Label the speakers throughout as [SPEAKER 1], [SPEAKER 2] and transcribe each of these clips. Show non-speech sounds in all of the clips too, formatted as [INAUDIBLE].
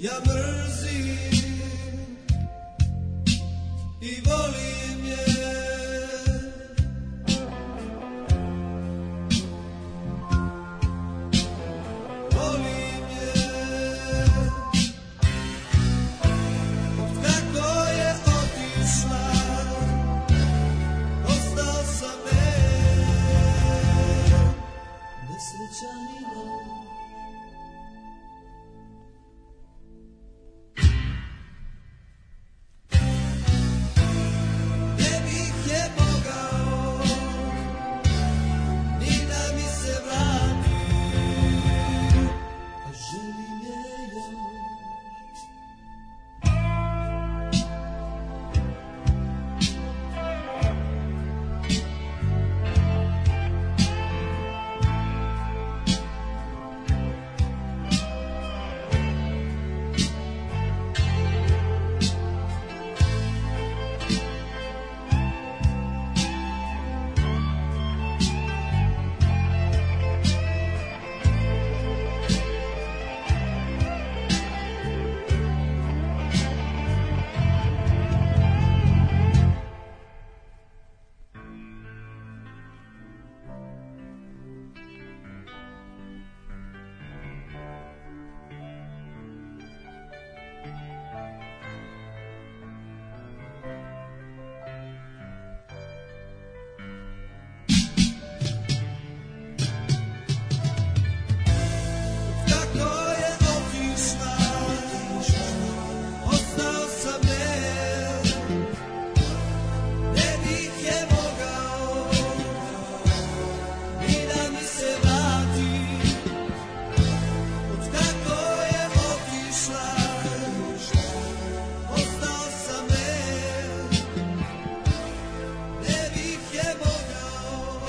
[SPEAKER 1] Ja mrzim i volim je Volim je Od kako je otišla Ostao sam ne Nesrećaninom Ne bih je mogao Ni da mi se vrati A želim je još Tako je otišla, ostao sam njen. Ne bih je mogao, ni da mi se vrati. Od kako je otišla, ostao sam njen. Ne bih je mogao,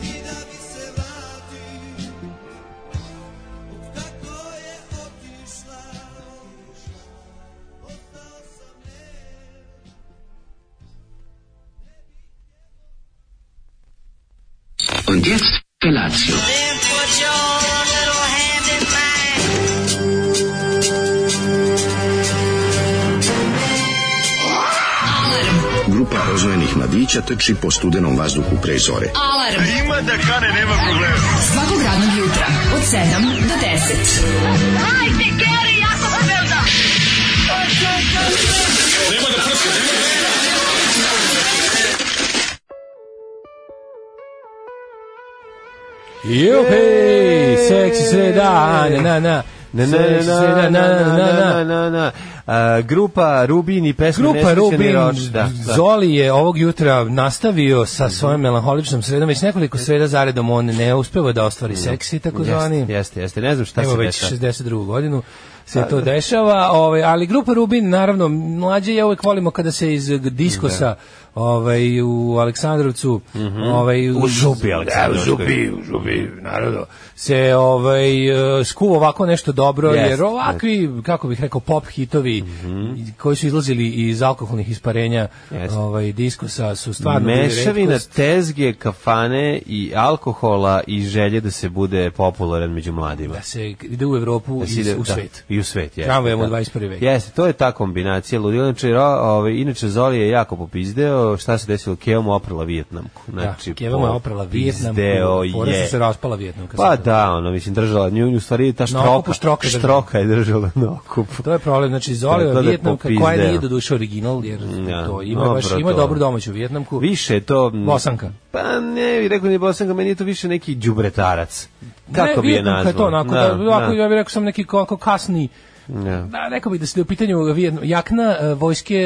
[SPEAKER 1] ni da mi se vrati. Kako je otišla, ostao sam ne.
[SPEAKER 2] Und jetzt Felatio.
[SPEAKER 3] Then put your little hand in mine.
[SPEAKER 4] Grupa rozvojenih mladića trči po studenom vazduhu pre zore.
[SPEAKER 5] Alarm. A ima da kane, nema problema. Svakog radnog jutra, od 7 do 10. Hajde, Geri, jako se velda.
[SPEAKER 6] Juhej, seksi sreda, na, na, na.
[SPEAKER 7] Na, na,
[SPEAKER 6] Seksi
[SPEAKER 7] na, na,
[SPEAKER 6] sreda,
[SPEAKER 7] na, na, na, na, na. A, grupa Rubin i pesma
[SPEAKER 6] Grupa
[SPEAKER 7] Nesrećeni
[SPEAKER 6] Rubin
[SPEAKER 7] roč, da, da. Mhm.
[SPEAKER 6] Zoli je ovog jutra nastavio sa svojom melanholičnom sredom, već nekoliko sreda zaredom on ne uspeva da ostvari seksi, takozvani.
[SPEAKER 7] Jeste, jeste, jeste, ne znam šta
[SPEAKER 6] Evo
[SPEAKER 7] se
[SPEAKER 6] već
[SPEAKER 7] dešava. Pa
[SPEAKER 6] 62. godinu se to dešava, ovaj, ali grupa Rubin, naravno, mlađe ja uvek volimo kada se iz diskosa ovaj, u Aleksandrovcu ovaj,
[SPEAKER 7] Mhm. U župi,
[SPEAKER 6] Da, u
[SPEAKER 7] Aleksandrovskoj.
[SPEAKER 6] župi, u župi, naravno se ovaj, e, skuva ovako nešto dobro,
[SPEAKER 7] Jeste, Mhm.
[SPEAKER 6] jer ovakvi, kako bih rekao, pop hitovi koji su izlazili iz alkoholnih isparenja
[SPEAKER 7] Jeste.
[SPEAKER 6] ovaj, diskosa su stvarno bili
[SPEAKER 7] Mešavina
[SPEAKER 6] retkost.
[SPEAKER 7] tezge, kafane i alkohola i želje da se bude popularan među mladima.
[SPEAKER 6] da se ide u Evropu
[SPEAKER 7] Da
[SPEAKER 6] i
[SPEAKER 7] se ide-
[SPEAKER 6] u
[SPEAKER 7] da,
[SPEAKER 6] svet.
[SPEAKER 7] I u svet, jeste.
[SPEAKER 6] Tramvajem u
[SPEAKER 7] da.
[SPEAKER 6] 21. veku.
[SPEAKER 7] Jeste, to je ta kombinacija. Ludi, inače, ro- ovaj, inače Zoli je jako popizdeo. Šta se desilo? Keva mu oprala Vijetnamku. Znači,
[SPEAKER 6] da, Keva mu je oprala Vijetnam,
[SPEAKER 7] popizdeo
[SPEAKER 6] porasno
[SPEAKER 7] je.
[SPEAKER 6] se raspala Vijetnam. kad
[SPEAKER 7] Pa
[SPEAKER 6] sam-
[SPEAKER 7] da, ono, mislim, držala nju, nju u stvari ta štroka,
[SPEAKER 6] okupu štroka je držala.
[SPEAKER 7] štroka je držala na okupu.
[SPEAKER 6] To je problem, znači Zoli
[SPEAKER 7] Da, da,
[SPEAKER 6] je Vijetnamka koja
[SPEAKER 7] popizdeo.
[SPEAKER 6] nije do duše original, jer
[SPEAKER 7] Ja,
[SPEAKER 6] to ima,
[SPEAKER 7] dobro
[SPEAKER 6] baš, ima
[SPEAKER 7] to.
[SPEAKER 6] dobru domaću Vijetnamku.
[SPEAKER 7] Više je to... m,
[SPEAKER 6] Bosanka.
[SPEAKER 7] Pa ne, bih rekao ni Bosanka, meni je to više neki đubretarac. Kako bi je
[SPEAKER 6] Vijetnamka
[SPEAKER 7] nazvao?
[SPEAKER 6] je to onako, da, ovako, ja bih rekao sam neki kako kasni,
[SPEAKER 7] da.
[SPEAKER 6] da, rekao bih da se da je u pitanju Vijetnam, jakna e, vojske e,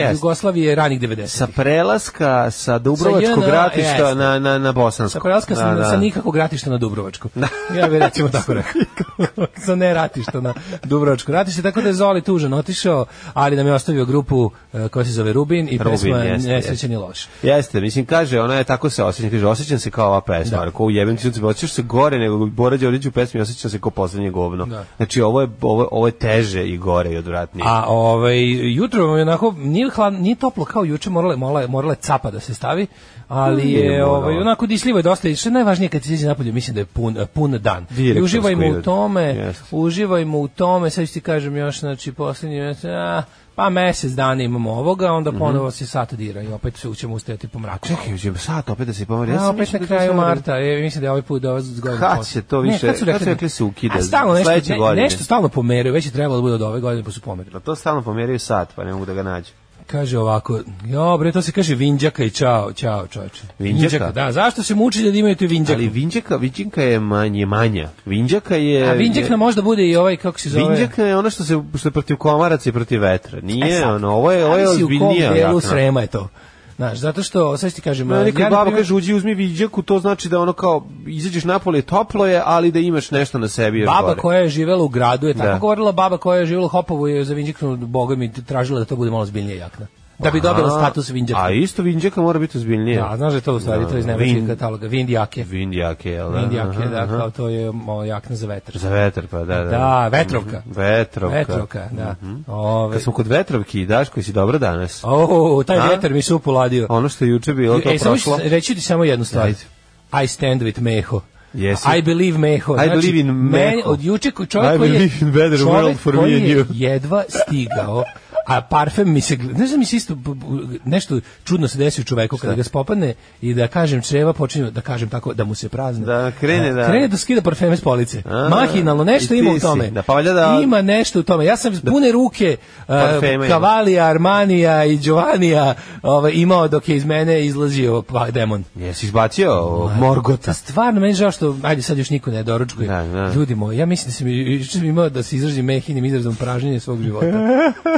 [SPEAKER 7] Jeste.
[SPEAKER 6] Jugoslavije ranih 90.
[SPEAKER 7] Sa prelaska sa Dubrovačkog
[SPEAKER 6] JNA,
[SPEAKER 7] ratišta
[SPEAKER 6] jeste.
[SPEAKER 7] na, na, na Bosansko.
[SPEAKER 6] Sa prelaska sa,
[SPEAKER 7] Da, da.
[SPEAKER 6] sa nikakvog ratišta na Dubrovačku. Ja bih recimo
[SPEAKER 7] [LAUGHS]
[SPEAKER 6] tako rekao. [LAUGHS] sa ne ratišta na Dubrovačku ratište. Tako da je Zoli tužan otišao, ali nam je ostavio grupu e, koja se zove Rubin i
[SPEAKER 7] Rubin,
[SPEAKER 6] pesma
[SPEAKER 7] jeste,
[SPEAKER 6] Nesrećeni loš.
[SPEAKER 7] Jeste, mislim, kaže, ona je tako se osjećam, kaže, osjećam se kao ova pesma,
[SPEAKER 6] Da.
[SPEAKER 7] da. u jebem ti sunce, osjećaš se gore nego Bora Đorđević u pesmi, osjećam se kao poslednje govno.
[SPEAKER 6] Da.
[SPEAKER 7] Znači, ovo je, ovo, ovo ovo je teže i gore i odvratnije.
[SPEAKER 6] A ovaj jutro vam je onako nije hladno, nije toplo kao juče, morale morale morale capa da se stavi, ali
[SPEAKER 7] Nije
[SPEAKER 6] je
[SPEAKER 7] morala.
[SPEAKER 6] ovaj onako disljivo je dosta i što je najvažnije kad se izađe napolje, mislim da je pun pun dan. I
[SPEAKER 7] Direktorsko
[SPEAKER 6] uživajmo u
[SPEAKER 7] ide.
[SPEAKER 6] tome,
[SPEAKER 7] Jeste.
[SPEAKER 6] uživajmo u tome, sad ću ti kažem još znači poslednji mjesec, a, pa mesec dana imamo ovoga, onda ponovo se sat dira i opet se ćemo ustajati po mraku.
[SPEAKER 7] Mhm. Čekaj, će sat opet da se pomeri.
[SPEAKER 6] Ja
[SPEAKER 7] sam
[SPEAKER 6] opet
[SPEAKER 7] mislio
[SPEAKER 6] na
[SPEAKER 7] da je
[SPEAKER 6] kraju
[SPEAKER 7] to sad-
[SPEAKER 6] marta, je, mislim da je ovaj put da ovaj godinu.
[SPEAKER 7] Kad
[SPEAKER 6] posle.
[SPEAKER 7] se to više-
[SPEAKER 6] ne, kad su rekli,
[SPEAKER 7] kad su rekli se ukida,
[SPEAKER 6] A stalno nešto,
[SPEAKER 7] sledeće
[SPEAKER 6] ne-
[SPEAKER 7] godine.
[SPEAKER 6] nešto stalno pomeraju, već je trebalo da bude od ove godine pa su pomerili.
[SPEAKER 7] Pa to stalno pomeraju sat, pa ne mogu da ga nađu.
[SPEAKER 6] Kaže ovako, jo bre, to se kaže vinđaka i čao, čao čoveče.
[SPEAKER 7] Vinđaka?
[SPEAKER 6] da, zašto se mučite da imate vinđaka?
[SPEAKER 7] Ali vinđaka, vinđaka je manje manja. Vinđaka je...
[SPEAKER 6] A vinđak nam možda bude i ovaj, kako se zove?
[SPEAKER 7] Vinđak je ono što se što je protiv komaraca i protiv vetra. Nije,
[SPEAKER 6] E sad,
[SPEAKER 7] ono, ovo je ovo je
[SPEAKER 6] zavisi u kom
[SPEAKER 7] ozbiljnija.
[SPEAKER 6] delu
[SPEAKER 7] jakna.
[SPEAKER 6] Srema je to. Znaš, zato što, sad ću ti kažem...
[SPEAKER 7] Meni
[SPEAKER 6] ja,
[SPEAKER 7] kad
[SPEAKER 6] na
[SPEAKER 7] baba
[SPEAKER 6] primjer-
[SPEAKER 7] kaže uđi uzmi vinđaku, to znači da ono kao izađeš napolje toplo je, ali da imaš nešto na sebi još
[SPEAKER 6] Baba
[SPEAKER 7] gore.
[SPEAKER 6] koja je živela u gradu je tako
[SPEAKER 7] Da.
[SPEAKER 6] govorila, baba koja je živela u Hopovu je za Vinđaknu, boga mi tražila da to bude malo zbiljnije jakna. Da bi dobila
[SPEAKER 7] A,
[SPEAKER 6] status Vinđaka.
[SPEAKER 7] A isto vinđaka mora biti ozbiljnije.
[SPEAKER 6] Da, znaš da je to u stvari, to je iz nemačkih
[SPEAKER 7] Vin-
[SPEAKER 6] kataloga, Vindijake.
[SPEAKER 7] Vindjake, jel da?
[SPEAKER 6] Vindijake,
[SPEAKER 7] Aha,
[SPEAKER 6] da,
[SPEAKER 7] aha.
[SPEAKER 6] kao to je malo jakna za vetar.
[SPEAKER 7] Za vetar, pa da, da.
[SPEAKER 6] Da, vetrovka.
[SPEAKER 7] Mhm, Vetrovka.
[SPEAKER 6] Vetrovka, da.
[SPEAKER 7] Mhm.
[SPEAKER 6] Ove,
[SPEAKER 7] Kad smo kod vetrovki, Daško, si dobro danas?
[SPEAKER 6] O, taj
[SPEAKER 7] A?
[SPEAKER 6] vjetar mi se upoladio.
[SPEAKER 7] Ono što je juče bilo, to
[SPEAKER 6] E, samo ću,
[SPEAKER 7] prošlo.
[SPEAKER 6] reći ti samo jednu stvar.
[SPEAKER 7] Ajde.
[SPEAKER 6] I stand with Meho.
[SPEAKER 7] Jesi.
[SPEAKER 6] I believe Meho. Znači,
[SPEAKER 7] I believe in
[SPEAKER 6] meni-
[SPEAKER 7] Meho.
[SPEAKER 6] Od juče koji čovjek
[SPEAKER 7] I
[SPEAKER 6] koji je,
[SPEAKER 7] believe in better
[SPEAKER 6] čovjek
[SPEAKER 7] world for
[SPEAKER 6] koji
[SPEAKER 7] me and
[SPEAKER 6] je
[SPEAKER 7] you.
[SPEAKER 6] jedva stigao, a parfem mi se, gl- ne znam mi se isto, b- b- nešto čudno se desi u čoveku kada ga spopadne i da kažem čreva, počinju da kažem tako, da mu se prazne. E,
[SPEAKER 7] Da krene da-
[SPEAKER 6] Krene da skida parfeme s police.
[SPEAKER 7] A,
[SPEAKER 6] Mahinalno, nešto
[SPEAKER 7] i
[SPEAKER 6] ima
[SPEAKER 7] ti
[SPEAKER 6] u tome.
[SPEAKER 7] si. Da, pa valjda da-
[SPEAKER 6] Ima nešto u tome. Ja sam pune ruke uh,
[SPEAKER 7] Parfema ima.
[SPEAKER 6] Kavalija, Armanija i Giovannija ovaj, imao dok je iz mene izlazio pa, demon.
[SPEAKER 7] Jesi izbacio Morgota?
[SPEAKER 6] Stvarno, meni je žao što, ajde sad još niko ne doručkuje.
[SPEAKER 7] Da, da.
[SPEAKER 6] Ljudi moji, ja mislim da sam, ju- juče sam imao da se izrazim mehinim izrazom pražnjenje svog
[SPEAKER 7] [LAUGHS]
[SPEAKER 6] života.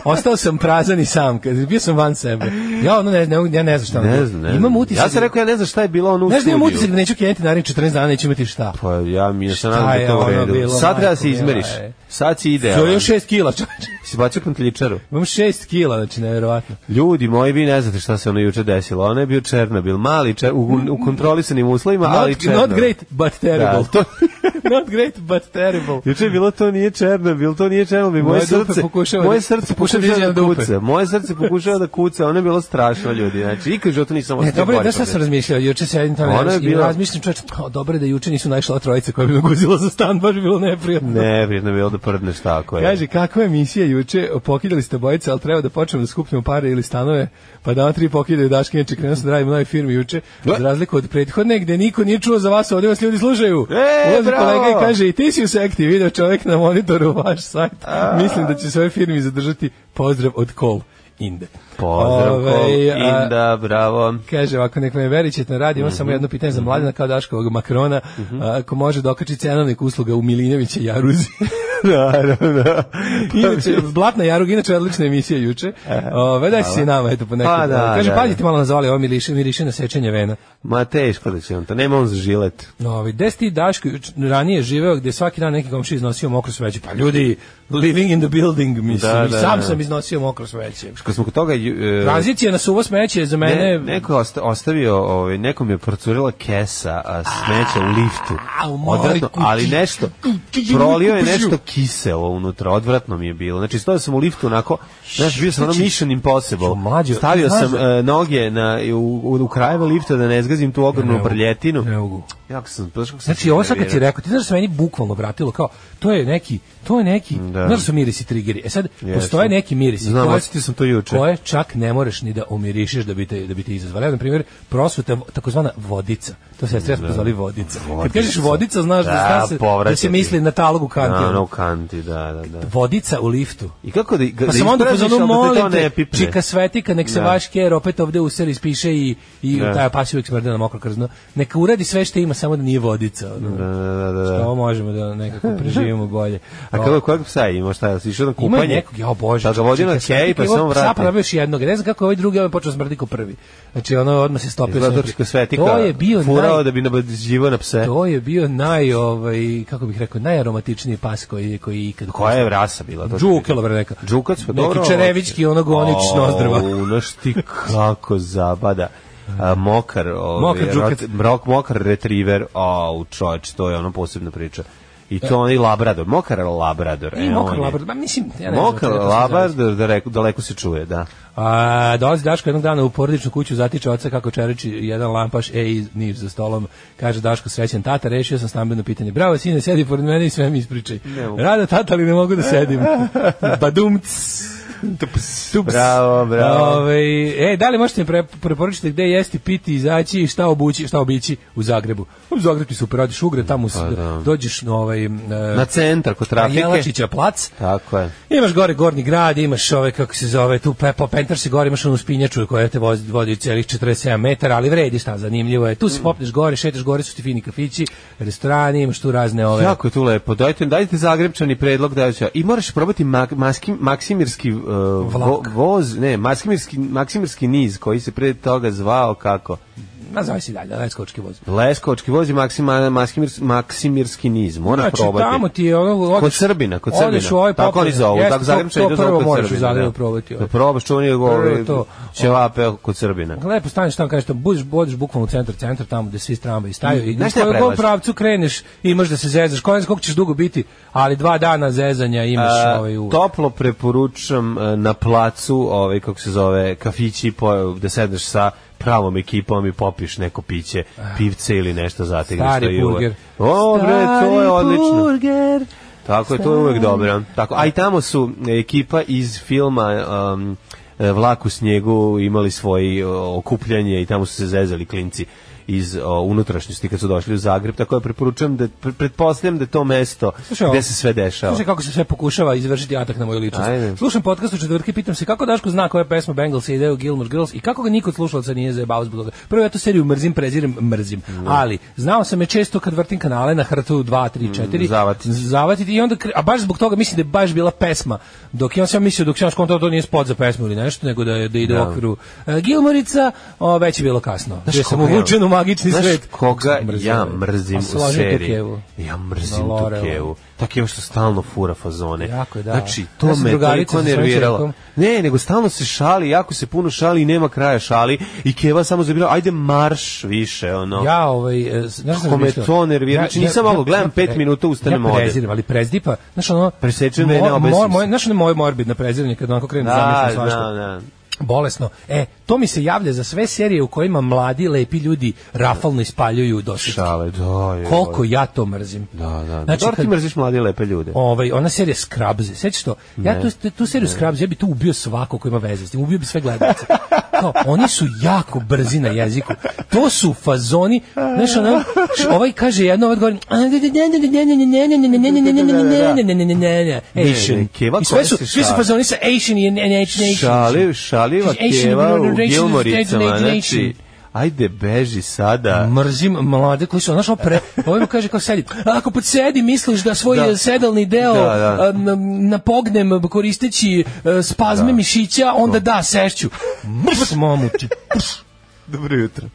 [SPEAKER 6] Ostao sam prazan i sam, kad bio sam van sebe. Ja ono ne, ne, mogu- ja ne znam šta. ono.
[SPEAKER 7] Ne znam, ne znam.
[SPEAKER 6] Imam utisak.
[SPEAKER 7] Ja sam rekao, ja ne znam šta je bilo ono u
[SPEAKER 6] Znaš da
[SPEAKER 7] studiju.
[SPEAKER 6] imam utisak da neću kenjeti narednih 14 dana, neću imati šta.
[SPEAKER 7] Pa ja mi ja se
[SPEAKER 6] Šta
[SPEAKER 7] nadam da je
[SPEAKER 6] je
[SPEAKER 7] to u
[SPEAKER 6] ono
[SPEAKER 7] redu.
[SPEAKER 6] bilo,
[SPEAKER 7] Sad treba da se
[SPEAKER 6] majko mila,
[SPEAKER 7] izmeriš.
[SPEAKER 6] ej.
[SPEAKER 7] Sad si
[SPEAKER 6] To
[SPEAKER 7] idealan.
[SPEAKER 6] je još 6 kila, čovječe.
[SPEAKER 7] Si bacio kantiličaru.
[SPEAKER 6] Imam 6 kila, znači, nevjerovatno.
[SPEAKER 7] Ljudi moji, vi ne znate šta se ono juče desilo. Ono je bio Černobil, mali čer, u, u kontrolisanim uslovima, Pa, ali
[SPEAKER 6] Not,
[SPEAKER 7] Černobil.
[SPEAKER 6] not great, but terrible.
[SPEAKER 7] Da, to,
[SPEAKER 6] [LAUGHS] not great, but terrible.
[SPEAKER 7] juče je bilo to nije Černobil, to nije Černobil. Moje,
[SPEAKER 6] Moje dupe
[SPEAKER 7] srce
[SPEAKER 6] pokušava
[SPEAKER 7] moje
[SPEAKER 6] da-
[SPEAKER 7] srce
[SPEAKER 6] pokušava da
[SPEAKER 7] pokušava
[SPEAKER 6] izađe
[SPEAKER 7] da
[SPEAKER 6] na dupe.
[SPEAKER 7] kuca. Moje srce pokušava da kuca, ono je bilo strašno ljudi. Znači, ikad u životu nisam
[SPEAKER 6] Ne,
[SPEAKER 7] ostavio
[SPEAKER 6] dobro, je,
[SPEAKER 7] bolje
[SPEAKER 6] znaš šta sam
[SPEAKER 7] pobede.
[SPEAKER 6] razmišljao, juče se jedin tamo
[SPEAKER 7] Ona je
[SPEAKER 6] razmišljao,
[SPEAKER 7] bila-
[SPEAKER 6] razmišljam čoveč, o, dobro je da juče nisu našla trojica koja bi me guzila za stan, baš bi bilo neprijatno.
[SPEAKER 7] Ne, vrijedno je bilo da prdneš tako. je.
[SPEAKER 6] Kaže, kakva je emisija juče, pokidali ste bojice, ali treba da počnemo da skupljamo pare ili stanove, pa da vam tri pokidaju daške, inače krenuo sam da radim u novoj firmi juče,
[SPEAKER 7] Da.
[SPEAKER 6] za razliku od prethodne, gde niko nije čuo za vas, ovdje vas ljudi slušaju.
[SPEAKER 7] E,
[SPEAKER 6] Ulazi
[SPEAKER 7] bravo!
[SPEAKER 6] kolega i kaže, i ti si u sekti, video čovjek na monitoru vaš sajt, mislim da će svoje firmi zadržati pozdrav od Kol Inde.
[SPEAKER 7] Pozdrav,
[SPEAKER 6] Ovaj,
[SPEAKER 7] Kol,
[SPEAKER 6] a-
[SPEAKER 7] Inda,
[SPEAKER 6] [LAUGHS]
[SPEAKER 7] bravo.
[SPEAKER 6] Kaže, ako nek me verićete na radi, imam
[SPEAKER 7] Mhm.
[SPEAKER 6] samo jedno pitanje za mladina kao Daškovog Makrona, a, ako može dokači cenovnik usluga u Milinovića Jaruzi.
[SPEAKER 7] [LAUGHS] Naravno.
[SPEAKER 6] inače, Blatna Jarug, inače odlična emisija juče. Ove, daj se i nama, eto, po nekom.
[SPEAKER 7] E, Pa da,
[SPEAKER 6] Kaže,
[SPEAKER 7] da,
[SPEAKER 6] pađite malo na zavali, ovo miriše, miriše na sečenje vena.
[SPEAKER 7] Ma teško da će on to, nema on za žilet.
[SPEAKER 6] Ovi, gde si ti Daško juč- ranije živeo, gde svaki dan neki komši iznosio mokro sveće? Pa ljudi, living in the building, mislim,
[SPEAKER 7] Da,
[SPEAKER 6] i
[SPEAKER 7] da,
[SPEAKER 6] sam
[SPEAKER 7] da.
[SPEAKER 6] sam iznosio mokro sveće.
[SPEAKER 7] Kad smo kod toga... ju- e,
[SPEAKER 6] Tranzicija na suvo smeće je za mene...
[SPEAKER 7] Ne, neko je osta- ostavio, ovaj, nekom je procurila kesa a, smeća u liftu.
[SPEAKER 6] A, u moj
[SPEAKER 7] Odvratno,
[SPEAKER 6] kući.
[SPEAKER 7] ali nešto, prolio je nešto kiselo unutra, odvratno mi je bilo. Znači, stojao sam u liftu onako, znaš, bio sam ono mission impossible.
[SPEAKER 6] Jo, mlađo,
[SPEAKER 7] Stavio
[SPEAKER 6] znaš
[SPEAKER 7] sam
[SPEAKER 6] da-
[SPEAKER 7] e, noge na, u, u, u krajeve lifta da ne zgazim tu ogromnu prljetinu.
[SPEAKER 6] Ne mogu.
[SPEAKER 7] Jako sam, znaš kako sam
[SPEAKER 6] Znači ovo sad kad si
[SPEAKER 7] nervirao.
[SPEAKER 6] rekao, ti znaš da se meni bukvalno vratilo kao to je neki, to je neki,
[SPEAKER 7] Da.
[SPEAKER 6] znaš da su mirisi trigeri. E sad
[SPEAKER 7] Jeste.
[SPEAKER 6] postoje neki mirisi.
[SPEAKER 7] Znam,
[SPEAKER 6] koje-
[SPEAKER 7] osjetio sam to juče.
[SPEAKER 6] Koje čak ne možeš ni da umirišiš da bi te da bi te izazvali. Ja na primjer, prosveta takozvana vodica. To se stres pozvali vodica. Kad kažeš vodica, znaš da,
[SPEAKER 7] Da,
[SPEAKER 6] da, se, da
[SPEAKER 7] povraća
[SPEAKER 6] se
[SPEAKER 7] ti.
[SPEAKER 6] misli na talogu
[SPEAKER 7] Da, ono u
[SPEAKER 6] kantinu.
[SPEAKER 7] kanti, da, da, da.
[SPEAKER 6] Vodica u liftu.
[SPEAKER 7] I kako da, da
[SPEAKER 6] Pa sam onda
[SPEAKER 7] ispraziš,
[SPEAKER 6] pozvano
[SPEAKER 7] ali da te to ne
[SPEAKER 6] molite,
[SPEAKER 7] pipne?
[SPEAKER 6] čika svetika, nek se
[SPEAKER 7] Da.
[SPEAKER 6] vaš ker opet ovde useli, spiše i, i
[SPEAKER 7] Da.
[SPEAKER 6] taj pas uvijek smrde na mokro krzno. Neka uradi sve što ima, samo da nije vodica. ono.
[SPEAKER 7] Da, da, da, da.
[SPEAKER 6] Što možemo da nekako preživimo bolje.
[SPEAKER 7] A kako kojeg psa je imao, šta je, si išao na
[SPEAKER 6] Ima
[SPEAKER 7] kupanje?
[SPEAKER 6] nekog, ja bože.
[SPEAKER 7] Da ga vodi na kej, pa samo vrati.
[SPEAKER 6] Sapa nabio još jednog, ne znam kako je ovaj drugi, ovaj počeo smrdi ko prvi. Znači ono odmah se stopio.
[SPEAKER 7] Izgleda
[SPEAKER 6] sa njim.
[SPEAKER 7] tursko svetika.
[SPEAKER 6] To je bio
[SPEAKER 7] furao
[SPEAKER 6] naj,
[SPEAKER 7] da bi nabađivo na pse.
[SPEAKER 6] to je bio naj, ovaj, kako bih rekao, najaromatičniji pas koji, je- koji je ikad.
[SPEAKER 7] Koja je rasa bila? to?
[SPEAKER 6] Džuke, dobro neka.
[SPEAKER 7] Džukac, pa dobro.
[SPEAKER 6] Neki čerevički, ono gonič
[SPEAKER 7] O,
[SPEAKER 6] nozdrva.
[SPEAKER 7] Znaš ti kako zabada. A, mokar, ovaj,
[SPEAKER 6] Mokar džukac.
[SPEAKER 7] rot- mrok, mokar retriever, a u čoveč, to je ono posebna priča. I to onaj Labrador, mokar Labrador.
[SPEAKER 6] E. I
[SPEAKER 7] e,
[SPEAKER 6] mokar
[SPEAKER 7] on je.
[SPEAKER 6] labrador, ma mislim, ja ne znam
[SPEAKER 7] Mokar
[SPEAKER 6] čega to sam
[SPEAKER 7] Labrador, daleko, daleko se čuje, da.
[SPEAKER 6] A, dolazi Daško jednog dana u porodičnu kuću, zatiče oca kako čeriči jedan lampaš, ej, niv za stolom, kaže Daško, srećen tata, rešio sam stambeno pitanje. Bravo, sine, sedi pored mene i sve mi ispričaj.
[SPEAKER 7] mogu.
[SPEAKER 6] Rada tata, ali ne mogu da
[SPEAKER 7] [LAUGHS]
[SPEAKER 6] sedim. Badumc. Tups. Tups.
[SPEAKER 7] Bravo, bravo.
[SPEAKER 6] Ovaj, e, da li možete mi pre, preporučiti gde jesti, piti, izaći i šta obući, šta obići u Zagrebu? U Zagrebu ti super, radiš ugre, tamo pa,
[SPEAKER 7] da.
[SPEAKER 6] dođeš na ovaj... e, Pa
[SPEAKER 7] Na centar kod trafike.
[SPEAKER 6] Jelačića plac,
[SPEAKER 7] Tako je.
[SPEAKER 6] Imaš gore gornji grad, imaš ove, kako se zove, tu pe, po Pentarsi gore imaš onu spinjaču koja te vozi, vodi celih 47 metara, ali vredi šta, zanimljivo je. Tu
[SPEAKER 7] Mm.
[SPEAKER 6] se popneš gore, šetaš gore, su ti fini kafići, restorani, imaš tu razne ove...
[SPEAKER 7] Jako je tu lepo. Dajte, dajte Zagrebčani predlog da će. I moraš probati mak, maskim, Maksimirski uh, vo,
[SPEAKER 6] Vlak.
[SPEAKER 7] voz, ne, Maksimirski, Maksimirski niz koji se pre toga zvao kako?
[SPEAKER 6] Nazove si dalje, daj skočki voz.
[SPEAKER 7] Leskovački voz i Maksima, Maksimirski, Maksimirski niz. Moraš
[SPEAKER 6] Znači,
[SPEAKER 7] probati.
[SPEAKER 6] tamo ti je ono... Odeš,
[SPEAKER 7] Kod Srbina, kod Srbina.
[SPEAKER 6] Odeš u ovaj
[SPEAKER 7] Tako oni
[SPEAKER 6] popularni-
[SPEAKER 7] zovu,
[SPEAKER 6] jeste,
[SPEAKER 7] tako Zagrebčani
[SPEAKER 6] to, to
[SPEAKER 7] idu zovu
[SPEAKER 6] prvo
[SPEAKER 7] kod
[SPEAKER 6] moraš u
[SPEAKER 7] Srbina,
[SPEAKER 6] Zagrebu
[SPEAKER 7] da.
[SPEAKER 6] probati. ovaj.
[SPEAKER 7] Da probaš čuvanje
[SPEAKER 6] Prvo je
[SPEAKER 7] govore
[SPEAKER 6] to.
[SPEAKER 7] ćevape kod Srbina.
[SPEAKER 6] Lepo staneš tamo, kažeš tamo, budiš, budiš bukvalno u centar, centar tamo gde svi tramvaji staju i
[SPEAKER 7] Mm. Znaš
[SPEAKER 6] u
[SPEAKER 7] šta ja
[SPEAKER 6] kojem god
[SPEAKER 7] predlažem?
[SPEAKER 6] pravcu kreneš imaš da se zezaš, koliko koliko ćeš dugo biti, ali dva dana zezanja imaš
[SPEAKER 7] A,
[SPEAKER 6] ovaj u...
[SPEAKER 7] toplo preporučam e, na placu, ovaj kako se zove, kafići po da sedneš sa pravom ekipom i popiš neko piće, pivce ili nešto zategneš
[SPEAKER 6] Ah. Stari
[SPEAKER 7] to i uvek.
[SPEAKER 6] burger.
[SPEAKER 7] O, bre, to
[SPEAKER 6] Stari
[SPEAKER 7] je odlično.
[SPEAKER 6] burger.
[SPEAKER 7] Tako je, to je uvek dobro. Tako, a i tamo su ekipa iz filma um, e, Vlak u snijegu imali svoje okupljanje i tamo su se zezali klinci iz o, unutrašnjosti kad su došli u Zagreb, tako da preporučujem da pre- pretpostavljam da je to mesto
[SPEAKER 6] Slušaj,
[SPEAKER 7] gde
[SPEAKER 6] ovo-
[SPEAKER 7] se sve dešava.
[SPEAKER 6] Slušaj kako se sve pokušava izvršiti atak na moju ličnost.
[SPEAKER 7] Ajde.
[SPEAKER 6] Slušam podcast u četvrtki i pitam se kako Daško zna koja pesma Bengals ide u Gilmore Girls i kako ga niko od slušalaca nije zajebao zbog toga. Prvo ja tu seriju mrzim, prezirem, mrzim. Ali znao sam je često kad vrtim kanale na hrtu 2, 3, 4.
[SPEAKER 7] Mm, zavatiti.
[SPEAKER 6] Zavatiti i onda, kre- a baš zbog toga mislim da je baš bila pesma. Dok ja sam mislio, dok sam skontao da to nije spot za pesmu ili nešto, nego da, je- da ide u okviru e, Gilmorica, o, već je bilo kasno. Znaš, sam
[SPEAKER 7] koga ja-
[SPEAKER 6] uvučen u magični
[SPEAKER 7] znaš
[SPEAKER 6] svet.
[SPEAKER 7] koga
[SPEAKER 6] Mrzim,
[SPEAKER 7] ja
[SPEAKER 6] ovaj.
[SPEAKER 7] mrzim
[SPEAKER 6] A
[SPEAKER 7] u
[SPEAKER 6] slažem
[SPEAKER 7] seriji?
[SPEAKER 6] Tukevu.
[SPEAKER 7] Ja
[SPEAKER 6] Na
[SPEAKER 7] mrzim tu
[SPEAKER 6] Laurelu.
[SPEAKER 7] Kevu. Tako je ono što stalno fura fazone.
[SPEAKER 6] Jako je, da.
[SPEAKER 7] Znači, to
[SPEAKER 6] Ja sam
[SPEAKER 7] me
[SPEAKER 6] drugarica
[SPEAKER 7] toliko
[SPEAKER 6] sa svojim
[SPEAKER 7] nerviralo.
[SPEAKER 6] čerkom.
[SPEAKER 7] Ne, nego stalno se šali, jako se puno šali i nema kraja šali. I Keva samo zabira, ajde marš više, ono.
[SPEAKER 6] Ja ovaj e, znaš šta
[SPEAKER 7] Kako me
[SPEAKER 6] razmišljao?
[SPEAKER 7] to nervira. Znači, nisam mogao, gledam pet
[SPEAKER 6] pre-
[SPEAKER 7] minuta, ustanem,
[SPEAKER 6] e, Ja
[SPEAKER 7] odem.
[SPEAKER 6] preziram, ali prezdipa, znaš ono
[SPEAKER 7] Presečem vene, obesim se.
[SPEAKER 6] moj, znaš ono moje morbidno preziranje kad onako krenem da,
[SPEAKER 7] da,
[SPEAKER 6] zamišljam
[SPEAKER 7] da,
[SPEAKER 6] svašta.
[SPEAKER 7] da.
[SPEAKER 6] Bolesno. E, to mi se javlja za sve serije u kojima mladi lepi ljudi rafalno ispaljuju dositke.
[SPEAKER 7] Šale, da, je.
[SPEAKER 6] Koliko ja to mrzim.
[SPEAKER 7] Da, da.
[SPEAKER 6] Znači,
[SPEAKER 7] Znači, Dobro ti
[SPEAKER 6] kad-
[SPEAKER 7] mrziš mlade i lepe ljude.
[SPEAKER 6] Ovaj ona serija Scrubs, sećaš to? Ja tu tu seriju Scrubs, ja bi tu ubio svako ko ima veze s tim, ubio bi sve gledaoce. Kao, oni su jako brzi na jeziku. To su fazoni, znaš ono, š- ovaj kaže jedno, ovaj odgovori. Asian. I sve su, sve su fazoni sa Asian i Asian.
[SPEAKER 7] Šali, šaliva
[SPEAKER 6] Asian
[SPEAKER 7] Keva u
[SPEAKER 6] Generation,
[SPEAKER 7] Gilmoricama,
[SPEAKER 6] State
[SPEAKER 7] znači,
[SPEAKER 6] Nation.
[SPEAKER 7] ajde beži sada.
[SPEAKER 6] mrzim mlade koji su našao pre ovaj mu kaže kao sedi ako pod sedi misliš da svoj
[SPEAKER 7] Da.
[SPEAKER 6] da. sedalni deo
[SPEAKER 7] Da, da.
[SPEAKER 6] a, na, napognem koristeći e, spazme mišića onda da sešću mrs mamuči
[SPEAKER 7] [LAUGHS] Dobro jutro.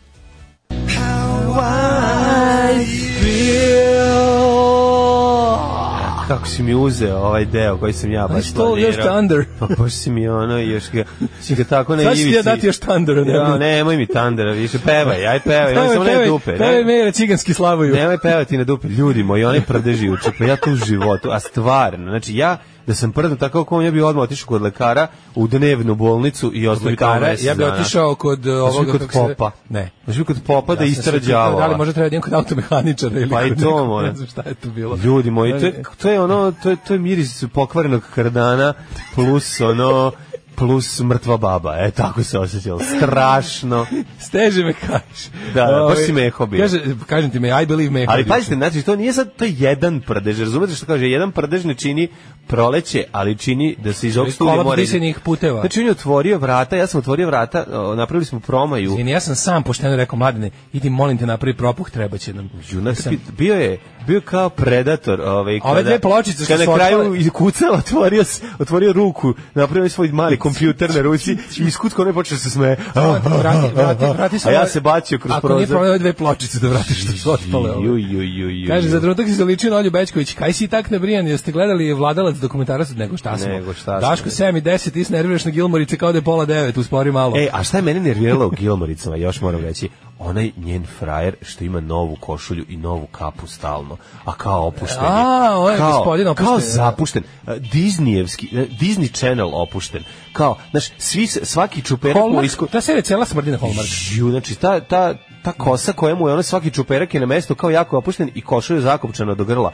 [SPEAKER 7] Kako si mi uzeo ovaj deo koji sam ja
[SPEAKER 6] I
[SPEAKER 7] baš
[SPEAKER 6] stole
[SPEAKER 7] planirao.
[SPEAKER 6] your thunder.
[SPEAKER 7] Pa baš si mi ono, još ga, si ga tako na
[SPEAKER 6] Sad
[SPEAKER 7] ivici.
[SPEAKER 6] ću ti ja dati još thunder, ne?
[SPEAKER 7] Ja, nemoj mi tandera, više pevaj, aj
[SPEAKER 6] [LAUGHS]
[SPEAKER 7] pevaj, nemoj samo ne dupe.
[SPEAKER 6] pevaj
[SPEAKER 7] ne.
[SPEAKER 6] mejera ciganski slavuju
[SPEAKER 7] Nemoj pevati na dupe, ljudi moji, onaj prdeži uče, pa ja to u životu, a stvarno, znači ja da sam prdan tako kao on, ja bi odmah otišao kod lekara u dnevnu bolnicu i ostao bi tamo
[SPEAKER 6] lekara
[SPEAKER 7] mesec
[SPEAKER 6] ja bih
[SPEAKER 7] dana.
[SPEAKER 6] otišao kod e,
[SPEAKER 7] Znaš li
[SPEAKER 6] ovoga
[SPEAKER 7] kod
[SPEAKER 6] kako se-
[SPEAKER 7] popa.
[SPEAKER 6] ne
[SPEAKER 7] Znaš li kod popa da
[SPEAKER 6] Ja sam se
[SPEAKER 7] istrađava.
[SPEAKER 6] pitao Da li možda treba da idem kod automehaničara ili
[SPEAKER 7] Pa i
[SPEAKER 6] kod
[SPEAKER 7] to,
[SPEAKER 6] nekog,
[SPEAKER 7] moje.
[SPEAKER 6] Ne znam šta je to bilo.
[SPEAKER 7] Ljudi moji, to je, to je ono, to je, to je miris pokvarenog kardana plus ono plus mrtva baba. E, tako se osjećalo. Strašno.
[SPEAKER 6] Steže me kažeš.
[SPEAKER 7] Da, da, baš
[SPEAKER 6] Ovaj,
[SPEAKER 7] si meho bio.
[SPEAKER 6] Kaže, kažem ti me, I believe meho.
[SPEAKER 7] Ali
[SPEAKER 6] bio
[SPEAKER 7] pazite, znači, to nije sad to je jedan prdež. Razumete što kaže? Jedan prdež ne čini proleće, ali čini da se iz ovog
[SPEAKER 6] Kolap
[SPEAKER 7] studija mora...
[SPEAKER 6] disanih puteva.
[SPEAKER 7] Znači, on je otvorio vrata, ja sam otvorio vrata, o, napravili smo promaju.
[SPEAKER 6] Izvini, ja sam sam pošteno rekao, mladine, idi molim te napravi propuh, treba će nam.
[SPEAKER 7] Junak
[SPEAKER 6] Sam-
[SPEAKER 7] bi- bio je bio kao predator, ovaj
[SPEAKER 6] Ove dve pločice što
[SPEAKER 7] kad na
[SPEAKER 6] su
[SPEAKER 7] kraju
[SPEAKER 6] otpale-
[SPEAKER 7] iz kuca otvorio s- otvorio ruku, napravio svoj mali kompjuter na ruci i iz kutka onaj počeo se smeje.
[SPEAKER 6] Vrati, vrati, vrati se.
[SPEAKER 7] A ja
[SPEAKER 6] ovo-
[SPEAKER 7] se bacio kroz
[SPEAKER 6] Ako nije problem,
[SPEAKER 7] prozor.
[SPEAKER 6] ove dve pločice da vratiš što su otpale. ove.
[SPEAKER 7] Ju, ju, ju, ju,
[SPEAKER 6] Kaže,
[SPEAKER 7] ju.
[SPEAKER 6] za trenutak si zaličio na Olju Bečković. Kaj si tak nabrijan? Jeste gledali vladalac dokumentarac od Nego šta smo?
[SPEAKER 7] Nego šta smo.
[SPEAKER 6] Daško 7 i 10, ti se nerviraš na Gilmorice kao da je pola 9, uspori malo.
[SPEAKER 7] E, a šta je mene nerviralo u Gilmoricama, još moram reći. onaj njen frajer što ima novu košulju i novu kapu stalno, a kao opušten. je.
[SPEAKER 6] A, ovaj gospodin opušten,
[SPEAKER 7] Kao
[SPEAKER 6] da.
[SPEAKER 7] zapušten. e, Disneyevski, e, Disney Channel opušten. Kao, znaš, svi, se- svaki čuperak mu
[SPEAKER 6] Hallmark,
[SPEAKER 7] isko-
[SPEAKER 6] ta serija cela smrdi na Hallmark.
[SPEAKER 7] Ju, znači ta, ta, ta kosa koja mu je ono svaki čuperak je na mestu kao jako opušten i košulja je zakopčana do grla.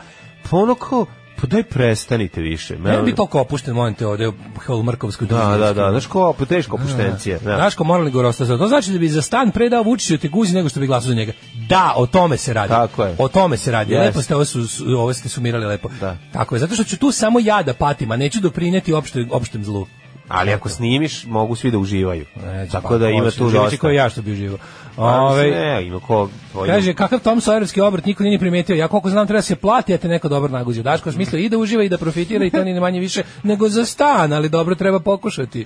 [SPEAKER 7] Pa ono kao, pa daj prestanite više.
[SPEAKER 6] Ne bi toliko opušten, molim te, ovde u Hallmarkovskoj
[SPEAKER 7] Da, da, da, znaš ko, pa teško opuštencije. Da.
[SPEAKER 6] Daško morali gore ostati. To znači da bi za stan predao Vučiću te guzi nego što bi glasao za njega. Da, o tome se radi.
[SPEAKER 7] Tako je.
[SPEAKER 6] O tome se radi.
[SPEAKER 7] Jeste.
[SPEAKER 6] Lepo ste ovo, su, su- ovo ste sumirali lepo.
[SPEAKER 7] Da.
[SPEAKER 6] Tako je, zato što ću tu samo ja da patim, a neću doprineti opšte, opštem zlu.
[SPEAKER 7] Ali ako snimiš, mogu svi da uživaju.
[SPEAKER 6] Neću,
[SPEAKER 7] E, Tako
[SPEAKER 6] pa,
[SPEAKER 7] da ima
[SPEAKER 6] hoće,
[SPEAKER 7] tu
[SPEAKER 6] živit će
[SPEAKER 7] dosta.
[SPEAKER 6] Kao ja što bi živo.
[SPEAKER 7] Ove,
[SPEAKER 6] Ove,
[SPEAKER 7] ne, ima ko... ko ima-
[SPEAKER 6] Ovaj, Kaže, kakav Tom Sajerski obrt niko nije primetio. Ja koliko znam, treba da se plati, a te neko dobro naguzio. Daško smislio i da uživa i da profitira i to ni manje više nego za stan, ali dobro treba pokušati.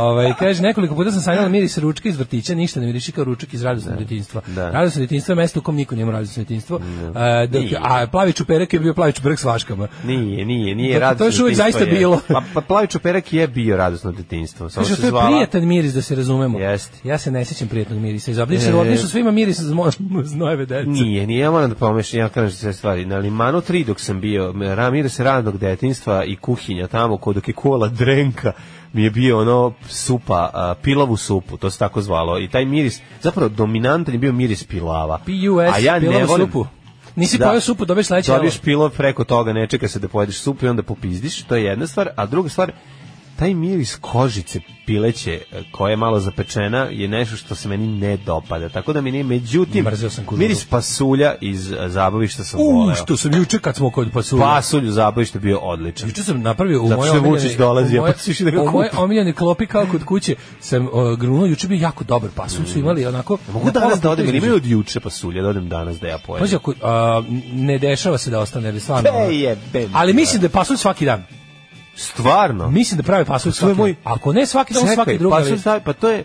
[SPEAKER 6] Ovaj kaže, nekoliko puta sam sanjala miris ručka iz vrtića, ništa ne miriši kao ručak iz radosnog detinjstva.
[SPEAKER 7] Da.
[SPEAKER 6] Radosno detinjstvo je mesto u kom niko nije imao radosno detinjstvo. E, dok-
[SPEAKER 7] Nije.
[SPEAKER 6] a plavi čuperak je bio plavi čuperak s vaškama.
[SPEAKER 7] Nije, nije, nije
[SPEAKER 6] Dakle, to je
[SPEAKER 7] radosno
[SPEAKER 6] još uvijek
[SPEAKER 7] detinjstvo
[SPEAKER 6] zaista
[SPEAKER 7] je.
[SPEAKER 6] bilo.
[SPEAKER 7] Pa, pa plavi čuperak je bio radosno detinjstvo. Samo
[SPEAKER 6] Kaže,
[SPEAKER 7] se
[SPEAKER 6] to je
[SPEAKER 7] zvala...
[SPEAKER 6] prijatan miris, da se razumemo.
[SPEAKER 7] Jeste.
[SPEAKER 6] Ja se ne sjećam prijatnog mirisa iz obdiša.
[SPEAKER 7] E.
[SPEAKER 6] U obdišu svima miris iz mo- znojeve dece.
[SPEAKER 7] Nije, nije, ja moram da pomešam, ja kažem sve stvari. Na Limanu 3 dok sam bio, Ramir se radnog detinstva i kuhinja tamo, kod dok je kola drenka, mi je bio ono supa, a, pilavu supu, to se tako zvalo. I taj miris, zapravo dominantan je bio miris pilava.
[SPEAKER 6] PUS,
[SPEAKER 7] a ja ne
[SPEAKER 6] pilavu
[SPEAKER 7] volim,
[SPEAKER 6] supu. Nisi pojeo supu, dobiješ sledeće
[SPEAKER 7] Dobiješ
[SPEAKER 6] jelo.
[SPEAKER 7] pilov preko toga, ne čeka se da pojedeš supu i onda popizdiš, to je jedna stvar. A druga stvar, taj miris kožice pileće e, koja je malo zapečena je nešto što se meni ne dopada. Tako da mi nije, međutim,
[SPEAKER 6] Mrzeo sam kužuru.
[SPEAKER 7] miris pasulja iz e, zabavišta sam
[SPEAKER 6] U,
[SPEAKER 7] voleo.
[SPEAKER 6] što sam juče kad smo kod pasulja.
[SPEAKER 7] Pasulj u zabavištu je bio odličan.
[SPEAKER 6] Juče sam napravio u
[SPEAKER 7] Zato
[SPEAKER 6] moje
[SPEAKER 7] što je
[SPEAKER 6] omiljene...
[SPEAKER 7] Vučić dolazio,
[SPEAKER 6] u moje-
[SPEAKER 7] pa si išao da ga
[SPEAKER 6] u moje
[SPEAKER 7] kupi.
[SPEAKER 6] omiljene klopi kao kod kuće sam uh, grunuo, juče bio jako dobar pasulj, su imali onako...
[SPEAKER 7] Mogu
[SPEAKER 6] na pola
[SPEAKER 7] danas da
[SPEAKER 6] puta
[SPEAKER 7] odem, ili
[SPEAKER 6] između-
[SPEAKER 7] imaju od juče pasulja, da odem danas da ja pojedem.
[SPEAKER 6] Pazi, ako, a, ne dešava se da ostane, ali stvarno... ono-
[SPEAKER 7] E, jebe mi
[SPEAKER 6] ali
[SPEAKER 7] ga.
[SPEAKER 6] mislim da je pasulj svaki dan.
[SPEAKER 7] Stvarno?
[SPEAKER 6] Mislim da prave pasulj
[SPEAKER 7] To je
[SPEAKER 6] svaki
[SPEAKER 7] moj-
[SPEAKER 6] dan. Ako ne svaki dan, svaki drugi.
[SPEAKER 7] pasulj stavi, pa to je,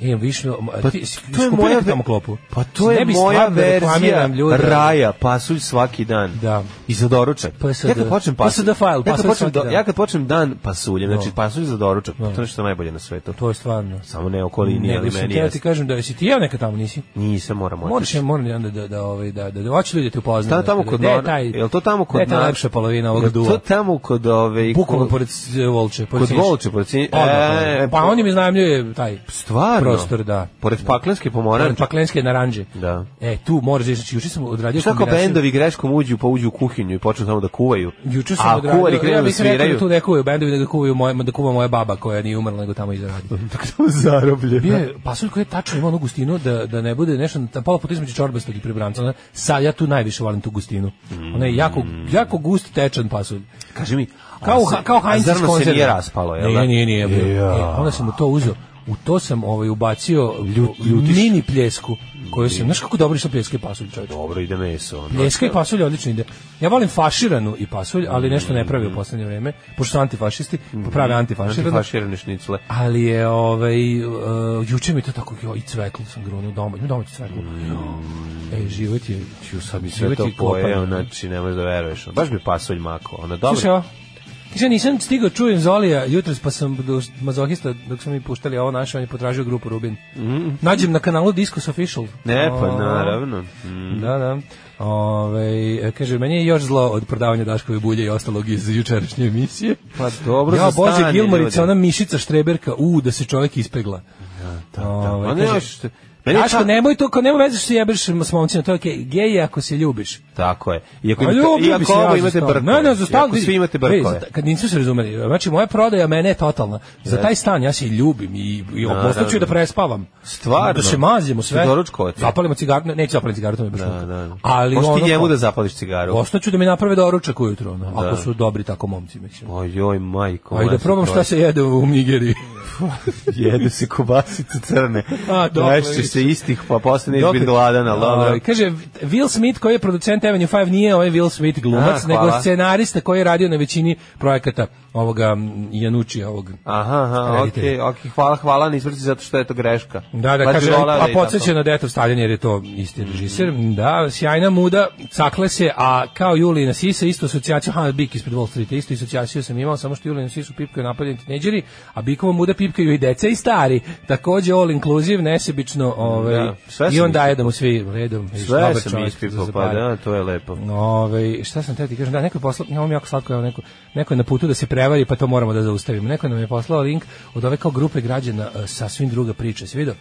[SPEAKER 6] Imam više...
[SPEAKER 7] Pa
[SPEAKER 6] Pa, ti,
[SPEAKER 7] to je moja ve-
[SPEAKER 6] tamo klopu.
[SPEAKER 7] Pa to je
[SPEAKER 6] Ne bi
[SPEAKER 7] moja
[SPEAKER 6] stvarno da
[SPEAKER 7] verzija
[SPEAKER 6] reklamiram ljude, ali-
[SPEAKER 7] raja, pasulj svaki dan.
[SPEAKER 6] Da. Pa
[SPEAKER 7] I za doručak.
[SPEAKER 6] PSD.
[SPEAKER 7] Ja kad počnem pasulj,
[SPEAKER 6] PSD file,
[SPEAKER 7] ja kad
[SPEAKER 6] pasulj
[SPEAKER 7] počnem
[SPEAKER 6] svaki
[SPEAKER 7] do-
[SPEAKER 6] dan.
[SPEAKER 7] ja kad počnem dan pasuljem, znači
[SPEAKER 6] No.
[SPEAKER 7] pasulj za doručak, to je nešto najbolje na svetu.
[SPEAKER 6] To je stvarno.
[SPEAKER 7] Samo ne okolini, ali
[SPEAKER 6] Nego sam
[SPEAKER 7] meni
[SPEAKER 6] ti ja ti
[SPEAKER 7] jeste.
[SPEAKER 6] kažem da si ti jeo neka tamo, nisi?
[SPEAKER 7] Nisam, moram
[SPEAKER 6] Moraš
[SPEAKER 7] otići.
[SPEAKER 6] je moram onda da da ovaj da da da hoće ljudi da te upoznaju.
[SPEAKER 7] Šta tamo
[SPEAKER 6] Da-
[SPEAKER 7] kod
[SPEAKER 6] da je
[SPEAKER 7] Nor-
[SPEAKER 6] taj-
[SPEAKER 7] jel to tamo kod
[SPEAKER 6] da je ta
[SPEAKER 7] Nor-
[SPEAKER 6] lepša polovina ovog
[SPEAKER 7] Jel To
[SPEAKER 6] duva.
[SPEAKER 7] tamo kod ove...
[SPEAKER 6] Bukvalno
[SPEAKER 7] kod-
[SPEAKER 6] pored e, Volče, pored
[SPEAKER 7] Kod
[SPEAKER 6] Sinjiša.
[SPEAKER 7] Volče, pored Sinjiša.
[SPEAKER 6] Odmah,
[SPEAKER 7] E,
[SPEAKER 6] odmah. pa
[SPEAKER 7] po-
[SPEAKER 6] oni mi znajmljuje taj
[SPEAKER 7] Stvarno?
[SPEAKER 6] prostor, da.
[SPEAKER 7] Pored Paklenske
[SPEAKER 6] Pored
[SPEAKER 7] pomoranče.
[SPEAKER 6] Paklenske naranđe.
[SPEAKER 7] Da.
[SPEAKER 6] E, tu moraš da znači juče sam odradio
[SPEAKER 7] Šta ako
[SPEAKER 6] kombinaciju-
[SPEAKER 7] bendovi greškom uđu pa uđu u kuhinju i počnu samo da kuvaju?
[SPEAKER 6] Juče sam
[SPEAKER 7] A
[SPEAKER 6] odradio,
[SPEAKER 7] kuvari krenu
[SPEAKER 6] ja
[SPEAKER 7] da
[SPEAKER 6] bih rekao da
[SPEAKER 7] sviraju.
[SPEAKER 6] tu ne kuvaju bendovi, nego kuvaju moje, da kuva moja baba koja nije umrla, nego tamo iza radi.
[SPEAKER 7] [LAUGHS] Zarobljena.
[SPEAKER 6] Bio je pasulj koji je tačno imao onu gustinu da, da ne bude nešto na pola puta između čorbastog i pribranca. Ona, sa, ja tu najviše volim tu gustinu. Ona je jako, jako gust, tečan pasulj.
[SPEAKER 7] Kaži mi,
[SPEAKER 6] Kao,
[SPEAKER 7] Mm. a
[SPEAKER 6] u-
[SPEAKER 7] se-
[SPEAKER 6] kao
[SPEAKER 7] a
[SPEAKER 6] Heinz iz
[SPEAKER 7] zrno se
[SPEAKER 6] konzerve.
[SPEAKER 7] nije raspalo, jel da?
[SPEAKER 6] Nije, nije, nije. bre.
[SPEAKER 7] Ja.
[SPEAKER 6] E, onda sam u to uzeo. U to sam ovaj, ubacio mini pljesku koju sam, znaš kako dobro išla pljeska i pasulj, čovječ?
[SPEAKER 7] Dobro, ide meso. ono.
[SPEAKER 6] Pljeska i pasulj odlično ide. Ja volim faširanu i pasulj, ali nešto ne
[SPEAKER 7] Mm.
[SPEAKER 6] pravi u poslednje vreme, pošto su antifašisti, pa prave antifaširanu.
[SPEAKER 7] Antifaširane Ono šnicle.
[SPEAKER 6] Ali je ovaj uh, juče mi to tako jo, i cveklo sam grunuo doma, ima domaće cveklo.
[SPEAKER 7] Mm.
[SPEAKER 6] E, život je, ću sad mi
[SPEAKER 7] Sve to pojeo, znači, ne možeš da veruješ. Baš bi pasulj mako. Ona, dobro.
[SPEAKER 6] Slušaj, ovo. Kaže, nisam stigao, čujem Zolija jutros, pa sam do mazohista, dok smo mi puštali ovo naše, on je potražio grupu Rubin. Nađem na kanalu Discus Official.
[SPEAKER 7] Mm. ne, pa
[SPEAKER 6] O,
[SPEAKER 7] naravno. Mm.
[SPEAKER 6] Da, da. Ove, kaže, meni je još zlo od prodavanja Daškove bulje i ostalog iz jučerašnje emisije.
[SPEAKER 7] Pa dobro
[SPEAKER 6] ja,
[SPEAKER 7] za
[SPEAKER 6] Bože,
[SPEAKER 7] stanje, ljudi.
[SPEAKER 6] Gilmarica, ona mišica štreberka, u, da se čovjek ispegla.
[SPEAKER 7] Da, da.
[SPEAKER 6] Ovaj,
[SPEAKER 7] A ne,
[SPEAKER 6] kaže,
[SPEAKER 7] još- meni je
[SPEAKER 6] Daško,
[SPEAKER 7] ta-
[SPEAKER 6] nemoj to, kao nema veze što se jebeš s momcima, to je okej. Gej je ako se ljubiš.
[SPEAKER 7] Tako je. Iako,
[SPEAKER 6] A
[SPEAKER 7] imate,
[SPEAKER 6] ljubi bi se
[SPEAKER 7] iako ovo
[SPEAKER 6] ja za
[SPEAKER 7] imate
[SPEAKER 6] stan.
[SPEAKER 7] brkove.
[SPEAKER 6] Ne, ne, za stan,
[SPEAKER 7] Iako
[SPEAKER 6] vidi,
[SPEAKER 7] svi imate
[SPEAKER 6] vidi,
[SPEAKER 7] brkove.
[SPEAKER 6] za- Kad nisu se razumeli. Znači, moja prodaja mene je totalna. Za taj stan ja se i ljubim i, i
[SPEAKER 7] Naravno.
[SPEAKER 6] opustaću da prespavam.
[SPEAKER 7] Stvarno?
[SPEAKER 6] Da se mazimo sve.
[SPEAKER 7] Ti doručkovati?
[SPEAKER 6] Zapalimo cigaru, ne, neću zapaliti cigaru, to mi je baš
[SPEAKER 7] Da,
[SPEAKER 6] muka.
[SPEAKER 7] da.
[SPEAKER 6] Ali
[SPEAKER 7] Možeš ti
[SPEAKER 6] ono,
[SPEAKER 7] njemu
[SPEAKER 6] kao,
[SPEAKER 7] da zapališ cigaru.
[SPEAKER 6] Ostaću da mi naprave doručak ujutro, ono, ako su dobri tako momci, mislim.
[SPEAKER 7] Ojoj, majko.
[SPEAKER 6] Ajde da
[SPEAKER 7] majko,
[SPEAKER 6] probam
[SPEAKER 7] [LAUGHS]
[SPEAKER 6] šta
[SPEAKER 7] broj.
[SPEAKER 6] se jede u Nigeriji.
[SPEAKER 7] [LAUGHS] Jedu se kobasice crne.
[SPEAKER 6] A, dobro,
[SPEAKER 7] Naješće
[SPEAKER 6] vidiš.
[SPEAKER 7] se istih, pa posle neće
[SPEAKER 6] Dokle-
[SPEAKER 7] biti gladan, ali dobro.
[SPEAKER 6] Ovaj, kaže, Will Smith koji je producent Avenue 5 nije ovaj Will Smith glumac,
[SPEAKER 7] A, hvala.
[SPEAKER 6] nego scenarista koji je radio na većini projekata ovoga Januči, ovog
[SPEAKER 7] Aha, aha, okej,
[SPEAKER 6] reditelja.
[SPEAKER 7] okay, okej, hvala, hvala na izvrci zato što je to greška.
[SPEAKER 6] Da, da,
[SPEAKER 7] Baš pa bi
[SPEAKER 6] kaže,
[SPEAKER 7] voleo
[SPEAKER 6] a
[SPEAKER 7] i
[SPEAKER 6] podsjeća
[SPEAKER 7] tako.
[SPEAKER 6] na Detov Staljan jer je to isti režiser. Da, sjajna muda, cakle se, a kao Julijina Sisa, isto asocijaciju, ha, Bik ispred Wall Streeta, isto asocijaciju sam imao, samo što Julijina Sisu pipkaju napadljeni tineđeri, a Bikova muda pipkaju i deca i stari. Takođe all inclusive, nesebično, ovaj,
[SPEAKER 7] Da, sve
[SPEAKER 6] i
[SPEAKER 7] sam
[SPEAKER 6] on daje da mu svi redom. vidiš,
[SPEAKER 7] Sve
[SPEAKER 6] dobar
[SPEAKER 7] sam
[SPEAKER 6] čovjek
[SPEAKER 7] ispipao,
[SPEAKER 6] za
[SPEAKER 7] pa
[SPEAKER 6] zapaliti.
[SPEAKER 7] da, to je lepo.
[SPEAKER 6] Ove, ovaj, šta sam teo ti kažem, da, neko je poslao, ja, ovo mi je jako slatko, evo, neko, neko je na putu da se prevari, pa to moramo da zaustavimo. Neko nam je poslao link od ove kao grupe građana, e, sasvim druga priča, si vidio?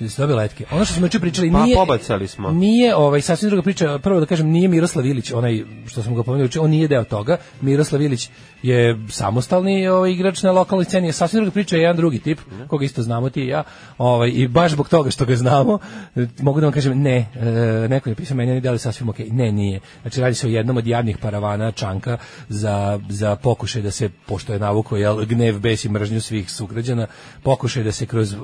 [SPEAKER 6] Da se dobili letke. Ono što smo juče pričali
[SPEAKER 7] Pa,
[SPEAKER 6] nije...
[SPEAKER 7] pobacali smo.
[SPEAKER 6] Nije, ovaj, sasvim druga priča, prvo da kažem, nije Miroslav Ilić, onaj što sam ga pomenuo juče, on nije deo toga. Miroslav Ilić je samostalni ovaj, igrač na lokalnoj sceni, je sasvim druga priča je jedan drugi tip, koga isto znamo ti i ja, ovaj, i baš zbog toga što ga znamo, e, mogu da vam kažem, ne, e, neko je pisao meni, oni deli sasvim okej, ne, nije. Znači, radi se o jednom od javnih paravana Čanka za, za pokušaj da se, pošto je navuko, jel, gnev, bes i mržnju svih sugrađana, pokušaj da se kroz... e,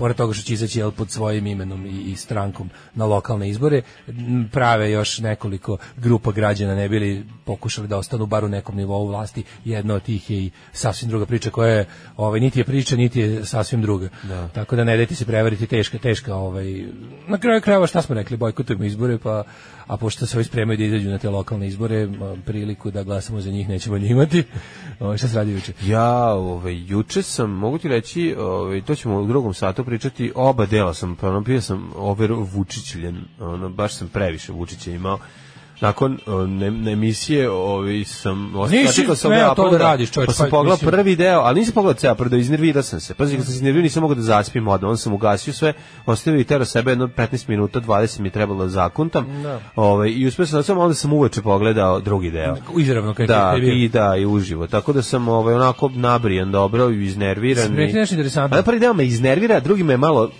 [SPEAKER 6] pored toga što će izaći jel, pod svojim imenom i, i strankom na lokalne izbore, m, prave još nekoliko grupa građana ne bili pokušali da ostanu bar u nekom nivou vlasti. Jedna od tih je i sasvim druga priča koja je, ovaj, niti je priča, niti je sasvim druga. Da. Tako da ne dajte se prevariti teška, teška. Ovaj, na kraju krajeva šta smo rekli, bojkotujemo izbore, pa, a pošto se ovi spremaju da izađu na te lokalne izbore, ma, priliku da glasamo za njih nećemo ni imati. [LAUGHS] Ovaj, šta se radi juče?
[SPEAKER 7] Ja, ovaj, juče sam, mogu ti reći, ovaj, to ćemo u drugom satu pričati, oba dela sam, pa ono, bio sam over Vučićljen, ono, baš sam previše Vučića imao. Nakon o, ne, ne emisije ovaj, sam...
[SPEAKER 6] Nisi
[SPEAKER 7] sačekao
[SPEAKER 6] smeo
[SPEAKER 7] ovaj
[SPEAKER 6] to da
[SPEAKER 7] upload,
[SPEAKER 6] radiš, čoveč,
[SPEAKER 7] Pa sam
[SPEAKER 6] pa,
[SPEAKER 7] pogledao
[SPEAKER 6] mislim-
[SPEAKER 7] prvi deo, ali nisam pogledao ceo, prvo iznervirao sam se. Pazi, kad sam se iznervirao nisam mogao da zaspim odmah, onda sam ugasio sve, ostavio i tero sebe jedno 15 minuta, 20 mi je trebalo da zakuntam.
[SPEAKER 6] Da.
[SPEAKER 7] Ovaj, I uspio sam da sam, onda sam uveče pogledao drugi deo
[SPEAKER 6] Izravno kada
[SPEAKER 7] da, i da, i uživo. Tako da sam ovaj, onako nabrijan dobro i iznerviran.
[SPEAKER 6] Rekli nešto interesantno.
[SPEAKER 7] A da prvi deo me iznervira, a drugi me malo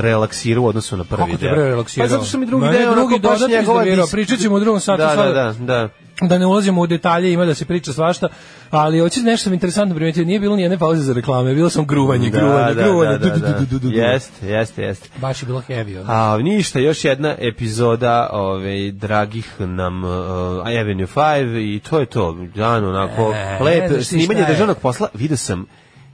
[SPEAKER 7] relaksirao u odnosu na prvi
[SPEAKER 6] Kako te
[SPEAKER 7] deo.
[SPEAKER 6] bre relaksirao?
[SPEAKER 7] Pa zato što mi drugi
[SPEAKER 6] Mene
[SPEAKER 7] deo
[SPEAKER 6] drugi
[SPEAKER 7] onako baš
[SPEAKER 6] dodatno
[SPEAKER 7] njegova
[SPEAKER 6] iznervirao.
[SPEAKER 7] dis-
[SPEAKER 6] Pričat ćemo u drugom satu
[SPEAKER 7] Da, da,
[SPEAKER 6] sada.
[SPEAKER 7] da, da.
[SPEAKER 6] da ne ulazimo u detalje, ima da se priča svašta, ali hoćeš nešto sam interesantno primetio, nije bilo ni jedne pauze za reklame, bilo sam gruvanje, gruvanje,
[SPEAKER 7] da,
[SPEAKER 6] gruvanje.
[SPEAKER 7] da, da,
[SPEAKER 6] du, du,
[SPEAKER 7] da.
[SPEAKER 6] du, du, du, du.
[SPEAKER 7] Jeste, jeste, jeste.
[SPEAKER 6] Baš je bilo heavy. ono.
[SPEAKER 7] A ništa, još jedna epizoda ovaj, dragih nam uh, Avenue 5 i to je to. Dan onako,
[SPEAKER 6] E,
[SPEAKER 7] e,
[SPEAKER 6] ne
[SPEAKER 7] lep,
[SPEAKER 6] znaš ti
[SPEAKER 7] snimanje
[SPEAKER 6] šta je.
[SPEAKER 7] državnog posla. Vidio sam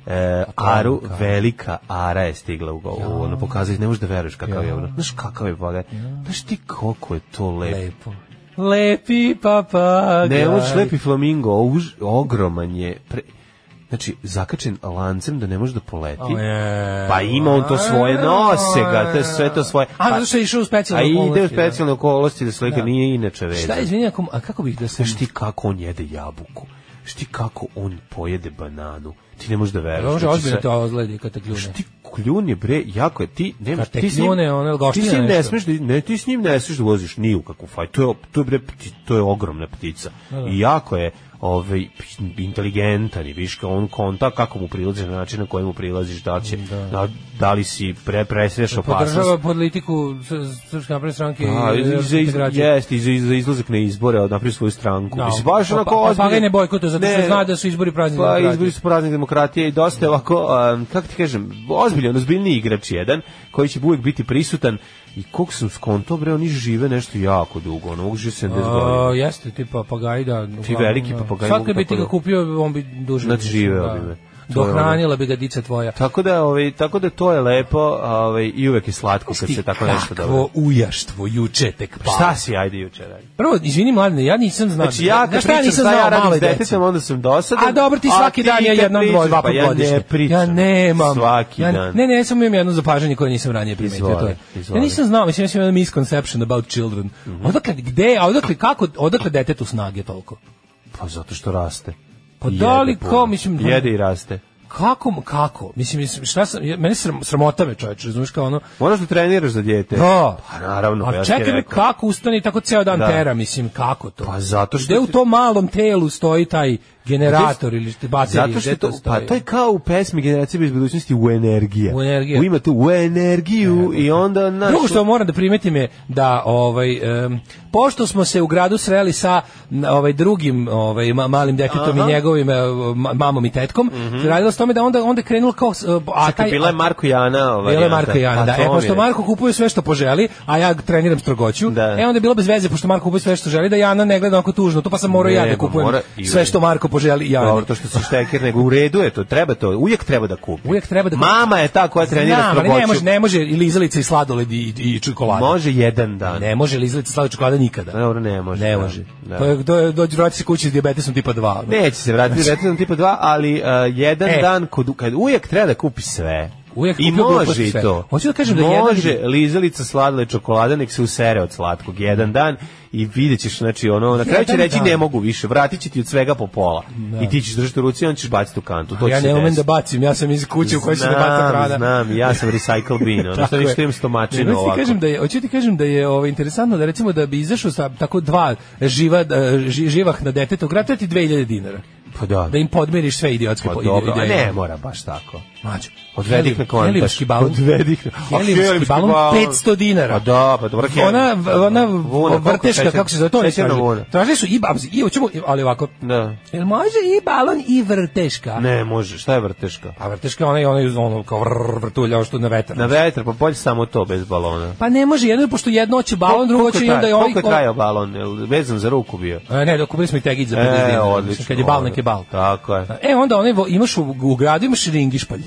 [SPEAKER 7] E, Aru, velika Ara je stigla u govu, ono pokazuje, ne možeš da veruješ kakav je ono, znaš kakav je boga, znaš ti koliko je to lepo,
[SPEAKER 6] Lepo. Lepi papagaj.
[SPEAKER 7] ne možeš lepi flamingo, už, ogroman je, pre, znači zakačen lancem da ne može da poleti,
[SPEAKER 6] O, je.
[SPEAKER 7] pa ima on to svoje nose ga, to je sve to svoje,
[SPEAKER 6] A,
[SPEAKER 7] Pa-
[SPEAKER 6] zato što je išao u
[SPEAKER 7] a
[SPEAKER 6] specijalnu
[SPEAKER 7] ide u
[SPEAKER 6] okolnosti, da.
[SPEAKER 7] specijalne okolnosti da slika nije inače vezan.
[SPEAKER 6] Šta, izvini, ako, a kako bih da se...
[SPEAKER 7] Znaš ti kako on jede jabuku? Znaš ti kako on pojede bananu? Ti ne možeš da veruješ.
[SPEAKER 6] Može
[SPEAKER 7] Znači,
[SPEAKER 6] ozbiljno
[SPEAKER 7] sve-
[SPEAKER 6] te ozgledi kad te kljune.
[SPEAKER 7] Znaš ti kljune bre, jako je ti, nemaš,
[SPEAKER 6] Kad te
[SPEAKER 7] ti s njim-
[SPEAKER 6] kljune, ono, jel
[SPEAKER 7] ti
[SPEAKER 6] goština
[SPEAKER 7] s njim ne
[SPEAKER 6] nešto?
[SPEAKER 7] smeš, da, ne, ti s njim ne smeš da voziš ni u kakvu faj, to je, to je, bre, pti- to je ogromna ptica, i jako je ovaj, inteligentan i viš kao on konta kako mu prilaziš na način na koji mu prilaziš, da, li će, da, da li si pre, presreš opasnost,
[SPEAKER 6] Podržava politiku Sr- Srpske napredne stranke
[SPEAKER 7] A,
[SPEAKER 6] i
[SPEAKER 7] iz, iz,
[SPEAKER 6] Evropske
[SPEAKER 7] iz,
[SPEAKER 6] integracije.
[SPEAKER 7] jeste, iz, iz, izlazak na izbore, od napravi svoju stranku.
[SPEAKER 6] Da.
[SPEAKER 7] Da. Mislim, baš
[SPEAKER 6] Pa-
[SPEAKER 7] onako
[SPEAKER 6] pa- pa
[SPEAKER 7] ozbiljno-
[SPEAKER 6] ga i ne bojkotuje, zato što zna da su izbori praznik
[SPEAKER 7] Pa
[SPEAKER 6] demokratije.
[SPEAKER 7] izbori su praznik demokratije i dosta je ovako, um, kako ti kažem, ozbiljan, ozbiljni igrač jedan, koji će uvijek biti prisutan. I koliko sam skonto, bre, oni žive nešto jako dugo, ono, mogu žive 70
[SPEAKER 6] A,
[SPEAKER 7] godina.
[SPEAKER 6] jeste, ti papagaj, da. uglavnom,
[SPEAKER 7] veliki
[SPEAKER 6] da.
[SPEAKER 7] papagaji
[SPEAKER 6] Sad
[SPEAKER 7] mogu
[SPEAKER 6] kad bi ti
[SPEAKER 7] tako
[SPEAKER 6] ga
[SPEAKER 7] da-
[SPEAKER 6] kupio, on bi duže.
[SPEAKER 7] Nadživeo
[SPEAKER 6] da.
[SPEAKER 7] bi me. To je ono.
[SPEAKER 6] Dohranila bi ga dica tvoja.
[SPEAKER 7] Tako da, ovaj, tako da to je lepo ovaj, i uvek je slatko kad se tako nešto dobro.
[SPEAKER 6] Kakvo ujaštvo juče tek pa.
[SPEAKER 7] Šta si, ajde, juče radi?
[SPEAKER 6] Prvo, izvini mladine, ja nisam znao.
[SPEAKER 7] Znači ja kad
[SPEAKER 6] Znaš šta ja
[SPEAKER 7] pričam
[SPEAKER 6] nisam
[SPEAKER 7] šta ja
[SPEAKER 6] znao
[SPEAKER 7] radim
[SPEAKER 6] maloj
[SPEAKER 7] s
[SPEAKER 6] deci?
[SPEAKER 7] detetom, onda sam dosadan.
[SPEAKER 6] A dobro, ti
[SPEAKER 7] a
[SPEAKER 6] svaki dan je
[SPEAKER 7] kad
[SPEAKER 6] jednom
[SPEAKER 7] pričaš,
[SPEAKER 6] dvoje, dva
[SPEAKER 7] pa
[SPEAKER 6] puta godišnje.
[SPEAKER 7] Ja ne pričam.
[SPEAKER 6] Ja nemam.
[SPEAKER 7] Svaki
[SPEAKER 6] ja,
[SPEAKER 7] dan.
[SPEAKER 6] Ne, ne, ja sam imam jedno zapažanje koje nisam ranije primetio.
[SPEAKER 7] Izvoli,
[SPEAKER 6] to je. Ja
[SPEAKER 7] izvoli. Mhm.
[SPEAKER 6] nisam znao, mislim, ja sam imao misconception about children. Odakle, gde, a odakle, kako, odakle detetu snage toliko?
[SPEAKER 7] Pa zato što raste.
[SPEAKER 6] Pa
[SPEAKER 7] I
[SPEAKER 6] da
[SPEAKER 7] jede
[SPEAKER 6] li
[SPEAKER 7] puno.
[SPEAKER 6] ko, mislim, da-
[SPEAKER 7] Jede i raste.
[SPEAKER 6] Kako, mu- kako? Mislim, mislim šta sam, ja- mene sram, sramota me čoveče, razumiješ kao ono,
[SPEAKER 7] Moraš da treniraš za dijete.
[SPEAKER 6] Da.
[SPEAKER 7] Pa naravno, pa
[SPEAKER 6] A
[SPEAKER 7] ja ti
[SPEAKER 6] čekaj bre,
[SPEAKER 7] rekao.
[SPEAKER 6] kako ustane i tako ceo dan
[SPEAKER 7] Da.
[SPEAKER 6] tera, mislim, kako to?
[SPEAKER 7] Pa zato što
[SPEAKER 6] Gde u
[SPEAKER 7] ti-
[SPEAKER 6] tom malom telu stoji taj generator ili ti baterije?
[SPEAKER 7] Zato što
[SPEAKER 6] gde
[SPEAKER 7] je to, pa
[SPEAKER 6] stoji?
[SPEAKER 7] to je kao u pesmi Generacije bez budućnosti u energija.
[SPEAKER 6] U energija.
[SPEAKER 7] U ima tu u energiju i onda... Naš,
[SPEAKER 6] Drugo što moram da primetim je da ovaj em, pošto smo se u gradu sreli sa n- ovaj drugim ovaj ma- malim detetom i njegovim e, ma- mamom i tetkom, radilo se o tome da onda onda je krenulo kao s- e, a
[SPEAKER 7] Mhm. Čekaj,
[SPEAKER 6] taj
[SPEAKER 7] bila je Marko i Jana. Ovaj,
[SPEAKER 6] Bila je Marko i Jana, da. E, pošto
[SPEAKER 7] Marko...
[SPEAKER 6] Marko kupuje sve što poželi, a ja treniram strogoću,
[SPEAKER 7] Da.
[SPEAKER 6] e onda je bilo bez veze, pošto Marko kupuje sve što želi, da Jana ne gleda onako tužno, to pa sam morao ja da
[SPEAKER 7] Nego,
[SPEAKER 6] kupujem
[SPEAKER 7] mora i-
[SPEAKER 6] sve što Marko poželi Jani.
[SPEAKER 7] Dobro, to što si štekir, nego u redu je to, treba to, uvijek treba da kupi.
[SPEAKER 6] Uvijek treba Pa da kupi.
[SPEAKER 7] Mama je ta koja trenira
[SPEAKER 6] Znam, ali
[SPEAKER 7] strogoću.
[SPEAKER 6] ne može, ne može i lizalica i sladoled i, i čokolada.
[SPEAKER 7] Može jedan dan.
[SPEAKER 6] Ne može lizalica i sladoled i čokolada nikada.
[SPEAKER 7] Dobro, ne može,
[SPEAKER 6] Ne
[SPEAKER 7] da,
[SPEAKER 6] može.
[SPEAKER 7] da.
[SPEAKER 6] To je, do, do, dođe, vrati se kući s diabetesom tipa 2. ono.
[SPEAKER 7] Neće se vratiti, vratiti na tipa 2, ali uh, jedan
[SPEAKER 6] E.
[SPEAKER 7] dan, kod, kad uvijek treba da kupi sve.
[SPEAKER 6] Uvijek
[SPEAKER 7] I
[SPEAKER 6] kupi
[SPEAKER 7] može
[SPEAKER 6] gluposti
[SPEAKER 7] i
[SPEAKER 6] sve.
[SPEAKER 7] to.
[SPEAKER 6] Hoću da kažem da jedan-
[SPEAKER 7] može lizalica sladile čokolada, nek se usere od slatkog jedan dan i vidjet ćeš, znači, ono, na kraju će
[SPEAKER 6] Jedan
[SPEAKER 7] reći
[SPEAKER 6] dan.
[SPEAKER 7] ne mogu više, vratit će ti od svega po pola. I ti ćeš držati u ruci i on ćeš baciti u kantu. To
[SPEAKER 6] ja
[SPEAKER 7] će se
[SPEAKER 6] ne umem da
[SPEAKER 7] desiti.
[SPEAKER 6] bacim, ja sam iz kuće u kojoj se ne baca hrana.
[SPEAKER 7] Znam, znam, ja sam recycle bin, ono
[SPEAKER 6] [LAUGHS]
[SPEAKER 7] što
[SPEAKER 6] Tako
[SPEAKER 7] ništa
[SPEAKER 6] je.
[SPEAKER 7] imam
[SPEAKER 6] Ne,
[SPEAKER 7] stomačinu
[SPEAKER 6] hoću ti
[SPEAKER 7] ovako.
[SPEAKER 6] kažem da je, hoću ti kažem da je ovaj interesantno da recimo da bi izašao sa tako dva živa e, ži, živah na deteta, ugrate ti 2000 dinara.
[SPEAKER 7] Pa da,
[SPEAKER 6] Da im podmiriš sve idiotske
[SPEAKER 7] pa
[SPEAKER 6] po-
[SPEAKER 7] dobro, a
[SPEAKER 6] ideje.
[SPEAKER 7] ne mora baš tako.
[SPEAKER 6] Mađo,
[SPEAKER 7] Odvedi ih na kontaš.
[SPEAKER 6] Helivski balon.
[SPEAKER 7] Odvedi ih na- A,
[SPEAKER 6] Helivski
[SPEAKER 7] helivski
[SPEAKER 6] balon
[SPEAKER 7] balon.
[SPEAKER 6] 500 dinara.
[SPEAKER 7] Pa da, pa dobro, heli-
[SPEAKER 6] Ona, ona
[SPEAKER 7] Vuna, koliko
[SPEAKER 6] vrteška,
[SPEAKER 7] šećer-
[SPEAKER 6] kako se zove to? oni
[SPEAKER 7] šećerna
[SPEAKER 6] traže.
[SPEAKER 7] vuna.
[SPEAKER 6] Tražili su i babzi, i hoćemo, i- ali ovako.
[SPEAKER 7] Da.
[SPEAKER 6] Jel može i balon i vrteška?
[SPEAKER 7] Ne, može, šta je vrteška?
[SPEAKER 6] A vrteška ona je ona je ono kao vrr, vrtulja, ono što na vetar.
[SPEAKER 7] Na vetar, pa bolje samo to bez balona.
[SPEAKER 6] Pa ne može jedno, pošto jedno hoće balon, drugo
[SPEAKER 7] Koliko
[SPEAKER 6] hoće
[SPEAKER 7] je
[SPEAKER 6] i onda
[SPEAKER 7] traj-
[SPEAKER 6] je ovaj...
[SPEAKER 7] Koliko je trajao balon? Jel Vezan za ruku bio.
[SPEAKER 6] E, ne, dok kupili smo i tegić za 50
[SPEAKER 7] E,
[SPEAKER 6] dinara.
[SPEAKER 7] odlično.
[SPEAKER 6] Kad je bal, nek je bal.
[SPEAKER 7] Tako je.
[SPEAKER 6] E, onda onaj, vo- imaš u, u gradu, imaš ringišpalj.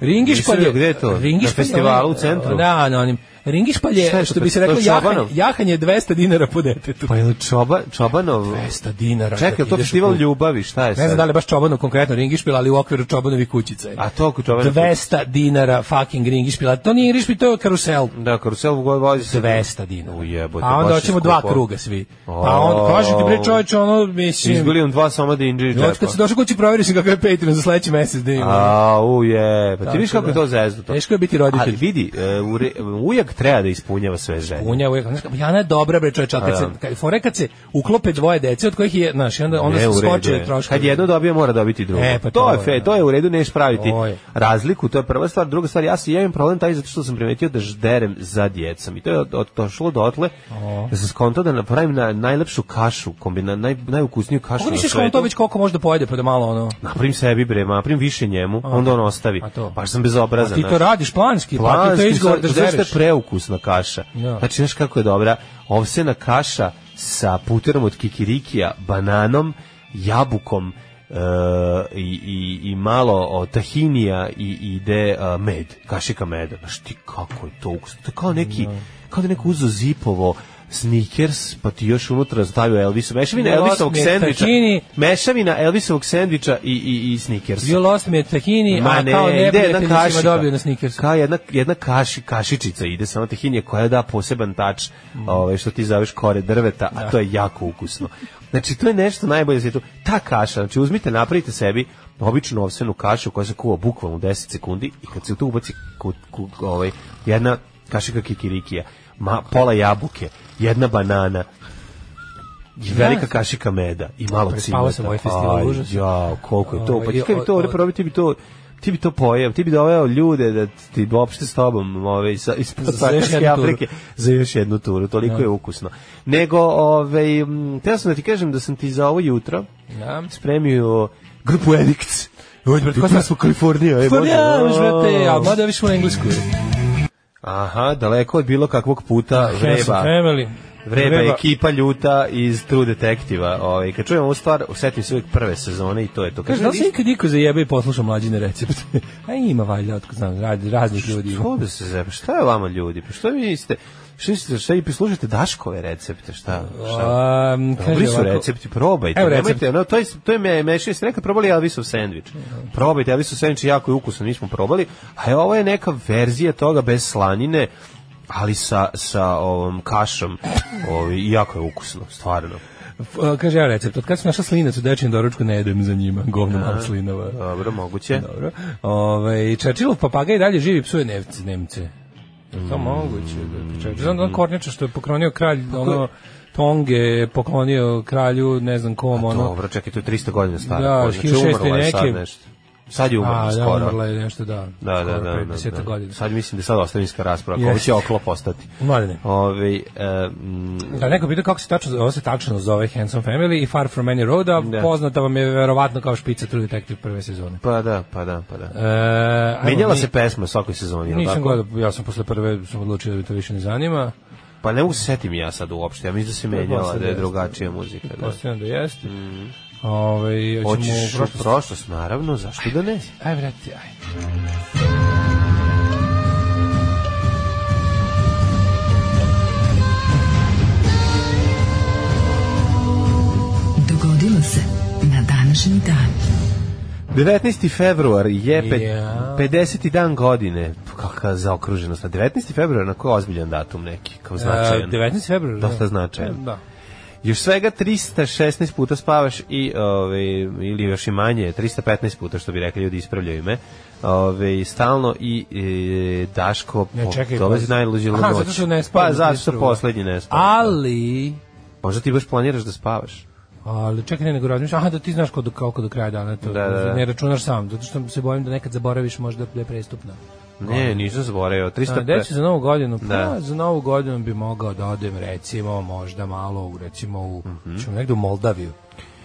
[SPEAKER 6] Ringišpalj
[SPEAKER 7] Nisam vidio, gde je to? Na festivalu u centru?
[SPEAKER 6] Da, na onim. Ringišpalj
[SPEAKER 7] Šta je
[SPEAKER 6] je,
[SPEAKER 7] to,
[SPEAKER 6] što bi se
[SPEAKER 7] to
[SPEAKER 6] reklo,
[SPEAKER 7] je
[SPEAKER 6] jahanje,
[SPEAKER 7] Čobanov?
[SPEAKER 6] jahanje 200 dinara po detetu.
[SPEAKER 7] Pa je čoba, Čobanov?
[SPEAKER 6] 200 dinara.
[SPEAKER 7] Čekaj,
[SPEAKER 6] kad
[SPEAKER 7] jel to
[SPEAKER 6] ideš u
[SPEAKER 7] festival
[SPEAKER 6] klub.
[SPEAKER 7] ljubavi, šta je sad?
[SPEAKER 6] Ne znam da li je baš čobano konkretno ringišpil, ali u okviru čobanovi kućica je.
[SPEAKER 7] A to oko čobana?
[SPEAKER 6] 200 dinara fucking ringišpila. To nije ringišpil, to je karusel.
[SPEAKER 7] Da, karusel u goj vozi se.
[SPEAKER 6] 200 dinara.
[SPEAKER 7] U jebote,
[SPEAKER 6] A onda
[SPEAKER 7] baš je
[SPEAKER 6] hoćemo dva
[SPEAKER 7] skupo.
[SPEAKER 6] kruga svi. Pa
[SPEAKER 7] O.
[SPEAKER 6] on kaže ti bre čoveče ono mislim
[SPEAKER 7] Izbili on dva soma da inđi
[SPEAKER 6] I onda
[SPEAKER 7] džepa.
[SPEAKER 6] kad se došao kući provjerio sam kakav je Patreon za sledeći mesec da ima.
[SPEAKER 7] A, u je, pa ti vidiš kako je to zezno to.
[SPEAKER 6] Teško je biti
[SPEAKER 7] Ali
[SPEAKER 6] roditelj.
[SPEAKER 7] vidi, e, u re- ujak treba da ispunjava sve želje.
[SPEAKER 6] Unja uvek, znaš, kako, Jana je dobra bre čoveče, ali kad se kad fore kad se uklope dvoje dece od kojih je, znaš, i onda onda
[SPEAKER 7] Ne,
[SPEAKER 6] se
[SPEAKER 7] u redu
[SPEAKER 6] skoče
[SPEAKER 7] je.
[SPEAKER 6] troškovi.
[SPEAKER 7] Kad jedno dobije, mora dobiti drugo.
[SPEAKER 6] E, pa
[SPEAKER 7] to,
[SPEAKER 6] to
[SPEAKER 7] je
[SPEAKER 6] je,
[SPEAKER 7] fe,
[SPEAKER 6] da.
[SPEAKER 7] to je u redu, neš praviti
[SPEAKER 6] To je.
[SPEAKER 7] razliku, to je prva stvar. Druga stvar, ja se javim problem taj zato što sam primetio da žderem za djecom. I to je od, od, došlo dotle da sam skonto da napravim na, najlepšu kašu, kombina, naj, najukusniju kašu
[SPEAKER 6] Kako
[SPEAKER 7] na
[SPEAKER 6] misliš
[SPEAKER 7] svetu.
[SPEAKER 6] to već koliko može da pojede pa da malo ono.
[SPEAKER 7] Napravim sebi bre, napravim više njemu, onda on ostavi.
[SPEAKER 6] A to?
[SPEAKER 7] Baš sam bezobrazan.
[SPEAKER 6] Pa Ti to
[SPEAKER 7] znaš.
[SPEAKER 6] radiš planski, pa ti to
[SPEAKER 7] Planski,
[SPEAKER 6] je izgovor da
[SPEAKER 7] zato- zato što je
[SPEAKER 6] ždereš.
[SPEAKER 7] preukusna kaša.
[SPEAKER 6] Ja.
[SPEAKER 7] Znači, znaš kako je dobra? Ovsena kaša sa puterom od kikirikija, bananom, jabukom e, i, i, i malo o, tahinija i ide e, med, kašika meda. Znaš ti kako je to ukusno? To je kao neki, kao da je neko uzo zipovo Snickers, pa ti još unutra stavio Elvisu, mešavina
[SPEAKER 6] Jel,
[SPEAKER 7] Elvisovog
[SPEAKER 6] osmi,
[SPEAKER 7] sendviča,
[SPEAKER 6] tahini.
[SPEAKER 7] mešavina Elvisovog sendviča i, i, i Snickersa.
[SPEAKER 6] You lost me at tahini,
[SPEAKER 7] Ma
[SPEAKER 6] a
[SPEAKER 7] ne,
[SPEAKER 6] kao
[SPEAKER 7] ide jedna
[SPEAKER 6] neprijatelj si
[SPEAKER 7] kašika.
[SPEAKER 6] me dobio na snikersu.
[SPEAKER 7] Kao jedna, jedna kaši, kašičica ide samo tehinje koja da poseban tač
[SPEAKER 6] Mm.
[SPEAKER 7] ovaj, što ti zoveš kore drveta, a to je jako ukusno. Znači, to je nešto najbolje na svijetu. Ta kaša, znači, uzmite, napravite sebi običnu ovsenu kašu koja se kuva bukvalno u 10 sekundi i kad se u to ubaci ku, ku, ovaj, jedna kašika kikirikija, ma, pola jabuke, jedna banana, i velika kašika meda i malo cimeta.
[SPEAKER 6] Prespavao sam ovaj festival,
[SPEAKER 7] Aj,
[SPEAKER 6] užas.
[SPEAKER 7] Jao, koliko je to. Pa ti
[SPEAKER 6] Ovaj,
[SPEAKER 7] kad bi to
[SPEAKER 6] o-
[SPEAKER 7] ovdje probao, ti bi to ti bi to pojeo, ti bi doveo ljude da ti uopšte s tobom ove, iz, iz
[SPEAKER 6] još
[SPEAKER 7] Saharske
[SPEAKER 6] jednu turu.
[SPEAKER 7] Afrike za još jednu turu, toliko je ukusno. Nego, ove, m, teo sam da ti kažem da sam ti za ovo jutro
[SPEAKER 6] Da.
[SPEAKER 7] spremio grupu Edicts.
[SPEAKER 6] Uđe, brate, ko
[SPEAKER 7] Kod nas u Kaliforniji. e,
[SPEAKER 6] Pa
[SPEAKER 7] Bože,
[SPEAKER 6] ja,
[SPEAKER 7] o.
[SPEAKER 6] brate, a mada više u englesku.
[SPEAKER 7] Aha, daleko od bilo kakvog puta vreba.
[SPEAKER 6] Family.
[SPEAKER 7] Vreba, je ekipa ljuta iz True Detektiva. Ovaj kad čujem ovu stvar, osetim se uvek prve sezone i to je to.
[SPEAKER 6] Kaže,
[SPEAKER 7] Kaže,
[SPEAKER 6] da li se nikad niko zajebe i posluša mlađine recepte? [LAUGHS] A ima valjda, otko znam, radi, raznih ljudi ima.
[SPEAKER 7] Što da se zebe? Šta je vama ljudi? Pa što vi ste? Šta ste, šta i slušate Daškove recepte? Šta? šta?
[SPEAKER 6] Um,
[SPEAKER 7] Dobri su recepti, probajte.
[SPEAKER 6] Evo
[SPEAKER 7] Evo
[SPEAKER 6] recept.
[SPEAKER 7] Nemojte, no, to je, to je me, mešio se neka probali Elvisov sandvič. Probajte, Elvisov sandvič je jako je ukusan, mi smo probali. A ovo je neka verzija toga bez slanine, ali sa, sa ovom kašom. Ovi, jako je ukusno, stvarno.
[SPEAKER 6] kaže, evo recept, od kada sam našla slinac u dečjem doručku, ne jedem za njima, govno malo slinova.
[SPEAKER 7] Dobro, moguće.
[SPEAKER 6] Dobro. Ove, Čečilov papaga i dalje živi psuje nevce, Nemce. Je
[SPEAKER 7] Mm.
[SPEAKER 6] to moguće? da- Čečil- Znam da on Kornjača što je poklonio kralj,
[SPEAKER 7] Pa
[SPEAKER 6] ono, Tonge je poklonio kralju, ne znam kom, ono.
[SPEAKER 7] Dobro, čekaj, to je 300 godina staro.
[SPEAKER 6] Da,
[SPEAKER 7] Ko, znači,
[SPEAKER 6] 1600
[SPEAKER 7] umrla je sad
[SPEAKER 6] neke.
[SPEAKER 7] nešto. Sad je umrla
[SPEAKER 6] A, da,
[SPEAKER 7] skoro.
[SPEAKER 6] umrla je nešto, da.
[SPEAKER 7] Da, da, da,
[SPEAKER 6] skoro, pre
[SPEAKER 7] da, da,
[SPEAKER 6] 10 godina.
[SPEAKER 7] Sad mislim da je sad ostavinska rasprava, yes. ovo
[SPEAKER 6] Jeste.
[SPEAKER 7] će oklop ostati.
[SPEAKER 6] Mladene.
[SPEAKER 7] Ove, e, mm,
[SPEAKER 6] Da, neko pita kako se tačno, ovo se tačno zove Handsome Family i Far From Any Road, a poznata vam je verovatno kao špica True Detective prve sezone.
[SPEAKER 7] pa da, pa da, pa da.
[SPEAKER 6] E, ajmo
[SPEAKER 7] Menjala
[SPEAKER 6] mi-
[SPEAKER 7] se pesma svakoj sezoni, jel
[SPEAKER 6] Nisam
[SPEAKER 7] tako?
[SPEAKER 6] gledao, ja sam posle prve sam odlučio da me to više ne zanima.
[SPEAKER 7] Pa ne mogu se setim ja sad uopšte, ja mislim da se menjala, da je
[SPEAKER 6] jeste.
[SPEAKER 7] drugačija muzika. Da. Mhm.
[SPEAKER 6] Ostavljam da jeste. Ovaj, Ove,
[SPEAKER 7] Hoćeš u prošlost, naravno, zašto da ne?
[SPEAKER 6] Aj, vrati, aj.
[SPEAKER 8] Dogodilo se na današnji dan.
[SPEAKER 7] 19. februar je pet,
[SPEAKER 6] Ja.
[SPEAKER 7] 50. dan godine. Kakva zaokruženost. A 19. februar na koji ozbiljan datum neki, kao značajan.
[SPEAKER 6] Uh, 19. februar.
[SPEAKER 7] Dosta značajan.
[SPEAKER 6] Da.
[SPEAKER 7] Još svega 316 puta spavaš i ovaj ili još i manje, 315 puta što bi rekli ljudi ispravljaju me. Ovaj stalno i e, Daško
[SPEAKER 6] Ne,
[SPEAKER 7] po-
[SPEAKER 6] čekaj,
[SPEAKER 7] dolazi
[SPEAKER 6] pa-
[SPEAKER 7] najluđi
[SPEAKER 6] Aha,
[SPEAKER 7] noć.
[SPEAKER 6] zato što ne spavaš
[SPEAKER 7] Pa
[SPEAKER 6] do
[SPEAKER 7] zato
[SPEAKER 6] 32.
[SPEAKER 7] što poslednji ne spavaš.
[SPEAKER 6] Ali...
[SPEAKER 7] Možda ti baš planiraš da spavaš.
[SPEAKER 6] Pa, Ali čekaj, ne, nego razmišljam, aha, da ti znaš kod, koliko do kraja dana, to,
[SPEAKER 7] Da, da, da.
[SPEAKER 6] ne računaš sam, zato što se bojim da nekad zaboraviš možda da je prestupno.
[SPEAKER 7] Ne, nisam zaboravio.
[SPEAKER 6] A,
[SPEAKER 7] 300
[SPEAKER 6] gde ću za novu godinu? Pa,
[SPEAKER 7] Da.
[SPEAKER 6] za novu godinu bi mogao da odem, recimo, možda malo, u, recimo, u,
[SPEAKER 7] Mhm.
[SPEAKER 6] ćemo negde u Moldaviju.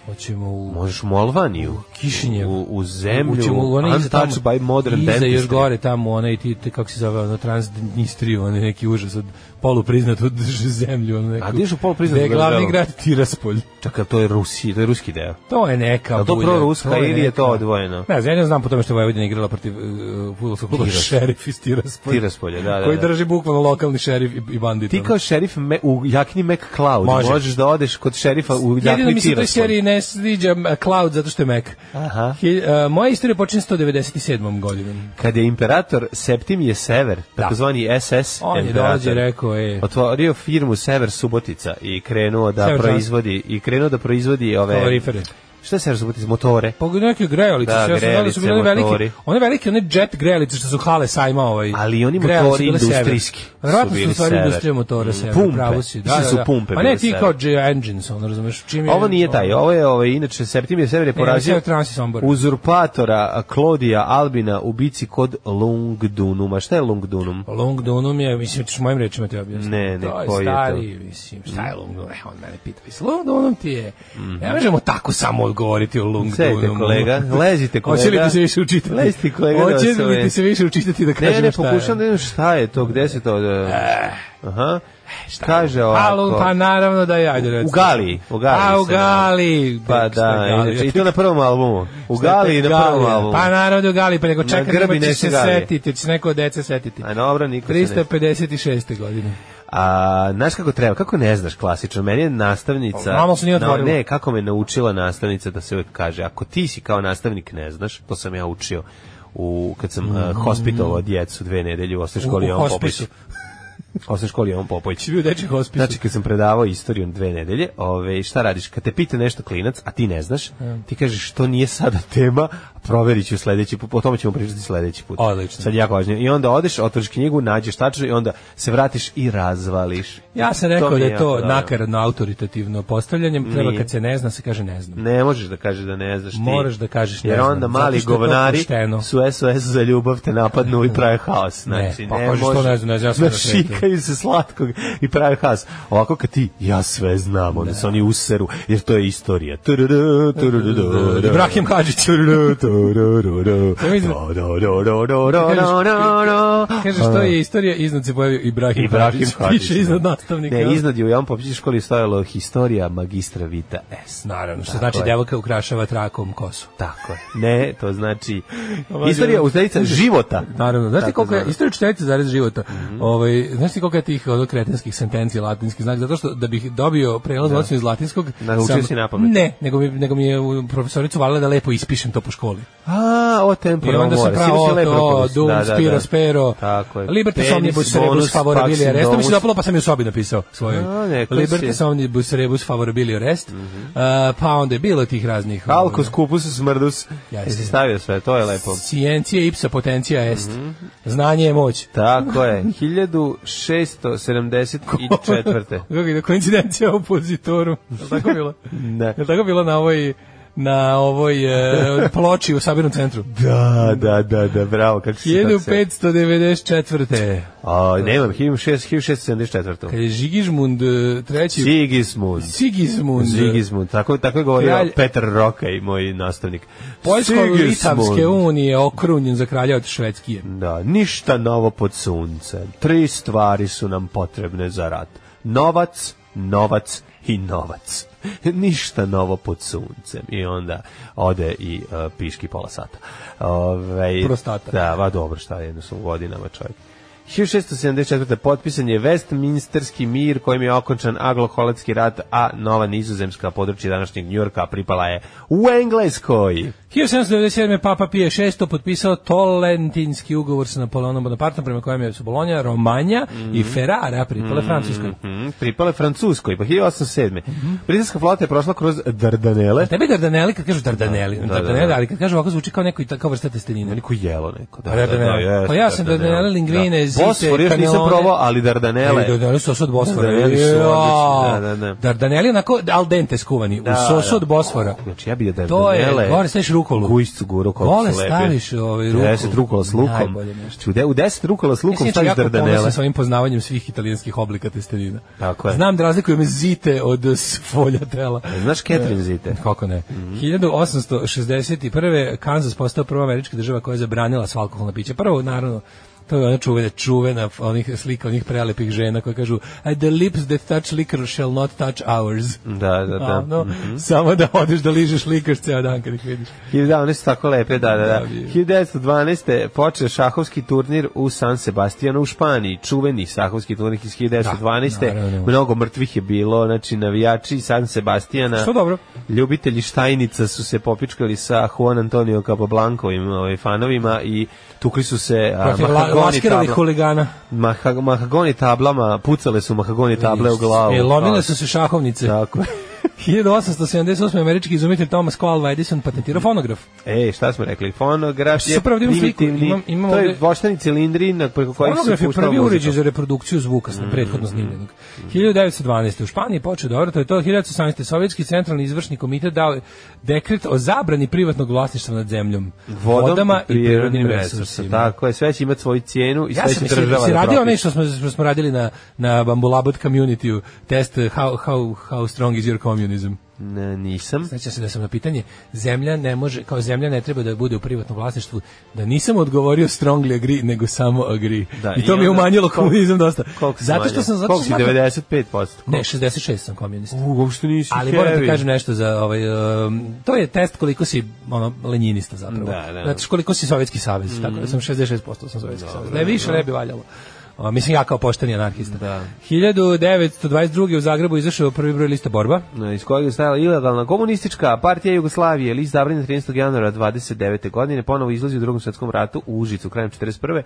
[SPEAKER 6] Hoćemo u...
[SPEAKER 7] Možeš u Molvaniju,
[SPEAKER 6] Kišinjev.
[SPEAKER 7] u, u zemlju,
[SPEAKER 6] Ućemo u onaj iza
[SPEAKER 7] untouched
[SPEAKER 6] tamo-
[SPEAKER 7] by modern
[SPEAKER 6] iza
[SPEAKER 7] dentistry.
[SPEAKER 6] još gore tamo, onaj ti, te, kako se zove, ono, Transdnistriju, onaj neki užas od [LAUGHS] polupriznatu zemlju. Ono, neku,
[SPEAKER 7] A gdje je polupriznatu
[SPEAKER 6] gde je glavni
[SPEAKER 7] državu?
[SPEAKER 6] grad Tiraspolj.
[SPEAKER 7] Čekaj, to je Rusi, to je ruski deo.
[SPEAKER 6] To je neka
[SPEAKER 7] Je
[SPEAKER 6] bulja.
[SPEAKER 7] to proruska
[SPEAKER 6] to
[SPEAKER 7] ili je
[SPEAKER 6] neka-
[SPEAKER 7] to odvojeno?
[SPEAKER 6] Ne znam, ja ne znam po tome što je Vojvodina igrala protiv
[SPEAKER 7] e,
[SPEAKER 6] uh, futbolskog kluba
[SPEAKER 7] Tiras-
[SPEAKER 6] šerif iz Tiraspolja.
[SPEAKER 7] Tiraspolja, da, da,
[SPEAKER 6] Koji
[SPEAKER 7] da.
[SPEAKER 6] drži bukvalno lokalni šerif i, i bandit.
[SPEAKER 7] Ti
[SPEAKER 6] ono.
[SPEAKER 7] kao šerif me, u jakni McCloud,
[SPEAKER 6] Može.
[SPEAKER 7] možeš da odeš kod šerifa u
[SPEAKER 6] Jedino
[SPEAKER 7] jakni
[SPEAKER 6] mi se toj
[SPEAKER 7] Tiraspolj.
[SPEAKER 6] seriji ne sviđa m, Cloud zato što je Mac.
[SPEAKER 7] Aha. E,
[SPEAKER 6] Hi- uh, moja istorija počinje 197. godinom.
[SPEAKER 7] Kad je imperator Septim je Sever, takozvani SS
[SPEAKER 6] On je
[SPEAKER 7] imperator,
[SPEAKER 6] dođe i rekao, e,
[SPEAKER 7] Otvorio firmu Sever Subotica i krenuo da
[SPEAKER 6] Sever
[SPEAKER 7] proizvodi i krenuo da proizvodi ove
[SPEAKER 6] kalorifere.
[SPEAKER 7] Šta je Sever Subotica motore?
[SPEAKER 6] Pa neke grejalice,
[SPEAKER 7] Da,
[SPEAKER 6] sve ja sam znao da su bile
[SPEAKER 7] grejalice,
[SPEAKER 6] one velike,
[SPEAKER 7] motori.
[SPEAKER 6] one velike, one jet grejalice što su Hale Sajma ovaj.
[SPEAKER 7] Ali oni
[SPEAKER 6] grejalice
[SPEAKER 7] motori
[SPEAKER 6] su bile sever.
[SPEAKER 7] industrijski su
[SPEAKER 6] Verovatno su
[SPEAKER 7] bili
[SPEAKER 6] u stvari
[SPEAKER 7] sever.
[SPEAKER 6] industrija motora
[SPEAKER 7] Mm,
[SPEAKER 6] sever,
[SPEAKER 7] pumpe.
[SPEAKER 6] pravo si. Da,
[SPEAKER 7] Mislim
[SPEAKER 6] da,
[SPEAKER 7] su
[SPEAKER 6] da.
[SPEAKER 7] pumpe
[SPEAKER 6] Pa ne
[SPEAKER 7] bile
[SPEAKER 6] ti
[SPEAKER 7] sever.
[SPEAKER 6] kao J engines, ono razumeš, čim je...
[SPEAKER 7] Ovo nije taj, ovo je ovaj, inače Septim je Sever je porazio
[SPEAKER 6] E, Sever Trans je Sombor.
[SPEAKER 7] uzurpatora a, Klodija Albina u bici kod Lungdunuma. Šta je Lungdunum?
[SPEAKER 6] Pa Long Dunum je, mislim, ćeš mojim rečima te objasniti.
[SPEAKER 7] Ne, ne,
[SPEAKER 6] to
[SPEAKER 7] koji
[SPEAKER 6] je
[SPEAKER 7] je to?
[SPEAKER 6] stari, mislim, šta je Long Dunum? E, on mene pita, mislim, Long Dunum ti je, ne možemo tako samo odgovoriti o Long
[SPEAKER 7] Sedite,
[SPEAKER 6] Dunumu.
[SPEAKER 7] Mhm.
[SPEAKER 6] [LAUGHS]
[SPEAKER 7] kolega, lezite, kolega.
[SPEAKER 6] Hoće li ti se više učitati?
[SPEAKER 7] Lezite, kolega, da
[SPEAKER 6] Hoće
[SPEAKER 7] vas
[SPEAKER 6] li ti
[SPEAKER 7] ove-
[SPEAKER 6] se više učitati da
[SPEAKER 7] Ne,
[SPEAKER 6] kažemo
[SPEAKER 7] ne,
[SPEAKER 6] šta je? Eh,
[SPEAKER 7] pokušam da vidim šta je to, gde se to... da- Aha. Kaže
[SPEAKER 6] Alu, pa
[SPEAKER 7] ovako.
[SPEAKER 6] naravno da ja.
[SPEAKER 7] U Galiji, u Galiji
[SPEAKER 6] A, u
[SPEAKER 7] se nalazi.
[SPEAKER 6] Galiji.
[SPEAKER 7] Pa
[SPEAKER 6] Šta je
[SPEAKER 7] da,
[SPEAKER 6] Galija?
[SPEAKER 7] inače, i to na prvom albumu. U
[SPEAKER 6] Šta je
[SPEAKER 7] Galiji na prvom
[SPEAKER 6] Galija?
[SPEAKER 7] albumu.
[SPEAKER 6] Pa naravno da u Galiji, pa nego čekaj,
[SPEAKER 7] grbi
[SPEAKER 6] nema će
[SPEAKER 7] neke
[SPEAKER 6] se
[SPEAKER 7] Galije.
[SPEAKER 6] setiti, će se neko od dece setiti.
[SPEAKER 7] A dobro, niko se ne...
[SPEAKER 6] 356. godine.
[SPEAKER 7] A, znaš kako treba, kako ne znaš klasično, meni je nastavnica...
[SPEAKER 6] Mama se nije
[SPEAKER 7] Na-
[SPEAKER 6] otvorila.
[SPEAKER 7] Ne, kako me naučila nastavnica da se uvijek kaže, ako ti si kao nastavnik ne znaš, to sam ja učio u, kad sam mm. hospitovao djecu dve nedelje u osnovnoj školi
[SPEAKER 6] U- u
[SPEAKER 7] Jovan Popović.
[SPEAKER 6] hospisu.
[SPEAKER 7] U osnovnoj školi Jovan Popović.
[SPEAKER 6] Či bio u dečji hospisu.
[SPEAKER 7] Znači, kad sam predavao istoriju dve nedelje, ove, šta radiš? Kad te pita nešto klinac, a ti ne znaš, ti kažeš što nije sada tema, proverit ću sledeći put, o tome ćemo pričati sledeći put.
[SPEAKER 6] Odlično.
[SPEAKER 7] Sad je jako važno. I onda odeš, otvoriš knjigu, nađeš tačno i onda se vratiš i razvališ.
[SPEAKER 6] Ja sam rekao
[SPEAKER 7] mi
[SPEAKER 6] da
[SPEAKER 7] je
[SPEAKER 6] je to
[SPEAKER 7] jako dobro.
[SPEAKER 6] nakaradno autoritativno postavljanje, treba
[SPEAKER 7] Nije.
[SPEAKER 6] kad se ne zna se kaže ne znam.
[SPEAKER 7] Ne možeš da kažeš da ne znaš ti.
[SPEAKER 6] Moraš da kažeš ne
[SPEAKER 7] Jer
[SPEAKER 6] znam,
[SPEAKER 7] onda
[SPEAKER 6] zato
[SPEAKER 7] mali
[SPEAKER 6] što je to
[SPEAKER 7] govnari
[SPEAKER 6] pošteno.
[SPEAKER 7] su SOS za ljubav, te napadnu i prave haos. Znači,
[SPEAKER 6] Ne, pa kažeš to
[SPEAKER 7] može.
[SPEAKER 6] ne znam, ne znam, ja sve na svetu.
[SPEAKER 7] Našikaju se slatkog i prave haos. Ovako kad ti, ja sve znam, onda se oni useru, jer to je istorija. Tururu, tururu, tururu.
[SPEAKER 6] Ibrahim Hadžić.
[SPEAKER 7] [LAUGHS] Tururu, tururu.
[SPEAKER 6] Ja mislim-
[SPEAKER 7] Do, do, do, do, do, do,
[SPEAKER 6] Kažeš-
[SPEAKER 7] do, do, do.
[SPEAKER 6] Kaže što je istorija iznad se pojavio Ibrahim,
[SPEAKER 7] Ibrahim Hadžić.
[SPEAKER 6] Piše iznad nastavnika.
[SPEAKER 7] Ne, iznad je u Jan Popić školi stojalo historija magistra Vita S.
[SPEAKER 6] Naravno, što
[SPEAKER 7] Tako
[SPEAKER 6] znači
[SPEAKER 7] je.
[SPEAKER 6] devojka ukrašava trakom kosu.
[SPEAKER 7] Tako je. Ne, to znači
[SPEAKER 6] Pa
[SPEAKER 7] istorija uzdajica života.
[SPEAKER 6] Naravno, znaš ti
[SPEAKER 7] Tako Mhm.
[SPEAKER 6] koliko je,
[SPEAKER 7] zvano.
[SPEAKER 6] istorija četirica zarez života, ovaj, znaš ti koliko je tih ono, kretenskih sentencija, latinski znak, zato što da bih dobio prelaz da. iz latinskog,
[SPEAKER 7] Naučio
[SPEAKER 6] sam-
[SPEAKER 7] si napamet.
[SPEAKER 6] Ne, nego mi, nego mi je u- profesoricu valila da lepo ispišem to po školi.
[SPEAKER 7] A, o tempo
[SPEAKER 6] I onda se pravo to, dum, spiro, spero,
[SPEAKER 7] Tako je.
[SPEAKER 6] libertas
[SPEAKER 7] Penis,
[SPEAKER 6] omnibus
[SPEAKER 7] bonus,
[SPEAKER 6] rebus favorabilia
[SPEAKER 7] pax,
[SPEAKER 6] rest, to mi se
[SPEAKER 7] domus.
[SPEAKER 6] dopalo pa sam i u sobi napisao svoj.
[SPEAKER 7] A, neko
[SPEAKER 6] Libertas
[SPEAKER 7] si. Mhm.
[SPEAKER 6] omnibus rebus favorabilia rest, Uh, pa onda je bilo tih raznih. ono,
[SPEAKER 7] Alkos, kupus, smrdus.
[SPEAKER 6] Jeste.
[SPEAKER 7] Jesi stavio sve, to je lepo.
[SPEAKER 6] Sciencija ipsa potencija est.
[SPEAKER 7] Mhm.
[SPEAKER 6] Znanje je moć.
[SPEAKER 7] Tako je, 1674.
[SPEAKER 6] Kako je koincidencija u pozitoru? Je tako bilo?
[SPEAKER 7] [LAUGHS] Da.
[SPEAKER 6] Je tako bilo na ovoj na ovoj e, ploči u sabirnom centru?
[SPEAKER 7] Da, da, da, da, bravo, kako si tako se...
[SPEAKER 6] 1594.
[SPEAKER 7] A, nemam, 1674.
[SPEAKER 6] Kad je Žigižmund e, treći
[SPEAKER 7] Sigismund.
[SPEAKER 6] Sigismund
[SPEAKER 7] Sigismund, tako, tako je govorio
[SPEAKER 6] Kralj-
[SPEAKER 7] Petar Roka i moj nastavnik.
[SPEAKER 6] Poljsko-Litavske
[SPEAKER 7] Sigismund.
[SPEAKER 6] unije okrunjen za kralja od Švedskije.
[SPEAKER 7] Da, ništa novo pod suncem. Tri stvari su nam potrebne za rat. Novac, novac i novac. [LAUGHS] Ništa novo pod suncem. I onda ode i uh, piški pola sata. Ove,
[SPEAKER 6] Prostata.
[SPEAKER 7] Da, va dobro, šta je, jedno su godinama čovjek. 1674. potpisan je Westminsterski mir kojim je okončan Anglo-Holandski rat, a nova nizozemska područja današnjeg Njurka pripala je u Engleskoj.
[SPEAKER 6] 1797. Papa Pije VI potpisao Tolentinski ugovor sa Napoleonom Bonapartom prema kojem je su Bolonja, Romanja i
[SPEAKER 7] Mhm.
[SPEAKER 6] Ferrara pripale Francuskoj.
[SPEAKER 7] Mm, pripale Francuskoj, pa 1807. Britanska flota je prošla kroz Dardanele.
[SPEAKER 6] Tebi Dardaneli kad kažu Dardaneli,
[SPEAKER 7] Da, da,
[SPEAKER 6] Dardaneli,
[SPEAKER 7] da.
[SPEAKER 6] ali kad kažu ovako zvuči kao neko i kao vrsta testenine.
[SPEAKER 7] Neko jelo neko. Da,
[SPEAKER 6] Pa Dardanele.
[SPEAKER 7] jeste,
[SPEAKER 6] Pa ja sam Dardanele, linguine, zite,
[SPEAKER 7] Bosfor još nisam
[SPEAKER 6] kanelone.
[SPEAKER 7] probao, ali Dardanele.
[SPEAKER 6] E, Dardaneli su od Bosfora.
[SPEAKER 7] Dardaneli su odlični,
[SPEAKER 6] Jao.
[SPEAKER 7] da, da, da.
[SPEAKER 6] Dardaneli onako al dente skuvani, u sosu od Bosfora.
[SPEAKER 7] Znači ja bi da
[SPEAKER 6] To je,
[SPEAKER 7] Dardanele.
[SPEAKER 6] gore staviš rukolu.
[SPEAKER 7] Gujscu gu rukolu.
[SPEAKER 6] Gore
[SPEAKER 7] su lepe.
[SPEAKER 6] staviš, ovaj, rukolu.
[SPEAKER 7] 10 rukola s lukom.
[SPEAKER 6] Najbolje nešto.
[SPEAKER 7] Ću de- U 10 rukola s
[SPEAKER 6] Ja sam
[SPEAKER 7] lukom
[SPEAKER 6] inače
[SPEAKER 7] staviš
[SPEAKER 6] jako
[SPEAKER 7] Dardanele.
[SPEAKER 6] ponosan svojim poznavanjem svih italijanskih oblika testenina.
[SPEAKER 7] Tako je.
[SPEAKER 6] Znam da razlikujem zite od s- folja tela. E,
[SPEAKER 7] Znaš Catherine Zite?
[SPEAKER 6] Kako ne? 1861. Kansas postao prva američka država koja je zabranila sva alkoholna pića. Prvo, naravno, to je ona čuvena, čuvena onih slika onih prelepih žena koje kažu "I- the lips that touch liquor shall not touch ours.
[SPEAKER 7] Da, da, Mhm. da.
[SPEAKER 6] Ono, Samo da odeš da ližeš likaš ceo dan kad ih vidiš.
[SPEAKER 7] 1900 su tako lepe, da, da, da.
[SPEAKER 6] Da, bio.
[SPEAKER 7] 1912. počeo šahovski turnir u San Sebastianu u Španiji. Čuveni šahovski turnir iz 1912.
[SPEAKER 6] Da, naravno.
[SPEAKER 7] Mnogo mrtvih je bilo, znači navijači San Sebastiana.
[SPEAKER 6] Što dobro.
[SPEAKER 7] Ljubitelji Štajnica su se popičkali sa Juan Antonio Capoblankovim ovaj, fanovima i tukli su se a,
[SPEAKER 6] Protiv la,
[SPEAKER 7] mahagoni
[SPEAKER 6] laskiralih
[SPEAKER 7] tabla-
[SPEAKER 6] huligana.
[SPEAKER 7] maha- mahagoni tablama, pucale su mahagoni table u glavu.
[SPEAKER 6] E, lomile su se šahovnice.
[SPEAKER 7] Tako.
[SPEAKER 6] 1878. američki izumitelj Thomas Coalva Edison patentirao fonograf.
[SPEAKER 7] E, šta smo rekli? Fonograf je
[SPEAKER 6] Super, ovdje imam sliku,
[SPEAKER 7] primitivni.
[SPEAKER 6] imam- imam
[SPEAKER 7] to je
[SPEAKER 6] ovdje-
[SPEAKER 7] voštani cilindri na preko kojih se
[SPEAKER 6] Fonograf je
[SPEAKER 7] pušta
[SPEAKER 6] prvi
[SPEAKER 7] muzika. Mhm.
[SPEAKER 6] uređaj za reprodukciju zvuka, mm. prethodno snimljenog. 1912. U Španiji je počeo dobro, to je to 1918. Sovjetski centralni izvršni komitet dao je dekret o zabrani privatnog vlasništva nad zemljom,
[SPEAKER 7] Vodom
[SPEAKER 6] vodama i prirodnim resursima.
[SPEAKER 7] Tako je, sve će imati svoju cijenu i
[SPEAKER 6] Ja sam
[SPEAKER 7] sve će
[SPEAKER 6] mislim,
[SPEAKER 7] država
[SPEAKER 6] si
[SPEAKER 7] da
[SPEAKER 6] radio
[SPEAKER 7] propiše.
[SPEAKER 6] onaj što smo, što smo radili na, na Bambulabot community test uh, how, how, how strong is your communism.
[SPEAKER 7] Ne, nisam.
[SPEAKER 6] Sećam se da sam na pitanje zemlja ne može, kao zemlja ne treba da bude u privatnom vlasništvu, da nisam odgovorio strongly agree, nego samo agree.
[SPEAKER 7] Da,
[SPEAKER 6] I to
[SPEAKER 7] i
[SPEAKER 6] mi je
[SPEAKER 7] onda-
[SPEAKER 6] umanjilo
[SPEAKER 7] koliko-
[SPEAKER 6] komunizam dosta.
[SPEAKER 7] Koliko si
[SPEAKER 6] Zato što
[SPEAKER 7] manje?
[SPEAKER 6] sam, zato što
[SPEAKER 7] Koliko si,
[SPEAKER 6] smatram-
[SPEAKER 7] 95%?
[SPEAKER 6] Ne, 66 sam komunista.
[SPEAKER 7] U, uopšte nisi
[SPEAKER 6] Ali
[SPEAKER 7] heavy.
[SPEAKER 6] moram ti kažem nešto za ovaj um, to je test koliko si ono lenjinista zapravo.
[SPEAKER 7] Da, da. Mm.
[SPEAKER 6] Znači koliko si Sovjetski savez, tako da sam 66% sam Sovjetski savez. Da je više ne bi valjalo. A, mislim ja kao pošteni anarhista.
[SPEAKER 7] Da.
[SPEAKER 6] 1922. u Zagrebu izašao prvi broj lista Borba.
[SPEAKER 7] Na, iz kojeg je stajala ilegalna komunistička partija Jugoslavije, list zabranjen 13. januara 29. godine, ponovo izlazi u drugom svjetskom ratu u Užicu krajem 41.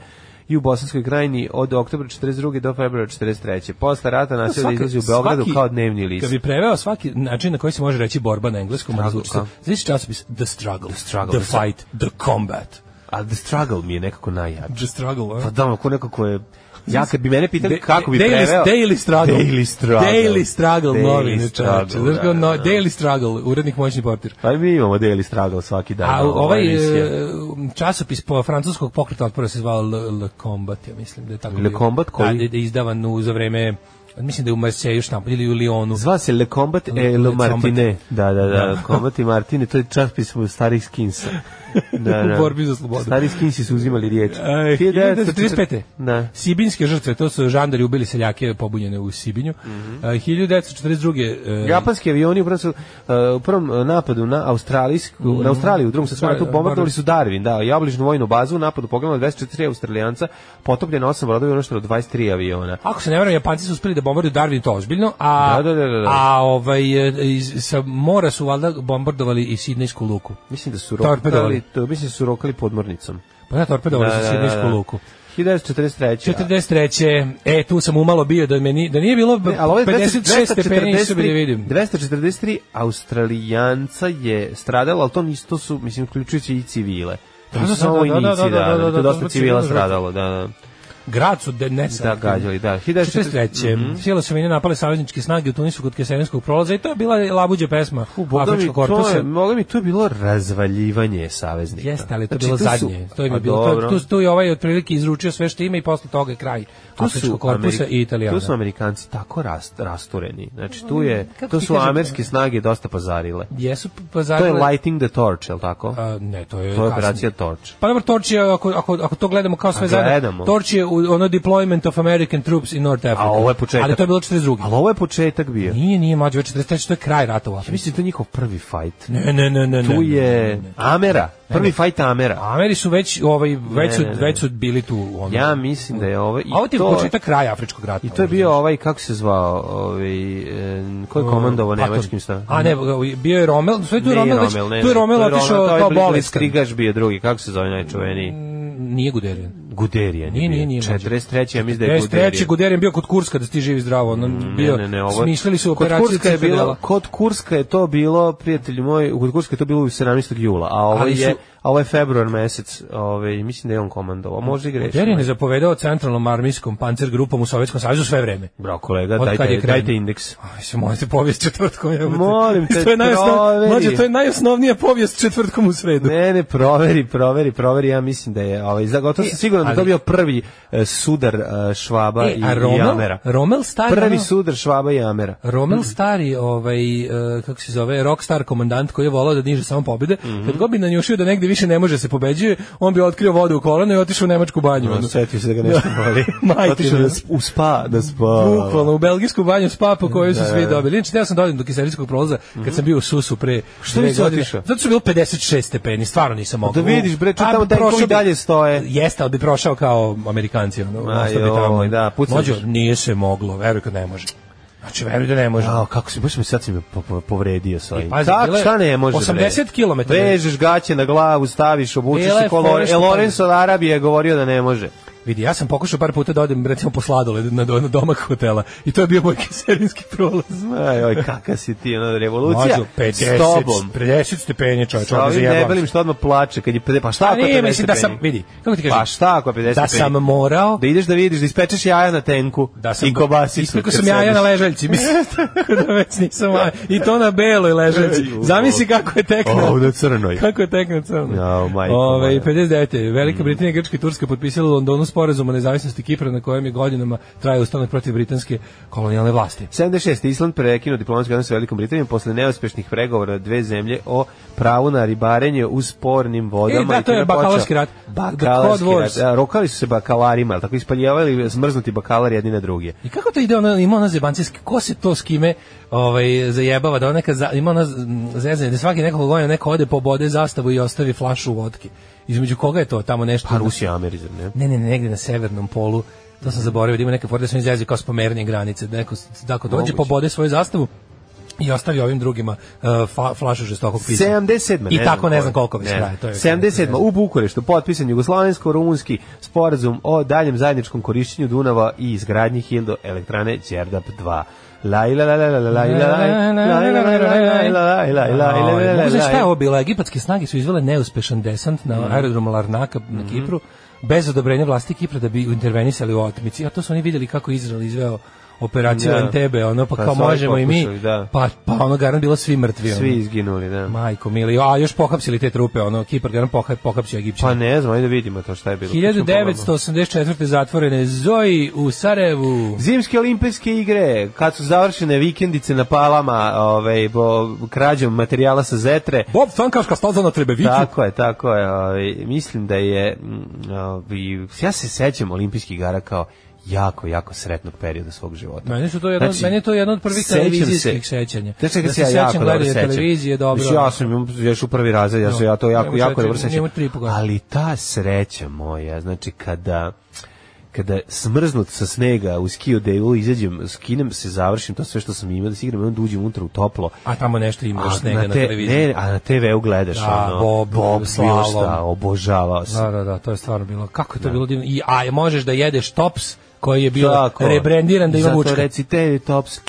[SPEAKER 7] i u Bosanskoj krajini od oktobra 42. do februara 43. Posle rata nastavio
[SPEAKER 6] Svaki-
[SPEAKER 7] da Znači, izlazi u Beogradu
[SPEAKER 6] svaki-
[SPEAKER 7] kao dnevni list.
[SPEAKER 6] Kad bi preveo svaki način na koji se može reći borba na engleskom,
[SPEAKER 7] Struggle,
[SPEAKER 6] on zvuči se,
[SPEAKER 7] kao?
[SPEAKER 6] znači časopis The Struggle, The,
[SPEAKER 7] Struggle,
[SPEAKER 6] the Fight, The Combat.
[SPEAKER 7] A The Struggle mi je nekako najjači.
[SPEAKER 6] The Struggle, a?
[SPEAKER 7] Pa da, ko nekako je... Ja kad bi mene pitali
[SPEAKER 6] Da-
[SPEAKER 7] kako bi
[SPEAKER 6] daily,
[SPEAKER 7] preveo...
[SPEAKER 6] Daily Struggle.
[SPEAKER 7] Daily Struggle.
[SPEAKER 6] Daily Struggle,
[SPEAKER 7] Daily
[SPEAKER 6] novine, čovječe.
[SPEAKER 7] Struggle,
[SPEAKER 6] Znaš kao,
[SPEAKER 7] da,
[SPEAKER 6] no,
[SPEAKER 7] da.
[SPEAKER 6] Daily Struggle, urednik moćni portir.
[SPEAKER 7] Pa mi imamo Daily Struggle svaki dan.
[SPEAKER 6] A
[SPEAKER 7] ovo,
[SPEAKER 6] ovaj
[SPEAKER 7] emisija.
[SPEAKER 6] e, časopis po francuskog pokreta otpora se zvao Le, Le Combat, ja mislim da je tako.
[SPEAKER 7] Le
[SPEAKER 6] bio.
[SPEAKER 7] Combat koji?
[SPEAKER 6] Da, Da, da je izdavan u, za vreme, mislim da je u Marseju štampan ili u Lyonu.
[SPEAKER 7] Zva se Le Combat
[SPEAKER 6] Le-
[SPEAKER 7] et Le
[SPEAKER 6] Le
[SPEAKER 7] Martine. Da, da, da, Combat i Martine, to je časopis starih skinsa. Da,
[SPEAKER 6] [LAUGHS]
[SPEAKER 7] da.
[SPEAKER 6] U borbi za slobodu.
[SPEAKER 7] Stari skinsi su uzimali riječ.
[SPEAKER 6] E, 1935.
[SPEAKER 7] Da.
[SPEAKER 6] Sibinjske žrtve, to su žandari ubili seljake pobunjene u Sibinju.
[SPEAKER 7] Mhm.
[SPEAKER 6] E, 1942. e,
[SPEAKER 7] Japanski avioni u prvom, su, uh, u prvom uh, napadu na Australijsku, na Australiju u drugom svetskom ratu
[SPEAKER 6] Mhm. Da,
[SPEAKER 7] bombardovali
[SPEAKER 6] Darwin.
[SPEAKER 7] su Darwin, da, i obližnu vojnu bazu u napadu poginulo 24 Australijanca, potopljeno 8 brodova i ono unošteno 23 aviona.
[SPEAKER 6] Ako se ne verujem, Japanci su uspeli da bombarduju Darwin to ozbiljno, a,
[SPEAKER 7] Da, da, da, da, da.
[SPEAKER 6] a ovaj, e, iz, sa mora su valjda bombardovali i Sidnejsku luku.
[SPEAKER 7] Mislim da su
[SPEAKER 6] Torpedovali.
[SPEAKER 7] rokali, to, mislim da su rokali podmornicom.
[SPEAKER 6] Pa ne, torpedovali su Sidnejsku luku.
[SPEAKER 7] 1943.
[SPEAKER 6] 43. E, tu sam umalo bio da, me ni, da nije bilo
[SPEAKER 7] Ne, ali ovo je
[SPEAKER 6] 56 Pa stepeni nisu bili
[SPEAKER 7] 243
[SPEAKER 6] vidim.
[SPEAKER 7] 243 Australijanca je stradalo, ali to nisto su, mislim, uključujući i civile.
[SPEAKER 6] Da,
[SPEAKER 7] To su
[SPEAKER 6] da,
[SPEAKER 7] samo
[SPEAKER 6] da, da,
[SPEAKER 7] vojnici,
[SPEAKER 6] da, da, da, da,
[SPEAKER 7] to
[SPEAKER 6] da,
[SPEAKER 7] je
[SPEAKER 6] da,
[SPEAKER 7] dosta
[SPEAKER 6] da,
[SPEAKER 7] civila
[SPEAKER 6] da, da,
[SPEAKER 7] stradalo, da, da.
[SPEAKER 6] Grad su de, ne
[SPEAKER 7] Da,
[SPEAKER 6] sad.
[SPEAKER 7] gađali, da.
[SPEAKER 6] 43.
[SPEAKER 7] Mhm.
[SPEAKER 6] Mm -hmm. Sile su meni napale savezničke snage u Tunisu kod Kesenskog prolaza i to je bila labuđa pesma
[SPEAKER 7] Boga mi,
[SPEAKER 6] Afričkog
[SPEAKER 7] to
[SPEAKER 6] korpusa.
[SPEAKER 7] je, moga mi, to je bilo razvaljivanje saveznika.
[SPEAKER 6] Jeste, ali to je
[SPEAKER 7] Znači,
[SPEAKER 6] bilo
[SPEAKER 7] tu su-
[SPEAKER 6] zadnje. To im
[SPEAKER 7] A
[SPEAKER 6] je bilo, to,
[SPEAKER 7] dobro.
[SPEAKER 6] tu, tu je ovaj otprilike izručio sve što ima i posle toga je kraj
[SPEAKER 7] tu
[SPEAKER 6] Afričkog korpusa
[SPEAKER 7] Ameri-
[SPEAKER 6] i Italijana. Mm,
[SPEAKER 7] Tu su Amerikanci tako rast, rastureni. Znači, tu, je,
[SPEAKER 6] Kako
[SPEAKER 7] tu
[SPEAKER 6] ti
[SPEAKER 7] su
[SPEAKER 6] kažem,
[SPEAKER 7] američke snage dosta pazarile.
[SPEAKER 6] Jesu
[SPEAKER 7] To
[SPEAKER 6] pazarile...
[SPEAKER 7] je Lighting the Torch, je li tako?
[SPEAKER 6] Dakle- A, ne, to je,
[SPEAKER 7] To je
[SPEAKER 6] kasnije.
[SPEAKER 7] operacija Torch.
[SPEAKER 6] Pa dobro, Torč je, ako, ako, ako to gledamo kao sve
[SPEAKER 7] A
[SPEAKER 6] zajedno,
[SPEAKER 7] gledamo.
[SPEAKER 6] Torč je u ono deployment of American troops in North Africa.
[SPEAKER 7] A ovo je početak.
[SPEAKER 6] Ali to je bilo 42.
[SPEAKER 7] Ali ovo je početak bio.
[SPEAKER 6] Nije, nije mlađe, već 43. to je kraj rata u
[SPEAKER 7] Ja
[SPEAKER 6] Africi.
[SPEAKER 7] mislim da je to njihov prvi fight.
[SPEAKER 6] Ne, ne, ne, ne.
[SPEAKER 7] Tu
[SPEAKER 6] ne, ne,
[SPEAKER 7] je
[SPEAKER 6] ne.
[SPEAKER 7] Amera. Prvi fight Amera.
[SPEAKER 6] Ameri su već, ovaj, već,
[SPEAKER 7] Ne,
[SPEAKER 6] su,
[SPEAKER 7] ne, ne.
[SPEAKER 6] već su bili tu. Ono.
[SPEAKER 7] Ja mislim da je ovo... I
[SPEAKER 6] A ovo ti je
[SPEAKER 7] to-
[SPEAKER 6] početak kraja Afričkog rata. ono.
[SPEAKER 7] I to je bio ovaj, kako se zvao, ovaj, e, ko je komandovao
[SPEAKER 6] Patton.
[SPEAKER 7] nemačkim stavom?
[SPEAKER 6] A ne, bio je Rommel, sve tu je
[SPEAKER 7] Ne,
[SPEAKER 6] Rommel, već,
[SPEAKER 7] ne,
[SPEAKER 6] tu je
[SPEAKER 7] ne,
[SPEAKER 6] Rommel otišao
[SPEAKER 7] to je
[SPEAKER 6] kao
[SPEAKER 7] Blic-
[SPEAKER 6] bolestan.
[SPEAKER 7] Blitzkrigaš bio drugi, kako se zove najčuveniji?
[SPEAKER 6] Nije Guderian.
[SPEAKER 7] Guderijan je
[SPEAKER 6] Nije,
[SPEAKER 7] bio.
[SPEAKER 6] nije, nije, mlađe.
[SPEAKER 7] 43. ja mislim da je
[SPEAKER 6] 53.
[SPEAKER 7] Guderijan.
[SPEAKER 6] Guderian bio kod Kurska da ti živi zdravo. Ono bio,
[SPEAKER 7] ne, ne, ne, ovo...
[SPEAKER 6] Smišljali su
[SPEAKER 7] Kod
[SPEAKER 6] operaciju
[SPEAKER 7] Kurska je bilo,
[SPEAKER 6] Citadela.
[SPEAKER 7] kod Kurska je to bilo, prijatelji moji, kod Kurska je to bilo u 17. jula, a ovo
[SPEAKER 6] Ali su-
[SPEAKER 7] je, a ovo je februar mesec, ovaj, mislim da je on komandovao, možda i grešim.
[SPEAKER 6] Guderian je zapovedao centralnom armijskom pancer grupom u Sovjetskom savjezu sve vreme.
[SPEAKER 7] Bravo kolega,
[SPEAKER 6] Od kad je
[SPEAKER 7] dajte,
[SPEAKER 6] krenuo.
[SPEAKER 7] dajte indeks.
[SPEAKER 6] Aj, se možete povijest četvrtkom. jebote.
[SPEAKER 7] Molim
[SPEAKER 6] [LAUGHS]
[SPEAKER 7] te,
[SPEAKER 6] to je najosnov...
[SPEAKER 7] proveri.
[SPEAKER 6] Mlađe, to je najosnovnija povijest četvrtkom u sredu.
[SPEAKER 7] Ne, ne, proveri, proveri, proveri, ja mislim da je, ovaj, za- gotovo sam siguran da je
[SPEAKER 6] E, ali-
[SPEAKER 7] to bio prvi e, sudar e, Švaba
[SPEAKER 6] E,
[SPEAKER 7] i,
[SPEAKER 6] a
[SPEAKER 7] i
[SPEAKER 6] Rommel,
[SPEAKER 7] Amera.
[SPEAKER 6] Rommel stari,
[SPEAKER 7] Prvi
[SPEAKER 6] ono-
[SPEAKER 7] sudar Švaba i Amera.
[SPEAKER 6] Rommel stari, ovaj, e, kako se zove, rockstar komandant koji je volao da diže samo pobjede,
[SPEAKER 7] Mhm.
[SPEAKER 6] kad god bi nanjušio da negde više ne može se pobeđuje, on bi otkrio vodu u kolano i otišao u nemačku banju. ono.
[SPEAKER 7] Ono, Svetio se da ga
[SPEAKER 6] [LAUGHS]
[SPEAKER 7] nešto boli.
[SPEAKER 6] Majke
[SPEAKER 7] Otišao
[SPEAKER 6] mi.
[SPEAKER 7] da sp- u spa, da spa.
[SPEAKER 6] Bukvalno u belgijsku banju spa po kojoj su svi dobili. Inače, teo sam da odem do kiserijskog prolaza kad sam bio u Susu pre
[SPEAKER 7] Mhm. Što
[SPEAKER 6] dve
[SPEAKER 7] nisi
[SPEAKER 6] godine.
[SPEAKER 7] otišao? Pa
[SPEAKER 6] Zato što je bilo 56 stepeni, stvarno nisam mogao.
[SPEAKER 7] Da vidiš, bre, čitav
[SPEAKER 6] A,
[SPEAKER 7] dan
[SPEAKER 6] prošao
[SPEAKER 7] koji
[SPEAKER 6] bi-
[SPEAKER 7] dalje stoje.
[SPEAKER 6] Jeste, ali bi prošao kao Amerikanci. Ono,
[SPEAKER 7] Ma
[SPEAKER 6] ostao bi
[SPEAKER 7] joj,
[SPEAKER 6] tamo.
[SPEAKER 7] da, pucaš.
[SPEAKER 6] Mlađo, nije se moglo, veruj kad ne može. Znači, veruj da ne može.
[SPEAKER 7] Žao, kako si, baš me sad si me po- po- povredio sa ovim.
[SPEAKER 6] E, pazi,
[SPEAKER 7] Kako,
[SPEAKER 6] bilo je
[SPEAKER 7] šta ne može? bre?
[SPEAKER 6] 80 km.
[SPEAKER 7] Vežeš gaće na glavu, staviš, obučeš
[SPEAKER 6] Bila je
[SPEAKER 7] se kolor.
[SPEAKER 6] fora što-
[SPEAKER 7] E, Lorenzo od Arabije je govorio da ne može.
[SPEAKER 6] Vidi, ja sam pokušao par puta da odem recimo po sladoled na, do- na domak hotela i to je bio moj [LAUGHS] kiserinski prolaz.
[SPEAKER 7] Aj, oj, kaka si ti, ono, revolucija.
[SPEAKER 6] Mlađo,
[SPEAKER 7] S tobom.
[SPEAKER 6] 50, 50 stepeni čovječ,
[SPEAKER 7] Sa
[SPEAKER 6] ono
[SPEAKER 7] ovim
[SPEAKER 6] zajebam.
[SPEAKER 7] debelim što odmah plače kad je 50, pa šta
[SPEAKER 6] A
[SPEAKER 7] ako je
[SPEAKER 6] nije,
[SPEAKER 7] 50
[SPEAKER 6] mislim da sam,
[SPEAKER 7] penji?
[SPEAKER 6] vidi, kako ti kažem?
[SPEAKER 7] Pa šta ako je 50
[SPEAKER 6] Da sam
[SPEAKER 7] penji?
[SPEAKER 6] morao,
[SPEAKER 7] Da ideš da vidiš, da ispečeš jaja na tenku
[SPEAKER 6] da sam
[SPEAKER 7] i kobasicu.
[SPEAKER 6] Ispekao
[SPEAKER 7] kad
[SPEAKER 6] sam jaja
[SPEAKER 7] sedneš.
[SPEAKER 6] na ležaljci,
[SPEAKER 7] [LAUGHS]
[SPEAKER 6] mislim. tako da već nisam, a- i to na beloj ležaljci.
[SPEAKER 7] Ej, u,
[SPEAKER 6] Zamisli kako je tekno.
[SPEAKER 7] O, na
[SPEAKER 6] [LAUGHS]
[SPEAKER 7] crnoj.
[SPEAKER 6] Kako je tekno crno.
[SPEAKER 7] Jao, majko
[SPEAKER 6] Ove,
[SPEAKER 7] moja. Mm.
[SPEAKER 6] 59. Velika Britanija, Grčka i Turska potpisali u Londonu sporazum o nezavisnosti Kipra na kojem je godinama trajao ustanak protiv britanske kolonijalne vlasti.
[SPEAKER 7] 76. Island prekinuo diplomatski odnos sa Velikom Britanijom posle neuspešnih pregovora dve zemlje o pravu na ribarenje u spornim vodama.
[SPEAKER 6] E, da,
[SPEAKER 7] i
[SPEAKER 6] to
[SPEAKER 7] time
[SPEAKER 6] je bakalarski rat.
[SPEAKER 7] počeo- Bakalarski
[SPEAKER 6] The Cod
[SPEAKER 7] rat.
[SPEAKER 6] Wars.
[SPEAKER 7] Da, rokali su se bakalarima, ali tako ispaljevali zmrznuti bakalari jedni na druge.
[SPEAKER 6] I kako to ide, ona, ima ona zebancijski, ko se to s kime ovaj, zajebava, da ona kad za, ima ona z- m, zezanje, da svaki nekog godina neko ode pobode zastavu i ostavi flašu vodke. Između koga je to tamo nešto?
[SPEAKER 7] Pa Rusija, Amerizam, ne?
[SPEAKER 6] Ne, ne, ne, negde na severnom polu, to sam zaboravio, da ima neka forda, da su oni zezaju kao spomeranje granice, da neko, s- da ako dođe
[SPEAKER 7] Moguće.
[SPEAKER 6] pobode svoju zastavu, i ostavi ovim drugima uh, fa, flašu žestokog pisa.
[SPEAKER 7] 77.
[SPEAKER 6] I
[SPEAKER 7] znam
[SPEAKER 6] tako ne znam
[SPEAKER 7] koje.
[SPEAKER 6] koliko već traje. To je,
[SPEAKER 7] 77. U Bukureštu potpisan jugoslovensko-rumunski sporazum o daljem zajedničkom korišćenju Dunava i izgradnji Hildo elektrane Đerdap 2. Laj, la, la, la, la, la, laj, la, laj, laj, laj, la, laj, laj, laj, laj, laj, laj, laj, laj,
[SPEAKER 6] Mogu znaš šta je
[SPEAKER 7] laj.
[SPEAKER 6] ovo bilo? Egipatske snage su izvele neuspešan desant
[SPEAKER 7] Mhm.
[SPEAKER 6] na aerodromu Larnaka na Kipru bez odobrenja vlasti Kipra da bi intervenisali u otmici. A to su oni vidjeli kako je Izrael izveo operaciju
[SPEAKER 7] Da.
[SPEAKER 6] Entebbe, ono pa
[SPEAKER 7] Pa
[SPEAKER 6] kao
[SPEAKER 7] su ovi
[SPEAKER 6] možemo i mi.
[SPEAKER 7] pokušali, da.
[SPEAKER 6] Pa pa ono garant bilo svi mrtvi. ono.
[SPEAKER 7] Svi izginuli, da.
[SPEAKER 6] Majko mili, a još pohapsili te trupe, ono Kipar garant poha- pohapsio Egipćane.
[SPEAKER 7] Pa ne znam, ajde vidimo to šta je bilo.
[SPEAKER 6] 1984. zatvorene Zoji u Sarajevu.
[SPEAKER 7] Zimske olimpijske igre, kad su završene vikendice na palama, ovaj, bo, krađom materijala sa zetre,
[SPEAKER 6] Bob Stankaška staza na Trebeviću.
[SPEAKER 7] Tako je, tako je. Ovaj, mislim da je, mm, ovaj, ja se sećam olimpijskih igara kao jako, jako sretnog perioda svog života.
[SPEAKER 6] Meni su to jedno,
[SPEAKER 7] Znači,
[SPEAKER 6] meni je to jedno od prvih
[SPEAKER 7] sećam se-
[SPEAKER 6] televizijskih sećanja.
[SPEAKER 7] Znaš čega
[SPEAKER 6] Da
[SPEAKER 7] se ja jako dobro
[SPEAKER 6] gledanja
[SPEAKER 7] sećam?
[SPEAKER 6] televizije, dobro. ono,
[SPEAKER 7] Mislim, ja sam imam- još u prvi razred, ja, sam, ja to jako,
[SPEAKER 6] Njemu
[SPEAKER 7] jako
[SPEAKER 6] četiri-
[SPEAKER 7] dobro sećam.
[SPEAKER 6] njemu tri i po godine.
[SPEAKER 7] Ali ta sreća moja, znači kada kada smrznut sa snega u skio delu izađem, skinem se, završim to sve što sam imao da se igram i onda uđem unutra u toplo
[SPEAKER 6] A tamo nešto imaš snega na,
[SPEAKER 7] te-
[SPEAKER 6] televiziji.
[SPEAKER 7] Ne, a na TV-u gledaš
[SPEAKER 6] Da,
[SPEAKER 7] ono,
[SPEAKER 6] Bob,
[SPEAKER 7] Bob bilo
[SPEAKER 6] slalom.
[SPEAKER 7] šta, obožavao sam.
[SPEAKER 6] Da, da, da, to je stvarno bilo. Kako je to bilo divno. I, a možeš da jedeš tops koji je bio
[SPEAKER 7] Tako.
[SPEAKER 6] rebrendiran da ima
[SPEAKER 7] Zato
[SPEAKER 6] vučka.
[SPEAKER 7] reci te tops,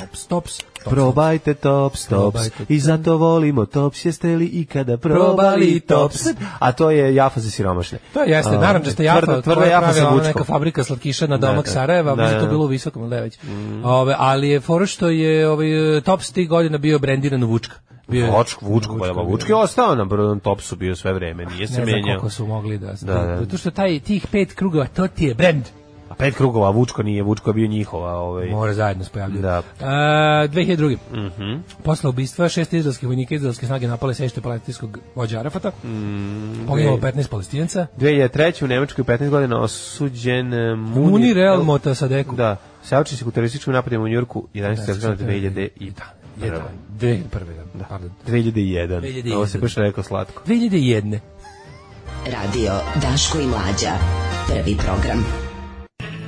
[SPEAKER 6] Tops, tops, tops.
[SPEAKER 7] probajte tops, tops.
[SPEAKER 6] Probajte.
[SPEAKER 7] I zato volimo tops, jeste li ikada
[SPEAKER 6] Probali
[SPEAKER 7] probali
[SPEAKER 6] tops?
[SPEAKER 7] tops? A to je jafa za siromašne.
[SPEAKER 6] To jeste,
[SPEAKER 7] A,
[SPEAKER 6] narančasta jafa,
[SPEAKER 7] tvrda-
[SPEAKER 6] tvrda
[SPEAKER 7] tvrda jafa
[SPEAKER 6] pravila
[SPEAKER 7] sa
[SPEAKER 6] ona
[SPEAKER 7] vučkom.
[SPEAKER 6] neka fabrika slatkiša na domak
[SPEAKER 7] da.
[SPEAKER 6] Sarajeva,
[SPEAKER 7] Da,
[SPEAKER 6] mislim da, to
[SPEAKER 7] da. Mm.
[SPEAKER 6] bilo u Visokom ili već. Ove, ali je fora što je ovaj, tops tih godina bio brendiran u vučka. Bio je-
[SPEAKER 7] Vučk, vučko,
[SPEAKER 6] Vučko
[SPEAKER 7] pa
[SPEAKER 6] bio.
[SPEAKER 7] Vučki je ostao na brodom topsu bio sve vreme, nije se
[SPEAKER 6] ne znam
[SPEAKER 7] menjao.
[SPEAKER 6] koliko su mogli da,
[SPEAKER 7] Da, da.
[SPEAKER 6] zato što taj tih pet krugova to ti je brend
[SPEAKER 7] A pet krugova, a Vučko nije, Vučko je bio njihova. Ovaj.
[SPEAKER 6] Mora zajedno se pojavljaju.
[SPEAKER 7] Da.
[SPEAKER 6] A, 2002. Mm -hmm. Posle ubistva šest izraelskih vojnika izraelske snage napale sešte palestinskog vođa Arafata. Mm, Poginulo
[SPEAKER 7] dve-
[SPEAKER 6] 15 palestinaca.
[SPEAKER 7] 2003. u Nemačkoj 15 godina osuđen e, Munir,
[SPEAKER 6] Munir El Motasadeku.
[SPEAKER 7] Da, sauči se u terorističkom napadima u Njurku 11. septembra 2000 i da.
[SPEAKER 6] Jedan. 2001. Da. Pardon.
[SPEAKER 7] 2001.
[SPEAKER 6] 2001.
[SPEAKER 7] Ovo se baš rekao slatko.
[SPEAKER 6] 2001.
[SPEAKER 8] Radio Daško i Mlađa. Prvi program.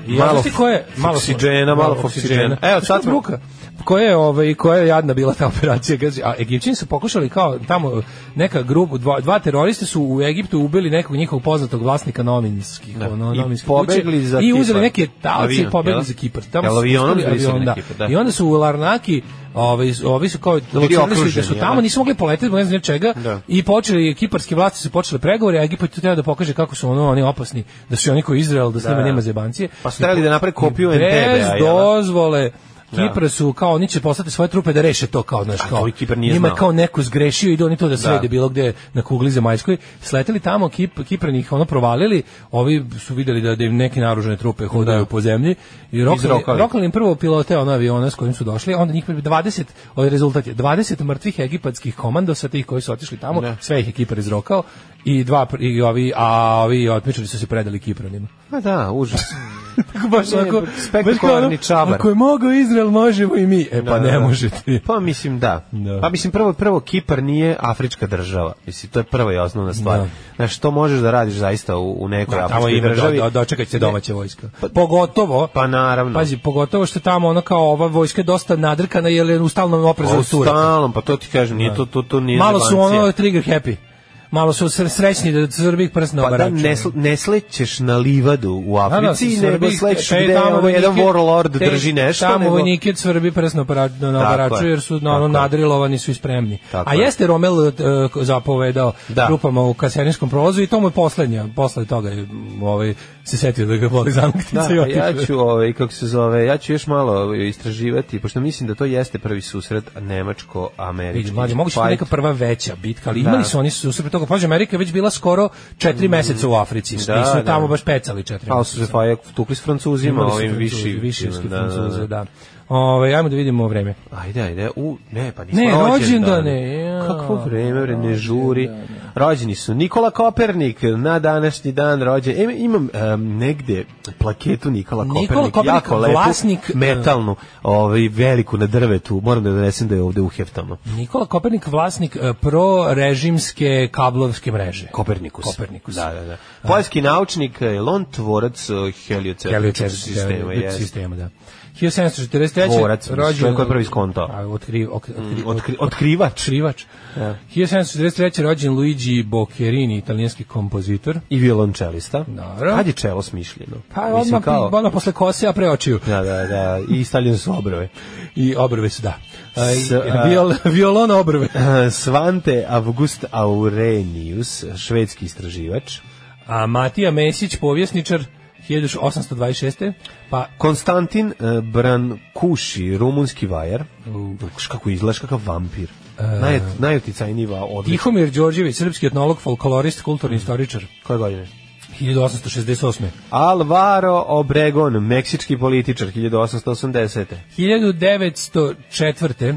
[SPEAKER 6] I malo
[SPEAKER 7] Malo
[SPEAKER 6] znaš ti ko je? Malo
[SPEAKER 7] foksidžena, malo foksidžena.
[SPEAKER 6] Evo, sad
[SPEAKER 7] smo-
[SPEAKER 6] bruka. Koja je, ovaj, koja je jadna bila ta operacija? Kaže, a Egipćani su pokušali kao tamo neka grupa, dva, dva teroriste su u Egiptu ubili nekog njihovog poznatog vlasnika novinskih,
[SPEAKER 7] Da.
[SPEAKER 6] ono,
[SPEAKER 7] I
[SPEAKER 6] novinske
[SPEAKER 7] pobegli
[SPEAKER 6] kuće
[SPEAKER 7] za
[SPEAKER 6] i uzeli
[SPEAKER 7] Kipar.
[SPEAKER 6] neke talce i
[SPEAKER 7] Avion,
[SPEAKER 6] pobegli
[SPEAKER 7] jel?
[SPEAKER 6] za Kipar.
[SPEAKER 7] Jel
[SPEAKER 6] su
[SPEAKER 7] avionom
[SPEAKER 6] spustili
[SPEAKER 7] brisali
[SPEAKER 6] avion,
[SPEAKER 7] na
[SPEAKER 6] da.
[SPEAKER 7] Kipar, da.
[SPEAKER 6] I onda su u Larnaki Ovaj, ovi su kao locirali su da su
[SPEAKER 7] okruženi,
[SPEAKER 6] tamo,
[SPEAKER 7] jel?
[SPEAKER 6] nisu mogli poletiti, zbog ne znam čega,
[SPEAKER 7] Da.
[SPEAKER 6] i počeli, kiparski vlasti su počeli pregovore, a Egipat je treba da pokaže kako su ono, oni opasni, da su oni koji Izrael, da s njima
[SPEAKER 7] da.
[SPEAKER 6] nema zebancije.
[SPEAKER 7] Pa su trebali da naprave kopiju
[SPEAKER 6] Bez
[SPEAKER 7] Entebea, jel da?
[SPEAKER 6] dozvole Kipra su kao oni će poslati svoje trupe da reše to kao naš kao.
[SPEAKER 7] to i Kipar nije
[SPEAKER 6] njima je
[SPEAKER 7] znao.
[SPEAKER 6] kao neko zgrešio i oni to da srede bilo gde na kugli zemaljskoj. Sleteli tamo Kip, Kipranih ono provalili, ovi su videli da, da im neke naružene trupe hodaju po zemlji i rokali,
[SPEAKER 7] Izrokali.
[SPEAKER 6] rokali im prvo pilote ono aviona s kojim su došli, onda njih 20, ovaj rezultat je 20 mrtvih egipatskih komandosa tih koji su otišli tamo,
[SPEAKER 7] Da.
[SPEAKER 6] sve ih je Kipar izrokao i dva pr- i ovi a ovi otmičari su se predali Kipranima.
[SPEAKER 7] Ma da, užas.
[SPEAKER 6] Tako baš
[SPEAKER 7] Ne,
[SPEAKER 6] onako,
[SPEAKER 7] spektakularni
[SPEAKER 6] baš kao ono,
[SPEAKER 7] čabar.
[SPEAKER 6] Ako je mogao Izrael, možemo i mi. E [LAUGHS] pa
[SPEAKER 7] Da, da,
[SPEAKER 6] ne
[SPEAKER 7] da.
[SPEAKER 6] možete.
[SPEAKER 7] Pa mislim da.
[SPEAKER 6] Da.
[SPEAKER 7] Pa mislim prvo prvo Kipar nije afrička država. Mislim to je prva i osnovna stvar.
[SPEAKER 6] Da.
[SPEAKER 7] Znaš što možeš da radiš zaista u, u nekoj
[SPEAKER 6] Da, Pa, tamo
[SPEAKER 7] afričkoj
[SPEAKER 6] ima
[SPEAKER 7] državi?
[SPEAKER 6] da, da, dočekat će domaća vojska. Pogotovo,
[SPEAKER 7] Pa naravno.
[SPEAKER 6] pazi, pogotovo što je tamo ono kao ova vojska je dosta nadrkana jer je u stalnom oprezu
[SPEAKER 7] Pa,
[SPEAKER 6] od Turaka.
[SPEAKER 7] stalno, pa to ti kažem, nije to to to nije.
[SPEAKER 6] Malo su
[SPEAKER 7] zebancija.
[SPEAKER 6] ono trigger happy. Malo su sre- srećni da Srbih prst na
[SPEAKER 7] Pa da,
[SPEAKER 6] obaraču.
[SPEAKER 7] ne, sl- ne slećeš na livadu u
[SPEAKER 6] Da, da,
[SPEAKER 7] Africi,
[SPEAKER 6] Srbi-
[SPEAKER 7] nego slećeš
[SPEAKER 6] te- te
[SPEAKER 7] gde
[SPEAKER 6] tamo
[SPEAKER 7] ono, jedan
[SPEAKER 6] vojnike-
[SPEAKER 7] warlord
[SPEAKER 6] te
[SPEAKER 7] drži nešto.
[SPEAKER 6] Tamo
[SPEAKER 7] nego-
[SPEAKER 6] vojnike svrbi prst na obara- na obaraču
[SPEAKER 7] je,
[SPEAKER 6] jer su na
[SPEAKER 7] tako
[SPEAKER 6] ono
[SPEAKER 7] je.
[SPEAKER 6] nadrilovani su i spremni.
[SPEAKER 7] Tako
[SPEAKER 6] A
[SPEAKER 7] je.
[SPEAKER 6] jeste Romel e, zapovedao
[SPEAKER 7] Da.
[SPEAKER 6] grupama u kaseninskom prolazu i to mu je poslednja, posle toga je, m, ovaj, se setio da ga voli
[SPEAKER 7] Da,
[SPEAKER 6] zanuktica i
[SPEAKER 7] a
[SPEAKER 6] otišao.
[SPEAKER 7] ja ću, ovaj, kako se zove, ja ću još malo ovaj, istraživati, pošto mislim da to jeste prvi susret
[SPEAKER 6] Vidi,
[SPEAKER 7] nemačko-američki.
[SPEAKER 6] mlađe, moguće da je neka prva veća bitka, ali
[SPEAKER 7] Da. Mm,
[SPEAKER 6] imali su oni su usred toga, pađe, Amerika je već bila skoro četiri meseca u Africi,
[SPEAKER 7] Da,
[SPEAKER 6] da, nisu
[SPEAKER 7] da.
[SPEAKER 6] tamo baš pecali četiri
[SPEAKER 7] Pa su se
[SPEAKER 6] meseca.
[SPEAKER 7] fajak tukli s Francuzima,
[SPEAKER 6] Imali su
[SPEAKER 7] ovim
[SPEAKER 6] Francuzi,
[SPEAKER 7] viši,
[SPEAKER 6] višivski
[SPEAKER 7] da, da, da.
[SPEAKER 6] Francuze, da. Ove, ajmo da vidimo vreme.
[SPEAKER 7] Ajde, ajde, u, ne, pa nismo
[SPEAKER 6] Ne,
[SPEAKER 7] rođendani.
[SPEAKER 6] rođendane, ja.
[SPEAKER 7] Kakvo vreme, bre, ne žuri. Rođeni su Nikola Kopernik, na današnji dan rođen. E, imam em, negde plaketu Nikola
[SPEAKER 6] Nikola
[SPEAKER 7] Kopernik,
[SPEAKER 6] Kopernik,
[SPEAKER 7] jako lepu,
[SPEAKER 6] vlasnik, e,
[SPEAKER 7] metalnu, ovaj, veliku na drvetu, moram da donesem da je ovde uheftam.
[SPEAKER 6] Nikola Kopernik, vlasnik e, prorežimske kablovske mreže.
[SPEAKER 7] Kopernikus.
[SPEAKER 6] Kopernikus.
[SPEAKER 7] Da, da, da. Poljski naučnik, je li on tvorac eh, heliocentričnog
[SPEAKER 6] Heliocentričnog
[SPEAKER 7] sistema?
[SPEAKER 6] sistema,
[SPEAKER 7] Jeste.
[SPEAKER 6] sistema, da. 1743.
[SPEAKER 7] Tvorac, mislim, čovjek koji je prvi skontao.
[SPEAKER 6] A, otkri, ok, otkri,
[SPEAKER 7] Otkri, otkrivač
[SPEAKER 6] otkrivač. 1743. rođen Luigi Boccherini, italijanski kompozitor.
[SPEAKER 7] i violončelista.
[SPEAKER 6] Dobro.
[SPEAKER 7] Kad je čelo smišljeno?
[SPEAKER 6] Pa
[SPEAKER 7] Mislim,
[SPEAKER 6] odmah,
[SPEAKER 7] kao-
[SPEAKER 6] odmah posle kose, a pre očiju.
[SPEAKER 7] Da, da, da, i stavljene su obrove. [CLEARS THROAT]
[SPEAKER 6] I obrve su, da. A, i-
[SPEAKER 7] S, a-
[SPEAKER 6] viol, violona obrve.
[SPEAKER 7] Svante August Aurenius, švedski istraživač.
[SPEAKER 6] A Matija Mesić, povjesničar, 1826. Pa
[SPEAKER 7] Konstantin eh, Brankuši, rumunski vajar. Znaš kako izgledaš, kakav vampir. Naj, najuticajniji va odličan.
[SPEAKER 6] Tihomir Đorđević, srpski etnolog, folklorist, kulturni istoričar,
[SPEAKER 7] Koje godine?
[SPEAKER 6] 1868.
[SPEAKER 7] Alvaro Obregon, meksički političar, 1880.
[SPEAKER 6] 1904.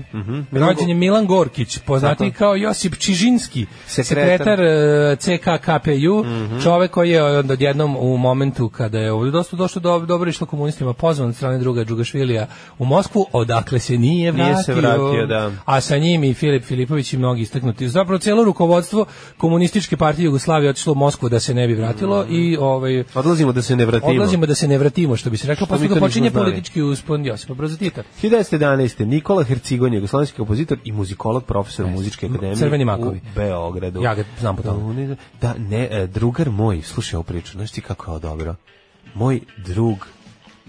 [SPEAKER 6] Rođen je Milan Gorkić, poznati
[SPEAKER 7] Mhm. Tako.
[SPEAKER 6] kao Josip Čižinski, sekretar,
[SPEAKER 7] Sekretar. Mhm.
[SPEAKER 6] eh, CKKPU, čovek koji je od- odjednom u momentu kada je ovdje dosta došlo do, dobro išlo komunistima, pozvan od strane druga Đugašvilija u Moskvu, odakle se nije vratio.
[SPEAKER 7] Nije se vratio, da.
[SPEAKER 6] A sa njim i Filip Filipović i mnogi istaknuti. Zapravo cijelo rukovodstvo komunističke partije Jugoslavije otišlo u Moskvu da se ne bi vratilo
[SPEAKER 7] Mhm.
[SPEAKER 6] i ovaj,
[SPEAKER 7] Odlazimo da se ne vratimo.
[SPEAKER 6] odlazimo da se ne vratimo, što bi se reklo,
[SPEAKER 7] Što
[SPEAKER 6] pa
[SPEAKER 7] mi
[SPEAKER 6] stoga
[SPEAKER 7] to nismo
[SPEAKER 6] počinje
[SPEAKER 7] znali?
[SPEAKER 6] politički uspon Josipa Broza Tita.
[SPEAKER 7] 1911. Nikola Hercigon, jugoslovenski kompozitor i muzikolog, profesor muzičke akademije
[SPEAKER 6] Crveni makovi.
[SPEAKER 7] u Beogradu.
[SPEAKER 6] Ja ga znam po
[SPEAKER 7] tome. Da, ne, e, drugar moj, slušaj ovu priču, znaš ti kako je ovo dobro? Moj drug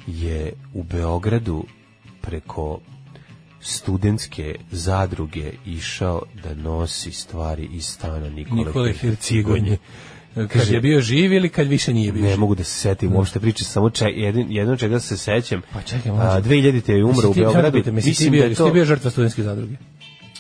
[SPEAKER 7] je u Beogradu preko studentske zadruge išao da nosi stvari iz stana Nikole,
[SPEAKER 6] Nikole Hercigonje.
[SPEAKER 7] Hercigonje.
[SPEAKER 6] Kad je bio živ ili kad više nije bio
[SPEAKER 7] Ne
[SPEAKER 6] živ?
[SPEAKER 7] mogu da se setim uopšte priče, samo če, jedin, jedno čega se sećam.
[SPEAKER 6] Pa čekaj,
[SPEAKER 7] A,
[SPEAKER 6] mlađe.
[SPEAKER 7] 2000. je umro
[SPEAKER 6] Mislim,
[SPEAKER 7] u
[SPEAKER 6] ti- čekaj,
[SPEAKER 7] Beogradu.
[SPEAKER 6] mislim, ti bio, jesi ti bio žrtva studentske zadruge?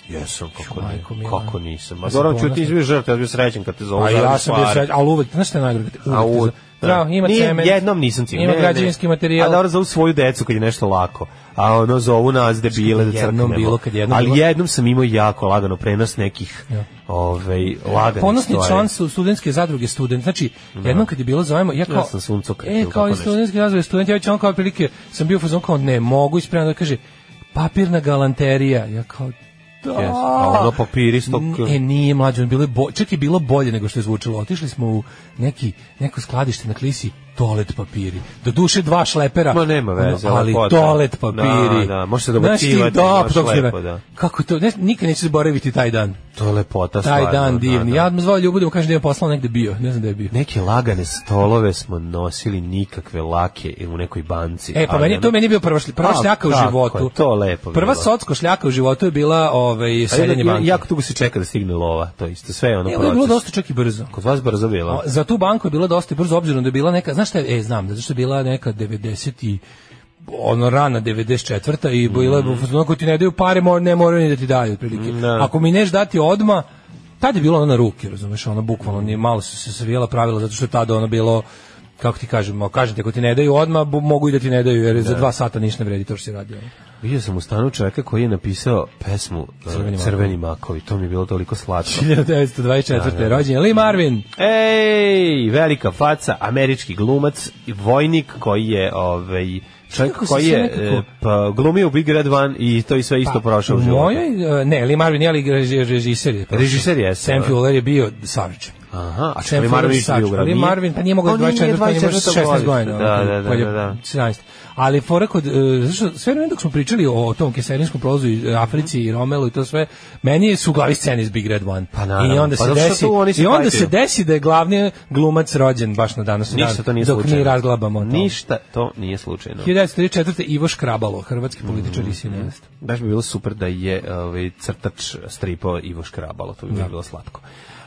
[SPEAKER 7] Jesam, kako ne,
[SPEAKER 6] Majko mila.
[SPEAKER 7] kako nisam. Ma
[SPEAKER 6] Ja sam
[SPEAKER 7] Zoran Ćuti
[SPEAKER 6] ponosan.
[SPEAKER 7] izbio žrtva, Pa ja sam bio srećen kad te zovu.
[SPEAKER 6] A
[SPEAKER 7] za
[SPEAKER 6] Pa ja
[SPEAKER 7] razne
[SPEAKER 6] sam bio
[SPEAKER 7] stvari.
[SPEAKER 6] srećan, ali uvek, znaš šta je najgore?
[SPEAKER 7] A
[SPEAKER 6] Uvek,
[SPEAKER 7] u,
[SPEAKER 6] te za- Bravo, ima
[SPEAKER 7] Nije,
[SPEAKER 6] cement.
[SPEAKER 7] Jednom nisam cimen.
[SPEAKER 6] Ima
[SPEAKER 7] ne, ne.
[SPEAKER 6] građevinski materijal.
[SPEAKER 7] A dobro, zovu svoju decu kad je nešto lako. A ono zovu nas debile da
[SPEAKER 6] Kad jednom
[SPEAKER 7] crknemo.
[SPEAKER 6] bilo, kad jednom
[SPEAKER 7] Ali
[SPEAKER 6] bilo.
[SPEAKER 7] jednom sam imao jako lagano prenos nekih ovaj, laganih
[SPEAKER 6] Ponosni
[SPEAKER 7] stvari.
[SPEAKER 6] član su studentske zadruge student. Znači, jednom kad je bilo zovemo, ja kao...
[SPEAKER 7] Ja sam suncokret
[SPEAKER 6] E,
[SPEAKER 7] ili tako
[SPEAKER 6] kao i
[SPEAKER 7] nešto.
[SPEAKER 6] studentske zadruge student, ja već on kao prilike, sam bio u fazonu kao, ne, mogu ispremno da kaže, papirna galanterija. Ja kao, da.
[SPEAKER 7] Jes, a ono papiri sto-
[SPEAKER 6] N- E, nije mlađe, bilo je bo, čak je bilo bolje nego što je zvučalo. Otišli smo u neki, neko skladište na klisi, toalet papiri. Do duše dva šlepera.
[SPEAKER 7] Ma, nema veze,
[SPEAKER 6] Ono, ali
[SPEAKER 7] lepota.
[SPEAKER 6] toalet papiri.
[SPEAKER 7] Da, da, može se
[SPEAKER 6] Znaš ti,
[SPEAKER 7] dobacivati,
[SPEAKER 6] da, pa
[SPEAKER 7] baš
[SPEAKER 6] dok se-
[SPEAKER 7] lepo, da.
[SPEAKER 6] Kako to, ne, nikad neću zaboraviti taj dan
[SPEAKER 7] To je
[SPEAKER 6] taj
[SPEAKER 7] lepota stvarno,
[SPEAKER 6] dan
[SPEAKER 7] da,
[SPEAKER 6] divni.
[SPEAKER 7] da.
[SPEAKER 6] Ja me zvao Ljubu da mu kaže da je poslao negde bio, ne znam da je bio.
[SPEAKER 7] Neke lagane stolove smo nosili nikakve lake u nekoj banci.
[SPEAKER 6] E, pa
[SPEAKER 7] ali
[SPEAKER 6] meni,
[SPEAKER 7] ono-
[SPEAKER 6] to meni je bio prva, šlj- prva
[SPEAKER 7] A,
[SPEAKER 6] šljaka u
[SPEAKER 7] kako je
[SPEAKER 6] životu.
[SPEAKER 7] to lepo
[SPEAKER 6] Prva
[SPEAKER 7] bilo.
[SPEAKER 6] socko šljaka u životu je bila ovaj,
[SPEAKER 7] A
[SPEAKER 6] seljenje
[SPEAKER 7] ja- ja-
[SPEAKER 6] banke.
[SPEAKER 7] Jako dugo se čeka da stigne lova, to isto. Sve je ono
[SPEAKER 6] E,
[SPEAKER 7] proces.
[SPEAKER 6] ovo je bilo dosta čak i brzo.
[SPEAKER 7] Kod vas brzo bilo.
[SPEAKER 6] A, Za tu banku je bilo dosta brzo, obzirom da je bila neka, znaš šta je, e, znam, zato što je bila neka 90 i ono rana 94. i bila je mm. ako ti ne daju pare, mor, ne moraju ni da ti daju otprilike.
[SPEAKER 7] da.
[SPEAKER 6] Ako mi neš dati odma, tad je bilo ono na ruke, razumeš, ono bukvalno nije malo su se savijela pravila zato što je tada ono bilo kako ti kažem, ma, kažem ti, ako ti ne daju odma, bu- mogu i da ti ne daju, jer za dva sata ništa ne vredi to što si radio.
[SPEAKER 7] Vidio sam u stanu čoveka koji je napisao pesmu e,
[SPEAKER 6] Crveni
[SPEAKER 7] Crveni,
[SPEAKER 6] makovi.
[SPEAKER 7] makovi. To mi je bilo toliko slatko.
[SPEAKER 6] 1924. rođen, Lee Marvin.
[SPEAKER 7] Ej, velika faca, američki glumac, vojnik koji je ovaj čovjek
[SPEAKER 6] Kako si
[SPEAKER 7] koji
[SPEAKER 6] sve
[SPEAKER 7] je
[SPEAKER 6] nekako- Pa,
[SPEAKER 7] e, pa, glumio u Big Red One i to i sve isto prošao u životu.
[SPEAKER 6] Mojoj, e, ne, Lee Marvin je ali reži- režiser. Je prošao.
[SPEAKER 7] Režiser je,
[SPEAKER 6] Sam
[SPEAKER 7] da.
[SPEAKER 6] Fuller je bio Savage.
[SPEAKER 7] Aha, a
[SPEAKER 6] Sam
[SPEAKER 7] čekaj,
[SPEAKER 6] Fuller
[SPEAKER 7] Marvin
[SPEAKER 6] je
[SPEAKER 7] je bio
[SPEAKER 6] Savage.
[SPEAKER 7] u
[SPEAKER 6] Ali
[SPEAKER 7] Grammy.
[SPEAKER 6] Marvin, pa nije mogao
[SPEAKER 7] On nije
[SPEAKER 6] 24, pa nije mogao
[SPEAKER 7] 24
[SPEAKER 6] 16 godina.
[SPEAKER 7] Da, da, da,
[SPEAKER 6] pa je
[SPEAKER 7] da, da.
[SPEAKER 6] 17. Ali fora kod, e, znaš što, sve vreme dok smo pričali o tom keserinskom prolazu i e, Africi i Romelu i to sve, meni su u glavi scene iz Big Red One.
[SPEAKER 7] Pa naravno,
[SPEAKER 6] I onda
[SPEAKER 7] pa
[SPEAKER 6] se
[SPEAKER 7] zato što
[SPEAKER 6] desi,
[SPEAKER 7] tu oni se
[SPEAKER 6] i onda
[SPEAKER 7] fajtaju.
[SPEAKER 6] se desi da je glavni glumac rođen baš na danas.
[SPEAKER 7] Ništa to nije
[SPEAKER 6] dok
[SPEAKER 7] slučajno.
[SPEAKER 6] mi razglabamo. o tome.
[SPEAKER 7] Ništa to nije slučajno.
[SPEAKER 6] 1934. Ivo Škrabalo, hrvatski političar
[SPEAKER 7] Mm.
[SPEAKER 6] i sinest.
[SPEAKER 7] Baš bi bilo super da je ovaj, crtač stripao Ivo Škrabalo, to bi bilo slatko.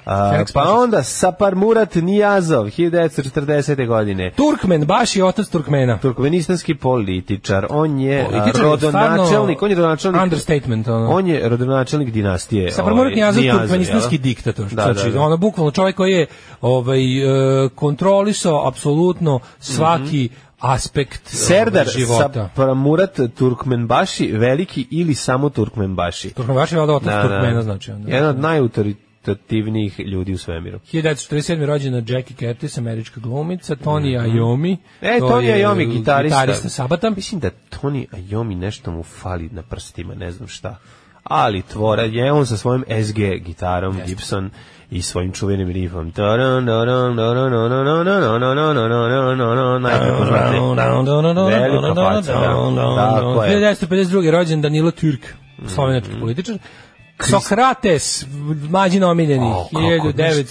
[SPEAKER 7] A,
[SPEAKER 6] Felix
[SPEAKER 7] pa
[SPEAKER 6] Pašić.
[SPEAKER 7] onda Sapar Murat Nijazov, 1940. godine.
[SPEAKER 6] Turkmen, baš je otac Turkmena.
[SPEAKER 7] Turkmenistanski političar. On je a,
[SPEAKER 6] Političar je
[SPEAKER 7] rodonačelnik,
[SPEAKER 6] stvarno
[SPEAKER 7] on je rodonačelnik
[SPEAKER 6] understatement, ono.
[SPEAKER 7] On je rodonačelnik dinastije.
[SPEAKER 6] Sa prvo
[SPEAKER 7] ovaj,
[SPEAKER 6] Nijazov
[SPEAKER 7] Nijazov,
[SPEAKER 6] turkmenistanski
[SPEAKER 7] jel?
[SPEAKER 6] diktator.
[SPEAKER 7] Da,
[SPEAKER 6] znači,
[SPEAKER 7] da, da.
[SPEAKER 6] ono bukvalno čovjek koji je ovaj, e, kontrolisao apsolutno svaki aspekt ovaj,
[SPEAKER 7] Mhm. Serdar
[SPEAKER 6] života.
[SPEAKER 7] Sapar Murat Turkmenbaši, veliki ili samo Turkmenbaši.
[SPEAKER 6] Turkmen baš je valjda otac Turkmena, znači. Onda.
[SPEAKER 7] Jedan od najautoritativnijih ljudi u svemiru.
[SPEAKER 6] 1947. rođena Jackie Curtis, američka glumica, Tony Iommi.
[SPEAKER 7] E,
[SPEAKER 6] to
[SPEAKER 7] Tony
[SPEAKER 6] je
[SPEAKER 7] Iommi, gitarista.
[SPEAKER 6] Gitarista Sabata.
[SPEAKER 7] Mislim da Tony Iommi nešto mu fali na prstima, ne znam šta. Ali tvora je on sa svojim SG gitarom Gibson i svojim čuvenim riffom. Najkako znate. Velika faca, da. Tako je. Mhm.
[SPEAKER 6] 1952. rođen Danilo Türk, slovenački političar. Sokrates, mlađi omiljeni,
[SPEAKER 7] O, kako, vidiš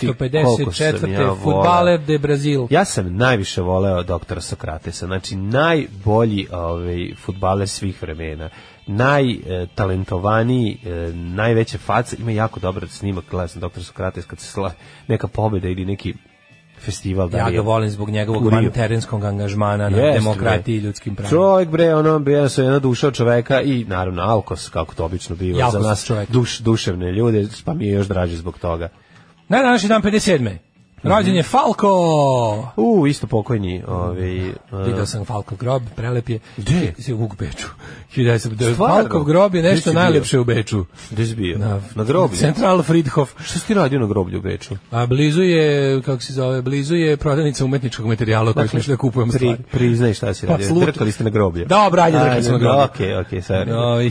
[SPEAKER 7] ti koliko sam ja
[SPEAKER 6] 1954.
[SPEAKER 7] voleo.
[SPEAKER 6] futbaler de Brazil.
[SPEAKER 7] Ja sam najviše voleo doktora Sokratesa, znači najbolji ovaj, futbaler svih vremena, najtalentovaniji, e, najveće face, ima jako dobar snimak, gledao sam doktor Sokrates kad se sla, neka pobeda ili neki festival. da
[SPEAKER 6] Ja
[SPEAKER 7] li je.
[SPEAKER 6] ga volim zbog njegovog
[SPEAKER 7] U Riju.
[SPEAKER 6] vanterenskog angažmana na
[SPEAKER 7] Jeste,
[SPEAKER 6] demokratiji i
[SPEAKER 7] bre.
[SPEAKER 6] ljudskim pravima.
[SPEAKER 7] Čovjek bre, ono, bila su jedna duša od čoveka i naravno alkos, kako to obično biva
[SPEAKER 6] Jalkos
[SPEAKER 7] za nas
[SPEAKER 6] čovek.
[SPEAKER 7] duš, duševne ljude, pa mi je još draže zbog toga.
[SPEAKER 6] Na današnji dan 57.
[SPEAKER 7] Mhm.
[SPEAKER 6] Rođen je Falko!
[SPEAKER 7] U, isto pokojni, ovaj,
[SPEAKER 6] Video sam Falkov grob, prelep je.
[SPEAKER 7] Gde?
[SPEAKER 6] Si u Beču. 1900.
[SPEAKER 7] Stvarno?
[SPEAKER 6] Falkov grob je
[SPEAKER 7] Gde
[SPEAKER 6] nešto
[SPEAKER 7] si bio?
[SPEAKER 6] najlepše u Beču.
[SPEAKER 7] Gde si bio?
[SPEAKER 6] Na,
[SPEAKER 7] na groblju?
[SPEAKER 6] Central Friedhof.
[SPEAKER 7] Šta si ti radio na groblju u Beču?
[SPEAKER 6] A blizu je, kako se zove, blizu je prodavnica umetničkog materijala koju smo išli da kupujemo
[SPEAKER 7] Pri,
[SPEAKER 6] stvari.
[SPEAKER 7] priznaj šta si
[SPEAKER 6] Pa
[SPEAKER 7] radio.
[SPEAKER 6] slut-
[SPEAKER 7] Dakle, Drkali ste na groblje.
[SPEAKER 6] Dobro, ajde, drkali
[SPEAKER 7] Ajde,
[SPEAKER 6] smo na groblje.
[SPEAKER 7] Okej, okej, sorry.
[SPEAKER 6] No, i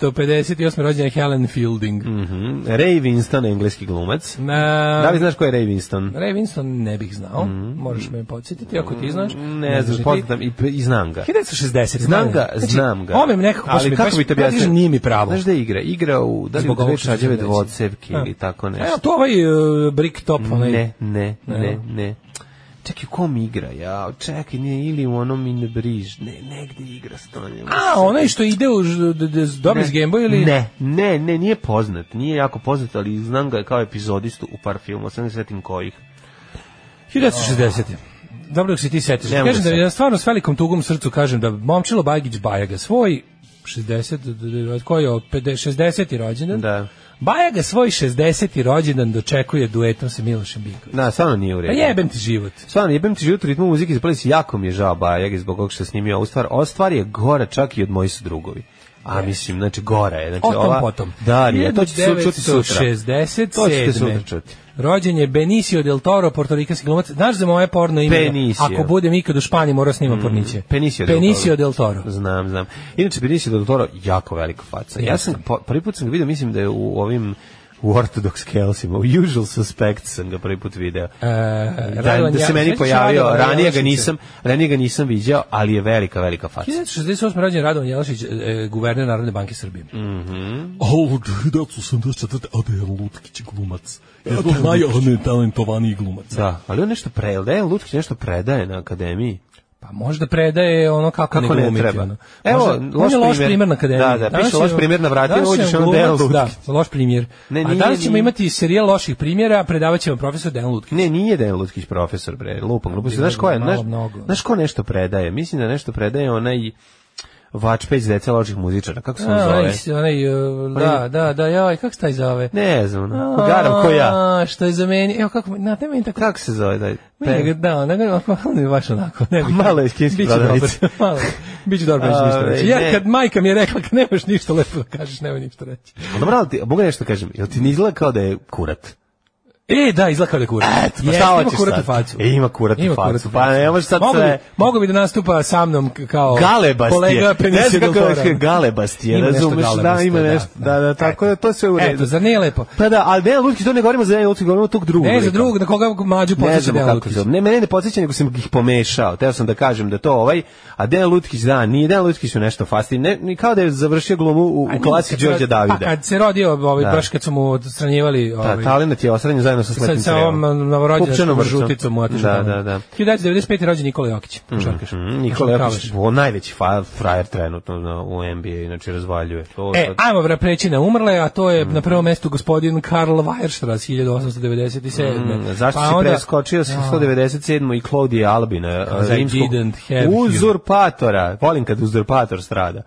[SPEAKER 6] 1958. rođena je Helen Fielding.
[SPEAKER 7] Mhm. Ray Winston, engleski glumac.
[SPEAKER 6] Na-
[SPEAKER 7] Da li Mm. znaš ko je Ray Winston?
[SPEAKER 6] Ray Winston ne bih znao, moraš me podsjetiti, ako ti znaš.
[SPEAKER 7] Ne znam,
[SPEAKER 6] ni ti.
[SPEAKER 7] poznatam i, i znam ga.
[SPEAKER 6] 1960.
[SPEAKER 7] Mm. Znam ga,
[SPEAKER 6] Znači,
[SPEAKER 7] znam ga.
[SPEAKER 6] Ome mi nekako baš
[SPEAKER 7] Ali
[SPEAKER 6] mi- baš-
[SPEAKER 7] kako bi te
[SPEAKER 6] ja kažem,
[SPEAKER 7] objasnio?
[SPEAKER 6] Nije mi pravo.
[SPEAKER 7] Znaš da igra? Igra u, da li u
[SPEAKER 6] Zbog ovog
[SPEAKER 7] dve
[SPEAKER 6] što ću
[SPEAKER 7] čađeve
[SPEAKER 6] reći.
[SPEAKER 7] dvocevke ili
[SPEAKER 6] A.
[SPEAKER 7] tako
[SPEAKER 6] Evo,
[SPEAKER 7] nešto.
[SPEAKER 6] to ovaj uh, brick top, onaj.
[SPEAKER 7] Ne, ne, ne,
[SPEAKER 6] Evo.
[SPEAKER 7] ne. Čekaj, u kom igra? Ja, čekaj, nije ili u onom in the briž. Ne, negde igra stonje.
[SPEAKER 6] A, onaj što ide u ž- d- d- dobri s Game Boy ili...
[SPEAKER 7] Ne, ne, ne, nije poznat, nije jako poznat, ali znam ga kao epizodistu u par filmova, sam ne svetim kojih.
[SPEAKER 6] 1960. Dobro dok se ti setiš.
[SPEAKER 7] Ne mogu
[SPEAKER 6] Kažem da
[SPEAKER 7] se.
[SPEAKER 6] ja stvarno s velikom tugom u srcu kažem da Momčilo Bagić Bajaga svoj 60, d- d- d- koji je od 50 60. rođendan.
[SPEAKER 7] Da.
[SPEAKER 6] Baja ga svoj 60. rođendan dočekuje duetom sa Milošem Bikovićem.
[SPEAKER 7] Na, stvarno nije u
[SPEAKER 6] Pa
[SPEAKER 7] redu.
[SPEAKER 6] jebem ti život.
[SPEAKER 7] Stvarno, jebem ti život u ritmu muzike, zapali si jako mi je žao Bajeg zbog ovog što je snimio ovu stvar. Ova stvar je gora čak i od moji su drugovi. A mislim, znači gora je. Znači,
[SPEAKER 6] O tom
[SPEAKER 7] ova,
[SPEAKER 6] potom.
[SPEAKER 7] Da, nije, to će se čuti sutra.
[SPEAKER 6] 1967.
[SPEAKER 7] To ćete sutra čuti.
[SPEAKER 6] Rođen je Benicio del Toro, portorikanski glumac. Znaš za moje porno ime?
[SPEAKER 7] Benicio. Mm,
[SPEAKER 6] Ako budem ikad u Španiji, mora snima porniće.
[SPEAKER 7] Benicio del
[SPEAKER 6] Benicio
[SPEAKER 7] Toro.
[SPEAKER 6] del Toro.
[SPEAKER 7] Znam, znam. Inače, Benicio del Toro jako velika faca. Ja sam, po- prvi put sam ga vidio, mislim da je u ovim u Orthodox Kelsima, u Usual Suspects sam ga prvi put video.
[SPEAKER 6] E,
[SPEAKER 7] da,
[SPEAKER 6] Radovan
[SPEAKER 7] da se
[SPEAKER 6] Ja-
[SPEAKER 7] meni
[SPEAKER 6] sećaš
[SPEAKER 7] pojavio,
[SPEAKER 6] Radovana
[SPEAKER 7] ranije ga
[SPEAKER 6] Jelačića?
[SPEAKER 7] nisam, ranije ga nisam viđao, ali je velika, velika faca.
[SPEAKER 6] 1968. rođen Radovan Jelašić, e, e, guverner Narodne banke Srbije.
[SPEAKER 9] Au, 1984. Adrian Lutkić glumac. Jedno od najtalentovanijih glumaca.
[SPEAKER 7] Da, ali on nešto predaje, da je Lutkić nešto predaje na akademiji.
[SPEAKER 6] Pa možda predaje ono kako,
[SPEAKER 7] Kako
[SPEAKER 6] ne
[SPEAKER 7] ne
[SPEAKER 6] glumiti.
[SPEAKER 7] treba.
[SPEAKER 6] ono.
[SPEAKER 7] Evo,
[SPEAKER 6] Možda- on
[SPEAKER 7] loš
[SPEAKER 6] je loš
[SPEAKER 7] primer.
[SPEAKER 6] primjer na akademiji.
[SPEAKER 7] Da, da,
[SPEAKER 6] Danas
[SPEAKER 7] piše
[SPEAKER 6] je-
[SPEAKER 7] loš primer na vratima,
[SPEAKER 6] danas
[SPEAKER 7] uđeš,
[SPEAKER 6] je
[SPEAKER 7] ono, Dejan
[SPEAKER 6] glumac,
[SPEAKER 7] Lutkić.
[SPEAKER 6] Da, loš primjer.
[SPEAKER 7] Ne,
[SPEAKER 6] A
[SPEAKER 7] nije,
[SPEAKER 6] danas ćemo
[SPEAKER 7] nije.
[SPEAKER 6] imati serijal loših primjera, predavat će vam profesor Dejan Lutkić.
[SPEAKER 7] Ne, nije da je Lutkić profesor, bre, lupam, lupam. Znaš ko je,
[SPEAKER 6] Bilo bi
[SPEAKER 7] znaš,
[SPEAKER 6] malo mnogo.
[SPEAKER 7] znaš ko nešto predaje? Mislim da nešto predaje onaj Vačpeć deca loših muzičara, kako se on
[SPEAKER 6] A,
[SPEAKER 7] zove?
[SPEAKER 6] onaj, onaj, e, da, da, da, joj, kako se taj zove?
[SPEAKER 7] Ne znam, garav ko ja.
[SPEAKER 6] A, Što je za meni, evo kako, na te meni tako...
[SPEAKER 7] Kako se zove? Daj,
[SPEAKER 6] Meni ga, da, ne ga, malo mi je baš onako. Ne, bi-
[SPEAKER 7] Malo je s kimski
[SPEAKER 6] Biće dobro,
[SPEAKER 7] prodavnici.
[SPEAKER 6] malo, biće dobro, neću ništa
[SPEAKER 7] Ove,
[SPEAKER 6] reći. Ja,
[SPEAKER 7] ne.
[SPEAKER 6] kad majka mi je rekla, kad nemaš ništa lepo da kažeš, nemoj ništa reći.
[SPEAKER 7] A Dobro, ali ti, mogu nešto kažem, jel ti ne izgleda kao da je kurat?
[SPEAKER 6] E, da, izlakao da kurac.
[SPEAKER 7] Eto, pa
[SPEAKER 6] Jeste,
[SPEAKER 7] šta
[SPEAKER 6] ima
[SPEAKER 7] hoćeš
[SPEAKER 6] kurat u
[SPEAKER 7] sad?
[SPEAKER 6] facu.
[SPEAKER 7] E, ima kurat u facu,
[SPEAKER 6] kurat u
[SPEAKER 7] pa ne možeš sad
[SPEAKER 6] Mogu
[SPEAKER 7] sve-
[SPEAKER 6] Bi, mogu bi da nastupa sa mnom k- kao
[SPEAKER 7] Galebast je.
[SPEAKER 6] kolega Penisio
[SPEAKER 7] Ne znam kako je
[SPEAKER 6] Dotora.
[SPEAKER 7] galebast je,
[SPEAKER 6] Ima nešto
[SPEAKER 7] razumeš? Da,
[SPEAKER 6] galebasto,
[SPEAKER 7] ima
[SPEAKER 6] da,
[SPEAKER 7] nešto. Da, da, tako da to sve u redu.
[SPEAKER 6] Eto, zar nije lepo?
[SPEAKER 7] Pa da, ali Dejan Lutkić, to ne govorimo za Dejan Lutkić, govorimo tog drugog.
[SPEAKER 6] Ne, za
[SPEAKER 7] lika.
[SPEAKER 6] drugog, na koga mlađu
[SPEAKER 7] Ne
[SPEAKER 6] posjeća
[SPEAKER 7] znam
[SPEAKER 6] Dejan
[SPEAKER 7] kako
[SPEAKER 6] Lutkić.
[SPEAKER 7] se zove. Ne, mene ne podsjeća, nego sam ih pomešao. Teo sam da kažem da to ovaj, a Dejan Lutkić, da, nije Dejan Lutkić u nešto fasti. Ne, ni kao da je završio glumu u, u klasi
[SPEAKER 6] Kad se
[SPEAKER 7] Đorđa
[SPEAKER 6] rod- Pa
[SPEAKER 7] Davida.
[SPEAKER 6] kad se rodio, ovaj,
[SPEAKER 7] Da.
[SPEAKER 6] baš kad su mu odstranjivali... Ovaj,
[SPEAKER 7] Da, talent je osranjen zajedno sa ehm,
[SPEAKER 6] sa,
[SPEAKER 7] slepim
[SPEAKER 6] sa
[SPEAKER 7] crevom.
[SPEAKER 6] ovom
[SPEAKER 7] Pupčanom
[SPEAKER 6] novorođenom
[SPEAKER 7] vrpcom.
[SPEAKER 6] žuticom mu otišao.
[SPEAKER 7] Da,
[SPEAKER 6] tamo.
[SPEAKER 7] da, da.
[SPEAKER 6] 1995. rođen Nikola Jokić, košarkaš.
[SPEAKER 7] Mm, Nikola Jokić,
[SPEAKER 6] Košarkaš.
[SPEAKER 7] o, najveći fa- frajer trenutno na- u NBA, znači razvaljuje. To
[SPEAKER 6] E,
[SPEAKER 7] sad-
[SPEAKER 6] ajmo vra preći na umrle, a to
[SPEAKER 7] Mhm.
[SPEAKER 6] je na prvom mestu gospodin Karl Weierstrass 1897.
[SPEAKER 7] Mm, zašto
[SPEAKER 6] Pa
[SPEAKER 7] si
[SPEAKER 6] onda-
[SPEAKER 7] preskočio sa 197. i Claudije Albina, uh,
[SPEAKER 6] Because I
[SPEAKER 7] rimskog
[SPEAKER 6] didn't have you.
[SPEAKER 7] uzurpatora. Volim kad uzurpator strada.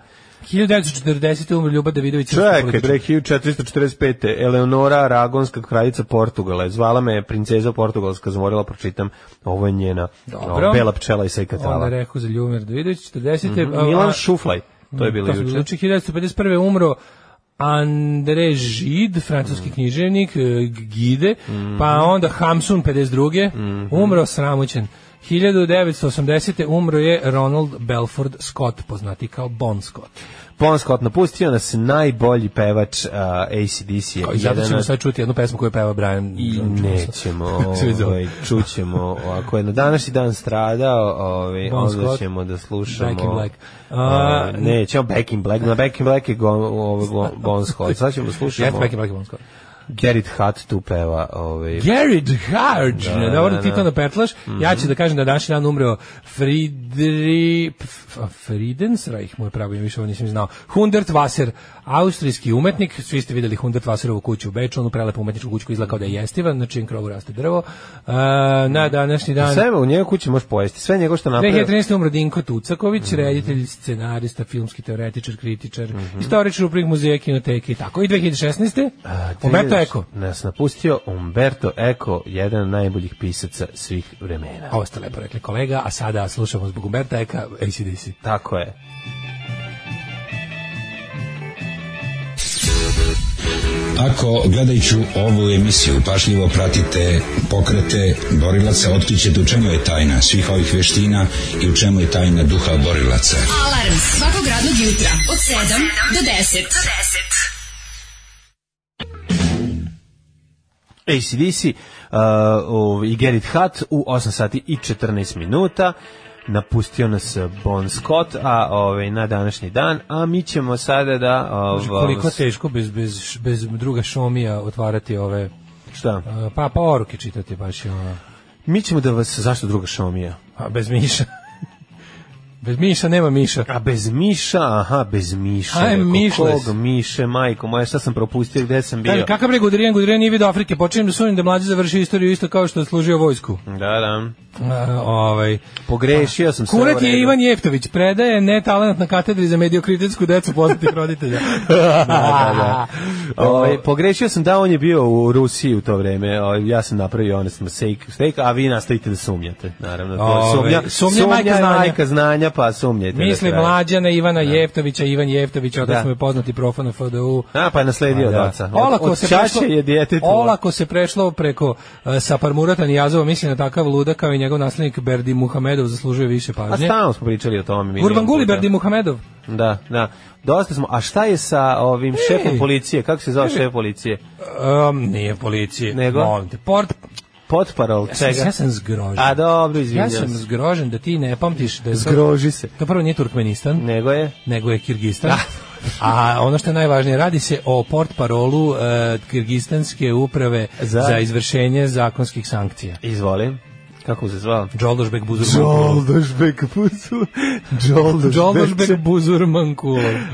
[SPEAKER 6] 1940. umre Ljuba Davidović.
[SPEAKER 7] Čekaj,
[SPEAKER 6] političar.
[SPEAKER 7] bre, 1445. Eleonora Aragonska kraljica Portugala. je Zvala me je princeza Portugalska, zamorila, pročitam. Ovo je njena
[SPEAKER 6] Dobro.
[SPEAKER 7] o, bela pčela i sekatala.
[SPEAKER 6] Onda rekao za Ljubomir Davidović, 40. a-
[SPEAKER 7] Mhm. Milan
[SPEAKER 6] a- Mm,
[SPEAKER 7] Šuflaj, to je bilo
[SPEAKER 6] su znači,
[SPEAKER 7] juče.
[SPEAKER 6] 1951. umro André Žid, francuski književnik, e, Gide,
[SPEAKER 7] Mhm.
[SPEAKER 6] pa onda Hamsun 52. Umro sramućen. 1980. umro je Ronald Belford Scott, poznati kao Bon Scott.
[SPEAKER 7] Bon Scott napustio nas najbolji pevač uh, ACDC.
[SPEAKER 6] I zato ćemo sad čuti jednu pesmu koju peva Brian
[SPEAKER 7] I
[SPEAKER 6] Johnson.
[SPEAKER 7] nećemo,
[SPEAKER 6] [LAUGHS] Svi zovu.
[SPEAKER 7] ovaj, čućemo, ako je na današnji dan stradao, ovaj,
[SPEAKER 6] Bon
[SPEAKER 7] onda
[SPEAKER 6] Scott,
[SPEAKER 7] ćemo da slušamo...
[SPEAKER 6] Back in Black. A,
[SPEAKER 7] A, nećemo Back in Black, na Back in Black je go, ovaj, go, Bon Scott, sad ćemo da slušamo...
[SPEAKER 6] Jeste Back in Black i Bon Scott.
[SPEAKER 7] Gerrit Hut tu peva, ovaj,
[SPEAKER 6] Gerrit Hard, da, ono dobro
[SPEAKER 7] da,
[SPEAKER 6] ti to
[SPEAKER 7] da. Mhm.
[SPEAKER 6] napetlaš. Ja ću da kažem da je današnji dan umreo Friedri... F- Friedensreich, moje pravo ime, više ovo nisam znao. Hundert Wasser, austrijski umetnik. Svi ste videli Hundert Wasserovu kuću u Beču, onu prelepu umetničku kuću koja izgleda kao da je jestiva, na čijem krovu raste drvo. E, na današnji dan...
[SPEAKER 7] sve u njegovoj kući možeš pojesti, sve njegov što napravio...
[SPEAKER 6] 2013. umro Dinko Tucaković,
[SPEAKER 7] Mhm.
[SPEAKER 6] reditelj, scenarista, filmski teoretičar, kritičar,
[SPEAKER 7] Mhm.
[SPEAKER 6] istoričar upravih muzeja, kinoteke i tako. I 2016. Umberto Eko.
[SPEAKER 7] Nas napustio Umberto Eco, jedan od najboljih pisaca svih vremena.
[SPEAKER 6] Ovo ste lepo rekli kolega, a sada slušamo zbog Umberta Eka ACDC.
[SPEAKER 7] Tako je.
[SPEAKER 10] Ako gledajući ovu emisiju pašljivo pratite pokrete borilaca, otkrićete u čemu je tajna svih ovih veština i u čemu je tajna duha borilaca.
[SPEAKER 5] Alarm svakog radnog jutra od 7 do 10.
[SPEAKER 7] ACDC uh, ov- i Gerrit Hut u 8 sati i 14 minuta napustio nas uh, Bon Scott a ovaj na današnji dan a mi ćemo sada da
[SPEAKER 6] Kaže,
[SPEAKER 7] ovaj
[SPEAKER 6] Znači, Koliko teško bez, bez, bez druga šomija otvarati ove e,
[SPEAKER 7] šta
[SPEAKER 6] pa pa oruke čitati baš je ono,
[SPEAKER 7] Pa, mi ćemo da vas zašto druga šomija
[SPEAKER 6] a bez miša. [LAUGHS] Bez Miša nema Miša.
[SPEAKER 7] A bez Miša, aha, bez Miša.
[SPEAKER 6] Aj,
[SPEAKER 7] Rekao,
[SPEAKER 6] Mišles.
[SPEAKER 7] Kog Miše, majko moja, šta sam propustio, gde sam bio?
[SPEAKER 6] Kaže, kakav bre Gudrijan, Gudrijan nije vidio Afrike, počinjem da sunim da mlađi završi istoriju isto kao što je služio vojsku.
[SPEAKER 7] Da, da.
[SPEAKER 6] A, ovaj.
[SPEAKER 7] Pogrešio sam sve.
[SPEAKER 6] Kuret
[SPEAKER 7] u redu.
[SPEAKER 6] je Ivan Jeftović, predaje ne talent na katedri za mediokritetsku decu poznatih
[SPEAKER 7] [LAUGHS]
[SPEAKER 6] roditelja. da,
[SPEAKER 7] da, [LAUGHS] Ovaj, pogrešio sam da on je bio u Rusiji u to vreme. Ovaj, ja sam napravio honest mistake, mistake, a vi nastavite da sumnjate. Naravno, to je
[SPEAKER 6] Ovaj,
[SPEAKER 7] sumnja,
[SPEAKER 6] sumnja je majka znanja.
[SPEAKER 7] majka znanja, pa sumnjajte. na
[SPEAKER 6] Misli
[SPEAKER 7] kraju.
[SPEAKER 6] mlađana Ivana Jeftovića, Ivan Jeftović, odnosno smo je poznati profan u FDU.
[SPEAKER 7] A, pa je nasledio od oca. Od,
[SPEAKER 6] Olako
[SPEAKER 7] od
[SPEAKER 6] se
[SPEAKER 7] čače
[SPEAKER 6] prešlo,
[SPEAKER 7] je djetetovo.
[SPEAKER 6] Olako se prešlo preko uh, Saparmurata Nijazova, mislim na takav luda kao i njegov naslednik Berdi Muhamedov zaslužuje više
[SPEAKER 7] A
[SPEAKER 6] pažnje.
[SPEAKER 7] stalno smo pričali o tome. milion
[SPEAKER 6] Gurbanguly
[SPEAKER 7] puta.
[SPEAKER 6] Berdi Muhamedov.
[SPEAKER 7] Da, da. Dosta smo. A šta je sa ovim šefom policije? Kako se zove šef policije?
[SPEAKER 6] Um, nije policije.
[SPEAKER 7] Nego?
[SPEAKER 6] Molim te, port,
[SPEAKER 7] Potparol čega?
[SPEAKER 6] ja sam zgrožen.
[SPEAKER 7] A dobro,
[SPEAKER 6] ja
[SPEAKER 7] izvinjam
[SPEAKER 6] sam
[SPEAKER 7] se.
[SPEAKER 6] zgrožen da ti ne pamtiš da je to-
[SPEAKER 7] Zgroži se.
[SPEAKER 6] To prvo nije Turkmenistan.
[SPEAKER 7] Nego je?
[SPEAKER 6] nego je
[SPEAKER 7] [LAUGHS]
[SPEAKER 6] Kirgistan. A ono što je najvažnije, radi se o port parolu e, Kirgistanske uprave
[SPEAKER 7] Za?
[SPEAKER 6] za, izvršenje zakonskih sankcija.
[SPEAKER 7] Izvolim. Kako se zvao?
[SPEAKER 6] Đoldošbek Buzurmankulov.
[SPEAKER 7] Đoldošbek Pucu. Đoldošbek.
[SPEAKER 6] Đoldošbek Buzurmankulov. E,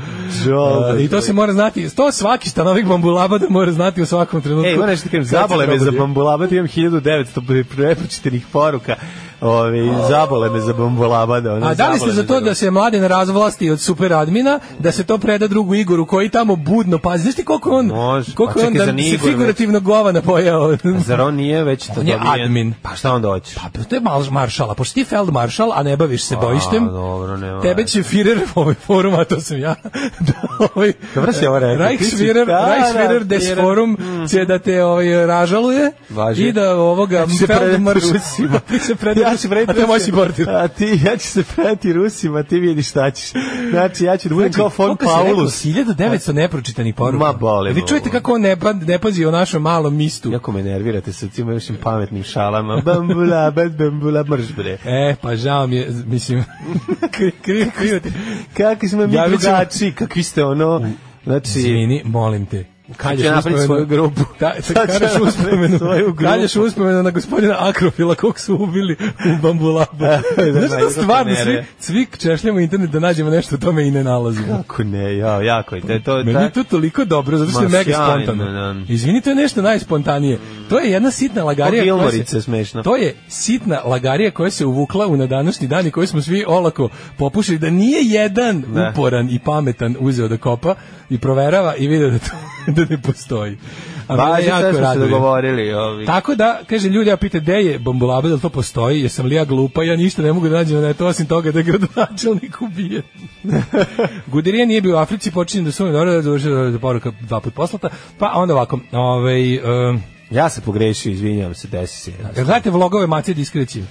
[SPEAKER 6] I to se mora znati, to svaki stanovnik Bambulabada mora znati u svakom trenutku.
[SPEAKER 7] Ej, E, moram nešto kažem,
[SPEAKER 6] Kad se
[SPEAKER 7] zabole me za
[SPEAKER 6] probudio.
[SPEAKER 7] bambulabad, imam 1900 prepočitenih poruka. Ove, zabole me za bambulabad. ono,
[SPEAKER 6] A da li ste
[SPEAKER 7] zabole
[SPEAKER 6] za
[SPEAKER 7] me
[SPEAKER 6] to da se mladen razvlasti od super admina, da se to preda drugu Igoru koji tamo budno pazi? Znaš ti koliko je on,
[SPEAKER 7] Može.
[SPEAKER 6] koliko
[SPEAKER 7] Pa
[SPEAKER 6] je on
[SPEAKER 7] čekaj,
[SPEAKER 6] da
[SPEAKER 7] za ni
[SPEAKER 6] se
[SPEAKER 7] Igor, već.
[SPEAKER 6] figurativno govana pojao?
[SPEAKER 7] Zar on nije već to
[SPEAKER 6] On je
[SPEAKER 7] dobijen?
[SPEAKER 6] admin.
[SPEAKER 7] Pa šta onda hoćeš?
[SPEAKER 6] Pa to je mal maršala, pošto ti feldmaršal, a ne baviš se bojištem.
[SPEAKER 7] A, dobro, nema
[SPEAKER 6] Tebe
[SPEAKER 7] veze.
[SPEAKER 6] će Führer ovaj forum, a to sam ja. [LAUGHS] da, ovaj,
[SPEAKER 7] Dobro si ovo rekao, ti si
[SPEAKER 6] Reichsführer,
[SPEAKER 7] stara,
[SPEAKER 6] Reichsführer des
[SPEAKER 7] Führer. Mhm.
[SPEAKER 6] Forum će da te ovaj, ražaluje
[SPEAKER 7] Važi.
[SPEAKER 6] i da ovoga
[SPEAKER 7] se predati
[SPEAKER 6] feldmaršal... [LAUGHS]
[SPEAKER 7] Rusima.
[SPEAKER 6] ti se predaš,
[SPEAKER 7] ja ću predati
[SPEAKER 6] a te moći
[SPEAKER 7] Rusima.
[SPEAKER 6] bortir.
[SPEAKER 7] A ti, ja ću se predati Rusima, ti vidiš šta ćeš. Znači, ja ću da budem [LAUGHS] kao von
[SPEAKER 6] Koliko si rekao?
[SPEAKER 7] Paulus.
[SPEAKER 6] 1900 nepročitanih poruka.
[SPEAKER 7] Ma, boli
[SPEAKER 6] Vi
[SPEAKER 7] me
[SPEAKER 6] čujete
[SPEAKER 7] ovo.
[SPEAKER 6] kako on ne, pa- ne pazi o našem malom mistu.
[SPEAKER 7] Jako me nervirate sa tim vašim pametnim šalama. Bambula, bad bambula, mrš bre.
[SPEAKER 6] E, pa žao mi je, mislim, [LAUGHS] kri- krivo, krivo ti.
[SPEAKER 7] Kakvi smo mi
[SPEAKER 6] Javit ćemo-
[SPEAKER 7] drugačiji, kakvi ste ono... Znači,
[SPEAKER 6] Izvini, molim te.
[SPEAKER 7] ću
[SPEAKER 6] Kalješ
[SPEAKER 7] napraviti
[SPEAKER 6] uspomenu-
[SPEAKER 7] svoju grupu.
[SPEAKER 6] Ta,
[SPEAKER 7] Sad ću
[SPEAKER 6] kalješ
[SPEAKER 7] napraviti
[SPEAKER 6] uspomenu,
[SPEAKER 7] svoju grupu.
[SPEAKER 6] kalješ uspomenu na gospodina Akrofila kog su ubili u Bambulabu. Znaš
[SPEAKER 7] [LAUGHS] da,
[SPEAKER 6] da stvarno
[SPEAKER 7] kako
[SPEAKER 6] svi,
[SPEAKER 7] nerve.
[SPEAKER 6] svi češljamo internet da nađemo nešto o tome i ne nalazimo.
[SPEAKER 7] kako ne, jao, jako je. To, je- to, je
[SPEAKER 6] Meni je
[SPEAKER 7] tak-
[SPEAKER 6] to toliko dobro, zato što
[SPEAKER 7] Ma,
[SPEAKER 6] je mega
[SPEAKER 7] sjajno,
[SPEAKER 6] spontano.
[SPEAKER 7] da.
[SPEAKER 6] Izvini, to je nešto najspontanije. To je jedna sitna lagarija.
[SPEAKER 7] Ko
[SPEAKER 6] koja se-
[SPEAKER 7] Gilmorice, smešno.
[SPEAKER 6] To je sitna lagarija koja se uvukla u na današnji dan i koju smo svi olako popušili da nije jedan
[SPEAKER 7] Da.
[SPEAKER 6] uporan i pametan uzeo da kopa i proverava i vidio da to [LAUGHS] da ne postoji. A mene
[SPEAKER 7] Važi, sve Pa, smo se
[SPEAKER 6] raduje.
[SPEAKER 7] dogovorili. Ovi.
[SPEAKER 6] Tako da, kaže, ljudi, ja pite, gde je bambulaba, da li to postoji, jesam li ja glupa, ja ništa ne mogu da nađem na to, osim toga da je gradonačelnik [LAUGHS] ubijen. Gudirija nije bio u Africi, počinjem da su mi dobro da došla da poruka dva put poslata, pa onda ovako, ovaj, um,
[SPEAKER 7] Ja se pogrešio, izvinjavam se, desi se. jedan.
[SPEAKER 6] jel gledate vlogove Macije Diskrecije?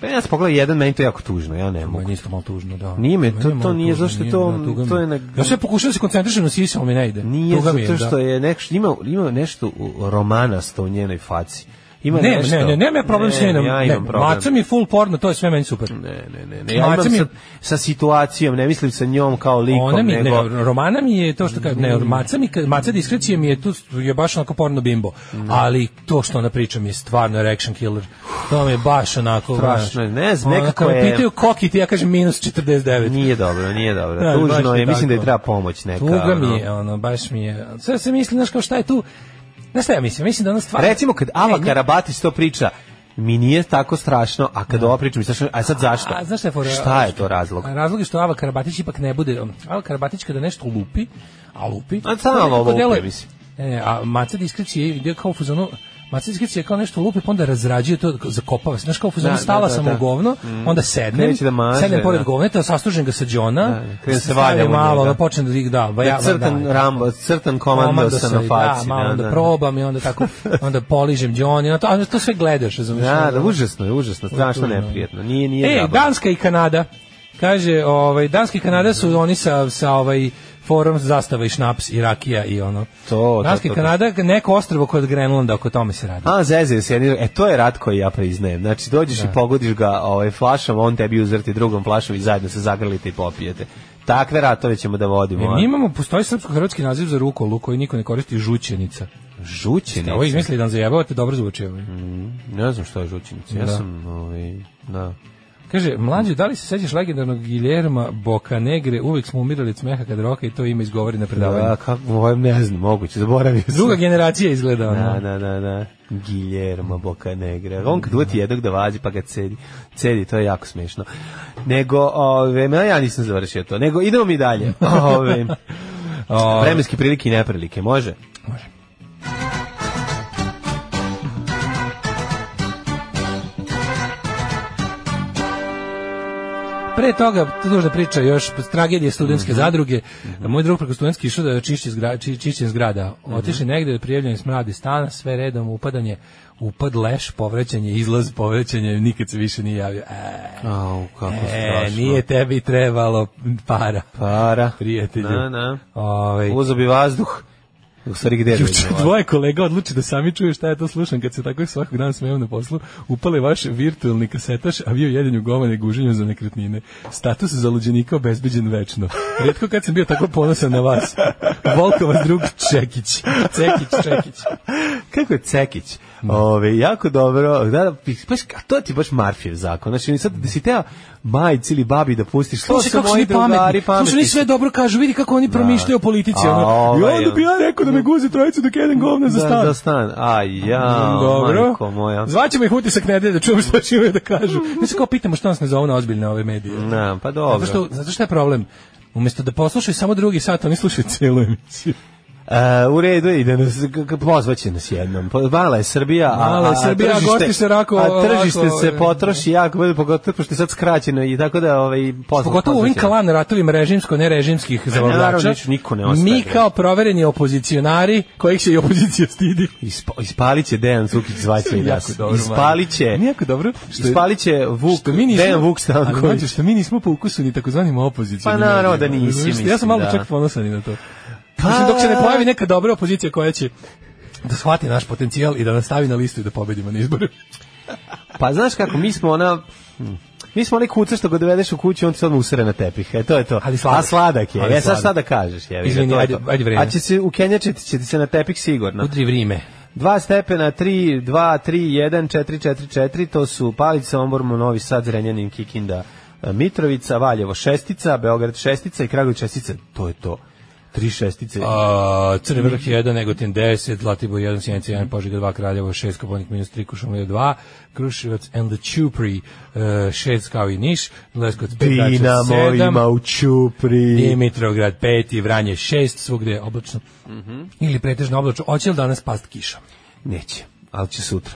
[SPEAKER 7] Pa ja sam pogledao jedan, meni to je jako tužno, ja ne
[SPEAKER 6] Ma
[SPEAKER 7] mogu.
[SPEAKER 6] nije to malo tužno, da.
[SPEAKER 7] Nije me,
[SPEAKER 6] Meni
[SPEAKER 7] to-
[SPEAKER 6] je malo
[SPEAKER 7] to nije,
[SPEAKER 6] tužno,
[SPEAKER 7] zašto to-
[SPEAKER 6] da, tuga mi
[SPEAKER 7] to je
[SPEAKER 6] je.
[SPEAKER 7] na-
[SPEAKER 6] Ja sve pokušavam da se koncentrišem na sisa, ali mi ne ide.
[SPEAKER 7] Nije
[SPEAKER 6] Tuga mi
[SPEAKER 7] zato
[SPEAKER 6] da.
[SPEAKER 7] što je nek, ima, ima nešto u- romanasto u njenoj faci. Ima
[SPEAKER 6] Ne,
[SPEAKER 7] nešto.
[SPEAKER 6] ne, ne, nema ja problem s njenom.
[SPEAKER 7] Ja
[SPEAKER 6] ne,
[SPEAKER 7] imam problem.
[SPEAKER 6] Maca mi je full porno, to je sve meni super.
[SPEAKER 7] Ne, ne, ne, ne. Ja
[SPEAKER 6] Maca
[SPEAKER 7] imam
[SPEAKER 6] mi-
[SPEAKER 7] sa, sa situacijom, ne mislim sa njom kao likom,
[SPEAKER 6] Ona mi,
[SPEAKER 7] nego... Mm.
[SPEAKER 6] ne, Romana mi je to što kaže, ne, Maca mi, ka- Maca diskrecije mi je tu je baš onako porno bimbo.
[SPEAKER 7] Mm.
[SPEAKER 6] Ali to što ona priča mi je stvarno action killer. To mi je baš onako,
[SPEAKER 7] Strašno je, ne znam,
[SPEAKER 6] Ono,
[SPEAKER 7] nekako
[SPEAKER 6] kad me
[SPEAKER 7] je-
[SPEAKER 6] pitaju koki ti, ja kažem minus 49.
[SPEAKER 7] Nije dobro, nije dobro.
[SPEAKER 6] Da, baš
[SPEAKER 7] Tužno
[SPEAKER 6] mi
[SPEAKER 7] je, mislim da je
[SPEAKER 6] tako.
[SPEAKER 7] treba pomoć neka.
[SPEAKER 6] Tuga mi
[SPEAKER 7] ono.
[SPEAKER 6] je, ono, baš mi je. Sve se mislim, znaš kao šta je tu, znaš šta ja mislim, mislim da ona stvarno...
[SPEAKER 7] Recimo kad Ava
[SPEAKER 6] Ne, ne.
[SPEAKER 7] Karabatić to priča, mi nije tako strašno, a kad ova priča mi je strašno, a sad zašto?
[SPEAKER 6] A, znaš šta je fora?
[SPEAKER 7] Šta je to razlog?
[SPEAKER 6] A Razlog je što Ava Karabatić ipak ne bude... um, Ava Karabatić kada nešto lupi, a lupi...
[SPEAKER 7] A sama
[SPEAKER 6] to nekako
[SPEAKER 7] lupi,
[SPEAKER 6] deluje-
[SPEAKER 7] mislim.
[SPEAKER 6] Ne, ne, a Maca Diskrecije ide kao u fuzonu... Maca Diskrecije kao nešto lupi, pa onda razrađuje to, zakopava se. Znaš kao u fuzonu,
[SPEAKER 7] Da, da,
[SPEAKER 6] stala
[SPEAKER 7] da,
[SPEAKER 6] sam
[SPEAKER 7] da. Mm.
[SPEAKER 6] u govno, onda sednem,
[SPEAKER 7] Kreće da maže,
[SPEAKER 6] sednem pored
[SPEAKER 7] da.
[SPEAKER 6] govneta, sastužem ga sa Đona,
[SPEAKER 7] krene se
[SPEAKER 6] stavim
[SPEAKER 7] valja u njega.
[SPEAKER 6] malo, ono, počnem da ih da, va, ja,
[SPEAKER 7] Ja, crtan
[SPEAKER 6] da,
[SPEAKER 7] Rambo, crtan komando
[SPEAKER 6] Komando
[SPEAKER 7] sa
[SPEAKER 6] sam,
[SPEAKER 7] na faci.
[SPEAKER 6] Da, malo
[SPEAKER 7] da,
[SPEAKER 6] onda
[SPEAKER 7] da.
[SPEAKER 6] probam i onda tako, onda poližem Đoni, onda to, onda to sve gledaš, razumiješ?
[SPEAKER 7] Da, da, užasno je, užasno, strašno neprijatno. Nije, nije
[SPEAKER 6] E,
[SPEAKER 7] zabavno.
[SPEAKER 6] Danska i Kanada. Kaže, ovaj Danska i Kanada su oni sa sa ovaj forum zastava i šnaps i rakija i ono.
[SPEAKER 7] To, to,
[SPEAKER 6] Danska i
[SPEAKER 7] to, to.
[SPEAKER 6] Kanada, neko ostrvo kod Grenlanda, oko tome se radi.
[SPEAKER 7] A, zezaju se, jedni- e, to je rat koji ja priznajem. Znači, dođeš i pogodiš ga ovaj, flašom, on tebi uzvrti drugom flašom i zajedno se zagrlite i popijete. Takve ratove ćemo da vodimo.
[SPEAKER 6] E, Mi imamo, postoji srpsko-hrvatski naziv za rukolu koji niko ne koristi, žućenica.
[SPEAKER 7] Žućenica.
[SPEAKER 6] Ovo izmislili da nam zajebavate, dobro zvuči. Ovaj.
[SPEAKER 7] Ne znam što je žućenica. Ja
[SPEAKER 6] Da.
[SPEAKER 7] sam, ovaj, da.
[SPEAKER 6] Kaže, mlađe, da li se sećaš legendarnog Guillerma Bocanegre? Uvek smo umirali od smeha kad roka i to ime izgovori na predavanju.
[SPEAKER 7] Da, kako, ne znam, moguće, zaboravio sam.
[SPEAKER 6] Druga generacija izgleda ono.
[SPEAKER 7] Da, da, da, da. Guillermo Bocanegra. On kad uvati jednog da vađi pa ga cedi. Cedi, to je jako smešno. Nego, ove, ma ja nisam završio to. Nego, idemo mi [LAUGHS] dalje. Ove, vremenske prilike i neprilike, može?
[SPEAKER 6] Pre toga, tu dužna priča još, tragedije
[SPEAKER 7] Mhm.
[SPEAKER 6] studentske zadruge. Moj drug preko studentski išao da čišće zgra, či, čišćenje zgrada.
[SPEAKER 7] Mhm.
[SPEAKER 6] Otišli negde da prijavljeni smradi stana, sve redom, upadanje, upad leš, povrećanje, izlaz, povrećanje, nikad se više nije javio. E,
[SPEAKER 7] Au, kako
[SPEAKER 6] e, nije tebi trebalo para,
[SPEAKER 7] Para.
[SPEAKER 6] prijatelju.
[SPEAKER 7] Na, na.
[SPEAKER 6] Ovaj,
[SPEAKER 7] Uzo bi vazduh. U stvari, gde bi
[SPEAKER 6] Juče dvoje kolega odluči da sami čuju šta ja to slušam kad se tako svakog dana smijem na poslu. Upale vaš virtualni kasetaš, a vi u jedenju govane guženju za nekretnine. Status zaluđenika obezbeđen večno. Rijetko kad sam bio tako ponosan na vas. Volko vas drug Čekić. Čekić, Čekić.
[SPEAKER 7] [LAUGHS] Kako je Cekić? Ove, jako dobro. Da, da, baš, a to ti je baš Marfijev zakon. Znači, sad da si teo majci ili babi da pustiš, to
[SPEAKER 6] Slušaj
[SPEAKER 7] su
[SPEAKER 6] kako su
[SPEAKER 7] moji
[SPEAKER 6] oni
[SPEAKER 7] drugari
[SPEAKER 6] pametni.
[SPEAKER 7] pametni.
[SPEAKER 6] Slušaj, oni sve dobro kažu. Vidi kako oni promišljaju o politici.
[SPEAKER 7] A,
[SPEAKER 6] Ono. I
[SPEAKER 7] ovaj,
[SPEAKER 6] onda bi ja rekao da me guze trojicu dok jedem govna za
[SPEAKER 7] da,
[SPEAKER 6] stan. Mm,
[SPEAKER 7] Za stan. A ja,
[SPEAKER 6] Dobro.
[SPEAKER 7] majko moja.
[SPEAKER 6] Zvaćemo ih utisak nedelje da čujemo šta će imaju da kažu. Mi se kao pitamo što nas ne zovu na ozbiljne ove medije.
[SPEAKER 7] Na, pa dobro.
[SPEAKER 6] Zato što, zato što je problem. Umesto da poslušaju samo drugi sat, oni slušaju celu emisiju.
[SPEAKER 7] E, u redu je i da nas, k- k- pozvaće nas jednom. Po- Mala je Srbija, a,
[SPEAKER 6] Mala je
[SPEAKER 7] a- a
[SPEAKER 6] Srbija, a
[SPEAKER 7] tržište-
[SPEAKER 6] gosti se rako-
[SPEAKER 7] a tržište
[SPEAKER 6] ovako- e.
[SPEAKER 7] se potroši jako, bude pogotovo pošto je sad skraćeno i tako da ovaj, pozva,
[SPEAKER 6] Pogotovo u ovim kalan ratovima režimsko-nerežimskih
[SPEAKER 7] naravno,
[SPEAKER 6] zabavljača.
[SPEAKER 7] nič- niko ne ostaje.
[SPEAKER 6] Mi kao provereni opozicionari, kojih se i opozicija stidi.
[SPEAKER 7] Ispa, ispalit će Dejan Cukić zvaće i nas.
[SPEAKER 6] dobro, Mario.
[SPEAKER 7] Ispalit će,
[SPEAKER 6] Nije jako dobro. Što je-
[SPEAKER 7] ispalit će Vuk,
[SPEAKER 6] što mi nismo,
[SPEAKER 7] Dejan Vuk
[SPEAKER 6] ali
[SPEAKER 7] Stanković.
[SPEAKER 6] znači, što mi nismo po ukusu ni takozvanim opozicijom.
[SPEAKER 7] Pa naravno da nisi,
[SPEAKER 6] Ja sam
[SPEAKER 7] mislim,
[SPEAKER 6] malo
[SPEAKER 7] da. Pa-
[SPEAKER 6] čak ponosan i na to. Mislim, dok se ne pojavi neka dobra opozicija koja će da shvati naš potencijal i da nas stavi na listu i da pobedimo na izboru.
[SPEAKER 7] Pa znaš kako, mi smo ona... hm, Mi smo onaj kuca što ga dovedeš u kuću, on ti se odmah usere na tepih. E, to je to.
[SPEAKER 6] Ali sladak.
[SPEAKER 7] A sladak je.
[SPEAKER 6] Ali
[SPEAKER 7] E, sad šta
[SPEAKER 6] sladak.
[SPEAKER 7] da kažeš? Je,
[SPEAKER 6] Izvini, ajde- ajde vreme.
[SPEAKER 7] A će se, u Kenjačeti će ti se na tepih sigurno.
[SPEAKER 6] Udri vrime.
[SPEAKER 7] Dva stepena, tri, dva, tri, jedan, četiri, četiri, četiri, to su Palica, Ombor, Novi Sad, Zrenjanin, Kikinda, e, Mitrovica, Valjevo šestica, Beograd šestica i Kragovic šestica. To je to. Tri šestice.
[SPEAKER 6] A, Crni vrh
[SPEAKER 7] Mhm.
[SPEAKER 6] 1, Negotin 10, Zlatibor 1, Sjenica 1, Požega 2, Kraljevo 6, Koponik minus 3, Kušumlija 2, Kruševac and the Čupri 6 kao i Niš, Leskovac 5, Dačić
[SPEAKER 7] Dinamo
[SPEAKER 6] 7,
[SPEAKER 7] ima u Čupri.
[SPEAKER 6] Dimitrovgrad 5 i Vranje 6, svugde je oblačno.
[SPEAKER 7] Mhm.
[SPEAKER 6] Ili pretežno oblačno. Hoće li danas past kiša?
[SPEAKER 7] Neće, ali će sutra.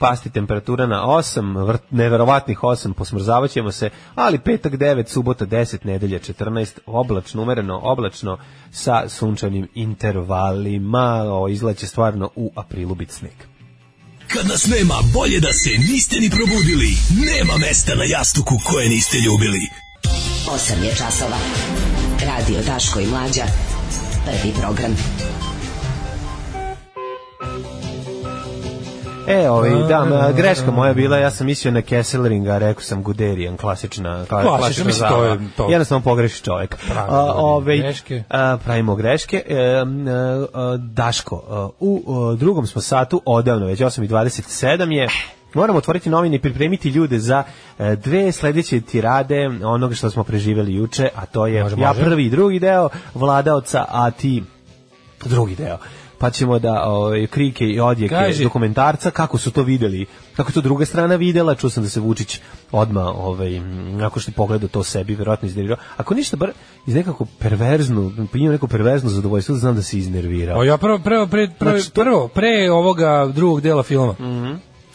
[SPEAKER 7] Pasti temperatura na 8, vrt, neverovatnih 8, posmrzavaćemo se, ali petak 9, subota 10, nedelja 14, oblačno, umereno, oblačno, sa sunčanim intervalima, o, izlaće stvarno u aprilu bit sneg.
[SPEAKER 9] Kad nas nema, bolje da se niste ni probudili. Nema mesta na jastuku koje niste ljubili.
[SPEAKER 8] 8 je časova. Radio Daško i Mlađa. Prvi program.
[SPEAKER 7] E, ovaj, da, ma, greška moja bila, ja sam mislio na Kesselringa, rekao sam Guderian, klasična, kla-
[SPEAKER 6] Klasična,
[SPEAKER 7] klasična
[SPEAKER 6] mislim,
[SPEAKER 7] zabava.
[SPEAKER 6] to je- to-
[SPEAKER 7] Jednostavno pogreši čovjek.
[SPEAKER 6] Pravimo
[SPEAKER 7] A, ovaj,
[SPEAKER 6] greške.
[SPEAKER 7] a, pravimo greške. E, m, e, a, Daško, a, u a, drugom smo satu, odavno, već 8.27 je, moramo otvoriti novine i pripremiti ljude za e, dve sledeće tirade onoga što smo preživjeli juče, a to je
[SPEAKER 6] Može,
[SPEAKER 7] ja
[SPEAKER 6] može.
[SPEAKER 7] prvi i drugi deo, vladaoca, a ti drugi deo. Pa ćemo da ovaj, krike i odjeke
[SPEAKER 6] Kaže-
[SPEAKER 7] dokumentarca, kako su to videli, kako je to druga strana videla, čuo sam da se Vučić odma ovaj, m, nakon što je pogledao to sebi, verovatno iznervirao. Ako ništa, bar iz nekako perverznu, imao neko perverzno zadovoljstvo, znam da se iznervirao.
[SPEAKER 6] Pa ja prvo, prvo, pre, prvo,
[SPEAKER 7] Znači, Mhm.
[SPEAKER 6] prvo, pre ovoga drugog dela filma.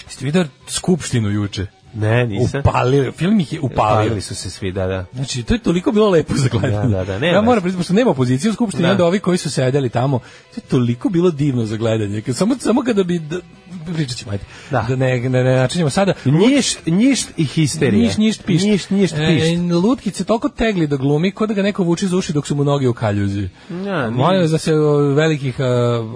[SPEAKER 6] Ste videli skupštinu juče?
[SPEAKER 7] Ne, nisam. E,
[SPEAKER 6] Upalio, film ih je upalio.
[SPEAKER 7] Palili su se svi, da, da.
[SPEAKER 6] Znači, to je toliko bilo lepo za gledanje.
[SPEAKER 7] Da, da, da, nema.
[SPEAKER 6] ja moram priznati, pošto nema opozicije u Skupštini,
[SPEAKER 7] Da.
[SPEAKER 6] onda ovi koji su sedeli tamo, to je toliko bilo divno za gledanje. Kad- Samo, samo kada bi, da, pričat ćemo, ajde,
[SPEAKER 7] Da.
[SPEAKER 6] da, ne, ne, ne načinjemo sada.
[SPEAKER 7] Njišt, njišt i histerija.
[SPEAKER 6] Niš, niš, pišt.
[SPEAKER 7] Njišt, njišt, pišt.
[SPEAKER 6] E, lutkice toliko tegli da glumi, kod da ga neko vuče za uši dok su mu noge u kaljuzi.
[SPEAKER 7] Ja,
[SPEAKER 6] Molim vas da se o, velikih a,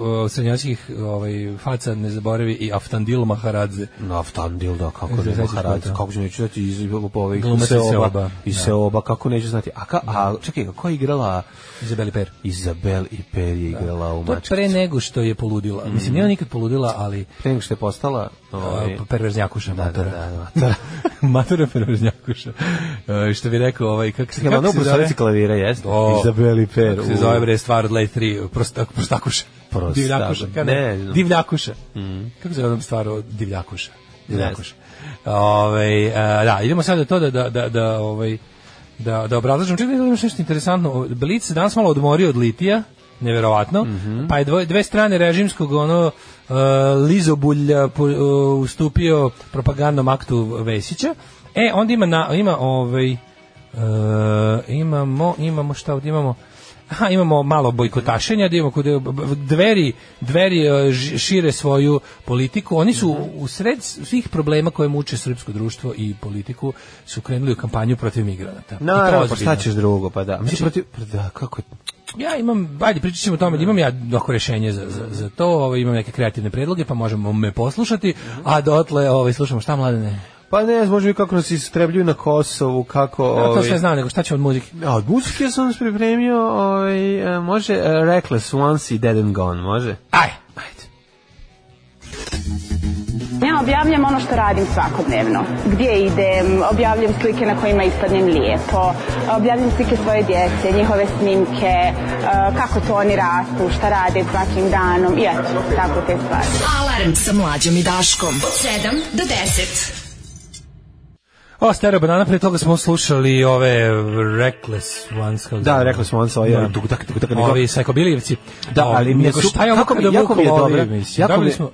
[SPEAKER 6] o, srednjačkih ovaj, faca ne zaboravi i Aftandil Maharadze.
[SPEAKER 7] Naftandil, da, kako
[SPEAKER 6] Iz
[SPEAKER 7] ne
[SPEAKER 6] Zezić
[SPEAKER 7] Maharadz,
[SPEAKER 6] Puta.
[SPEAKER 7] kako ću neću znati iz ovih
[SPEAKER 6] Glumac iz
[SPEAKER 7] seoba,
[SPEAKER 6] Seoba,
[SPEAKER 7] iz
[SPEAKER 6] da.
[SPEAKER 7] seoba, kako neću znati. A, ka, a čekaj, kako je igrala
[SPEAKER 6] Izabeli Per.
[SPEAKER 7] Izabel i Per je igrala u
[SPEAKER 6] To je
[SPEAKER 7] mačku.
[SPEAKER 6] pre nego što je poludila. Mislim, nije ona nikad poludila, ali e,
[SPEAKER 7] Pre nego što je postala... Mhm. Ovaj,
[SPEAKER 6] Uh, perverznjakuša
[SPEAKER 7] Da,
[SPEAKER 6] matora.
[SPEAKER 7] da, da, da.
[SPEAKER 6] [LAUGHS] matora perverznjakuša. Uh, što bi rekao ovaj, kako se,
[SPEAKER 7] Čekaj,
[SPEAKER 6] kako
[SPEAKER 7] ono
[SPEAKER 6] se zove?
[SPEAKER 7] profesorici klavira, jeste?
[SPEAKER 6] O,
[SPEAKER 7] Izabeli Per.
[SPEAKER 6] Kako se zove bre stvar od Lej 3, prostak, prostakuša.
[SPEAKER 7] Prostak-
[SPEAKER 6] divljakuša. Ka, ne, Mm.
[SPEAKER 7] ne znam.
[SPEAKER 6] divljakuša. Kako se zove ona stvar od divljakuša? Divljakuša. Ove, a, da, idemo sad do to da, da, da, da ovaj, da, da obrazlažem. Čekaj, da imaš nešto interesantno. Blic se danas malo odmorio od litija, neverovatno, pa je dvoje, dve strane režimskog ono uh, Lizobulja po- uh, ustupio propagandnom aktu Vesića. E, onda ima, na, ima ovaj, E, imamo, imamo šta ovdje imamo? Aha, imamo malo bojkotašenja, da imamo kod dveri, dveri e, ž- šire svoju politiku. Oni su
[SPEAKER 7] Mhm.
[SPEAKER 6] u sred svih problema koje muče srpsko društvo i politiku su krenuli u kampanju protiv migranata. I to
[SPEAKER 7] Naravno, pa
[SPEAKER 6] ozbiljno.
[SPEAKER 7] šta ćeš drugo, pa da.
[SPEAKER 6] Znači-
[SPEAKER 7] Mislim, protiv, pa da, kako...
[SPEAKER 6] Ja imam, ajde, pričat ćemo o tome, da imam ja doko rešenje za, za, za to, ovaj, imam neke kreativne predloge, pa možemo me poslušati,
[SPEAKER 7] Mhm.
[SPEAKER 6] a dotle ovaj, slušamo šta mladene.
[SPEAKER 7] Pa ne, znam, može bi kako nas istrebljuju na Kosovu, kako...
[SPEAKER 6] Ja to
[SPEAKER 7] ovaj,
[SPEAKER 6] sve znam, nego šta će od muzike?
[SPEAKER 7] A od muzike sam vas pripremio, ovaj, e, može e, Reckless Once i Dead and Gone, može?
[SPEAKER 6] Aj, ajde.
[SPEAKER 5] Ja objavljam ono što radim svakodnevno. Gdje idem, objavljam slike na kojima ispadnem lijepo, objavljam slike svoje djece, njihove snimke, eh, kako to oni rastu, šta rade svakim danom i eto, tako te stvari.
[SPEAKER 8] Alarm sa mlađom i Daškom. Od 7 do 10.
[SPEAKER 6] O, Stereo Banana, pre toga smo slušali ove Reckless Ones. kako
[SPEAKER 7] Da,
[SPEAKER 6] zove.
[SPEAKER 7] Reckless Once, ovaj,
[SPEAKER 6] Da.
[SPEAKER 7] tuk, tak, tuk, tak,
[SPEAKER 6] Ovi sajkobilijevci.
[SPEAKER 7] Da,
[SPEAKER 6] O,
[SPEAKER 7] ali mi je
[SPEAKER 6] nego
[SPEAKER 7] super-
[SPEAKER 6] šta je ovo
[SPEAKER 7] kako
[SPEAKER 6] kako
[SPEAKER 7] mi-
[SPEAKER 6] da
[SPEAKER 7] jako mi je
[SPEAKER 6] Vukova
[SPEAKER 7] dobra,
[SPEAKER 6] ove, mislim,
[SPEAKER 7] jako mi
[SPEAKER 6] dobili
[SPEAKER 7] je-
[SPEAKER 6] smo...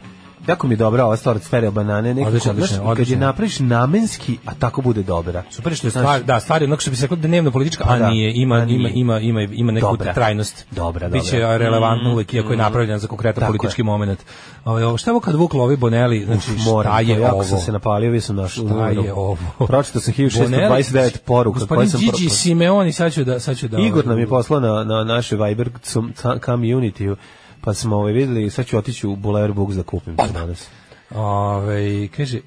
[SPEAKER 7] Jako mi je dobra ova stvar od sfere banane, nekako,
[SPEAKER 6] Odlično,
[SPEAKER 7] znaš,
[SPEAKER 6] odlično,
[SPEAKER 7] kad je
[SPEAKER 6] odlično.
[SPEAKER 7] napraviš namenski, a tako bude dobra.
[SPEAKER 6] Super je što je
[SPEAKER 7] Znaš,
[SPEAKER 6] stvar, da, stvar je onog što bi se reklo dnevno politička,
[SPEAKER 7] Pa
[SPEAKER 6] a
[SPEAKER 7] da,
[SPEAKER 6] nije, ima,
[SPEAKER 7] a nije.
[SPEAKER 6] ima, ima, ima, ima neku
[SPEAKER 7] Dobra.
[SPEAKER 6] trajnost.
[SPEAKER 7] Dobra,
[SPEAKER 6] Biće
[SPEAKER 7] dobra. Mm,
[SPEAKER 6] relevantno uvek, iako je napravljen za konkretan
[SPEAKER 7] Tako
[SPEAKER 6] politički moment. Ove, ovo, šta je ovo kad Vuk lovi Bonelli, znači šta
[SPEAKER 7] moram, to,
[SPEAKER 6] je
[SPEAKER 7] jako
[SPEAKER 6] ovo?
[SPEAKER 7] sam se napalio, vi sam našao.
[SPEAKER 6] Šta je ovo?
[SPEAKER 7] Pročitao sam
[SPEAKER 6] Bonelli-
[SPEAKER 7] 1629 poruka. koje
[SPEAKER 6] Gospodin
[SPEAKER 7] sam
[SPEAKER 6] Gigi
[SPEAKER 7] pročitao.
[SPEAKER 6] Simeoni, sad ću da... Sad ću da
[SPEAKER 7] Igor nam je poslao na, na naše Viber cum- ca- community pa smo ovaj videli, sad ću otići u Bulevar Books da kupim to danas.
[SPEAKER 6] Ove, Ovaj, kaže,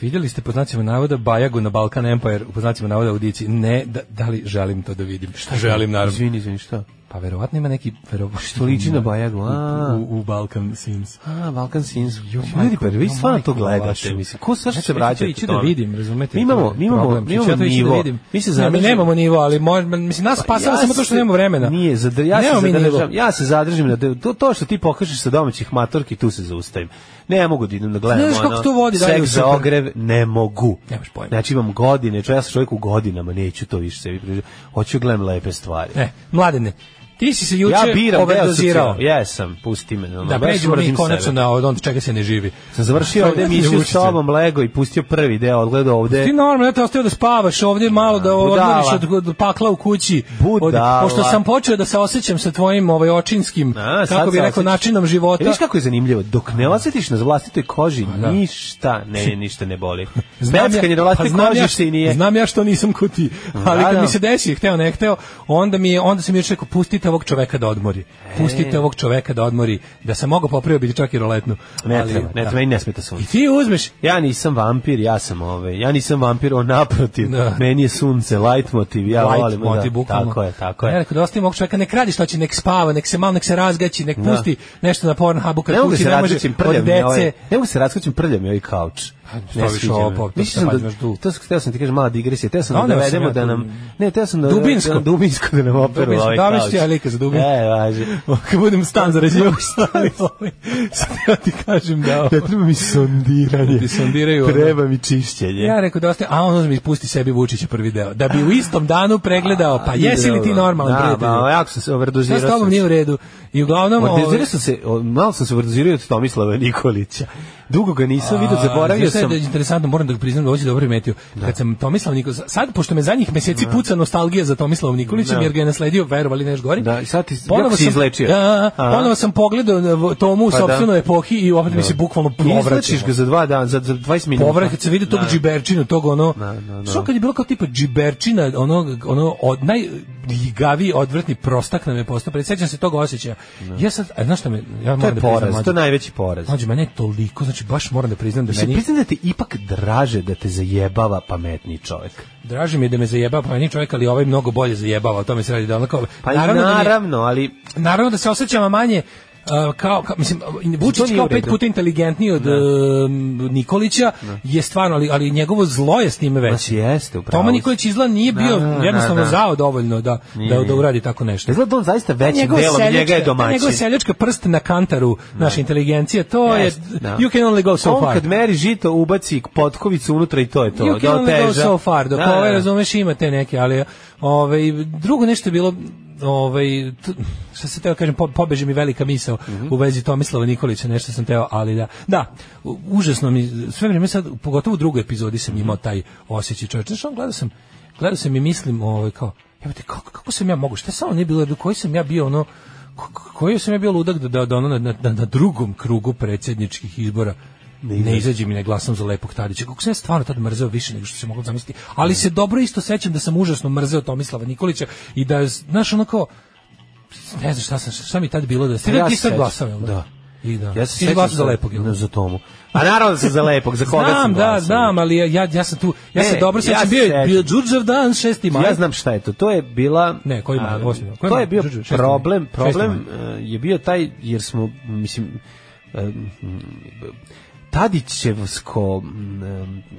[SPEAKER 6] vidjeli ste po znacima navoda Bajagu na Balkan Empire, po znacima navoda Udici. Ne, da, da li želim to da vidim? Šta želim, naravno.
[SPEAKER 7] Izvini, izvini, šta?
[SPEAKER 6] Pa verovatno ima neki... Verovatno,
[SPEAKER 7] [LAUGHS]
[SPEAKER 6] što
[SPEAKER 7] liči na Bajagu, a.
[SPEAKER 6] U, u, u Balkan Sims.
[SPEAKER 7] A, Balkan Sins. Ljudi,
[SPEAKER 6] majko,
[SPEAKER 7] pa vi
[SPEAKER 6] jo,
[SPEAKER 7] stvarno to
[SPEAKER 6] majko
[SPEAKER 7] gledate,
[SPEAKER 6] vašu.
[SPEAKER 7] mislim. Ko sa što
[SPEAKER 6] Znači,
[SPEAKER 7] se
[SPEAKER 6] ja ću
[SPEAKER 7] vraćate?
[SPEAKER 6] to ići da
[SPEAKER 7] tome?
[SPEAKER 6] vidim, razumete?
[SPEAKER 7] Mi imamo,
[SPEAKER 6] to je
[SPEAKER 7] mi imamo,
[SPEAKER 6] problem.
[SPEAKER 7] mi
[SPEAKER 6] Znači,
[SPEAKER 7] imamo
[SPEAKER 6] ja to ići da
[SPEAKER 7] nivo.
[SPEAKER 6] vidim.
[SPEAKER 7] Mi se
[SPEAKER 6] Ne,
[SPEAKER 7] zadržimo-
[SPEAKER 6] nemamo nivo, ali mož, mislim, nas spasava samo to što
[SPEAKER 7] se-
[SPEAKER 6] nemamo vremena.
[SPEAKER 7] Nije, zadr, ja, se
[SPEAKER 6] Nemamo mi nivo.
[SPEAKER 7] zadržam, ja se zadržim na de- to, to što ti pokažeš sa domaćih matorki, tu se zaustavim. Ne mogu da idem da gledam
[SPEAKER 6] Znaš kako
[SPEAKER 7] ono,
[SPEAKER 6] to vodi dalje u
[SPEAKER 7] seks za
[SPEAKER 6] super?
[SPEAKER 7] ogrev, ne mogu.
[SPEAKER 6] Nemaš pojma.
[SPEAKER 7] Znači imam godine, čo, ja sam čovjek u godinama, neću to više sebi priživati. Hoću da gledam lepe stvari.
[SPEAKER 6] E, mladene, ti si se juče
[SPEAKER 7] ja biram da
[SPEAKER 6] overdozirao.
[SPEAKER 7] Jesam, pusti me. ono,
[SPEAKER 6] Da
[SPEAKER 7] baš
[SPEAKER 6] pređemo mi
[SPEAKER 7] mrzim
[SPEAKER 6] konačno
[SPEAKER 7] sebe.
[SPEAKER 6] na od onda čega se ne živi.
[SPEAKER 7] Sam završio ovde emisiju s tobom, lego i pustio prvi deo, odgledao ovde.
[SPEAKER 6] Ti normalno, ja te ostavio da spavaš ovdje malo, da
[SPEAKER 7] Budala.
[SPEAKER 6] odmoriš od, od pakla u kući.
[SPEAKER 7] Budala.
[SPEAKER 6] pošto sam počeo da se osjećam sa tvojim ovaj, očinskim,
[SPEAKER 7] A, sad
[SPEAKER 6] kako bi
[SPEAKER 7] se
[SPEAKER 6] rekao,
[SPEAKER 7] osjećaš.
[SPEAKER 6] načinom života. Pa
[SPEAKER 7] E, Viš kako je zanimljivo, dok ne osjetiš na vlastitoj koži,
[SPEAKER 6] da.
[SPEAKER 7] ništa, ne, ništa ne boli.
[SPEAKER 6] [LAUGHS] Znam ja-
[SPEAKER 7] Beckanje na
[SPEAKER 6] pa
[SPEAKER 7] vlastitoj
[SPEAKER 6] znam
[SPEAKER 7] koži
[SPEAKER 6] ja-
[SPEAKER 7] se i nije.
[SPEAKER 6] Znam ja što nisam ko ti, ali
[SPEAKER 7] Da,
[SPEAKER 6] kad
[SPEAKER 7] da.
[SPEAKER 6] mi se desi, hteo ne hteo, onda mi je, onda sam još rekao, pustite ovog čoveka da odmori.
[SPEAKER 7] E.
[SPEAKER 6] Pustite ovog čoveka da odmori. Da sam mogao popravio biti čak i roletnu.
[SPEAKER 7] Ne
[SPEAKER 6] Ali,
[SPEAKER 7] treba, ne
[SPEAKER 6] da.
[SPEAKER 7] treba, meni ne smeta
[SPEAKER 6] I
[SPEAKER 7] sunce.
[SPEAKER 6] ti uzmeš,
[SPEAKER 7] Ja nisam vampir, ja sam ove, ja nisam vampir, on naprotiv,
[SPEAKER 6] Da.
[SPEAKER 7] meni je sunce, light motiv, ja
[SPEAKER 6] light
[SPEAKER 7] volim,
[SPEAKER 6] moti,
[SPEAKER 7] da,
[SPEAKER 6] bukvalno.
[SPEAKER 7] tako je, tako
[SPEAKER 6] Ja
[SPEAKER 7] je.
[SPEAKER 6] rekao da ostavim ovog čovjeka, nek radi što će, nek spava, nek se malo, nek se razgaći, nek
[SPEAKER 7] Da.
[SPEAKER 6] pusti nešto na Pornhubu kad
[SPEAKER 7] Ne mogu
[SPEAKER 6] kući
[SPEAKER 7] se
[SPEAKER 6] ne može
[SPEAKER 7] različim
[SPEAKER 6] od
[SPEAKER 7] prljam je ovaj,
[SPEAKER 6] dece.
[SPEAKER 7] ne mogu se različim prljam je ovaj kauč.
[SPEAKER 6] šta više
[SPEAKER 7] sviđa mi.
[SPEAKER 6] ovo, pa, to
[SPEAKER 7] Mislio sam
[SPEAKER 6] se
[SPEAKER 7] da,
[SPEAKER 6] baš du-
[SPEAKER 7] to sam, teo sam ti kažem mala digresija, teo sam da
[SPEAKER 6] Doneo ono sam
[SPEAKER 7] dovedemo
[SPEAKER 6] ja
[SPEAKER 7] da
[SPEAKER 6] tu-
[SPEAKER 7] nam, ne, teo sam da
[SPEAKER 6] Dubinsko.
[SPEAKER 7] da nam dubinsko da nam operu
[SPEAKER 6] Dubinsko,
[SPEAKER 7] ovaj
[SPEAKER 6] da,
[SPEAKER 7] kauč.
[SPEAKER 6] već ti ja lika za Dubinsko.
[SPEAKER 7] E,
[SPEAKER 6] [LAUGHS]
[SPEAKER 7] važi.
[SPEAKER 6] Kad budem stan zarađivao [LAUGHS] stali, ovaj, sad ja ti kažem da...
[SPEAKER 7] Ne treba mi sondiranje.
[SPEAKER 6] Ti sondiraju, ono.
[SPEAKER 7] Treba mi čišćenje.
[SPEAKER 6] Ja rekao da ostaje, a on uzme i pusti sebi Vučića prvi deo. Da bi u istom danu pregledao,
[SPEAKER 7] [LAUGHS]
[SPEAKER 6] pa jesi li ti normalan
[SPEAKER 7] da,
[SPEAKER 6] prijatelju?
[SPEAKER 7] Da, jako sam se
[SPEAKER 6] Šta
[SPEAKER 7] overdozirao.
[SPEAKER 6] s tobom
[SPEAKER 7] sam
[SPEAKER 6] nije u
[SPEAKER 7] se.
[SPEAKER 6] redu? I uglavnom... ovaj,
[SPEAKER 7] Overdozirao sam se, o, malo sam se overdozirao od Tomislava Nikolića. Dugo ga nisam vidio,
[SPEAKER 6] Znaš
[SPEAKER 7] zaboravio
[SPEAKER 6] šta je
[SPEAKER 7] sam.
[SPEAKER 6] Da je interesantno, moram da priznam da ovo si dobro primetio. Kad sam Tomislav Nikolić, sad pošto me zadnjih meseci puca nostalgija za Tomislavom Nikolićem,
[SPEAKER 7] Da.
[SPEAKER 6] jer ga je nasledio, verovali neš gori.
[SPEAKER 7] Da, i sad ti-
[SPEAKER 6] Ponovo
[SPEAKER 7] jako si
[SPEAKER 6] sam-
[SPEAKER 7] izlečio.
[SPEAKER 6] Da, da, da.
[SPEAKER 7] Aha.
[SPEAKER 6] ponovo sam pogledao na v- tomu u
[SPEAKER 7] Pa da.
[SPEAKER 6] sopstvenoj epohi i opet mi se bukvalno povraćaš
[SPEAKER 7] Izlačiš ga za dva dana, za, za 20 minuta.
[SPEAKER 6] povrat kad se vidi tog džiberčinu, tog ono. Što kad je bilo kao tipa džiberčina, ono ono od najljigaviji odvrtni prostak nam je postao. pre- Sećam se tog osjećaja. Ja sad, a znaš šta me, ja
[SPEAKER 7] To
[SPEAKER 6] moram
[SPEAKER 7] je
[SPEAKER 6] da priznam,
[SPEAKER 7] poraz, to
[SPEAKER 6] mlađe,
[SPEAKER 7] je najveći poraz.
[SPEAKER 6] mlađe, mene je toliko, znači baš moram da priznam da
[SPEAKER 7] Se
[SPEAKER 6] meni
[SPEAKER 7] priznam da te ipak draže da te zajebava pametni čovjek.
[SPEAKER 6] Draži mi je da me zajebava, pa meni čovjek, ali ovaj mnogo bolje zajebava, o tome se radi da onako...
[SPEAKER 7] Pa
[SPEAKER 6] da mi je-
[SPEAKER 7] naravno, ali
[SPEAKER 6] naravno da se osjećam manje Uh, kao, kao mislim Vučić
[SPEAKER 7] nije
[SPEAKER 6] kao
[SPEAKER 7] u
[SPEAKER 6] pet
[SPEAKER 7] redu.
[SPEAKER 6] puta inteligentniji od um, Nikolića je stvarno ali, ali njegovo zlo je s time veće.
[SPEAKER 7] Ma, jeste, u pravu
[SPEAKER 6] Toma
[SPEAKER 7] si.
[SPEAKER 6] Nikolić izla nije
[SPEAKER 7] Da,
[SPEAKER 6] bio
[SPEAKER 7] da,
[SPEAKER 6] jednostavno
[SPEAKER 7] da.
[SPEAKER 6] zao dovoljno da da, da uradi tako nešto.
[SPEAKER 7] Izgleda da on zaista
[SPEAKER 6] Pa
[SPEAKER 7] većim
[SPEAKER 6] Njegova
[SPEAKER 7] Znači, delom, njega je
[SPEAKER 6] seljačka- Njegova
[SPEAKER 7] domaćin.
[SPEAKER 6] seljačka prst na kantaru naše inteligencije, to je
[SPEAKER 7] Jest, da.
[SPEAKER 6] you can only go so
[SPEAKER 7] on
[SPEAKER 6] far.
[SPEAKER 7] kad meri žito, ubaci potkovicu unutra i to je to.
[SPEAKER 6] You
[SPEAKER 7] da
[SPEAKER 6] can only go
[SPEAKER 7] oteža.
[SPEAKER 6] so far, dok
[SPEAKER 7] Da,
[SPEAKER 6] da, ovaj,
[SPEAKER 7] da.
[SPEAKER 6] razumeš, ima te neke, ali ovaj, drugo nešto je bilo, ovaj, t- šta se teo kažem, po, pobeže mi velika misao
[SPEAKER 7] Mhm.
[SPEAKER 6] u vezi Tomislava Nikolića, nešto sam teo, ali da, da, u- užasno mi, sve vrijeme sad, pogotovo u drugoj epizodi sam imao taj osjećaj čovječ, znaš, on gledao sam, gledao sam i mislim, ovaj, kao, jebate, kako, kako sam ja mogu, šta samo nije bilo, koji sam ja bio, ono, ko- ko- koji sam ja bio ludak da, da, da ono, na, na, na drugom krugu predsjedničkih izbora ne izađem i ne glasam za lepog Tadića. Kako sam ja stvarno tad mrzeo više nego što se moglo zamisliti. Ali se dobro isto sećam da sam užasno mrzeo Tomislava Nikolića i da, je, znaš, ono kao, ne znam šta, sam, šta mi tad bilo da... Ti,
[SPEAKER 7] Ja
[SPEAKER 6] ti
[SPEAKER 7] se
[SPEAKER 6] sad
[SPEAKER 7] sećam.
[SPEAKER 6] glasao, jel da?
[SPEAKER 7] Da.
[SPEAKER 6] I da.
[SPEAKER 7] Ja
[SPEAKER 6] Ti
[SPEAKER 7] se
[SPEAKER 6] si
[SPEAKER 7] sećam
[SPEAKER 6] glasao za
[SPEAKER 7] sad-
[SPEAKER 6] lepog, jel da?
[SPEAKER 7] Ne, za tomu. A naravno da sam za lepog, za koga sam
[SPEAKER 6] Znam, da,
[SPEAKER 7] glasao?
[SPEAKER 6] znam, ali ja, ja, ja sam tu, ja
[SPEAKER 7] Ne,
[SPEAKER 6] se dobro
[SPEAKER 7] ja
[SPEAKER 6] sećam,
[SPEAKER 7] se
[SPEAKER 6] bio je
[SPEAKER 7] sećam.
[SPEAKER 6] bio Đurđev dan, 6. maj.
[SPEAKER 7] Ja znam šta je to. To je bila
[SPEAKER 6] Ne, koji maj,
[SPEAKER 7] a,
[SPEAKER 6] osmi maj. Koji
[SPEAKER 7] To
[SPEAKER 6] maj?
[SPEAKER 7] je bio
[SPEAKER 6] Đurđev, šesti maj.
[SPEAKER 7] problem,
[SPEAKER 6] Šesti
[SPEAKER 7] problem e, je bio taj jer smo mislim e, m, Tadićevsko m, e,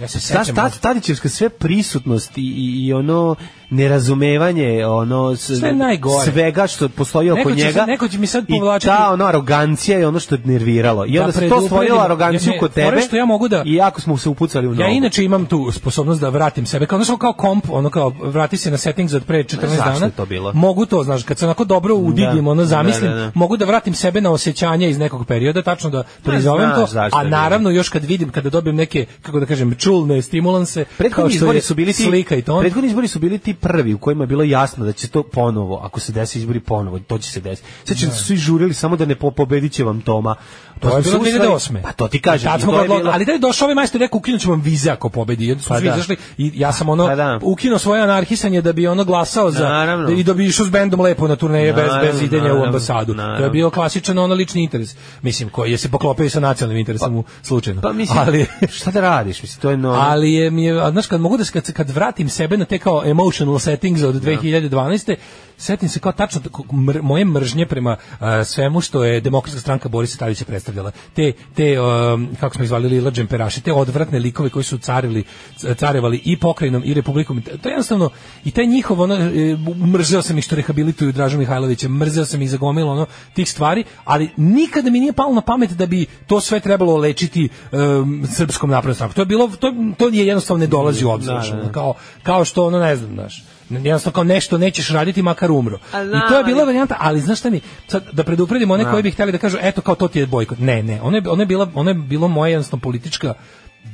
[SPEAKER 6] Ja se
[SPEAKER 7] Ta,
[SPEAKER 6] sećam.
[SPEAKER 7] ta, Tadićevska sve prisutnost i, i, i ono nerazumevanje ono s-
[SPEAKER 6] Šta je najgore?
[SPEAKER 7] svega što postoji oko
[SPEAKER 6] Neko će
[SPEAKER 7] njega
[SPEAKER 6] sad- neko će mi sad povlačiti-
[SPEAKER 7] i ta ono arogancija je ono što je nerviralo i
[SPEAKER 6] Da
[SPEAKER 7] onda se to
[SPEAKER 6] predupredim,
[SPEAKER 7] stvorilo
[SPEAKER 6] jer
[SPEAKER 7] aroganciju
[SPEAKER 6] ne,
[SPEAKER 7] kod
[SPEAKER 6] fora je
[SPEAKER 7] tebe
[SPEAKER 6] što ja mogu da-
[SPEAKER 7] i jako smo se upucali u nogu
[SPEAKER 6] Ja inače imam tu sposobnost da vratim sebe, kao, znaš, kao komp, ono kao, vrati se na settings od pre 14
[SPEAKER 7] Ne, zašto
[SPEAKER 6] dana.
[SPEAKER 7] je to bilo?
[SPEAKER 6] Mogu to, znaš, kad se onako dobro udigim,
[SPEAKER 7] Da.
[SPEAKER 6] ono, zamislim,
[SPEAKER 7] Da, da, da.
[SPEAKER 6] mogu da vratim sebe na osjećanja iz nekog perioda, tačno da prizovem
[SPEAKER 7] znaš
[SPEAKER 6] to,
[SPEAKER 7] zašto
[SPEAKER 6] a
[SPEAKER 7] je bilo.
[SPEAKER 6] naravno još kad vidim, kada dobijem neke, kako da kažem, čulne stimulanse, kao
[SPEAKER 7] Prethodni
[SPEAKER 6] što
[SPEAKER 7] izbori
[SPEAKER 6] je
[SPEAKER 7] su bili ti
[SPEAKER 6] slika i ton.
[SPEAKER 7] Prethodni izbori su bili ti prvi u kojima je bilo jasno da će to ponovo, ako se desi izbori ponovo, to će se desiti. Sećam se svi žurili samo da ne po, pobedit će vam Toma.
[SPEAKER 6] To je
[SPEAKER 7] smo
[SPEAKER 6] bilo
[SPEAKER 7] se uspeli-
[SPEAKER 6] 2008.
[SPEAKER 7] Pa to ti kažem.
[SPEAKER 6] Tad
[SPEAKER 7] i
[SPEAKER 6] smo
[SPEAKER 7] to
[SPEAKER 6] ga
[SPEAKER 7] je
[SPEAKER 6] odlo-
[SPEAKER 7] bilo-
[SPEAKER 6] ali da je došao ovaj majstor i rekao ukinut ću vam vize ako pobedi. I onda su
[SPEAKER 7] Pa
[SPEAKER 6] svi
[SPEAKER 7] da.
[SPEAKER 6] izašli i ja sam ono
[SPEAKER 7] Pa da.
[SPEAKER 6] ukinuo svoje anarhisanje da bi ono glasao za
[SPEAKER 7] Naravno.
[SPEAKER 6] da- i da bi išao s bendom lepo na turneje bez
[SPEAKER 7] Naravno,
[SPEAKER 6] bez idenja u
[SPEAKER 7] naravno,
[SPEAKER 6] ambasadu. To je
[SPEAKER 7] naravno.
[SPEAKER 6] bio klasičan ono lični interes. Mislim koji je se poklopio i sa nacionalnim interesom u slučajno.
[SPEAKER 7] Pa mislim,
[SPEAKER 6] ali
[SPEAKER 7] šta da radiš? Mislim, to je no...
[SPEAKER 6] ali je mi je, a znaš kad mogu da se kad, se- kad vratim sebe na te kao emotional settings od 2012. Setim se kao tačno tako mr- moje mržnje prema a, svemu što je demokratska stranka Borisa Tadića predstavljala. Te, te um, kako smo izvali Lila Džemperaši, te odvratne likove koji su carili, c- carevali i pokrajinom i republikom. To je jednostavno, i taj njihov, ono, e, mrzeo sam ih što rehabilituju Dražu Mihajlovića, mrzeo sam ih za gomilu ono, tih stvari, ali nikada mi nije palo na pamet da bi to sve trebalo lečiti um, srpskom naprednom strankom. To je bilo to, to je jednostavno ne dolazi u obzir, znaš, ono, kao kao što ono ne znam, znaš. Jednostavno kao nešto nećeš raditi makar umro. I to je bila varijanta, ali znaš šta mi, sad da predupredimo one koji bi hteli da kažu, eto kao to ti je bojkot. Ne, ne, ono je, ono je, bila, ono je bilo moje jednostavno politička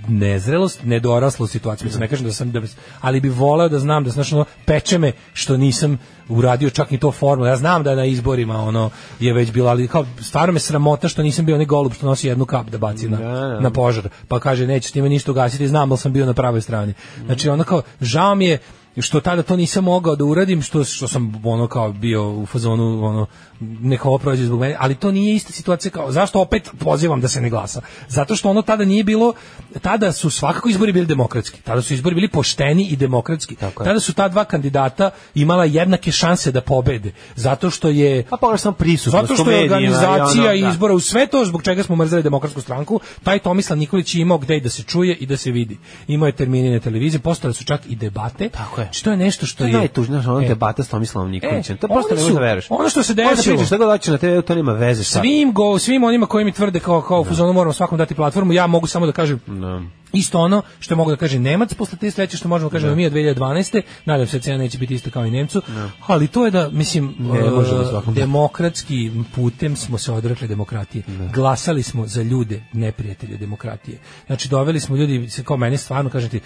[SPEAKER 6] nezrelost, nedoraslost situacija. Mislim, ne kažem da sam, da, ali bi voleo da znam da znaš, ono, peče me što nisam uradio čak ni to formu. Ja znam da na izborima ono je već bilo, ali kao stvarno me sramota što nisam bio onaj golub što nosi jednu kap da baci na, na požar. Pa kaže, nećeš time ništa ugasiti, znam da sam bio na pravoj strani. Znači, ono kao, žao mi je što tada to nisam mogao da uradim, što, što sam ono kao bio u fazonu ono, neka ovo prođe zbog mene, ali to nije ista situacija kao, zašto opet pozivam da se ne glasa? Zato što ono tada nije bilo, tada su svakako izbori bili demokratski, tada su izbori bili pošteni i demokratski, tada su ta dva kandidata imala jednake šanse da pobede, zato što je
[SPEAKER 7] A Pa pogledaš sam prisutnost
[SPEAKER 6] zato što je
[SPEAKER 7] medijima i ono,
[SPEAKER 6] organizacija
[SPEAKER 7] da.
[SPEAKER 6] izbora u sve to zbog čega smo mrzeli demokratsku stranku, taj Tomislav Nikolić je imao gde i da se čuje i da se vidi. Imao je termine na televiziji, postale su čak i debate.
[SPEAKER 7] Tako je.
[SPEAKER 6] Što je nešto što
[SPEAKER 7] To je
[SPEAKER 6] je...
[SPEAKER 7] najtužnije, znaš, ono
[SPEAKER 6] E,
[SPEAKER 7] debata s Tomislavom Nikolićem. to prosto
[SPEAKER 6] oni
[SPEAKER 7] ne
[SPEAKER 6] su-
[SPEAKER 7] možeš da veruješ.
[SPEAKER 6] ono što se
[SPEAKER 7] Možeš da
[SPEAKER 6] desilo.
[SPEAKER 7] pričaš šta god hoćeš na TV, to nema veze sa.
[SPEAKER 6] Svim go, svim onima koji mi tvrde kao kao u fazonu moramo svakom dati platformu, ja mogu samo da kažem Isto ono što mogu da kaže Nemac posle te sledeće što možemo da kažemo mi od 2012. Nadam se da cena neće biti ista kao i Nemcu. Ali to je da mislim e,
[SPEAKER 7] možemo svakom dati.
[SPEAKER 6] demokratskim putem smo se odrekli demokratije. Glasali smo za ljude neprijatelje demokratije. Znači doveli smo ljudi se kao meni stvarno kažete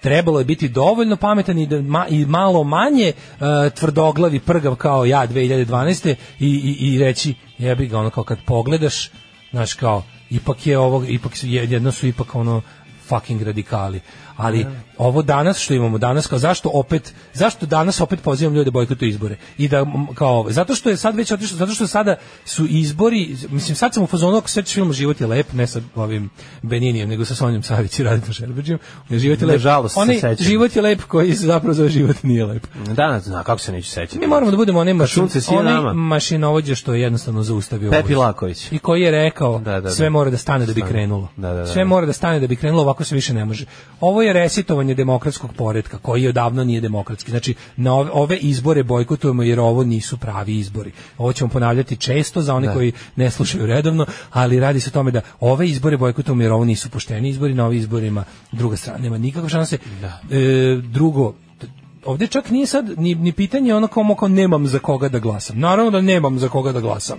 [SPEAKER 6] trebalo je biti dovoljno pametan i, da, ma- i malo manje e, tvrdoglavi prgav kao ja 2012. i, i, i reći jebi ga ono kao kad pogledaš znaš kao ipak je ovo ipak su, je- jedno su ipak ono fucking radikali. Ali ovo danas što imamo danas kao zašto opet zašto danas opet pozivam ljude da bojkotuju izbore i da m, kao ovo, zato što je sad već otišlo zato što sada su izbori mislim sad sam u fazonu ako sećaš film Život je lep ne sa ovim Beninijem nego sa Sonjom Savić i Raditom Šerbeđijom Život je lep
[SPEAKER 7] Nažalost se
[SPEAKER 6] onaj
[SPEAKER 7] sećam.
[SPEAKER 6] Život je lep koji se zapravo zove Život nije lep
[SPEAKER 7] Danas, zna, kako se neću sećati.
[SPEAKER 6] mi moramo da budemo onaj, mašin,
[SPEAKER 7] sunce sije nama.
[SPEAKER 6] onaj mašinovođe što je jednostavno zaustavio
[SPEAKER 7] Pepi
[SPEAKER 6] vojsku.
[SPEAKER 7] Laković.
[SPEAKER 6] I koji je rekao
[SPEAKER 7] Da, da, da.
[SPEAKER 6] sve mora da stane da bi
[SPEAKER 7] Stane.
[SPEAKER 6] krenulo.
[SPEAKER 7] Da, da, da.
[SPEAKER 6] Sve mora da stane da bi krenulo, ovako se više ne može. Ovo je resitovanje demokratskog poretka koji odavno nije demokratski. Znači, na ove, ove izbore bojkotujemo jer ovo nisu pravi izbori. Ovo ćemo ponavljati često za one koji ne slušaju redovno, ali radi se o tome da ove izbore bojkotujemo jer ovo nisu pošteni izbori, na ovim izborima druga strana nema nikakve šanse. E, drugo, ovde čak nije sad ni, ni pitanje ono kao, kao nemam za koga da glasam. Naravno da nemam za koga da glasam.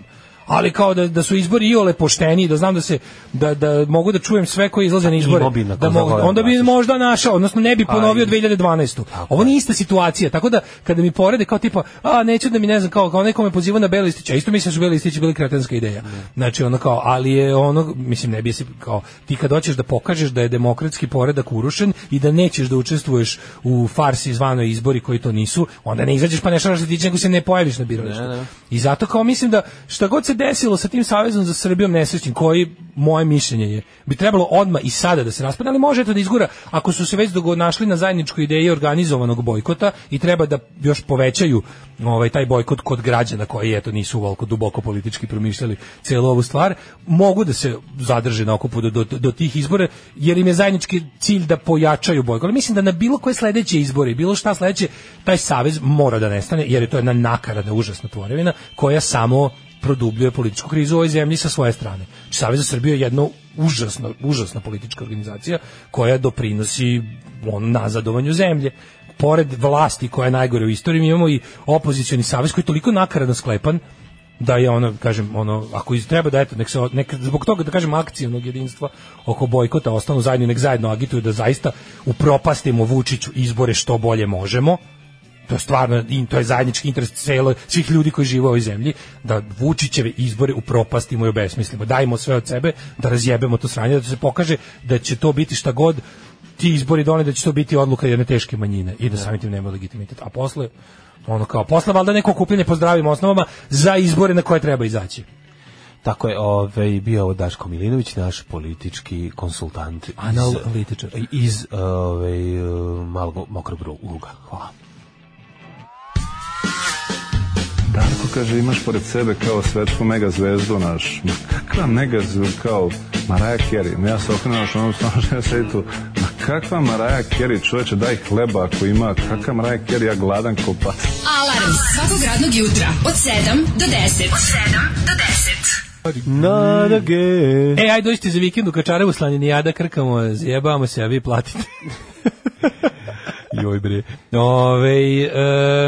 [SPEAKER 6] Ali kao da, da su izbori iole pošteni, da znam da se da, da mogu da čujem sve koji izlaze na izbore.
[SPEAKER 7] imao bi na
[SPEAKER 6] Da
[SPEAKER 7] koga
[SPEAKER 6] mogu,
[SPEAKER 7] da
[SPEAKER 6] onda bi
[SPEAKER 7] glasiš.
[SPEAKER 6] možda našao, odnosno ne bi ponovio
[SPEAKER 7] i-
[SPEAKER 6] 2012. Ovo nije ista situacija, tako da kada mi porede kao tipa, a neću da mi ne znam kao kao nekome poziva na beli listić, a isto mislim da su beli listići bili kretenska ideja. Znači ono kao, ali je ono mislim ne bi se kao ti kad hoćeš da pokažeš da je demokratski poredak urušen i da nećeš da učestvuješ u farsi zvanoj izbori koji to nisu, onda ne izađeš pa ne šaraš listić nego se ne pojaviš na biralištu. I zato kao mislim da šta god se desilo sa tim savezom za Srbijom nesrećnim koji moje mišljenje je bi trebalo odma i sada da se raspadne, ali može to da izgura ako su se već dogo našli na zajedničkoj ideji organizovanog bojkota i treba da još povećaju ovaj taj bojkot kod građana koji eto nisu volko duboko politički promišljali celu ovu stvar, mogu da se zadrže na okupu do, do, do tih izbora jer im je zajednički cilj da pojačaju bojkot. Ali mislim da na bilo koje sledeće izbore, bilo šta sledeće, taj savez mora da nestane jer je to jedna nakarada užasna tvorevina koja samo produbljuje političku krizu u ovoj zemlji sa svoje strane. Znači, Savez za Srbiju je jedna užasna, užasna politička organizacija koja doprinosi on, nazadovanju zemlje. Pored vlasti koja je najgore u istoriji, mi imamo i opozicioni savez koji je toliko nakaradno sklepan da je ono, kažem, ono, ako iz treba da eto, nek se, o- nek, zbog toga da kažem akcijnog jedinstva oko bojkota ostanu zajedno, nek zajedno agituju da zaista upropastimo Vučiću izbore što bolje možemo, to je stvarno in- to je zajednički interes celo svih ljudi koji žive u ovoj zemlji da Vučićeve izbore upropastimo i obesmislimo. Dajmo sve od sebe da razjebemo to sranje, da se pokaže da će to biti šta god ti izbori done da će to biti odluka jedne teške manjine i da samim tim nema legitimitet. A posle ono kao posle valjda neko kupljenje po zdravim osnovama za izbore na koje treba izaći.
[SPEAKER 7] Tako je, ovaj bio ovo Daško Milinović, naš politički konsultant
[SPEAKER 6] Analitičar.
[SPEAKER 7] iz, iz ovaj eh, malog mokrog luga. Hvala.
[SPEAKER 10] Darko kaže imaš pored sebe kao svetsku megazvezdu naš. Ma kakva megazvezdu kao Mariah Carey? Ja se okrenuo što ono [LAUGHS] stano što ja sedi tu. Ma kakva Mariah Carey čoveče daj hleba ako ima. Kakva Mariah Carey ja gladan ko pas.
[SPEAKER 8] Alarm svakog radnog jutra od 7 do 10. Od 7 do 10.
[SPEAKER 7] Nadage.
[SPEAKER 6] E, ajde dođite za vikend u Kačarevu slaninijada, krkamo, zjebamo se, a vi platite.
[SPEAKER 7] [LAUGHS] Joj bre.
[SPEAKER 6] Ove,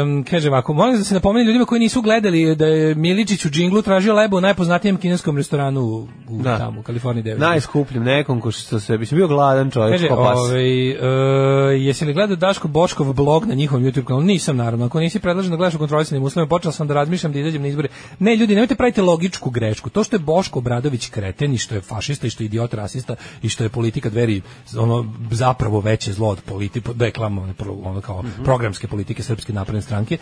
[SPEAKER 6] um, kaže ovako, molim da se napomeni ljudima koji nisu gledali da je Miličić u džinglu tražio lebo u najpoznatijem kineskom restoranu u, u
[SPEAKER 7] Da.
[SPEAKER 6] tamo, u Kaliforniji 9.
[SPEAKER 7] Najskupljim nekom ko što se mislim bio gladan čovjek
[SPEAKER 6] Kaže,
[SPEAKER 7] ko pas.
[SPEAKER 6] ovaj, e, jesi li gledao Daško Boškov blog na njihovom YouTube kanalu? Nisam, naravno. Ako nisi predlažen da gledaš u kontrolisanim uslovima, počeo sam da razmišljam da izađem na izbore. Ne, ljudi, nemojte praviti logičku grešku. To što je Boško Obradović kreten i što je fašista i što je idiot rasista i što je politika dveri ono, zapravo veće zlo od politi, deklamovane pro- ono kao
[SPEAKER 7] Mhm.
[SPEAKER 6] programske politike Srpske napredne stranke,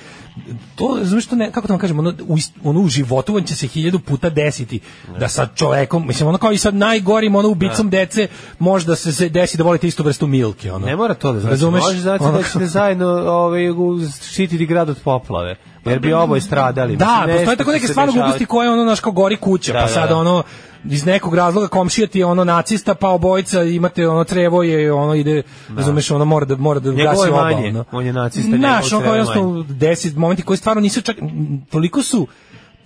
[SPEAKER 6] to, razumiješ, to ne, kako to vam kažem, ono u, ist- ono u životu on će se hiljadu puta desiti da sa čovekom, mislim, ono kao i sa najgorim ono ubicom dece, možda se, se desi da volite istu vrstu milke, ono.
[SPEAKER 7] Ne mora to da znači.
[SPEAKER 6] Razumeš?
[SPEAKER 7] Može znači
[SPEAKER 6] Ono
[SPEAKER 7] da ćete zajedno ovaj, u- štititi grad od poplave. Jer bi oboje stradali.
[SPEAKER 6] Pa, Da,
[SPEAKER 7] Mislim, nešto
[SPEAKER 6] postoje tako
[SPEAKER 7] će
[SPEAKER 6] neke
[SPEAKER 7] se
[SPEAKER 6] stvarno
[SPEAKER 7] dešavati.
[SPEAKER 6] gluposti koje ono naš kao gori kuća,
[SPEAKER 7] Da,
[SPEAKER 6] pa
[SPEAKER 7] da,
[SPEAKER 6] sad
[SPEAKER 7] da.
[SPEAKER 6] ono iz nekog razloga komšija ti je ono nacista, pa obojica imate ono trevo je ono ide, razumeš, ono mora da mora da
[SPEAKER 7] Njegovo
[SPEAKER 6] gasi
[SPEAKER 7] je
[SPEAKER 6] oba,
[SPEAKER 7] manje.
[SPEAKER 6] ono.
[SPEAKER 7] On je nacista,
[SPEAKER 6] Znaš,
[SPEAKER 7] njegovo
[SPEAKER 6] ono kao
[SPEAKER 7] trevo je
[SPEAKER 6] jednostavno desi momenti koji stvarno nisu čak, m, toliko su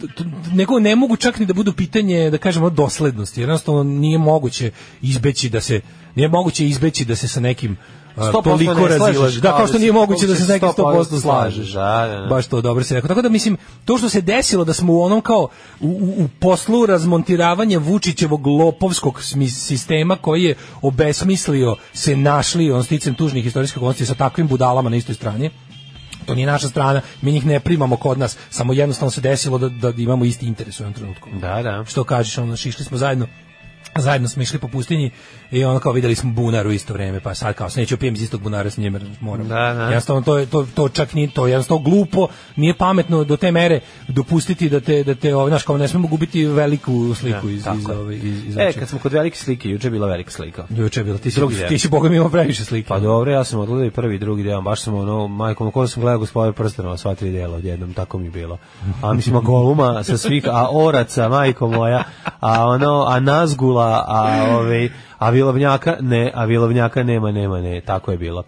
[SPEAKER 6] t- t- nego ne mogu čak ni da budu pitanje da kažemo doslednosti jednostavno nije moguće izbeći da se nije moguće izbeći da se sa nekim a,
[SPEAKER 7] 100%
[SPEAKER 6] toliko
[SPEAKER 7] ne slažeš,
[SPEAKER 6] razilaže da kao
[SPEAKER 7] ali
[SPEAKER 6] što
[SPEAKER 7] se
[SPEAKER 6] nije moguće da se sa nekim
[SPEAKER 7] 100%
[SPEAKER 6] 100% slažeš
[SPEAKER 7] Da, da, da.
[SPEAKER 6] baš to dobro se rekao. Tako da mislim, to što se desilo da smo u onom kao u, u, u poslu razmontiravanja Vučićevog lopovskog smi- sistema koji je obesmislio se našli on sticem tužnih istorijskih okolnosti sa takvim budalama na istoj strani to nije naša strana, mi njih ne primamo kod nas, samo jednostavno se desilo da, da imamo isti interes u jednom trenutku
[SPEAKER 7] Da, da.
[SPEAKER 6] što kažeš, ono, znači, išli smo zajedno zajedno smo išli po pustinji i ono kao videli smo bunar u isto vreme, pa sad kao, sad neću pijem iz istog bunara s njima, jer moram.
[SPEAKER 7] Da, da.
[SPEAKER 6] Jednostavno, to, je, to, to čak nije to, jednostavno glupo, nije pametno do te mere dopustiti da te, da te ovaj, znaš, kao ne smemo gubiti veliku sliku iz, iz, ove, iz, iz,
[SPEAKER 7] E,
[SPEAKER 6] očiju.
[SPEAKER 7] kad smo kod velike slike, juče je bila velika slika.
[SPEAKER 6] Juče je bilo, ti si,
[SPEAKER 7] Drugi
[SPEAKER 6] ti
[SPEAKER 7] deo.
[SPEAKER 6] si Boga mi imao previše slike.
[SPEAKER 7] Pa dobro, ja sam odgledao i prvi i drugi deo, baš sam ono, majkom, ko sam gledao gospodar prstenova, sva tri dela odjednom, tako mi je bilo. A mislim, a Goluma sa svih, a Oraca, majko moja, a ono, a Nazgula, a ove, a Vilovnjaka, ne, a Vilovnjaka nema, nema, ne, tako je bilo.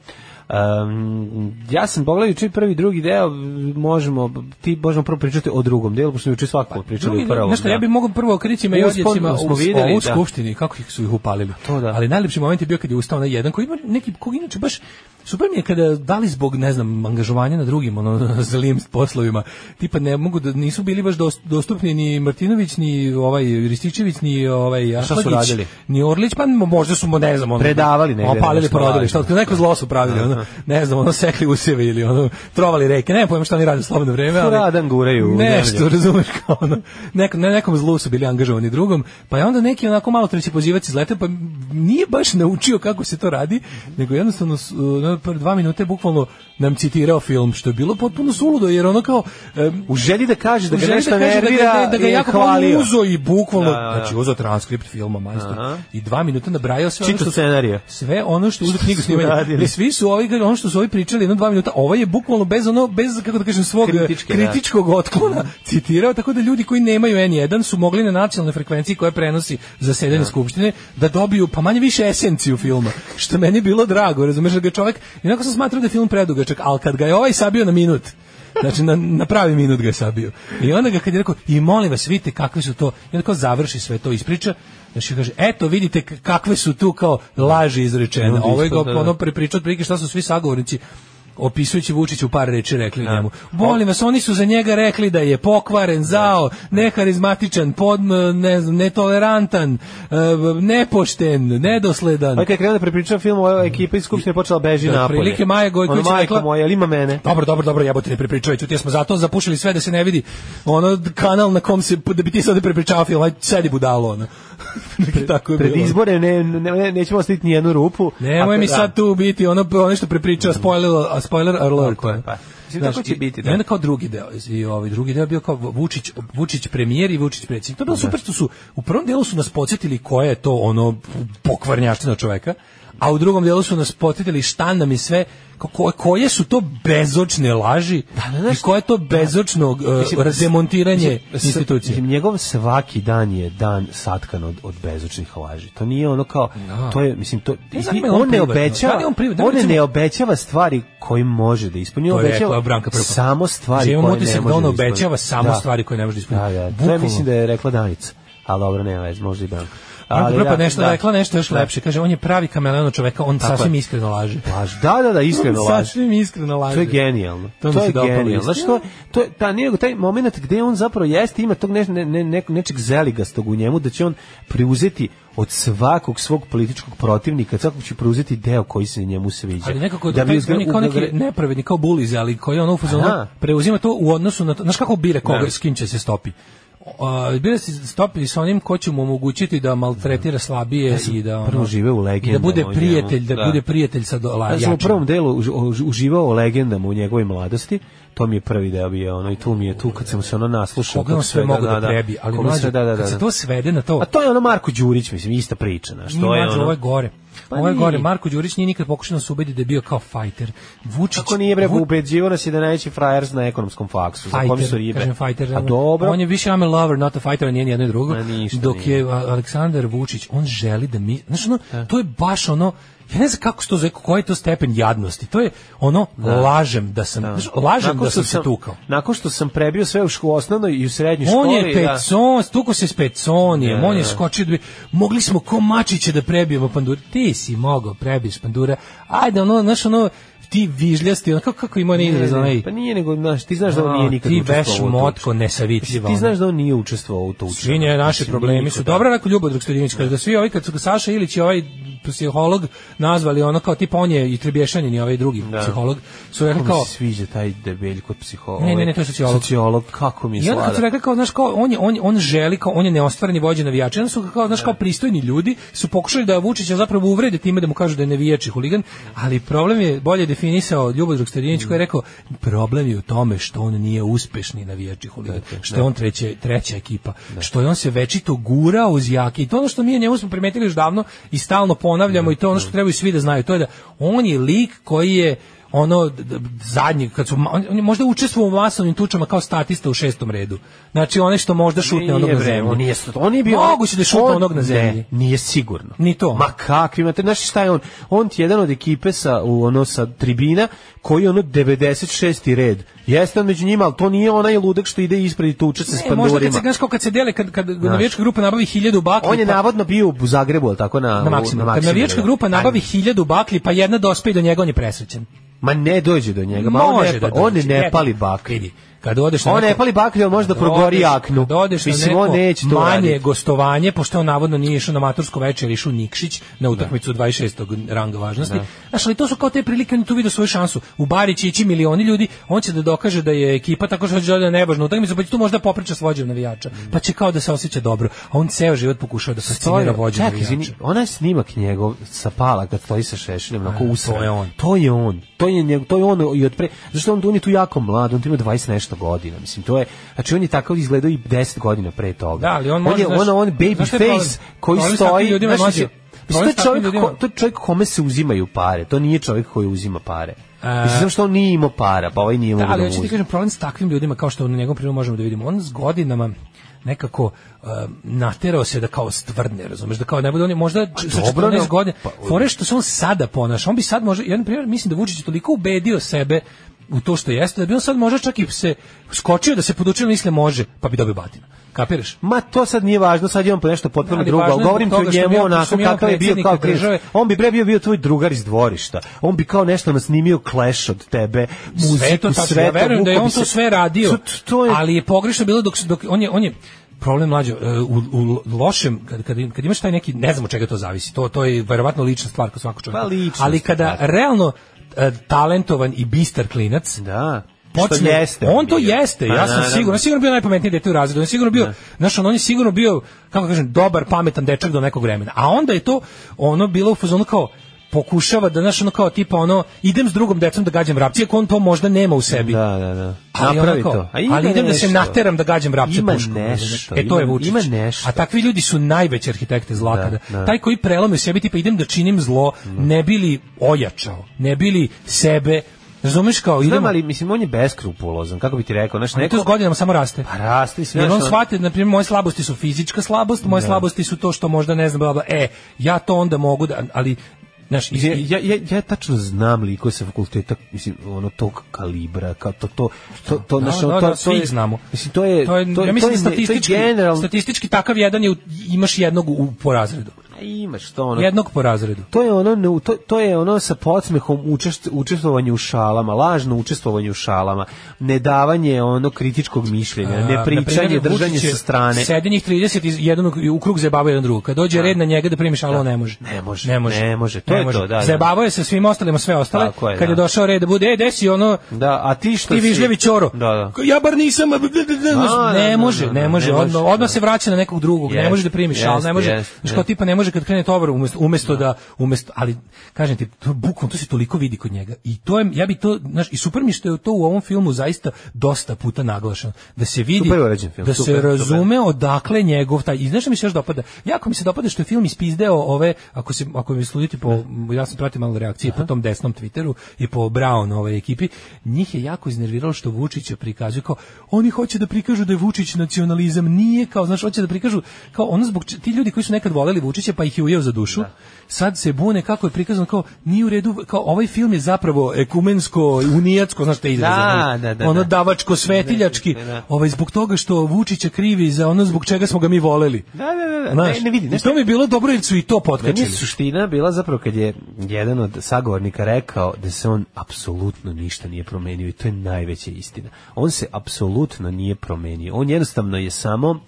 [SPEAKER 7] Um, ja sam pogledao juče prvi i drugi deo, možemo, ti možemo prvo pričati o drugom delu, pošto smo juče svakako pričali
[SPEAKER 6] Pa, Drugi,
[SPEAKER 7] o prvom.
[SPEAKER 6] znaš šta, ja bih mogao prvo o kricima i
[SPEAKER 7] Uspon
[SPEAKER 6] odjecima
[SPEAKER 7] smo
[SPEAKER 6] u,
[SPEAKER 7] videli,
[SPEAKER 6] u
[SPEAKER 7] da.
[SPEAKER 6] skupštini, kako ih su ih upalili.
[SPEAKER 7] To da.
[SPEAKER 6] Ali najlepši moment je bio kad je ustao na jedan koji ima neki, kog inače baš Super mi je kada, da li zbog, ne znam, angažovanja na drugim, ono, [LAUGHS] zlim poslovima, tipa ne mogu da, nisu bili baš dos- dostupni ni Martinović, ni ovaj Rističević, ni ovaj
[SPEAKER 7] su
[SPEAKER 6] Ahlagić,
[SPEAKER 7] radili?
[SPEAKER 6] ni Orlić, pa možda su, mu, ne znam, ono,
[SPEAKER 7] Predavali negde
[SPEAKER 6] opalili,
[SPEAKER 7] nešto,
[SPEAKER 6] porodili,
[SPEAKER 7] važno.
[SPEAKER 6] šta, neko zlo su pravili, ono, ne znam, ono, sekli useve ili, ono, trovali reke, ne pojem šta oni rade u slobodno vreme, ali...
[SPEAKER 7] Radan guraju u
[SPEAKER 6] Nešto,
[SPEAKER 7] zemlju.
[SPEAKER 6] razumeš kao ono, neko, na nekom zlu su bili angažovani drugom, pa je onda neki onako malo treći pozivac izletao, pa nije baš naučio kako se to radi, nego jednostavno s- ono, pre dva minute bukvalno nam citirao film, što je bilo potpuno suludo, jer ono kao... em,
[SPEAKER 7] U želji da kaže da ga
[SPEAKER 6] želi
[SPEAKER 7] nešto
[SPEAKER 6] kaže da ga-
[SPEAKER 7] nervira,
[SPEAKER 6] da, da ga
[SPEAKER 7] je
[SPEAKER 6] jako
[SPEAKER 7] hvalio.
[SPEAKER 6] hvalio. uzo i bukvalno,
[SPEAKER 7] Da, da, da.
[SPEAKER 6] znači uzo transkript filma majstor
[SPEAKER 7] Aha.
[SPEAKER 6] i dva minuta nabrajao sve ono
[SPEAKER 7] Čito
[SPEAKER 6] što su-
[SPEAKER 7] scenarije.
[SPEAKER 6] sve ono što uzeo knjigu
[SPEAKER 7] su
[SPEAKER 6] snimanja.
[SPEAKER 7] radili.
[SPEAKER 6] I svi su ovi ono što su ovi pričali jedno dva minuta, ovaj je bukvalno bez ono bez kako da kažem svog
[SPEAKER 7] Kritičke, da. Mhm.
[SPEAKER 6] kritičkog otklona citirao tako da ljudi koji nemaju N1 su mogli na nacionalnoj frekvenciji koja prenosi zasedanje skupštine da dobiju pa manje više esenciju filma. Što meni je bilo drago, razumeš da ga čovjek inako sam smatrao da je film predugačak, al kad ga je ovaj sabio na minut Znači, na, na pravi minut ga je sabio. I onda ga kad je rekao, i molim vas, vidite kakve su to, i onda kao završi sve to ispriča, znači kaže, eto vidite k- kakve su tu kao laži izrečene.
[SPEAKER 7] Onda
[SPEAKER 6] Ovo je
[SPEAKER 7] isto,
[SPEAKER 6] ga
[SPEAKER 7] da, da.
[SPEAKER 6] ono prepričao otprilike šta su svi sagovornici opisujući Vučić u par reči rekli njemu. Molim vas, oni su za njega rekli da je pokvaren, zao, neharizmatičan, pod, ne znam, netolerantan, e, nepošten, nedosledan.
[SPEAKER 7] Pa kad je krenuo da prepričava film, ova ekipa iz Skupštine je počela beži
[SPEAKER 6] Da,
[SPEAKER 7] napolje.
[SPEAKER 6] otprilike Maja Gojković
[SPEAKER 7] Ono,
[SPEAKER 6] je
[SPEAKER 7] majko
[SPEAKER 6] rekla-
[SPEAKER 7] moja, jel ima mene?
[SPEAKER 6] Dobro, dobro, dobro, jebote, ne prepričavaj, ćuti, smo zato zapušili sve da se ne vidi ono kanal na kom se, da bi ti sad prepričavao film, aj sedi budalo, ono. [LAUGHS] Tako je
[SPEAKER 7] Pred
[SPEAKER 6] bilo.
[SPEAKER 7] izbore ne, ne, ne, nećemo ostaviti ni jednu rupu.
[SPEAKER 6] Nemoj
[SPEAKER 7] Ako-
[SPEAKER 6] mi
[SPEAKER 7] da.
[SPEAKER 6] sad tu biti ono ono što prepričao spoiler a spoiler alert. eh.
[SPEAKER 7] Tako je, pa. Mislim, tako će
[SPEAKER 6] i-
[SPEAKER 7] biti, da.
[SPEAKER 6] I onda kao drugi deo i ovaj drugi deo je bio kao Vučić Vučić premijer i Vučić predsjednik. To je bilo super što su u prvom delu su nas podsjetili koja je to ono pokvarnjaština čoveka, a u drugom delu su nas podsjetili šta nam je sve ko- ko- koje su to bezočne laži
[SPEAKER 7] da, znaš-
[SPEAKER 6] i koje je to bezočno uh,
[SPEAKER 7] Mislim,
[SPEAKER 6] razdemontiranje
[SPEAKER 7] mislim, s-
[SPEAKER 6] institucije.
[SPEAKER 7] Mislim, njegov svaki dan je dan satkan od, od bezočnih laži. To nije ono kao, to je, mislim, to,
[SPEAKER 6] Ne znam, je li
[SPEAKER 7] on,
[SPEAKER 6] on
[SPEAKER 7] ne
[SPEAKER 6] privatno?
[SPEAKER 7] obećava,
[SPEAKER 6] Da li je on privatno? Da li
[SPEAKER 7] on
[SPEAKER 6] recimo-
[SPEAKER 7] ne obećava stvari koje može da ispuni. On
[SPEAKER 6] To je
[SPEAKER 7] obećava
[SPEAKER 6] rekla Branka Prpa.
[SPEAKER 7] samo stvari
[SPEAKER 6] Znači, imam
[SPEAKER 7] koje ne može da
[SPEAKER 6] utisak
[SPEAKER 7] ispuni.
[SPEAKER 6] da on obećava samo stvari koje ne može da ispuni.
[SPEAKER 7] Da, da. To je,
[SPEAKER 6] Bukvalno.
[SPEAKER 7] mislim da je rekla Danica. Ali dobro, nema vez, možda i Branka.
[SPEAKER 6] Branka
[SPEAKER 7] Ali
[SPEAKER 6] Prpa
[SPEAKER 7] da,
[SPEAKER 6] nešto
[SPEAKER 7] da.
[SPEAKER 6] rekla, nešto još
[SPEAKER 7] Da.
[SPEAKER 6] lepše. Kaže, on je pravi kameleon od čoveka, on
[SPEAKER 7] Tako
[SPEAKER 6] sasvim
[SPEAKER 7] je.
[SPEAKER 6] iskreno laže.
[SPEAKER 7] Laž. Da, da, da, iskreno
[SPEAKER 6] On
[SPEAKER 7] laž.
[SPEAKER 6] Sasvim iskreno laže.
[SPEAKER 7] To je genijalno.
[SPEAKER 6] To mi se
[SPEAKER 7] je
[SPEAKER 6] dopalo,
[SPEAKER 7] genijalno.
[SPEAKER 6] istina.
[SPEAKER 7] Znaš što? To je ta nego taj momenat gde on zapravo jeste ima tog ne, ne, ne, ne- nečeg zeligastog u njemu da će on preuzeti od svakog svog političkog protivnika, od svakog će preuzeti deo koji se njemu sviđa.
[SPEAKER 6] Ali nekako
[SPEAKER 7] da
[SPEAKER 6] da
[SPEAKER 7] bi
[SPEAKER 6] taj, on je kao neki
[SPEAKER 7] uzgra-
[SPEAKER 6] nepravedni, kao buliz, ali koji on u fazonu
[SPEAKER 7] Aha.
[SPEAKER 6] preuzima to u odnosu na to. Znaš kako bira koga,
[SPEAKER 7] Da.
[SPEAKER 6] s kim će se stopi? Uh, bira se stopi sa onim ko će mu omogućiti da maltretira slabije i da ono,
[SPEAKER 7] prvo žive u
[SPEAKER 6] i da
[SPEAKER 7] legendama
[SPEAKER 6] bude
[SPEAKER 7] o njemu.
[SPEAKER 6] prijatelj, da,
[SPEAKER 7] Da.
[SPEAKER 6] bude prijatelj sa dola,
[SPEAKER 7] Ja sam u
[SPEAKER 6] jačim.
[SPEAKER 7] prvom delu uži- uži- uživao o legendama u njegovoj mladosti. To mi je prvi deo bio, ono, i tu mi je tu kad sam se ono naslušao.
[SPEAKER 6] koga on
[SPEAKER 7] tog
[SPEAKER 6] sve
[SPEAKER 7] svega,
[SPEAKER 6] mogu da, prebi, ali
[SPEAKER 7] Koga
[SPEAKER 6] mlađe,
[SPEAKER 7] sve, da, da, da,
[SPEAKER 6] kad se
[SPEAKER 7] da.
[SPEAKER 6] to svede na to,
[SPEAKER 7] A to je ono Marko Đurić, mislim, ista priča, znaš,
[SPEAKER 6] Nije
[SPEAKER 7] to je
[SPEAKER 6] mlađe,
[SPEAKER 7] ono.
[SPEAKER 6] ovo je gore.
[SPEAKER 7] Pa
[SPEAKER 6] ovo je
[SPEAKER 7] nije.
[SPEAKER 6] gore. Marko Đurić nije nikad pokušao da se ubedi da je bio kao fajter. Vučić...
[SPEAKER 7] Kako nije bre
[SPEAKER 6] Vu-
[SPEAKER 7] ubeđivo nas je da je najveći frajer na ekonomskom faksu, za kom su
[SPEAKER 6] Fighter,
[SPEAKER 7] ribe.
[SPEAKER 6] kažem fighter.
[SPEAKER 7] A
[SPEAKER 6] ono,
[SPEAKER 7] dobro.
[SPEAKER 6] On je više I'm a lover, not a fighter, a nije ni jedno i drugo.
[SPEAKER 7] Ma ništa
[SPEAKER 6] dok
[SPEAKER 7] nije.
[SPEAKER 6] je a, Aleksandar Vučić, on želi da mi... Znaš, ono, to je baš ono... Ja ne znam kako se to zove, koji je to stepen jadnosti. To je ono, lažem da sam... znaš, lažem
[SPEAKER 7] Nakon
[SPEAKER 6] da
[SPEAKER 7] što
[SPEAKER 6] sam se tukao.
[SPEAKER 7] Nakon što sam prebio sve u ško- osnovnoj i u srednjoj školi.
[SPEAKER 6] On je
[SPEAKER 7] da.
[SPEAKER 6] pecon, stukao se s peconijem,
[SPEAKER 7] Da,
[SPEAKER 6] on je
[SPEAKER 7] da.
[SPEAKER 6] skočio da bi, mogli smo ko mačiće da prebijemo pandura, ti si mogao prebiješ pandura, ajde ono, znaš ono, ti vižljasti, ono, kako, kako ima onaj izraz, onaj,
[SPEAKER 7] Pa nije nego, znaš, ti znaš da on pa nije
[SPEAKER 6] A,
[SPEAKER 7] nikad
[SPEAKER 6] ti
[SPEAKER 7] učestvovao
[SPEAKER 6] veš
[SPEAKER 7] u tuču.
[SPEAKER 6] motko nesavitljiva.
[SPEAKER 7] Ti
[SPEAKER 6] ono.
[SPEAKER 7] znaš da on nije učestvovao u tuču.
[SPEAKER 6] Svinje, naši
[SPEAKER 7] Mislim,
[SPEAKER 6] problemi
[SPEAKER 7] niko,
[SPEAKER 6] su.
[SPEAKER 7] da.
[SPEAKER 6] Dobro, rekao Ljubo Drug kaže da svi ovi, kad su Saša Ilić i ovaj psiholog nazvali ono kao tipa on je i Trebješanin i ovaj drugi
[SPEAKER 7] Da.
[SPEAKER 6] psiholog su rekli
[SPEAKER 7] Kako
[SPEAKER 6] kao
[SPEAKER 7] mi se sviđa taj debelj kod psihologa?
[SPEAKER 6] Ne, ne, ne, to je sociolog.
[SPEAKER 7] Sociolog, kako mi je
[SPEAKER 6] I onda kad su
[SPEAKER 7] slada.
[SPEAKER 6] rekli kao, znaš, kao, on, je, on, on želi, kao, on je neostvareni vođa navijača. I onda su ga kao, znaš, kao pristojni ljudi su pokušali da Vučića zapravo uvrede time da mu kažu da je navijač i huligan, ali problem je bolje definisao Ljubodrag Stojadinović koji je rekao, problem je u tome što on nije uspešni navijač i huligan, što je on treće, treća ekipa, što je on se večito gura uz jake. I to je ono što mi je njemu smo primetili još davno i stalno ponavljamo i to je ono što trebaju svi da znaju, to je da on je lik koji je ono d- d- zadnji kad su ma- on, on je možda učestvovao u masovnim tučama kao statista u šestom redu. Znači one što možda šutne onog na
[SPEAKER 7] bre, On
[SPEAKER 6] zemlji.
[SPEAKER 7] nije, sto- on je bio...
[SPEAKER 6] Moguće da šuta
[SPEAKER 7] on-
[SPEAKER 6] onog na zemlji.
[SPEAKER 7] Ne, E, nije sigurno.
[SPEAKER 6] Ni to.
[SPEAKER 7] Ma kakvi, imate, znaš šta je on? On ti je jedan od ekipe sa, u, ono, sa tribina, koji je ono 96. red. Jeste on među njima, ali to nije onaj ludak što ide ispred i tuče se s
[SPEAKER 6] E, možda kad
[SPEAKER 7] pandurima.
[SPEAKER 6] se znaš kao kad se dele kad kad navijačka grupa nabavi 1000 bakli.
[SPEAKER 7] On je
[SPEAKER 6] pa-
[SPEAKER 7] navodno bio u Zagrebu, ali tako na,
[SPEAKER 6] na maksimum. Kad navijačka grupa nabavi 1000 bakli, pa jedna dospe i do njega on je presrećen.
[SPEAKER 7] Ma ne dođe do njega, ma on
[SPEAKER 6] Može
[SPEAKER 7] ne,
[SPEAKER 6] da
[SPEAKER 7] pa- on
[SPEAKER 6] dođe.
[SPEAKER 7] ne
[SPEAKER 6] Evo,
[SPEAKER 7] pali bak.
[SPEAKER 6] Vidi, kad odeš na
[SPEAKER 7] On ne
[SPEAKER 6] neko-
[SPEAKER 7] pali baklju, on može da progori
[SPEAKER 6] odeš-
[SPEAKER 7] jaknu.
[SPEAKER 6] kad odeš na
[SPEAKER 7] Mislim,
[SPEAKER 6] neko
[SPEAKER 7] on neće to
[SPEAKER 6] manje
[SPEAKER 7] raditi.
[SPEAKER 6] gostovanje, pošto on navodno nije išao na matursko večer, išao u Nikšić na utakmicu 26. ranga važnosti. Znaš, ali to su kao te prilike, on je tu vidio svoju šansu. U Bari će ići milioni ljudi, on će da dokaže da je ekipa tako što će da nevažno utakmicu, pa će tu možda popriča s vođom navijača. Pa će kao da se osjeća dobro. A on ceo život pokušao da fascinira vođu
[SPEAKER 7] Čekaj,
[SPEAKER 6] navijača.
[SPEAKER 7] izvini, onaj snimak njegov sa pala kad stoji sa šešeljem, onako
[SPEAKER 6] A,
[SPEAKER 7] usran.
[SPEAKER 6] to je on.
[SPEAKER 7] To je on. To je njegov, to je on i od pre, zašto on, on je tu jako mlad, on tu ima 20 nešto godina, mislim, to je, znači on je tako izgledao i 10 godina pre toga.
[SPEAKER 6] Da, ali on
[SPEAKER 7] on
[SPEAKER 6] može,
[SPEAKER 7] je,
[SPEAKER 6] znaš-
[SPEAKER 7] on, on baby
[SPEAKER 6] znaš šta je
[SPEAKER 7] face
[SPEAKER 6] problem?
[SPEAKER 7] koji
[SPEAKER 6] Problem s takvim
[SPEAKER 7] stoji,
[SPEAKER 6] ljudima je
[SPEAKER 7] znaš,
[SPEAKER 6] mlađe.
[SPEAKER 7] mislim, mislim, to
[SPEAKER 6] Problem
[SPEAKER 7] je
[SPEAKER 6] s takvim
[SPEAKER 7] čovjek, ko,
[SPEAKER 6] ljudima.
[SPEAKER 7] to je čovjek kome se uzimaju pare, to nije čovjek koji uzima pare.
[SPEAKER 6] A-
[SPEAKER 7] Mislim, samo što on nije imao para, pa ovaj nije
[SPEAKER 6] E, Da,
[SPEAKER 7] mogao da
[SPEAKER 6] ali
[SPEAKER 7] mu
[SPEAKER 6] hoću ti
[SPEAKER 7] uzme.
[SPEAKER 6] kažem problem s takvim ljudima kao što na njegovom primjeru možemo da vidimo. On s godinama nekako um, naterao se da kao stvrdne, razumeš, da kao ne bude on je možda č- sa
[SPEAKER 7] Pa dobro,
[SPEAKER 6] 14
[SPEAKER 7] no,
[SPEAKER 6] godina.
[SPEAKER 7] pa-
[SPEAKER 6] Fore što se on sada ponaša, on bi sad možda, jedan primjer, mislim da Vučić je toliko ubedio sebe u to što jeste, da bi on sad možda čak i se skočio da se podučio misle može, pa bi dobio batina. Kapiraš?
[SPEAKER 7] Ma to sad nije važno, sad je on po nešto potpuno
[SPEAKER 6] Ali
[SPEAKER 7] drugo,
[SPEAKER 6] važno
[SPEAKER 7] ali
[SPEAKER 6] je
[SPEAKER 7] govorim ti
[SPEAKER 6] zbog
[SPEAKER 7] o
[SPEAKER 6] toga što
[SPEAKER 7] njemu
[SPEAKER 6] mi je- što
[SPEAKER 7] onako
[SPEAKER 6] mi je on
[SPEAKER 7] kakav je bio
[SPEAKER 6] predsjednik
[SPEAKER 7] kao klinac.
[SPEAKER 6] države.
[SPEAKER 7] On bi pre bio bio tvoj drugar iz dvorišta. On bi kao nešto nasnimio Clash od tebe, muziku,
[SPEAKER 6] sve to tačno, ja
[SPEAKER 7] sve to,
[SPEAKER 6] verujem da je
[SPEAKER 7] vukao
[SPEAKER 6] on
[SPEAKER 7] bi se-
[SPEAKER 6] to sve radio,
[SPEAKER 7] To, to je,
[SPEAKER 6] ali je pogrešno bilo dok, dok on je, on je problem mlađe e, u, u lošem kad, kad, kad imaš taj neki ne znam od čega to zavisi to to je verovatno lična stvar kod svakog čovjeka
[SPEAKER 7] Pa ličnost,
[SPEAKER 6] ali kada
[SPEAKER 7] da.
[SPEAKER 6] realno e, talentovan i bistar klinac
[SPEAKER 7] da,
[SPEAKER 6] počne,
[SPEAKER 7] što jeste.
[SPEAKER 6] on to
[SPEAKER 7] bio.
[SPEAKER 6] jeste, ja
[SPEAKER 7] Pa,
[SPEAKER 6] sam
[SPEAKER 7] naravno.
[SPEAKER 6] siguran, on je sigurno bio najpametniji dete u razredu, on je sigurno bio, znaš, on je sigurno bio, kako kažem, dobar, pametan dečak do nekog vremena, a onda je to, ono, bilo u fazonu kao, pokušava da, znaš, ono kao, tipa, ono, idem s drugom decom da gađam vrapce, iako on to možda nema u sebi.
[SPEAKER 7] Da, da, da.
[SPEAKER 6] Ali,
[SPEAKER 7] Napravi
[SPEAKER 6] onako,
[SPEAKER 7] to. A ima
[SPEAKER 6] ali idem da se
[SPEAKER 7] nešto.
[SPEAKER 6] nateram da gađam vrapce
[SPEAKER 7] Ima
[SPEAKER 6] puškom.
[SPEAKER 7] nešto,
[SPEAKER 6] razumeš? e, to je
[SPEAKER 7] ima-
[SPEAKER 6] Vučić.
[SPEAKER 7] ima nešto.
[SPEAKER 6] A takvi ljudi su najveći arhitekte zlata.
[SPEAKER 7] Da, da.
[SPEAKER 6] Taj koji prelomi u sebi, tipa idem da činim zlo, ne bili ojačao, ne bili sebe, razumeš kao, idemo...
[SPEAKER 7] Znam, ali mislim, on je beskrupulozan, kako bi ti rekao, znaš,
[SPEAKER 6] Neko
[SPEAKER 7] neko...
[SPEAKER 6] s godinama samo raste.
[SPEAKER 7] Pa raste, mislim,
[SPEAKER 6] Jer
[SPEAKER 7] znaš,
[SPEAKER 6] on
[SPEAKER 7] ono-
[SPEAKER 6] shvati, na primjer, moje slabosti su fizička slabost, moje slabosti su to što možda ne znam, bla, bla, e, ja to onda mogu da, ali, znaš, iz-
[SPEAKER 7] Ja, ja, ja, ja tačno znam likove sa fakulteta, mislim, ono tog kalibra, kao to, to, to, to,
[SPEAKER 6] Da,
[SPEAKER 7] znaš, ono,
[SPEAKER 6] da,
[SPEAKER 7] to,
[SPEAKER 6] da,
[SPEAKER 7] to
[SPEAKER 6] svi
[SPEAKER 7] je,
[SPEAKER 6] znamo.
[SPEAKER 7] Mislim, to je, to je, to
[SPEAKER 6] ja
[SPEAKER 7] je,
[SPEAKER 6] mislim da
[SPEAKER 7] ne- to je
[SPEAKER 6] statistički,
[SPEAKER 7] generalno,
[SPEAKER 6] statistički takav jedan je, u- imaš jednog u, po razredu.
[SPEAKER 7] A Imaš to ono.
[SPEAKER 6] Jednog po razredu.
[SPEAKER 7] To je ono ne- to, to je ono sa podsmehom učest, učestvovanje u šalama, lažno učestvovanje u šalama, nedavanje ono kritičkog mišljenja,
[SPEAKER 6] A,
[SPEAKER 7] ne pričanje,
[SPEAKER 6] naprimjer,
[SPEAKER 7] držanje
[SPEAKER 6] Vučić je
[SPEAKER 7] sa strane.
[SPEAKER 6] Sede njih 30 iz jednog i u krug zajebavaju jedan drugog. Kad dođe red na njega da primi šalu, on ne može.
[SPEAKER 7] Ne može, ne može, to
[SPEAKER 6] Ne
[SPEAKER 7] je
[SPEAKER 6] može.
[SPEAKER 7] to, da, da.
[SPEAKER 6] Zajebavao je sa svim ostalima sve ostale.
[SPEAKER 7] Tako je,
[SPEAKER 6] Kad je
[SPEAKER 7] da.
[SPEAKER 6] došao red da bude, e, desi ono,
[SPEAKER 7] Da, a ti što
[SPEAKER 6] ti
[SPEAKER 7] si-
[SPEAKER 6] Vižljevi Ćoro.
[SPEAKER 7] Da, da.
[SPEAKER 6] Ja bar nisam. a bl- bl- bl- bl-
[SPEAKER 7] A, da, da,
[SPEAKER 6] ne može,
[SPEAKER 7] da,
[SPEAKER 6] ne
[SPEAKER 7] da,
[SPEAKER 6] može.
[SPEAKER 7] ne može,
[SPEAKER 6] Odmah, odmah se vraća na nekog drugog.
[SPEAKER 7] Jeste,
[SPEAKER 6] Ne može da primi šal,
[SPEAKER 7] jeste,
[SPEAKER 6] ne može.
[SPEAKER 7] jeste,
[SPEAKER 6] Znači kao
[SPEAKER 7] jeste.
[SPEAKER 6] tipa ne može kad krene tovar umesto umesto da umesto ali kažem ti to bukvalno to se toliko vidi kod njega. I to je ja bi to znaš i super mi je što je to u ovom filmu zaista dosta puta naglašeno da se vidi
[SPEAKER 7] Super je urađen film,
[SPEAKER 6] da
[SPEAKER 7] super,
[SPEAKER 6] se
[SPEAKER 7] super.
[SPEAKER 6] razume odakle njegov taj i znaš šta mi se još dopada. Jako mi se dopada što je film ispizdeo ove ako se ako mi sluditi po ja sam pratio malo reakcije po tom desnom Twitteru i po Brown ove ekipi, njih je jako iznerviralo što Vučića prikazuju kao oni hoće da prikažu da je Vučić nacionalizam nije kao znaš hoće da prikažu kao ono zbog če- ti ljudi koji su nekad voleli Vučića pa ih je ujeo za dušu. Sad se bune kako je prikazano kao nije u redu kao ovaj film je zapravo ekumensko unijatsko znaš te izraze.
[SPEAKER 7] Da,
[SPEAKER 6] ono,
[SPEAKER 7] da, da,
[SPEAKER 6] ono
[SPEAKER 7] da.
[SPEAKER 6] davačko svetiljački
[SPEAKER 7] Da, da, da.
[SPEAKER 6] ovaj zbog toga što Vučića krivi za ono zbog čega smo ga mi voleli.
[SPEAKER 7] Da, da, da, da.
[SPEAKER 6] Znaš,
[SPEAKER 7] Ne, ne vidi,
[SPEAKER 6] i
[SPEAKER 7] znaš
[SPEAKER 6] to mi je bilo dobro jer su i to
[SPEAKER 7] Meni je
[SPEAKER 6] potkačili.
[SPEAKER 7] suština bila zapravo kad je jedan od sagovornika rekao da se on apsolutno ništa nije promenio i to je najveća istina. On se apsolutno nije promenio. On jednostavno je samo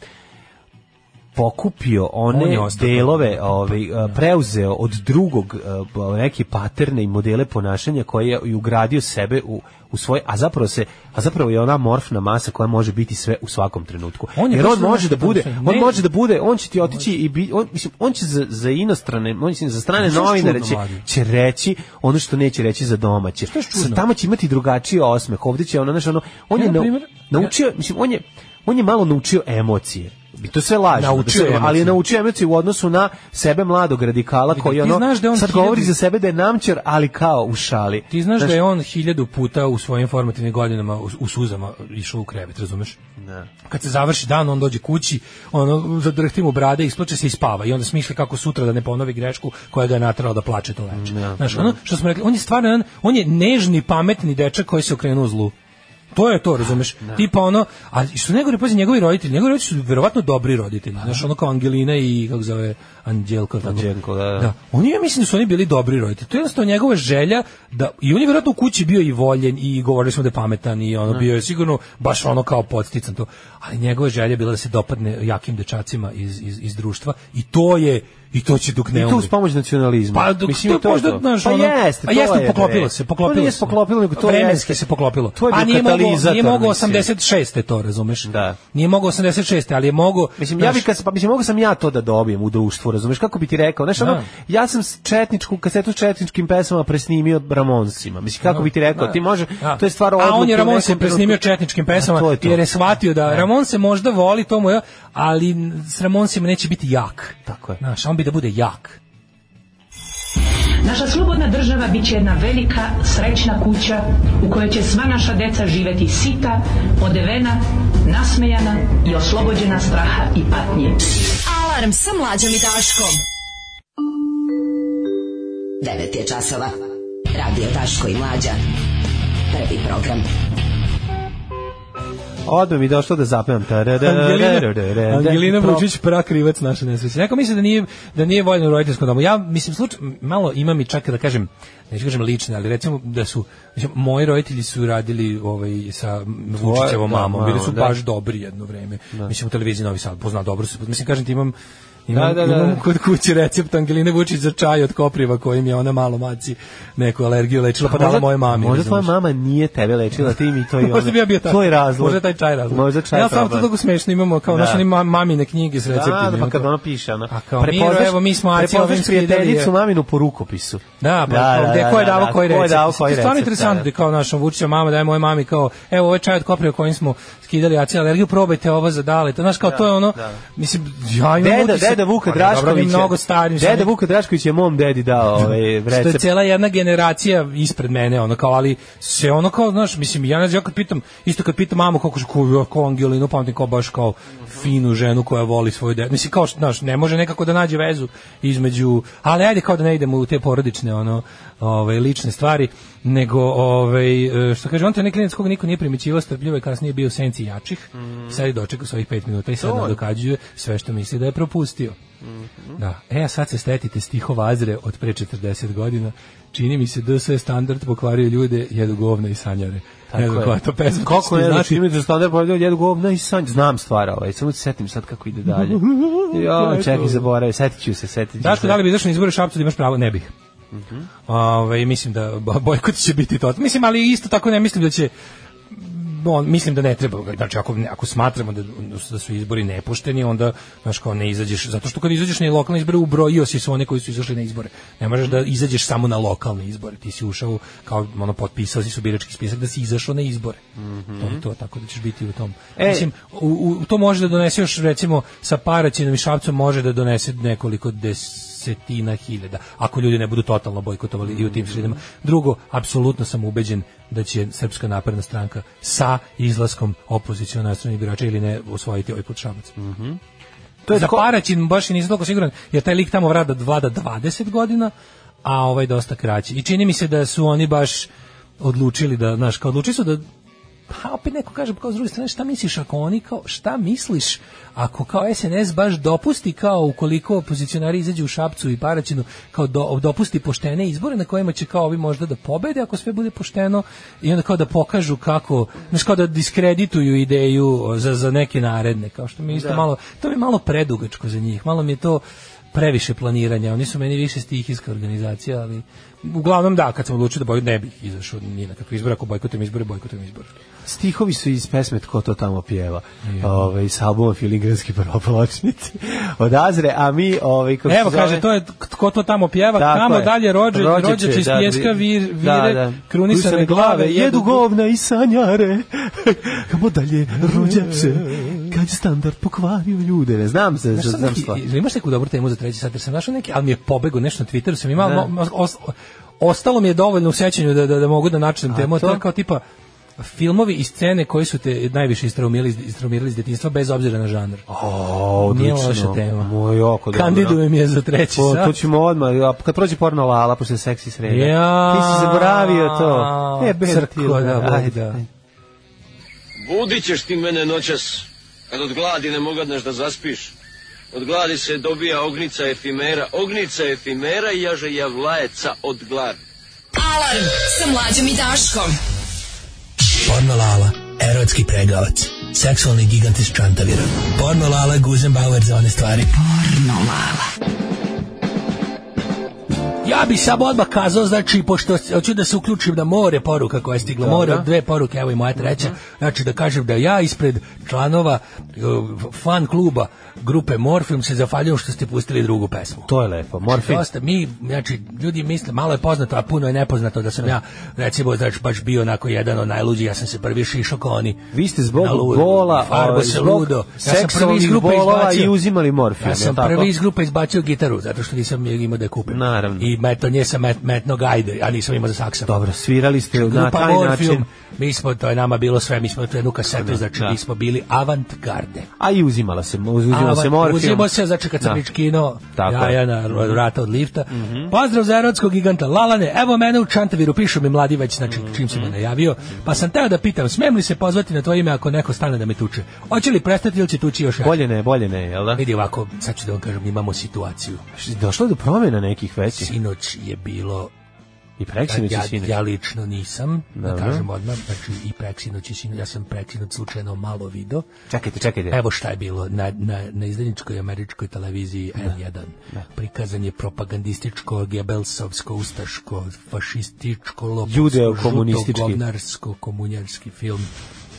[SPEAKER 7] pokupio
[SPEAKER 6] On je
[SPEAKER 7] one
[SPEAKER 6] ostao
[SPEAKER 7] delove, ovaj, a, preuzeo od drugog a, b- neke paterne i modele ponašanja koje je i ugradio sebe u, u svoje, a zapravo se a zapravo je ona morfna masa koja može biti sve u svakom trenutku.
[SPEAKER 6] On
[SPEAKER 7] On
[SPEAKER 6] je
[SPEAKER 7] Jer on
[SPEAKER 6] točno
[SPEAKER 7] može da
[SPEAKER 6] nešto
[SPEAKER 7] bude,
[SPEAKER 6] točno.
[SPEAKER 7] on
[SPEAKER 6] Ne.
[SPEAKER 7] može Znači da bude, on će ti otići i bi, on, mislim, on će za, za inostrane, on će za strane
[SPEAKER 6] Što je
[SPEAKER 7] novinare
[SPEAKER 6] čudno,
[SPEAKER 7] će,
[SPEAKER 6] mlađe?
[SPEAKER 7] će reći ono što neće reći za domaće.
[SPEAKER 6] je čudno?
[SPEAKER 7] Sa- Tamo će imati drugačiji osmeh, ovdje će ono, znaš, ono, on
[SPEAKER 6] Ja,
[SPEAKER 7] je
[SPEAKER 6] na
[SPEAKER 7] nau-
[SPEAKER 6] primer,
[SPEAKER 7] naučio, mislim, on je, on je malo naučio emocije. I to je sve lažno.
[SPEAKER 6] Naučio
[SPEAKER 7] da sve-
[SPEAKER 6] je
[SPEAKER 7] ali je
[SPEAKER 6] emocije.
[SPEAKER 7] naučio emocije u odnosu na sebe mladog radikala
[SPEAKER 6] Vidi,
[SPEAKER 7] koji
[SPEAKER 6] ti
[SPEAKER 7] ono,
[SPEAKER 6] znaš da je on
[SPEAKER 7] sad
[SPEAKER 6] hiljadu-
[SPEAKER 7] govori za sebe da je namćer, ali kao u šali.
[SPEAKER 6] Ti znaš da je on hiljadu puta u svojim formativnim godinama u, u suzama išao u krevet, razumeš?
[SPEAKER 7] Da.
[SPEAKER 6] Kad se završi dan, on dođe kući, ono, zadrhti mu brade, isplače se i spava. I onda smišlja kako sutra da ne ponovi grešku koja ga je natrala da plače to leče. znaš, ono što smo rekli, on je stvarno, jedan- on je nežni, pametni dečak koji se okrenuo zlu. To je to, razumeš? Tipa ono, a što najgore, pazi, njegovi roditelji, njegovi roditelji su verovatno dobri roditelji. Znaš, ono kao Angelina i, kako zove, Anđelko. tako.
[SPEAKER 7] Anđelko, da, da.
[SPEAKER 6] da. Oni ja mislim da su oni bili dobri roditelji. To je jednostavno njegova želja da i on je vjerojatno u kući bio i voljen i govorili smo da je pametan i ono bio je sigurno baš ono kao podstican to. Ali njegova želja je bila da se dopadne jakim dečacima iz, iz, iz društva i to je i to će dok ne
[SPEAKER 7] I to
[SPEAKER 6] umre.
[SPEAKER 7] uz pomoć nacionalizma.
[SPEAKER 6] Pa dok Mislim,
[SPEAKER 7] Mislim, to
[SPEAKER 6] to
[SPEAKER 7] je
[SPEAKER 6] možda
[SPEAKER 7] to.
[SPEAKER 6] znaš
[SPEAKER 7] Pa
[SPEAKER 6] ono,
[SPEAKER 7] jeste,
[SPEAKER 6] a
[SPEAKER 7] to
[SPEAKER 6] jeste
[SPEAKER 7] je,
[SPEAKER 6] poklopilo
[SPEAKER 7] bre.
[SPEAKER 6] se, poklopilo
[SPEAKER 7] To nije
[SPEAKER 6] se.
[SPEAKER 7] poklopilo, nego to
[SPEAKER 6] Vremenski
[SPEAKER 7] jeste.
[SPEAKER 6] se poklopilo.
[SPEAKER 7] To je bio
[SPEAKER 6] a nije mogao, nije
[SPEAKER 7] katalizator,
[SPEAKER 6] mogao
[SPEAKER 7] mislim.
[SPEAKER 6] 86. to, razumeš?
[SPEAKER 7] Da.
[SPEAKER 6] Nije mogao 86. ali je mogao
[SPEAKER 7] Mislim, ja
[SPEAKER 6] znaš,
[SPEAKER 7] bi kad, pa mislim, mogu sam ja to da dobijem u društvu, razumeš, kako bi ti rekao, znaš, ono,
[SPEAKER 6] Da.
[SPEAKER 7] ja sam s četničku, kasetu s četničkim pesmama presnimio Ramonsima, mislim, kako bi ti rekao, ti može,
[SPEAKER 6] Da.
[SPEAKER 7] to je stvar
[SPEAKER 6] A on
[SPEAKER 7] odluke
[SPEAKER 6] je
[SPEAKER 7] u
[SPEAKER 6] Ramon
[SPEAKER 7] nekom
[SPEAKER 6] se
[SPEAKER 7] trenutku.
[SPEAKER 6] presnimio četničkim pesama
[SPEAKER 7] A to je to.
[SPEAKER 6] jer je shvatio da Ramon se možda voli to mu je, ali s Ramonsima neće biti jak.
[SPEAKER 7] Tako je.
[SPEAKER 6] Znaš, on bi da bude jak.
[SPEAKER 5] Naša slobodna država bit će jedna velika, srećna kuća u kojoj će sva naša deca živeti sita, odevena, nasmejana i oslobođena straha i patnje.
[SPEAKER 8] Alarm sa mlađom i Daškom. 9 je časova. Radio Daško i Mlađa. Prvi program.
[SPEAKER 7] Odmah mi je došlo da zapemam.
[SPEAKER 6] Angelina, Angelina Vučić prakrivac naše nesreće. Neko misli da nije da nije voljno u roditeljskom domu. Ja mislim slučaj malo imam i čak da kažem neću kažem lične, ali recimo da su mislim, moji roditelji su radili ovaj sa Vučićevom
[SPEAKER 7] da,
[SPEAKER 6] mamom, bili su
[SPEAKER 7] mamom, da.
[SPEAKER 6] baš dobri jedno vreme. Mislim u televiziji Novi Sad pozna dobro su. Mislim kažem ti imam Imam,
[SPEAKER 7] Da, da, da.
[SPEAKER 6] imam kod kuće recept Angeline Vučić za čaj od kopriva kojim je ona malo maci neku alergiju lečila pa dala moje mami.
[SPEAKER 7] Možda
[SPEAKER 6] razumeš?
[SPEAKER 7] tvoja mama nije tebe lečila, ti mi
[SPEAKER 6] [LAUGHS]
[SPEAKER 7] to i ono.
[SPEAKER 6] Možda bi ja bio taj.
[SPEAKER 7] To je razlog.
[SPEAKER 6] Možda je taj čaj razlog.
[SPEAKER 7] Možda čaj
[SPEAKER 6] Ja sam to
[SPEAKER 7] problem.
[SPEAKER 6] tako smešno imamo kao
[SPEAKER 7] Da.
[SPEAKER 6] naše ma, mamine knjige s receptima.
[SPEAKER 7] Da, da, pa
[SPEAKER 6] imamo
[SPEAKER 7] kad
[SPEAKER 6] to.
[SPEAKER 7] ona piše, ona.
[SPEAKER 6] A kao, Miro, evo, mi smo Aci ovim
[SPEAKER 7] prepoznaš
[SPEAKER 6] skidali,
[SPEAKER 7] prijateljicu
[SPEAKER 6] je.
[SPEAKER 7] maminu po rukopisu.
[SPEAKER 6] Da, pa da, gde ko je davo koji recept.
[SPEAKER 7] Ko je davo koji
[SPEAKER 6] Mislim, to je
[SPEAKER 7] recept.
[SPEAKER 6] Stvarno
[SPEAKER 7] da,
[SPEAKER 6] interesantno
[SPEAKER 7] da.
[SPEAKER 6] da je kao naša Vučića mama daje moje mami kao evo ovaj čaj od kopriva kojim smo skidali acil alergiju, probajte ovo za dale. To znaš kao to je ono mislim ja imam
[SPEAKER 7] Deda,
[SPEAKER 6] utisak-
[SPEAKER 7] deda Vuka
[SPEAKER 6] Pa dobro, mi
[SPEAKER 7] Drašković. je-
[SPEAKER 6] mnogo starim.
[SPEAKER 7] Deda
[SPEAKER 6] sad-
[SPEAKER 7] Vuka Drašković je mom dedi dao ovaj
[SPEAKER 6] Što je
[SPEAKER 7] recept.
[SPEAKER 6] cijela jedna generacija ispred mene, ono kao, ali se ono kao, znaš, mislim, ja ne znam, ja kad pitam, isto kad pitam mamu kako ko, ko Angelinu, pamtim kao baš kao finu ženu koja voli svoju decu. Mislim, kao, znaš, ne može nekako da nađe vezu između, ali ajde kao da ne idemo u te porodične, ono, ove, lične stvari, nego, ove, što kaže, on to je neki klinac koga niko nije primećivao, strpljivo je kasnije bio u senci jačih, sad je dočekao svojih pet minuta i sad nadokađuje sve što misli da je propustio. Da. E, a sad se stetite stihova Azre od pre 40 godina. Čini mi se da sve standard pokvario ljude, jedu govna i sanjare. Tako ne znam koja je to pesma.
[SPEAKER 7] Kako
[SPEAKER 6] Ti
[SPEAKER 7] je,
[SPEAKER 6] znaš-
[SPEAKER 7] znači, ime za standard pojavljaju jedu govna i sanj. Znam stvar ovaj, samo se setim sad kako ide dalje.
[SPEAKER 6] [LAUGHS]
[SPEAKER 7] Jo, čekaj, zaboravim, setit ću se, setit ću
[SPEAKER 6] Daško,
[SPEAKER 7] se.
[SPEAKER 6] da li bi izašao na izbore u Šapcu da imaš pravo? Ne bih. Ovaj, mislim da bo- bojkot će biti to. Mislim, ali isto tako ne mislim da će on, mislim da ne treba, znači ako, ako smatramo da, da su izbori nepošteni, onda znaš kao ne izađeš, zato što kad izađeš na lokalne izbore ubrojio si sve one koji su izašli na izbore. Ne možeš da izađeš samo na lokalne izbore, ti si ušao u- kao ono potpisao si su birački spisak da si izašao na izbore. To je to, tako da ćeš biti u tom.
[SPEAKER 7] E.
[SPEAKER 6] Mislim, u, u, to može da donese još recimo sa Paraćinom i Šapcom može da donese nekoliko desetina hiljada ako ljudi ne budu totalno bojkotovali i u tim sredinama. Drugo, apsolutno sam ubeđen da će Srpska napredna stranka sa izlaskom opozicijona nacionalnih birača ili ne osvojiti ovaj put Šabac.
[SPEAKER 7] Mhm. To je
[SPEAKER 6] Za
[SPEAKER 7] tako-
[SPEAKER 6] Paraćin baš i nisam toliko siguran, jer taj lik tamo vlada, vlada 20 godina, a ovaj dosta kraći. I čini mi se da su oni baš odlučili da, znaš, kao odlučili su da pa opet neko kaže pa kao s druge strane šta misliš ako oni kao šta misliš ako kao SNS baš dopusti kao ukoliko opozicionari izađu u Šapcu i Paraćinu kao do, dopusti poštene izbore na kojima će kao ovi možda da pobede ako sve bude pošteno i onda kao da pokažu kako znači kao da diskredituju ideju za, za neke naredne kao što mi je isto malo to mi je malo predugačko za njih malo mi je to previše planiranja. Oni su meni više stihijska organizacija, ali uglavnom da, kad sam odlučio da bojkot ne bih izašao ni na kakve izbore, ako bojkotujem izbore, bojkotujem izbore.
[SPEAKER 7] Stihovi su iz pesme Tko to tamo pjeva. Ovaj sa albuma Filigranski prvopločnici [LAUGHS] od Azre, a mi ovaj kako
[SPEAKER 6] Evo
[SPEAKER 7] se zove-
[SPEAKER 6] kaže to je tko to tamo pjeva,
[SPEAKER 7] Tako
[SPEAKER 6] kamo
[SPEAKER 7] je.
[SPEAKER 6] dalje rođe,
[SPEAKER 7] Rođeće,
[SPEAKER 6] rođe iz
[SPEAKER 7] da,
[SPEAKER 6] pjeska vir, vire,
[SPEAKER 7] da, da.
[SPEAKER 6] krunisane glave,
[SPEAKER 7] jedu govna i sanjare. [LAUGHS] Kamo dalje rođe se, kad je standard pokvario ljude. Ne znam se,
[SPEAKER 6] Znaš,
[SPEAKER 7] znam,
[SPEAKER 6] sad
[SPEAKER 7] znam
[SPEAKER 6] neki-
[SPEAKER 7] sva.
[SPEAKER 6] jel imaš neku dobru temu za treći sat, jer sam našao neki, ali mi je pobego nešto na Twitteru, sam imao, mo- mo- os- ostalo mi je dovoljno u sećanju da, da, da mogu da načinem temu, a to je
[SPEAKER 7] to?
[SPEAKER 6] kao tipa filmovi i scene koji su te najviše istraumirali, istraumirali iz detinjstva bez obzira na žanar.
[SPEAKER 7] O,
[SPEAKER 6] Nije
[SPEAKER 7] odlično.
[SPEAKER 6] loša tema.
[SPEAKER 7] Moj, jako dobro.
[SPEAKER 6] Kandidujem je za treći
[SPEAKER 7] Po,
[SPEAKER 6] sat.
[SPEAKER 7] to ćemo odmah, a kad prođe porno lala, pošto je seksi sreda.
[SPEAKER 6] Ja.
[SPEAKER 7] Ti si zaboravio to. E, ben
[SPEAKER 6] Crko, da,
[SPEAKER 7] ti,
[SPEAKER 6] Bog,
[SPEAKER 7] ajde,
[SPEAKER 6] da.
[SPEAKER 7] ajde.
[SPEAKER 9] Budit ćeš ti mene noćas, kad od gladi ne mogadneš da zaspiš. Od gladi se dobija ognica efimera, ognica efimera i jaže javlajeca od gladi.
[SPEAKER 8] Alarm sa mlađom i Daškom.
[SPEAKER 9] Porno Lala, erotski pregavac, seksualni gigant iz Čantavira. Porno Lala, Guzenbauer za one stvari.
[SPEAKER 6] Ja bi samo odmah kazao, znači, pošto s- hoću da se uključim na more poruka koja je stigla, more od dve poruke, evo i moja treća, znači da kažem da ja ispred članova uh, fan kluba grupe Morfium se zafaljujem što ste pustili drugu pesmu.
[SPEAKER 7] To je lepo. Morfin.
[SPEAKER 6] Dosta, mi, znači, ljudi misle, malo je poznato, a puno je nepoznato da sam ja, recimo, znači, baš bio onako jedan od najluđih, ja sam se prvi šišao kao oni.
[SPEAKER 7] Vi ste zbog
[SPEAKER 6] Na ludu,
[SPEAKER 7] bola,
[SPEAKER 6] farbo
[SPEAKER 7] ovaj,
[SPEAKER 6] se
[SPEAKER 7] zbog
[SPEAKER 6] ludo. Ja sam prvi iz
[SPEAKER 7] seksualnih
[SPEAKER 6] grupe
[SPEAKER 7] bolova
[SPEAKER 6] izbacio.
[SPEAKER 7] i uzimali morfijum,
[SPEAKER 6] Ja
[SPEAKER 7] je li
[SPEAKER 6] sam
[SPEAKER 7] tako?
[SPEAKER 6] prvi iz grupe izbacio gitaru, zato što nisam je imao da je kupim.
[SPEAKER 7] Naravno.
[SPEAKER 6] I meto, nje sam met, metno gajde, a nisam imao za saksa.
[SPEAKER 7] Dobro, svirali ste na
[SPEAKER 6] Grupa
[SPEAKER 7] taj način,
[SPEAKER 6] Morfium, mi smo, to je nama bilo sve, mi smo tu jednu kasetu, znači mi smo bili avantgarde.
[SPEAKER 7] a i uzimala se, uzimala se
[SPEAKER 6] Avan-
[SPEAKER 7] morfijum.
[SPEAKER 6] Uzimo ovaj, se, znači kad sam
[SPEAKER 7] Da.
[SPEAKER 6] da. kino,
[SPEAKER 7] Tako
[SPEAKER 6] ja,
[SPEAKER 7] je. Mhm.
[SPEAKER 6] ja na od vrata od lifta. Pozdrav za erotskog giganta Lalane, evo mene u Čantaviru, pišu mi mladi već, znači
[SPEAKER 7] Mhm.
[SPEAKER 6] čim se me najavio, pa sam teo da pitam, smem li se pozvati na tvoje ime ako neko stane da me tuče? Hoće li prestati ili će tući još jače?
[SPEAKER 7] Bolje ne, bolje ne, jel da?
[SPEAKER 6] Vidi ovako, sad ću da vam kažem, imamo situaciju.
[SPEAKER 7] Došlo je do promjena nekih većih.
[SPEAKER 6] Sinoć je bilo
[SPEAKER 7] I preksinoć
[SPEAKER 6] ja,
[SPEAKER 7] i sinoć.
[SPEAKER 6] ja lično nisam, da
[SPEAKER 7] Dobro.
[SPEAKER 6] kažem odmah, znači i preksinoć i sinoć, ja sam preksinoć slučajno malo video.
[SPEAKER 7] Čekajte, čekajte.
[SPEAKER 6] Evo šta je bilo na, na, na izdajničkoj američkoj televiziji N1. Prikazan je propagandističko, gebelsovsko, ustaško, fašističko, lopovsko,
[SPEAKER 7] Judeo-komunistički.
[SPEAKER 6] žuto-govnarsko, komunjarski film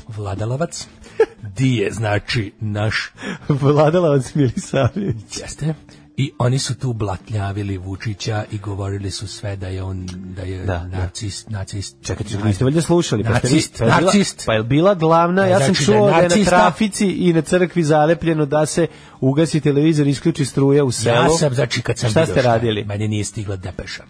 [SPEAKER 6] Vladalavac. [LAUGHS] Di je, znači, naš [LAUGHS]
[SPEAKER 7] Vladala od Milisavljević.
[SPEAKER 6] Jeste. I oni su tu blatnjavili Vučića i govorili su sve da je on da je
[SPEAKER 7] Da,
[SPEAKER 6] da,
[SPEAKER 7] da.
[SPEAKER 6] nacist, nacist.
[SPEAKER 7] Čekajte, čekajte, niste valjda slušali. Pa ste vi-
[SPEAKER 6] Nacist,
[SPEAKER 7] pa je bila-
[SPEAKER 6] nacist.
[SPEAKER 7] Pa je bila glavna, ja sam
[SPEAKER 6] Znači da je
[SPEAKER 7] čuo da je na
[SPEAKER 6] nacista.
[SPEAKER 7] trafici i na crkvi zalepljeno da se ugasi televizor, isključi struja u selu.
[SPEAKER 6] Ja sam, znači, kad sam
[SPEAKER 7] Šta
[SPEAKER 6] video
[SPEAKER 7] ste radili?
[SPEAKER 6] Meni nije stigla
[SPEAKER 7] [GASPS]
[SPEAKER 6] depeša.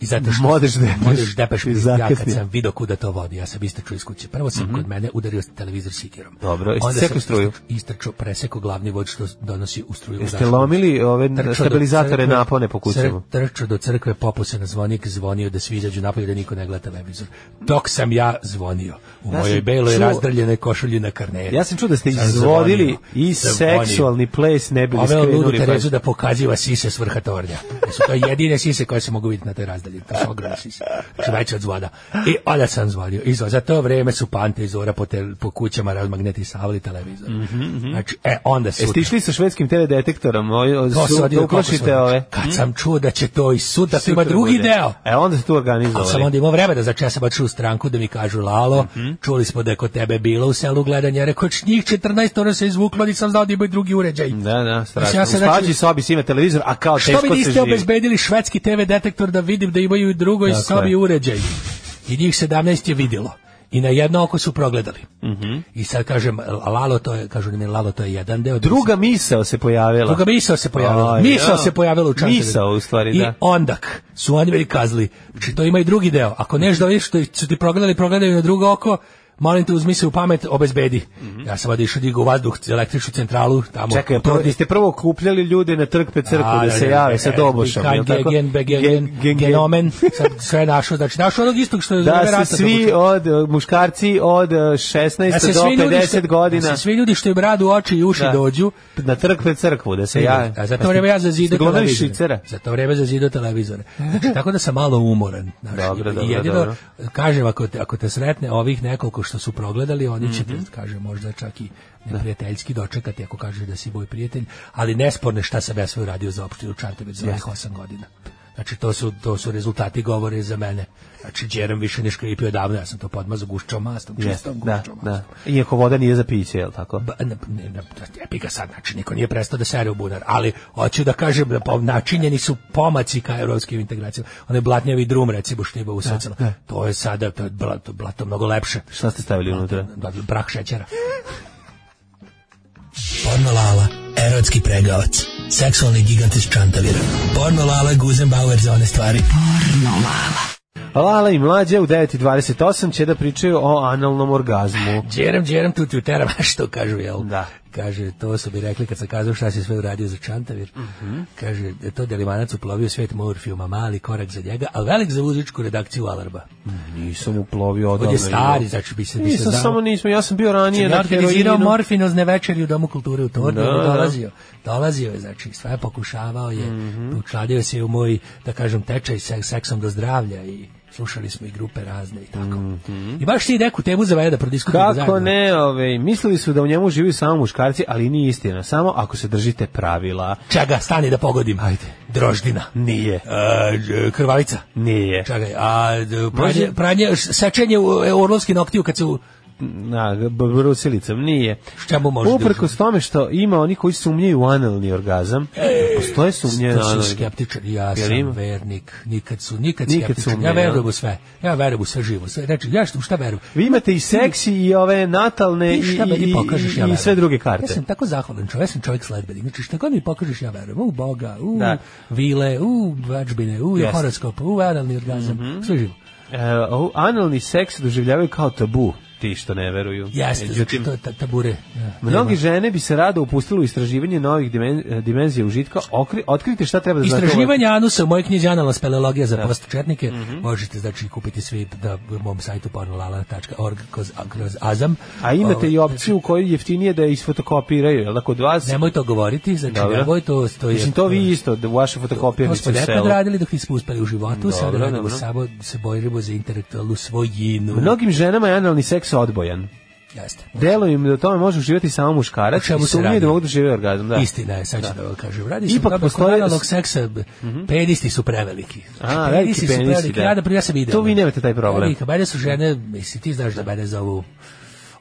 [SPEAKER 6] I zato što...
[SPEAKER 7] Modeš depeš.
[SPEAKER 6] Modeš depeš.
[SPEAKER 7] Ti
[SPEAKER 6] Ja kad
[SPEAKER 7] zakasnio.
[SPEAKER 6] sam video kuda to vodi, ja sam istračio iz kuće. Prvo sam kod mene udario televizor sikirom.
[SPEAKER 7] Mhm. Dobro,
[SPEAKER 6] Onda
[SPEAKER 7] isekao
[SPEAKER 6] sam
[SPEAKER 7] struju?
[SPEAKER 6] istrač- Istračio, presekao glavni vod što donosi u struju.
[SPEAKER 7] Jeste
[SPEAKER 6] Zašto?
[SPEAKER 7] lomili ove
[SPEAKER 6] Trčao do
[SPEAKER 7] stabilizatore
[SPEAKER 6] crkve,
[SPEAKER 7] napone po kućama?
[SPEAKER 6] cr- Trčao do crkve, popao se na zvonik, zvonio da svi izađu napolje da niko ne gleda televizor. Dok sam ja zvonio u
[SPEAKER 7] Ja
[SPEAKER 6] mojoj
[SPEAKER 7] sam
[SPEAKER 6] beloj
[SPEAKER 7] čuo-
[SPEAKER 6] razdrljenoj košulji na karneru.
[SPEAKER 7] Ja sam čuo da ste
[SPEAKER 6] Sam
[SPEAKER 7] izvodili
[SPEAKER 6] zvonio,
[SPEAKER 7] i
[SPEAKER 6] zvonio.
[SPEAKER 7] seksualni ples ne bili pa
[SPEAKER 6] Ove ludu
[SPEAKER 7] skrenuli.
[SPEAKER 6] Terezu
[SPEAKER 7] pažnju.
[SPEAKER 6] da pokaziva sise s vrha tornja. Jer Su to jedine sise koje se mogu vidjeti na toj razdalji. To su ogromne sise. Znači veće od zvoda. I onda sam zvonio. I zvo- za to vreme su Pante i Zora po, te, po kućama razmagnetisavali televizor.
[SPEAKER 7] Mhm,
[SPEAKER 6] Znači, e, onda su...
[SPEAKER 7] Jeste išli sa švedskim TV detektorom? O, o,
[SPEAKER 6] To
[SPEAKER 7] su-
[SPEAKER 6] se
[SPEAKER 7] da
[SPEAKER 6] odjelo kako
[SPEAKER 7] uplašite
[SPEAKER 6] se odjelo.
[SPEAKER 7] ove? Mhm.
[SPEAKER 6] Kad sam čuo da će to i sutra, to ima
[SPEAKER 7] Sutra
[SPEAKER 6] drugi
[SPEAKER 7] bude.
[SPEAKER 6] deo.
[SPEAKER 7] E, onda ste tu
[SPEAKER 6] A sam
[SPEAKER 7] organizovali.
[SPEAKER 6] onda imao vreme da začesam baš u stranku da mi kažu Lalo,
[SPEAKER 7] Mhm.
[SPEAKER 6] čuli smo da je kod tebe bilo u selu gledanje, ja rekao njih 14 ona se izvuklo, nisam znao da imaju drugi uređaj.
[SPEAKER 7] Da, da, strašno.
[SPEAKER 6] ja
[SPEAKER 7] Ja
[SPEAKER 6] sam,
[SPEAKER 7] se
[SPEAKER 6] znači-
[SPEAKER 7] znači, sobi si ima televizor, a kao
[SPEAKER 6] Što
[SPEAKER 7] teško
[SPEAKER 6] mi
[SPEAKER 7] se
[SPEAKER 6] niste
[SPEAKER 7] živi.
[SPEAKER 6] obezbedili švedski TV detektor da vidim da imaju i drugoj
[SPEAKER 7] Tako
[SPEAKER 6] sobi
[SPEAKER 7] je.
[SPEAKER 6] uređaj? I njih 17 je vidjelo. I na jedno oko su progledali.
[SPEAKER 7] Mhm.
[SPEAKER 6] I sad kažem, Lalo to je, kažu mi, Lalo to je jedan deo.
[SPEAKER 7] Druga misao se pojavila.
[SPEAKER 6] Druga misao se pojavila.
[SPEAKER 7] Aj,
[SPEAKER 6] misao
[SPEAKER 7] ja.
[SPEAKER 6] se pojavila u Čantaviru.
[SPEAKER 7] Misao, u stvari,
[SPEAKER 6] I
[SPEAKER 7] da.
[SPEAKER 6] ondak su oni meni kazali. Znači, to ima i drugi deo. Ako nešto da vidiš što su ti progledali, progledaju na drugo oko, molim te uzmi se u pamet, obezbedi. Ja sam valjda išao digao vazduh, električnu centralu, tamo.
[SPEAKER 7] Mhm. Čekaj, prvo, jeste prvo okupljali ljude na trkpe crkve
[SPEAKER 6] A,
[SPEAKER 7] da se jave sa
[SPEAKER 6] e,
[SPEAKER 7] dobošom,
[SPEAKER 6] Bekan,
[SPEAKER 7] jel tako?
[SPEAKER 6] Gegen, Begen,
[SPEAKER 7] Gen- gen- [LAUGHS]
[SPEAKER 6] Genomen, sad sve našo, znači našo onog istog što je za vreme
[SPEAKER 7] Da
[SPEAKER 6] rata
[SPEAKER 7] se svi
[SPEAKER 6] vuče.
[SPEAKER 7] od, e, muškarci od eh, 16
[SPEAKER 6] Da se
[SPEAKER 7] do
[SPEAKER 6] svi ljudi što-
[SPEAKER 7] 50 godina
[SPEAKER 6] Da se svi ljudi što im radu oči i uši
[SPEAKER 7] Da.
[SPEAKER 6] dođu,
[SPEAKER 7] na trkve crkvu, da se jave.
[SPEAKER 6] A za to vreme ja za
[SPEAKER 7] Ste
[SPEAKER 6] zidu
[SPEAKER 7] glumili
[SPEAKER 6] televizore.
[SPEAKER 7] švicera?
[SPEAKER 6] Za to vreme za zidu televizore. Znači, tako da sam malo umoran. Znači,
[SPEAKER 7] Dobro, dobro,
[SPEAKER 6] jedino,
[SPEAKER 7] dobro.
[SPEAKER 6] kažem, ako te, ako te sretne ovih nekoliko što su progledali, oni će
[SPEAKER 7] Mhm.
[SPEAKER 6] te, kažem, možda čak i neprijateljski dočekati ako kažeš da si moj prijatelj, ali nesporne šta sam ja sve uradio za opštinu Čartebec za ovih osam godina. Znači, to su, to su rezultati govore za mene. Znači, Đeram više ne škripio davno, ja sam to podmazao gušćom mastom,
[SPEAKER 7] Jeste,
[SPEAKER 6] čistom
[SPEAKER 7] da,
[SPEAKER 6] gušćom mastom.
[SPEAKER 7] da. Iako voda nije za piće, jel tako?
[SPEAKER 6] Ba, ne, ne, ne, jebi ga sad, znači, niko nije prestao da sere u bunar, ali hoću da kažem da po- načinjeni su pomaci ka evropskim integracijama. Onaj blatnjavi drum, recimo, što ima u socijalno. To je sada, to je blato, blato mnogo lepše.
[SPEAKER 7] Šta ste stavili unutra?
[SPEAKER 6] Da, brah šećera. Pornolala, erotski pregavac, seksualni gigant iz Čantavira. Pornolala, Guzenbauer za one stvari.
[SPEAKER 7] Lala Pa i mlađe u 9.28 će da pričaju o analnom orgazmu.
[SPEAKER 6] Djeram, djeram, tu ti uteram, [LAUGHS] što kažu, jel?
[SPEAKER 7] Da.
[SPEAKER 6] Kaže, to su mi rekli kad sam kazao šta si sve uradio za Čantavir.
[SPEAKER 7] Mhm.
[SPEAKER 6] Kaže, da je to Delimanac uplovio svet Morfijuma, mali korak za njega, ali velik za muzičku redakciju Alarba.
[SPEAKER 7] Nisam uplovio odavno.
[SPEAKER 6] On je stari, znači bi se, bi se
[SPEAKER 7] Nisam
[SPEAKER 6] znao.
[SPEAKER 7] samo nismo, ja sam bio ranije
[SPEAKER 6] Sam ja
[SPEAKER 7] na
[SPEAKER 6] organizirao
[SPEAKER 7] heroinu.
[SPEAKER 6] morfinozne večeri u Domu kulture u Tornju,
[SPEAKER 7] Da,
[SPEAKER 6] on je
[SPEAKER 7] da.
[SPEAKER 6] dolazio. Dolazio je, znači, sve pokušavao je,
[SPEAKER 7] Mhm.
[SPEAKER 6] učladio se je u moj, da kažem, tečaj sa seksom do zdravlja i slušali smo i grupe razne i tako. I baš ti neku temu za valja da prodiskutimo
[SPEAKER 7] Mhm. Kako ne, ove, mislili su da u njemu živi samo muškarci, ali nije istina, samo ako se držite pravila.
[SPEAKER 6] Čega, stani da pogodim. Ajde. Droždina.
[SPEAKER 7] Nije.
[SPEAKER 6] E, d- krvavica.
[SPEAKER 7] Nije.
[SPEAKER 6] Čekaj, a d- pranje,
[SPEAKER 7] Može-
[SPEAKER 6] pranje, s- sečenje u- e, orlovskih noktiju kad se u...
[SPEAKER 7] Na, b- brusilicom, nije.
[SPEAKER 6] Šta mu može
[SPEAKER 7] Uprkos tome što ima oni koji sumnjaju u analni orgazam, postoje sumnje na
[SPEAKER 6] To su
[SPEAKER 7] analni.
[SPEAKER 6] skeptičari, ja
[SPEAKER 7] Jel
[SPEAKER 6] sam
[SPEAKER 7] ima?
[SPEAKER 6] vernik, nikad su, nikad,
[SPEAKER 7] Nikad
[SPEAKER 6] skeptičan,
[SPEAKER 7] sumnje,
[SPEAKER 6] ja verujem
[SPEAKER 7] jel?
[SPEAKER 6] u sve, ja verujem u sve živo, sve, znači, ja šta, u šta verujem?
[SPEAKER 7] Vi imate i seksi i ove natalne i,
[SPEAKER 6] Ti šta meni
[SPEAKER 7] i,
[SPEAKER 6] pokažeš, ja
[SPEAKER 7] i, i
[SPEAKER 6] verujem.
[SPEAKER 7] sve druge
[SPEAKER 6] Ja
[SPEAKER 7] karte.
[SPEAKER 6] sam tako zahvalan čovjek, ja sam čovjek sledbenik. Znači šta god mi pokažeš, ja verujem. U Boga, u
[SPEAKER 7] Da.
[SPEAKER 6] vile, u vađbine, u
[SPEAKER 7] Jeste.
[SPEAKER 6] horoskop, u analni orgazam, sve živo.
[SPEAKER 7] E, o- analni seks doživljavaju kao tabu, ti što ne veruju.
[SPEAKER 6] Jeste, znači
[SPEAKER 7] Međutim,
[SPEAKER 6] to je ta- tabure. Ja.
[SPEAKER 7] Mnogi žene bi se rado upustile u istraživanje novih dimen- e, dimenzija užitka. Okri, otkrite šta treba da znate. o-
[SPEAKER 6] Istraživanje anusa u mojoj knjizi Analna speleologija za postčetnike
[SPEAKER 7] Mhm.
[SPEAKER 6] možete znači kupiti svi na mom sajtu pornolala.org kroz, kroz azam.
[SPEAKER 7] A imate i
[SPEAKER 6] Ovo,
[SPEAKER 7] opciju u kojoj je jeftinije da je isfotokopiraju, jel da kod vas?
[SPEAKER 6] Nemoj to govoriti, znači
[SPEAKER 7] Dobro.
[SPEAKER 6] nemoj to, to je...
[SPEAKER 7] Mislim, to vi isto, da vaše fotokopije
[SPEAKER 6] To
[SPEAKER 7] vi
[SPEAKER 6] smo
[SPEAKER 7] ste u
[SPEAKER 6] nekad
[SPEAKER 7] selu.
[SPEAKER 6] radili dok nismo uspeli u životu, sada
[SPEAKER 7] Dobro,
[SPEAKER 6] radimo
[SPEAKER 7] dobro.
[SPEAKER 6] samo, se bojimo za intelektualnu svojinu.
[SPEAKER 7] Mnogim ženama je analni seks odbojan.
[SPEAKER 6] Jeste.
[SPEAKER 7] Delo im da o tome može uživati samo
[SPEAKER 6] O
[SPEAKER 7] muškarac
[SPEAKER 6] čemu
[SPEAKER 7] i
[SPEAKER 6] se
[SPEAKER 7] sumnje
[SPEAKER 6] radi?
[SPEAKER 7] da mogu da žive orgazam. Da.
[SPEAKER 6] Istina je, sad ću da vam kažem. Radi se
[SPEAKER 7] Ipak
[SPEAKER 6] Ipak postoje...
[SPEAKER 7] postoje- Mhm.
[SPEAKER 6] analog seksa, b- penisti su preveliki. Znači,
[SPEAKER 7] A, veliki
[SPEAKER 6] su
[SPEAKER 7] penisi,
[SPEAKER 6] preveliki.
[SPEAKER 7] da.
[SPEAKER 6] Ja, da, ja sam video.
[SPEAKER 7] Tu vi nemate taj problem.
[SPEAKER 6] Velika, mene su žene, misli, ti znaš da mene zovu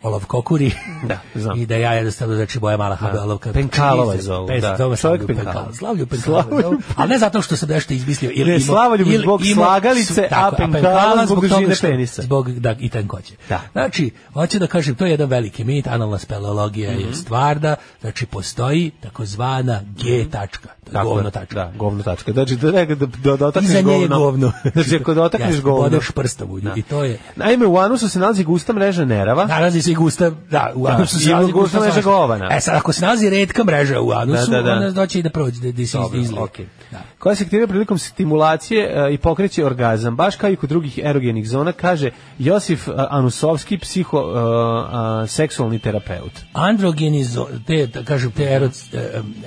[SPEAKER 6] olov
[SPEAKER 7] [LAUGHS]
[SPEAKER 6] kokuri.
[SPEAKER 7] Da, znam.
[SPEAKER 6] I da ja jednostavno, znači, moja mala habe olovka.
[SPEAKER 7] Penkalova je zovu, da.
[SPEAKER 6] Čovjek
[SPEAKER 7] Čovjek
[SPEAKER 6] penkalo.
[SPEAKER 7] Penkalo.
[SPEAKER 6] Slavlju penkalo.
[SPEAKER 7] Slavlju
[SPEAKER 6] zovu, Ali ne zato što sam nešto izmislio. Ili,
[SPEAKER 7] Ne,
[SPEAKER 6] imao-
[SPEAKER 7] Slavoljub
[SPEAKER 6] ili
[SPEAKER 7] zbog
[SPEAKER 6] imao-
[SPEAKER 7] slagalice, a
[SPEAKER 6] tako,
[SPEAKER 7] Penkala zbog
[SPEAKER 6] toga
[SPEAKER 7] žine
[SPEAKER 6] što-
[SPEAKER 7] penisa.
[SPEAKER 6] Zbog, da, i tankoće.
[SPEAKER 7] Da.
[SPEAKER 6] Znači, hoću da kažem, to je jedan veliki mit, analna speleologija
[SPEAKER 7] Mhm.
[SPEAKER 6] je stvar da, znači, postoji takozvana G tačka, to je
[SPEAKER 7] Mhm. Tako je,
[SPEAKER 6] govno tačka.
[SPEAKER 7] Da, govno tačka. Znači, da, da, da, da dotakneš
[SPEAKER 6] Iza nje
[SPEAKER 7] govno.
[SPEAKER 6] je govno.
[SPEAKER 7] [LAUGHS] Znači,
[SPEAKER 6] [LAUGHS]
[SPEAKER 7] ako dotakneš
[SPEAKER 6] Jasno,
[SPEAKER 7] govno.
[SPEAKER 6] Bodeš prstom u nju
[SPEAKER 7] Da.
[SPEAKER 6] i to je...
[SPEAKER 7] Naime, u anusu se nalazi gusta mreža nerava.
[SPEAKER 6] Nalazi se i gusta, da, u
[SPEAKER 7] Da,
[SPEAKER 6] anusu se
[SPEAKER 7] i
[SPEAKER 6] nalazi
[SPEAKER 7] gusta mreža
[SPEAKER 6] svašta.
[SPEAKER 7] govana.
[SPEAKER 6] E sad, ako se nalazi redka mreža u anusu,
[SPEAKER 7] Da, da, da.
[SPEAKER 6] onda doći i da prođe, da, da se
[SPEAKER 7] Dobro,
[SPEAKER 6] izlije.
[SPEAKER 7] okej.
[SPEAKER 6] Da.
[SPEAKER 7] koja se aktivira prilikom stimulacije e, i pokreće orgazam, baš kao i kod drugih erogenih zona, kaže Josif e, Anusovski, psiho e, a, seksualni terapeut.
[SPEAKER 6] androgeni zo- te da kažem te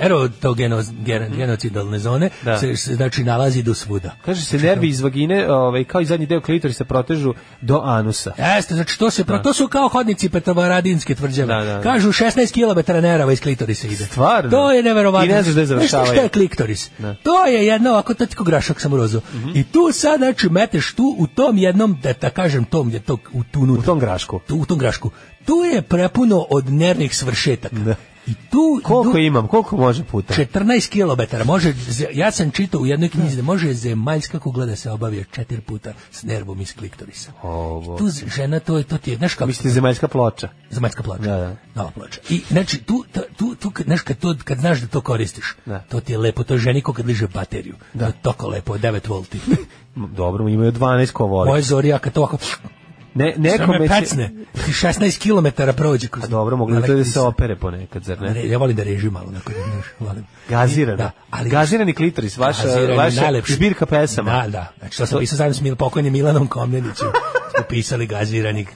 [SPEAKER 6] erot, e, erotogenocidalne zone
[SPEAKER 7] Da.
[SPEAKER 6] se, se, znači nalazi do svuda.
[SPEAKER 7] Kaže se nervi iz vagine, ovaj, kao i zadnji deo klitorisa protežu do anusa.
[SPEAKER 6] Jeste, znači to se pro, to su kao hodnici Petrovaradinske tvrđave.
[SPEAKER 7] Da, da, da.
[SPEAKER 6] Kažu 16 km nerava iz klitorisa ide.
[SPEAKER 7] Stvarno?
[SPEAKER 6] To je neverovatno.
[SPEAKER 7] I ne znaš gde
[SPEAKER 6] Znaš šta-
[SPEAKER 7] završavaju?
[SPEAKER 6] šta je kliktoris?
[SPEAKER 7] Da. Mhm.
[SPEAKER 6] To je jedno ovako to je tako grašak sa mrozom. I tu sad znači meteš tu u tom jednom da da kažem tom je to u tu
[SPEAKER 7] U
[SPEAKER 6] unutra.
[SPEAKER 7] tom grašku.
[SPEAKER 6] tu, u tom grašku. Tu je prepuno od nervnih svršetaka. I tu
[SPEAKER 7] Koliko
[SPEAKER 6] idu-
[SPEAKER 7] imam, koliko može puta?
[SPEAKER 6] 14 km. Može, ze- ja sam čitao u jednoj knjizi da može zemaljska kugla da se obavio četiri puta s nervom iz kliktorisa.
[SPEAKER 7] Ovo.
[SPEAKER 6] I Tu z- žena, to je, to ti je, znaš kako,
[SPEAKER 7] Mislite, zemaljska ploča.
[SPEAKER 6] zemaljska ploča.
[SPEAKER 7] Da, da.
[SPEAKER 6] Nova ploča. I znači, tu, ta- tu, tu, kad- znaš, kad, to, kad znaš da to koristiš,
[SPEAKER 7] Da.
[SPEAKER 6] to ti je lepo, to je ženi ko kad liže bateriju.
[SPEAKER 7] [LAUGHS]
[SPEAKER 6] Da. To je toko lepo, 9 volti.
[SPEAKER 7] M, Dobro, imaju 12 ko voli.
[SPEAKER 6] Moje zorija, kad to ovako
[SPEAKER 7] Ne,
[SPEAKER 6] Neko me
[SPEAKER 7] nekome će...
[SPEAKER 6] pecne. 16 km prođe kroz.
[SPEAKER 7] A dobro, mogli bi to da se opere ponekad, zar ne?
[SPEAKER 6] Ne, ja volim da režim malo, onako, znaš, volim.
[SPEAKER 7] Gaziran.
[SPEAKER 6] Da, ali
[SPEAKER 7] Gazirani klitoris, vaša,
[SPEAKER 6] Gazirani,
[SPEAKER 7] vaša
[SPEAKER 6] najlepši.
[SPEAKER 7] zbirka pesama.
[SPEAKER 6] Da, da. Znači, to sam pisao zajedno s Mil, pokojnim Milanom
[SPEAKER 7] [LAUGHS]
[SPEAKER 6] Komnenićem. Smo pisali gazirani,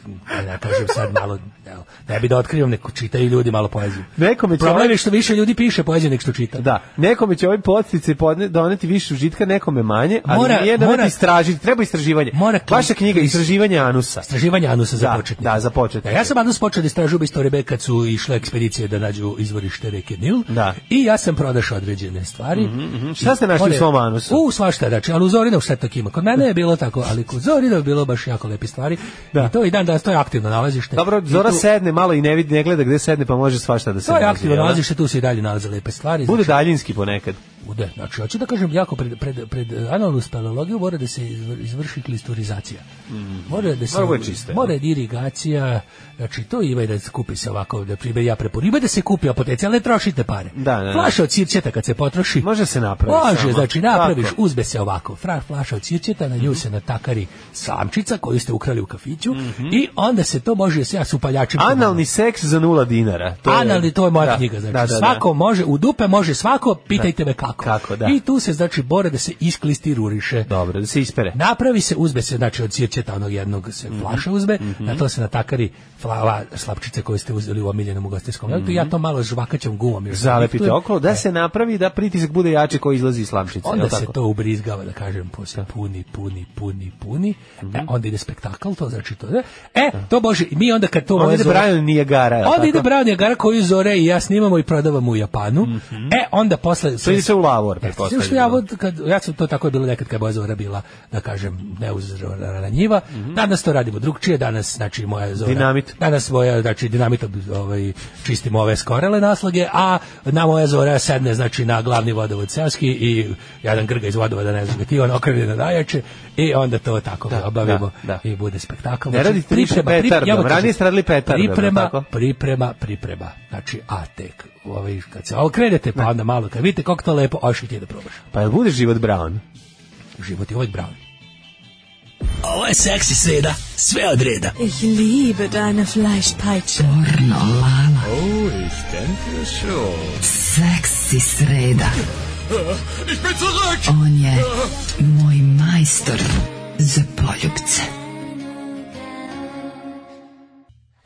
[SPEAKER 6] ja kažem sad malo, evo, ne bi da otkrivam, neko čitaju ljudi malo poeziju.
[SPEAKER 7] Nekome će
[SPEAKER 6] Problem
[SPEAKER 7] ovaj-
[SPEAKER 6] je što više ljudi piše poeziju nek što čita.
[SPEAKER 7] [LAUGHS] Da, nekome će ovaj podsticaj podne- doneti više užitka, nekome manje, ali
[SPEAKER 6] Mora-
[SPEAKER 7] nije da
[SPEAKER 6] mora-
[SPEAKER 7] istražiti, treba istraživanje.
[SPEAKER 6] Mora-
[SPEAKER 7] Vaša knjiga istraživanje anusa.
[SPEAKER 6] Istraživanje anusa za
[SPEAKER 7] Da,
[SPEAKER 6] početnike.
[SPEAKER 7] da, za početnike.
[SPEAKER 6] Da, ja sam anus počeo da istražujem istorije kad su išle ekspedicije da nađu izvorište reke Nil.
[SPEAKER 7] Da. Mhm,
[SPEAKER 6] I ja sam pronašao određene stvari.
[SPEAKER 7] Šta ste našli u svom anusu?
[SPEAKER 6] U, svašta, znači, ali u Zorinov sve to ima. Kod mene je bilo tako, ali kod Zorinov je bilo baš jako lepe stvari.
[SPEAKER 7] Da.
[SPEAKER 6] I to i dan danas, to je aktivno nalazište.
[SPEAKER 7] Dobro,
[SPEAKER 6] I
[SPEAKER 7] Zora
[SPEAKER 6] tu-
[SPEAKER 7] sedne malo i ne vidi, ne gleda gde sedne, pa može svašta da se
[SPEAKER 6] To je
[SPEAKER 7] nađe,
[SPEAKER 6] aktivno
[SPEAKER 7] jel?
[SPEAKER 6] nalazište, tu se i dalje nalaze lepe stvari.
[SPEAKER 7] Bude
[SPEAKER 6] znači,
[SPEAKER 7] daljinski ponekad.
[SPEAKER 6] bude. Znači, hoću da kažem, jako pred, pred, pred analnu speleologiju mora da se izvr- izvrši klistorizacija.
[SPEAKER 7] Mhm.
[SPEAKER 6] Mora da se...
[SPEAKER 7] Mora bude čista,
[SPEAKER 6] mora irigacija, znači, to ima i da se kupi se ovako, da pribe ja preporu. Ima da se kupi apoteci, ali ne trošite pare.
[SPEAKER 7] Da, da, da.
[SPEAKER 6] Flaša od cirćeta kad se potroši.
[SPEAKER 7] Može se napraviti
[SPEAKER 6] Može,
[SPEAKER 7] sama.
[SPEAKER 6] znači, napraviš,
[SPEAKER 7] Tako.
[SPEAKER 6] uzbe se ovako. Fra, flaša od cirćeta, na nju
[SPEAKER 7] Mhm.
[SPEAKER 6] se natakari samčica koju ste ukrali u kafiću
[SPEAKER 7] Mhm.
[SPEAKER 6] i onda se to može ja s upaljačima.
[SPEAKER 7] Analni seks za nula dinara.
[SPEAKER 6] To
[SPEAKER 7] je-
[SPEAKER 6] Analni, to je moja
[SPEAKER 7] da,
[SPEAKER 6] knjiga, znači
[SPEAKER 7] da, da, da.
[SPEAKER 6] svako može, u dupe može svako, pitajte me kako.
[SPEAKER 7] Kako, da.
[SPEAKER 6] I tu se znači bore da se isklistiruriše.
[SPEAKER 7] Dobro, da se ispere.
[SPEAKER 6] Napravi se, uzbe se, znači od sirćeta onog jednog se
[SPEAKER 7] Mhm.
[SPEAKER 6] flaša uzbe, na to se natakari flava slapčice koje ste uzeli u omiljenom ugostiteljskom mm ja to malo žvakaćom gumom još
[SPEAKER 7] Mhm. Zalepite
[SPEAKER 6] zaliftujem.
[SPEAKER 7] okolo, da se napravi da pritisak bude jači koji izlazi iz slamčice.
[SPEAKER 6] Onda
[SPEAKER 7] jel
[SPEAKER 6] se
[SPEAKER 7] tako?
[SPEAKER 6] to ubrizgava, da kažem, posle puni, puni, puni, puni.
[SPEAKER 7] Mhm.
[SPEAKER 6] E, onda ide spektakl, to znači to. da. E, to bože, mi onda kad to
[SPEAKER 7] Onda
[SPEAKER 6] moja
[SPEAKER 7] ide
[SPEAKER 6] Zora-
[SPEAKER 7] Brian Nijagara, jel
[SPEAKER 6] Onda
[SPEAKER 7] tako?
[SPEAKER 6] ide Brown Jagara koju Zore i ja snimamo i prodavamo u Japanu. E, onda posle... E,
[SPEAKER 7] To ide Mhm. se u lavor,
[SPEAKER 6] Jeste,
[SPEAKER 7] pretpostavljam.
[SPEAKER 6] zato što ja, vod- kad, ja sam to tako je bilo nekad kad je moja Zora bila, da kažem, neuzorana njiva. Danas to radimo drugčije, danas, znači, moja Zora...
[SPEAKER 7] Mhm. Dinamit.
[SPEAKER 6] Danas moja, znači, dinamit ovaj, čistimo ove skorele naslage, a na moja Zora sedne, znači, na glavni vodovod seoski i jedan grga iz vodovoda, ne znam, ti on okrene na najjače i onda to tako obavimo
[SPEAKER 7] da, da.
[SPEAKER 6] i bude spektakl.
[SPEAKER 7] Ne radite više
[SPEAKER 6] pri-
[SPEAKER 7] petardom,
[SPEAKER 6] ja vam kažem,
[SPEAKER 7] ranije ste radili petardom, je li
[SPEAKER 6] Priprema,
[SPEAKER 7] tako?
[SPEAKER 6] priprema, priprema. Znači, a tek, ovaj, kad se okrenete, pa onda malo, kad vidite kako to lepo, oš i ti da probaš.
[SPEAKER 7] Pa jel bude život Brown?
[SPEAKER 6] Život je ovaj brown. Ovo je seksi sreda, sve od reda.
[SPEAKER 11] Ich liebe deine Fleischpeitsche.
[SPEAKER 8] Seksi sreda. On je moj majstor za poljubce.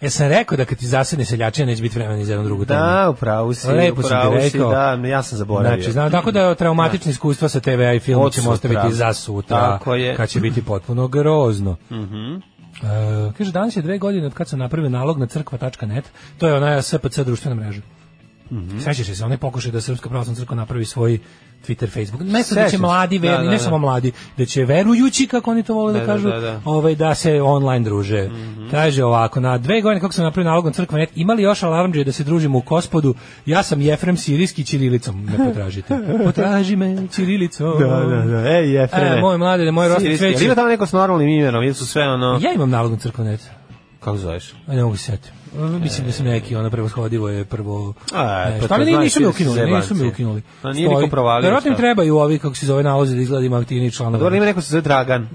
[SPEAKER 6] Ja E, sam rekao da kad ti zasadne seljačina neće biti vremena ni za jednu drugu temu.
[SPEAKER 7] Da, upravo si,
[SPEAKER 6] Lepo si
[SPEAKER 7] upravo
[SPEAKER 6] ti
[SPEAKER 7] si,
[SPEAKER 6] rekao.
[SPEAKER 7] da, ja sam zaboravio.
[SPEAKER 6] Znači, znam, tako da traumatične iskustva sa TV-a i filmu
[SPEAKER 7] Od
[SPEAKER 6] ćemo
[SPEAKER 7] sutra.
[SPEAKER 6] ostaviti za sutra,
[SPEAKER 7] Tako je. Mhm.
[SPEAKER 6] kad će biti potpuno grozno. E, kaže, danas je dve godine od kad sam napravio nalog na crkva.net, to je ona SPC društvena mreža.
[SPEAKER 7] Mhm.
[SPEAKER 6] Sećaš li se, onaj pokušaj da Srpska pravoslavna crkva napravi svoj Twitter, Facebook. Mesto da
[SPEAKER 7] Sećam
[SPEAKER 6] će
[SPEAKER 7] se.
[SPEAKER 6] mladi
[SPEAKER 7] Da,
[SPEAKER 6] verni,
[SPEAKER 7] da,
[SPEAKER 6] ne
[SPEAKER 7] da.
[SPEAKER 6] samo mladi, da će verujući, kako oni to vole da,
[SPEAKER 7] Da, da,
[SPEAKER 6] kažu,
[SPEAKER 7] da, da.
[SPEAKER 6] ovaj da se online druže.
[SPEAKER 7] Mhm.
[SPEAKER 6] Kaže ovako, na dve godine kako sam napravio nalogom crkva net, imali još alarmđe da se družimo u Kospodu. Ja sam Jefrem Sirijski ćirilicom, me potražite.
[SPEAKER 7] [LAUGHS]
[SPEAKER 6] Potraži me ćirilicom.
[SPEAKER 7] Da, da, da. Ej, Jefrene.
[SPEAKER 6] E, moj mlade, moj rosni
[SPEAKER 7] Sirijski, jel
[SPEAKER 6] cveće.
[SPEAKER 7] Ima tamo neko s normalnim imenom, ili su sve ono...
[SPEAKER 6] Ja imam nalogom crkva net.
[SPEAKER 7] Kako zoveš?
[SPEAKER 6] A ne mogu se setiti. Mislim da sam neki, ono prevashodivo je prvo...
[SPEAKER 7] A,
[SPEAKER 6] nešto,
[SPEAKER 7] pa to
[SPEAKER 6] ali ni-
[SPEAKER 7] znaš,
[SPEAKER 6] nisu me
[SPEAKER 7] ti si
[SPEAKER 6] ukinuli, nisu me
[SPEAKER 7] zebanci.
[SPEAKER 6] ukinuli.
[SPEAKER 7] A nije niko provalio,
[SPEAKER 6] Verovatno im
[SPEAKER 7] šta?
[SPEAKER 6] trebaju ovi, kako se zove nalozi, da izgledam aktivni
[SPEAKER 7] Dobro,
[SPEAKER 6] članovi.
[SPEAKER 7] ima neko se zove Dragan.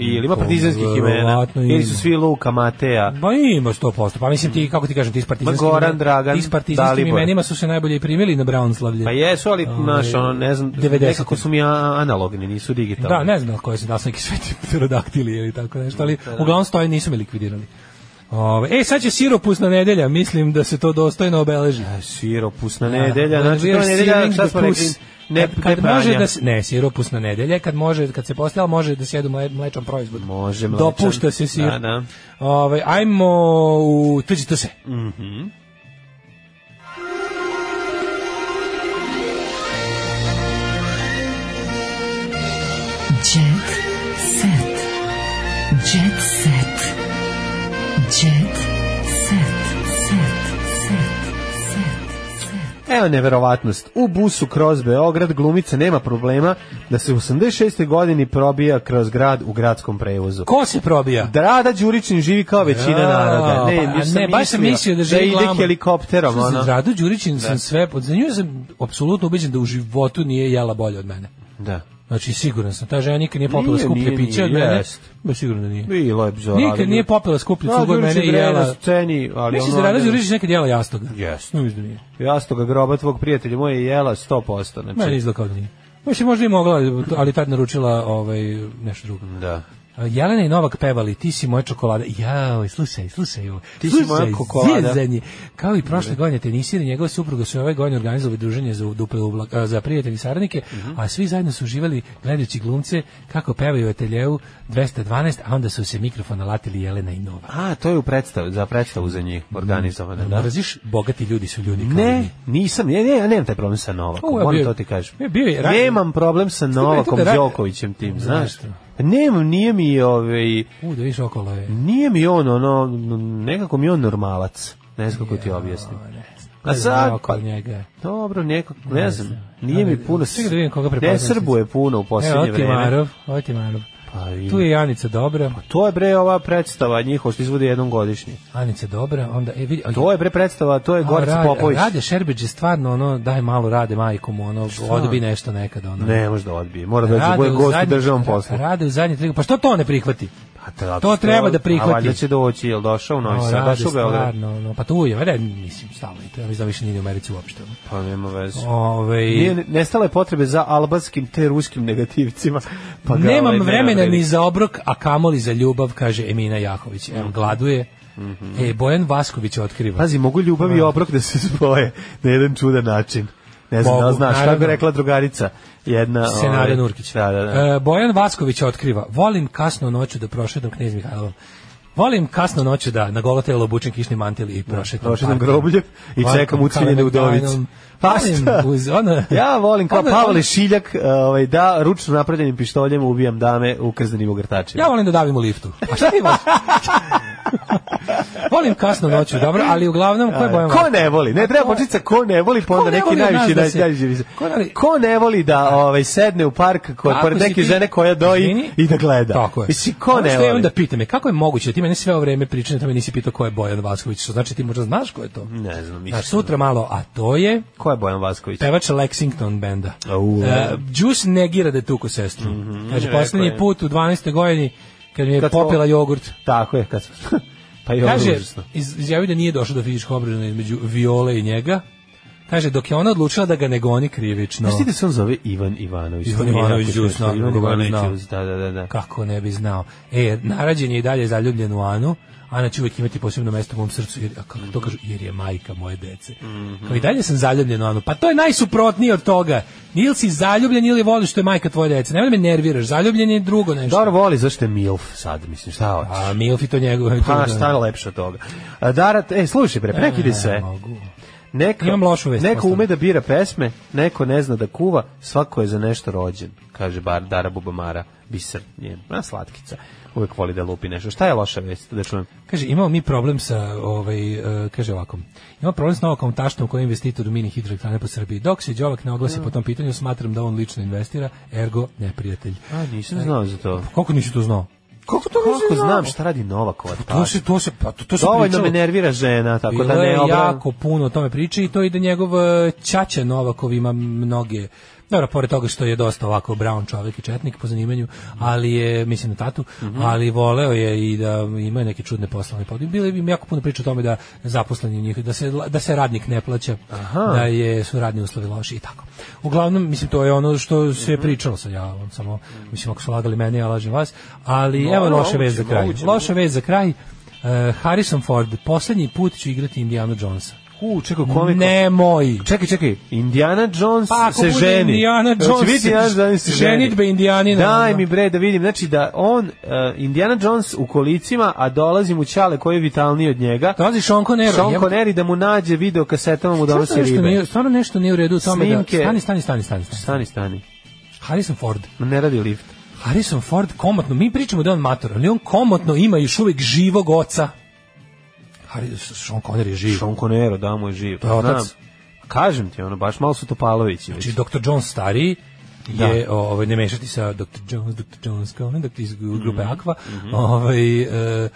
[SPEAKER 7] Ili ima partizanskih imena.
[SPEAKER 6] verovatno ima.
[SPEAKER 7] Ili su svi Luka, Mateja.
[SPEAKER 6] Ma ima 100%. Pa mislim ti, kako ti kažem, ti s partizanskim,
[SPEAKER 7] Ma Goran, Dragan,
[SPEAKER 6] ti s partizanskim
[SPEAKER 7] Dalibor.
[SPEAKER 6] imenima su se najbolje i primili na Brownslavlje.
[SPEAKER 7] Pa jesu, ali, znaš, ono, ne znam,
[SPEAKER 6] 90.
[SPEAKER 7] nekako su mi a- analogni, nisu digitalni.
[SPEAKER 6] Da, ne znam koji su da su neki sveti pterodaktili ili tako nešto, ali uglavnom stoje nisu me likvidirali. Ove, e, sad će siropusna nedelja, mislim da se to dostojno obeleži.
[SPEAKER 7] Siropusna
[SPEAKER 6] Da, da,
[SPEAKER 7] nedelja, znači,
[SPEAKER 6] we
[SPEAKER 7] to
[SPEAKER 6] are
[SPEAKER 7] je nedelja,
[SPEAKER 6] sealing
[SPEAKER 7] šta
[SPEAKER 6] the
[SPEAKER 7] smo rekli,
[SPEAKER 6] pus.
[SPEAKER 7] ne,
[SPEAKER 6] E, kad,
[SPEAKER 7] ne
[SPEAKER 6] kad može
[SPEAKER 7] pranja.
[SPEAKER 6] da se, ne, siropusna nedelja, kad može, kad se posle, ali može da se jedu mle- mlečan proizvod.
[SPEAKER 7] Može mlečan.
[SPEAKER 6] Dopušta se sir.
[SPEAKER 7] Da, da.
[SPEAKER 6] Ove, ajmo u tuđi to se.
[SPEAKER 8] Jet set. Jet set. Jet set. Set. Set. Set.
[SPEAKER 7] Evo neverovatnost. U busu kroz Beograd glumica nema problema da se u 86. godini probija kroz grad u gradskom prevozu.
[SPEAKER 6] Ko se probija?
[SPEAKER 7] Rada Đurićin živi kao većina
[SPEAKER 6] Ja,
[SPEAKER 7] naroda. Ne,
[SPEAKER 6] pa,
[SPEAKER 7] ja sam
[SPEAKER 6] ne, baš sam mislio da živi
[SPEAKER 7] ide
[SPEAKER 6] glamour.
[SPEAKER 7] helikopterom.
[SPEAKER 6] Što sam
[SPEAKER 7] Ono.
[SPEAKER 6] Radu Đurićin sam sve, pod- za nju sam apsolutno ubeđen da u životu nije jela bolje od mene.
[SPEAKER 7] Da.
[SPEAKER 6] Znači, siguran sam, ta žena nikad nije popila
[SPEAKER 7] Nije,
[SPEAKER 6] skuplje
[SPEAKER 7] nije,
[SPEAKER 6] piće od
[SPEAKER 7] nije,
[SPEAKER 6] mene.
[SPEAKER 7] jest.
[SPEAKER 6] Ba, sigurno da nije.
[SPEAKER 7] Bilo je bizarno.
[SPEAKER 6] Nikad nije popila skuplje
[SPEAKER 7] Da,
[SPEAKER 6] cugu od
[SPEAKER 7] Đurić
[SPEAKER 6] mene
[SPEAKER 7] je
[SPEAKER 6] i
[SPEAKER 7] bre
[SPEAKER 6] jela.
[SPEAKER 7] na sceni, ali
[SPEAKER 6] Misliš
[SPEAKER 7] ono-
[SPEAKER 6] da Rada Đurišić nekad jela jastoga?
[SPEAKER 7] Jest.
[SPEAKER 6] No, mislim da nije.
[SPEAKER 7] Jastoga groba tvog prijatelja moje je jela 100%. Znači,
[SPEAKER 6] Meni izgleda kao da nije. Mislim, možda i mogla, ali tad naručila ovaj, nešto drugo.
[SPEAKER 7] Da.
[SPEAKER 6] A, Jelena i Novak pevali Ti si moja čokolada. Jao, slušaj, slušaj ovo.
[SPEAKER 7] Ti si
[SPEAKER 6] slušaj,
[SPEAKER 7] moja kokolada.
[SPEAKER 6] zezanje. Kao i prošle godine tenisir i njegova supruga su ove godine organizovali druženje za duple ublak, a, za prijatelje i saradnike,
[SPEAKER 7] Mhm.
[SPEAKER 6] a svi zajedno su uživali gledajući glumce kako pevaju u ateljeu 212, a onda su se mikrofon alatili Jelena i Novak.
[SPEAKER 7] A, to je u predstav, za predstavu za njih organizovana. Da.
[SPEAKER 6] Mrziš, bogati ljudi su ljudi kao i mi.
[SPEAKER 7] Ne, nisam, ja, ne, ja nemam taj problem sa Novakom,
[SPEAKER 6] Ovo je
[SPEAKER 7] moram
[SPEAKER 6] bio-
[SPEAKER 7] to ti kažem.
[SPEAKER 6] je bio je ranije.
[SPEAKER 7] nemam problem sa Novakom
[SPEAKER 6] da ra-
[SPEAKER 7] Đokovićem tim, znaš.
[SPEAKER 6] Zašto?
[SPEAKER 7] Nemam, nije mi, ovaj,
[SPEAKER 6] U, da viš okolo je.
[SPEAKER 7] nije mi on, ono, nekako mi je on normalac. Ne znam kako ti objasnim.
[SPEAKER 6] O, ne znam.
[SPEAKER 7] A sad,
[SPEAKER 6] Okolo
[SPEAKER 7] pa-
[SPEAKER 6] njega. E,
[SPEAKER 7] Dobro, neko, ne znam, nije
[SPEAKER 6] Ali,
[SPEAKER 7] mi puno,
[SPEAKER 6] čekaj da vidim koga prepoznajem.
[SPEAKER 7] ne srbuje puno u
[SPEAKER 6] Evo,
[SPEAKER 7] posljednje
[SPEAKER 6] ovo ti
[SPEAKER 7] vreme.
[SPEAKER 6] Marov, ovo ti Marov.
[SPEAKER 7] Pa i-
[SPEAKER 6] Tu je Janica Dobra.
[SPEAKER 7] To je bre ova predstava njihova što izvodi jednom godišnje.
[SPEAKER 6] Anica dobra, onda e vidi.
[SPEAKER 7] To je bre predstava, to je Gorica Popović.
[SPEAKER 6] Rade Šerbeđ je stvarno ono daj malo rade majku mu ono odbi nešto nekad ono.
[SPEAKER 7] Ne, može da odbije. Mora da bude
[SPEAKER 6] u
[SPEAKER 7] gost u
[SPEAKER 6] zadnji-
[SPEAKER 7] državnom poslu.
[SPEAKER 6] Rade u zadnje tri. Pa što to ne prihvati?
[SPEAKER 7] A da,
[SPEAKER 6] To treba da prihvati.
[SPEAKER 7] A valjda će doći, jel došao u Novi
[SPEAKER 6] O,
[SPEAKER 7] Pa, Sad,
[SPEAKER 6] Ono, Rade
[SPEAKER 7] došao u Beograd.
[SPEAKER 6] stvarno, ono, pa tu je, valjda mislim stalno i to ja mislim da više nije ni u Americi uopšte. ono.
[SPEAKER 7] Pa nema veze.
[SPEAKER 6] Ovaj
[SPEAKER 7] Nije, nestala je potrebe za albanskim te ruskim negativcima. Pa ga, ovaj,
[SPEAKER 6] Nemam
[SPEAKER 7] nema
[SPEAKER 6] vremena
[SPEAKER 7] vredi.
[SPEAKER 6] ni za obrok, a kamoli za ljubav, kaže Emina Jahović. Evo, gladuje.
[SPEAKER 7] Mhm.
[SPEAKER 6] E, Bojan Vasković otkriva.
[SPEAKER 7] Pazi, mogu ljubav i obrok da se spoje na jedan čudan način. Ne znam,
[SPEAKER 6] Mogu,
[SPEAKER 7] da li znaš, kako
[SPEAKER 6] naravno.
[SPEAKER 7] je rekla drugarica jedna...
[SPEAKER 6] Scenarija
[SPEAKER 7] ovaj,
[SPEAKER 6] Nurkić.
[SPEAKER 7] Da, da, da.
[SPEAKER 6] E, Bojan Vasković otkriva. Volim kasno noću da prošetam knez Mihajlovom. Volim kasno noću da na golo telo obučem kišni mantil i prošetam.
[SPEAKER 7] Prošetam
[SPEAKER 6] parkom.
[SPEAKER 7] groblje i
[SPEAKER 6] Parkom,
[SPEAKER 7] čekam ucijenjene
[SPEAKER 6] Kalemegdanom.
[SPEAKER 7] udovice. Pa
[SPEAKER 6] Volim
[SPEAKER 7] šta?
[SPEAKER 6] uz ono...
[SPEAKER 7] Ja volim kao
[SPEAKER 6] Onda-
[SPEAKER 7] Pavle Šiljak, ovaj, da ručno napravljenim pištoljem ubijam dame u krznenim ogrtačima.
[SPEAKER 6] Ja volim da davim u liftu. A šta ti
[SPEAKER 7] [LAUGHS]
[SPEAKER 6] voliš? volim kasno noću, dobro, ali uglavnom, ko je Bojan
[SPEAKER 7] Ko ne voli? Ne treba početi sa ko ne voli, pa onda
[SPEAKER 6] ne
[SPEAKER 7] neki
[SPEAKER 6] voli od nas
[SPEAKER 7] najviše
[SPEAKER 6] da
[SPEAKER 7] naj-
[SPEAKER 6] se-
[SPEAKER 7] najviše vise.
[SPEAKER 6] Ko ne-
[SPEAKER 7] Ko ne voli da ovaj sedne u park kod
[SPEAKER 6] Ako
[SPEAKER 7] pored
[SPEAKER 6] si
[SPEAKER 7] neke
[SPEAKER 6] ti-
[SPEAKER 7] žene koja doji
[SPEAKER 6] Izvini?
[SPEAKER 7] i da gleda.
[SPEAKER 6] Tako je.
[SPEAKER 7] Mislim, ko
[SPEAKER 6] Ono
[SPEAKER 7] ne
[SPEAKER 6] što ja
[SPEAKER 7] voli?
[SPEAKER 6] onda pitam je, kako je moguće da ti mene sve ovo vreme pričaš, da me nisi pitao ko je Bojan Vasković, što znači ti možda znaš ko je to?
[SPEAKER 7] Ne znam,
[SPEAKER 6] Znači,
[SPEAKER 7] mislim.
[SPEAKER 6] sutra malo, a to je
[SPEAKER 7] Ko je Bojan Vasković?
[SPEAKER 6] pevač Lexington benda.
[SPEAKER 7] Au. Mhm.
[SPEAKER 6] E, Juice negira da je tuko sestru. Kaže,
[SPEAKER 7] rekao
[SPEAKER 6] posljednji
[SPEAKER 7] je.
[SPEAKER 6] put u 12. godini kad mi je
[SPEAKER 7] Kad smo-
[SPEAKER 6] popila jogurt.
[SPEAKER 7] Tako je, kad smo- [LAUGHS] pa je
[SPEAKER 6] Kaže,
[SPEAKER 7] ovo užasno.
[SPEAKER 6] iz- izjavio da nije došlo do fizičkog obražena između Viole i njega. Kaže, dok je ona odlučila da ga ne goni krivično.
[SPEAKER 7] Znaš ti da se on zove Ivan Ivanović?
[SPEAKER 6] Ivan
[SPEAKER 7] To mi je
[SPEAKER 6] Ivanović
[SPEAKER 7] jako
[SPEAKER 6] Đus,
[SPEAKER 7] smešno.
[SPEAKER 6] naravno,
[SPEAKER 7] Ivan
[SPEAKER 6] koga ne
[SPEAKER 7] Ivanović
[SPEAKER 6] znam.
[SPEAKER 7] Đus, da, da, da, da.
[SPEAKER 6] Kako ne bi znao. E, narađen je i dalje zaljubljen u Anu. Ana će uvijek imati posebno mesto u mom srcu, jer, a kako to kažu, jer je majka moje dece.
[SPEAKER 7] Mhm.
[SPEAKER 6] Kao i dalje sam zaljubljen u Anu. Pa to je najsuprotnije od toga. Ili si zaljubljen ili voliš što je majka tvoje dece. Nemoj da me nerviraš, zaljubljen je drugo nešto.
[SPEAKER 7] Dobro voli, zašto je Milf sad, mislim, šta hoćeš?
[SPEAKER 6] A Milfi to njegove.
[SPEAKER 7] Pa šta je lepše od toga? A, Dara, e, slušaj bre, prekidi
[SPEAKER 6] E,
[SPEAKER 7] sve. Neko,
[SPEAKER 6] Imam lošu vest,
[SPEAKER 7] Neko
[SPEAKER 6] postavljam.
[SPEAKER 7] ume da bira pesme, neko ne zna da kuva, svako je za nešto rođen, kaže bar Dara Bubamara, biser njen, na slatkica. Uvek voli da lupi nešto. Šta je loša vest, da čujem?
[SPEAKER 6] Kaže, imamo mi problem sa, ovaj, e, kaže ovako, imamo problem s novakom taštom koji je investitor u mini hidroelektrane po Srbiji. Dok se Đovak ne oglasi po tom pitanju, smatram da on lično investira, ergo neprijatelj.
[SPEAKER 7] A, nisam znao za to.
[SPEAKER 6] Kako nisi to znao? Pa, Kako to
[SPEAKER 7] Kako znam šta radi Novakova?
[SPEAKER 6] To se, to se, pa to, to se
[SPEAKER 7] Dovoljno
[SPEAKER 6] pričalo.
[SPEAKER 7] me nervira žena, tako
[SPEAKER 6] Bilo
[SPEAKER 7] da
[SPEAKER 6] je
[SPEAKER 7] ne obra...
[SPEAKER 6] jako puno o tome priče i to i da njegov e, ćaća Novakov ima mnoge Dobro, pored toga što je dosta ovako brown čovjek i četnik po zanimanju, ali je, mislim na tatu,
[SPEAKER 7] Mhm.
[SPEAKER 6] ali voleo je i da ima neke čudne poslovne podije. Bilo je im jako puno priča o tome da zaposleni njih, da se, da se radnik ne plaća, da je, su radni uslovi loši i tako. Uglavnom, mislim, to je ono što se
[SPEAKER 7] Mhm.
[SPEAKER 6] pričalo sad, ja vam samo, mislim, ako su lagali mene, ja lažem vas, ali evo loše
[SPEAKER 7] moguće,
[SPEAKER 6] vez za kraj.
[SPEAKER 7] moguće,
[SPEAKER 6] Loša vez za kraj, E, Harrison Ford, poslednji put ću igrati Indiana Jonesa.
[SPEAKER 7] U, čekaj, kome...
[SPEAKER 6] Nemoj.
[SPEAKER 7] Čekaj, čekaj, Indiana Jones
[SPEAKER 6] Pa, ako
[SPEAKER 7] se
[SPEAKER 6] bude
[SPEAKER 7] ženi.
[SPEAKER 6] Indiana
[SPEAKER 7] Hoće
[SPEAKER 6] Jones
[SPEAKER 7] biti
[SPEAKER 6] se-
[SPEAKER 7] Indiana Jones se ženi.
[SPEAKER 6] ženitbe Indijanina,
[SPEAKER 7] Daj
[SPEAKER 6] ono.
[SPEAKER 7] mi bre da vidim, znači da on, uh, Indiana Jones u kolicima, a dolazi mu Ćale koji je vitalniji od njega.
[SPEAKER 6] Dolazi Sean Connery.
[SPEAKER 7] Sean
[SPEAKER 6] jebote.
[SPEAKER 7] Connery da mu nađe video kasetama mu
[SPEAKER 6] Stvarno
[SPEAKER 7] donosi
[SPEAKER 6] nešto
[SPEAKER 7] ribe.
[SPEAKER 6] nije- Stvarno nešto nije u redu u tome
[SPEAKER 7] Snimke.
[SPEAKER 6] da... Stani, stani, stani, stani. stani.
[SPEAKER 7] Stani, stani.
[SPEAKER 6] Harrison Ford.
[SPEAKER 7] Ma Ne radi lift.
[SPEAKER 6] Harrison Ford komotno, mi pričamo da je on mator, ali on komotno ima još uvijek živog oca. Harrison, Sean Connery je živ.
[SPEAKER 7] Sean Conero, da mu je živ.
[SPEAKER 6] To je otac.
[SPEAKER 7] Kažem ti, ono, baš malo su Topalovići.
[SPEAKER 6] Znači,
[SPEAKER 7] već.
[SPEAKER 6] Dr. Jones stariji je,
[SPEAKER 7] Da.
[SPEAKER 6] o, ovaj, ne
[SPEAKER 7] Mhm,
[SPEAKER 6] mešati sa Dr. Jones, Dr. Jones, kao ne, dakle, iz grupe Aqua, ovaj, e, e,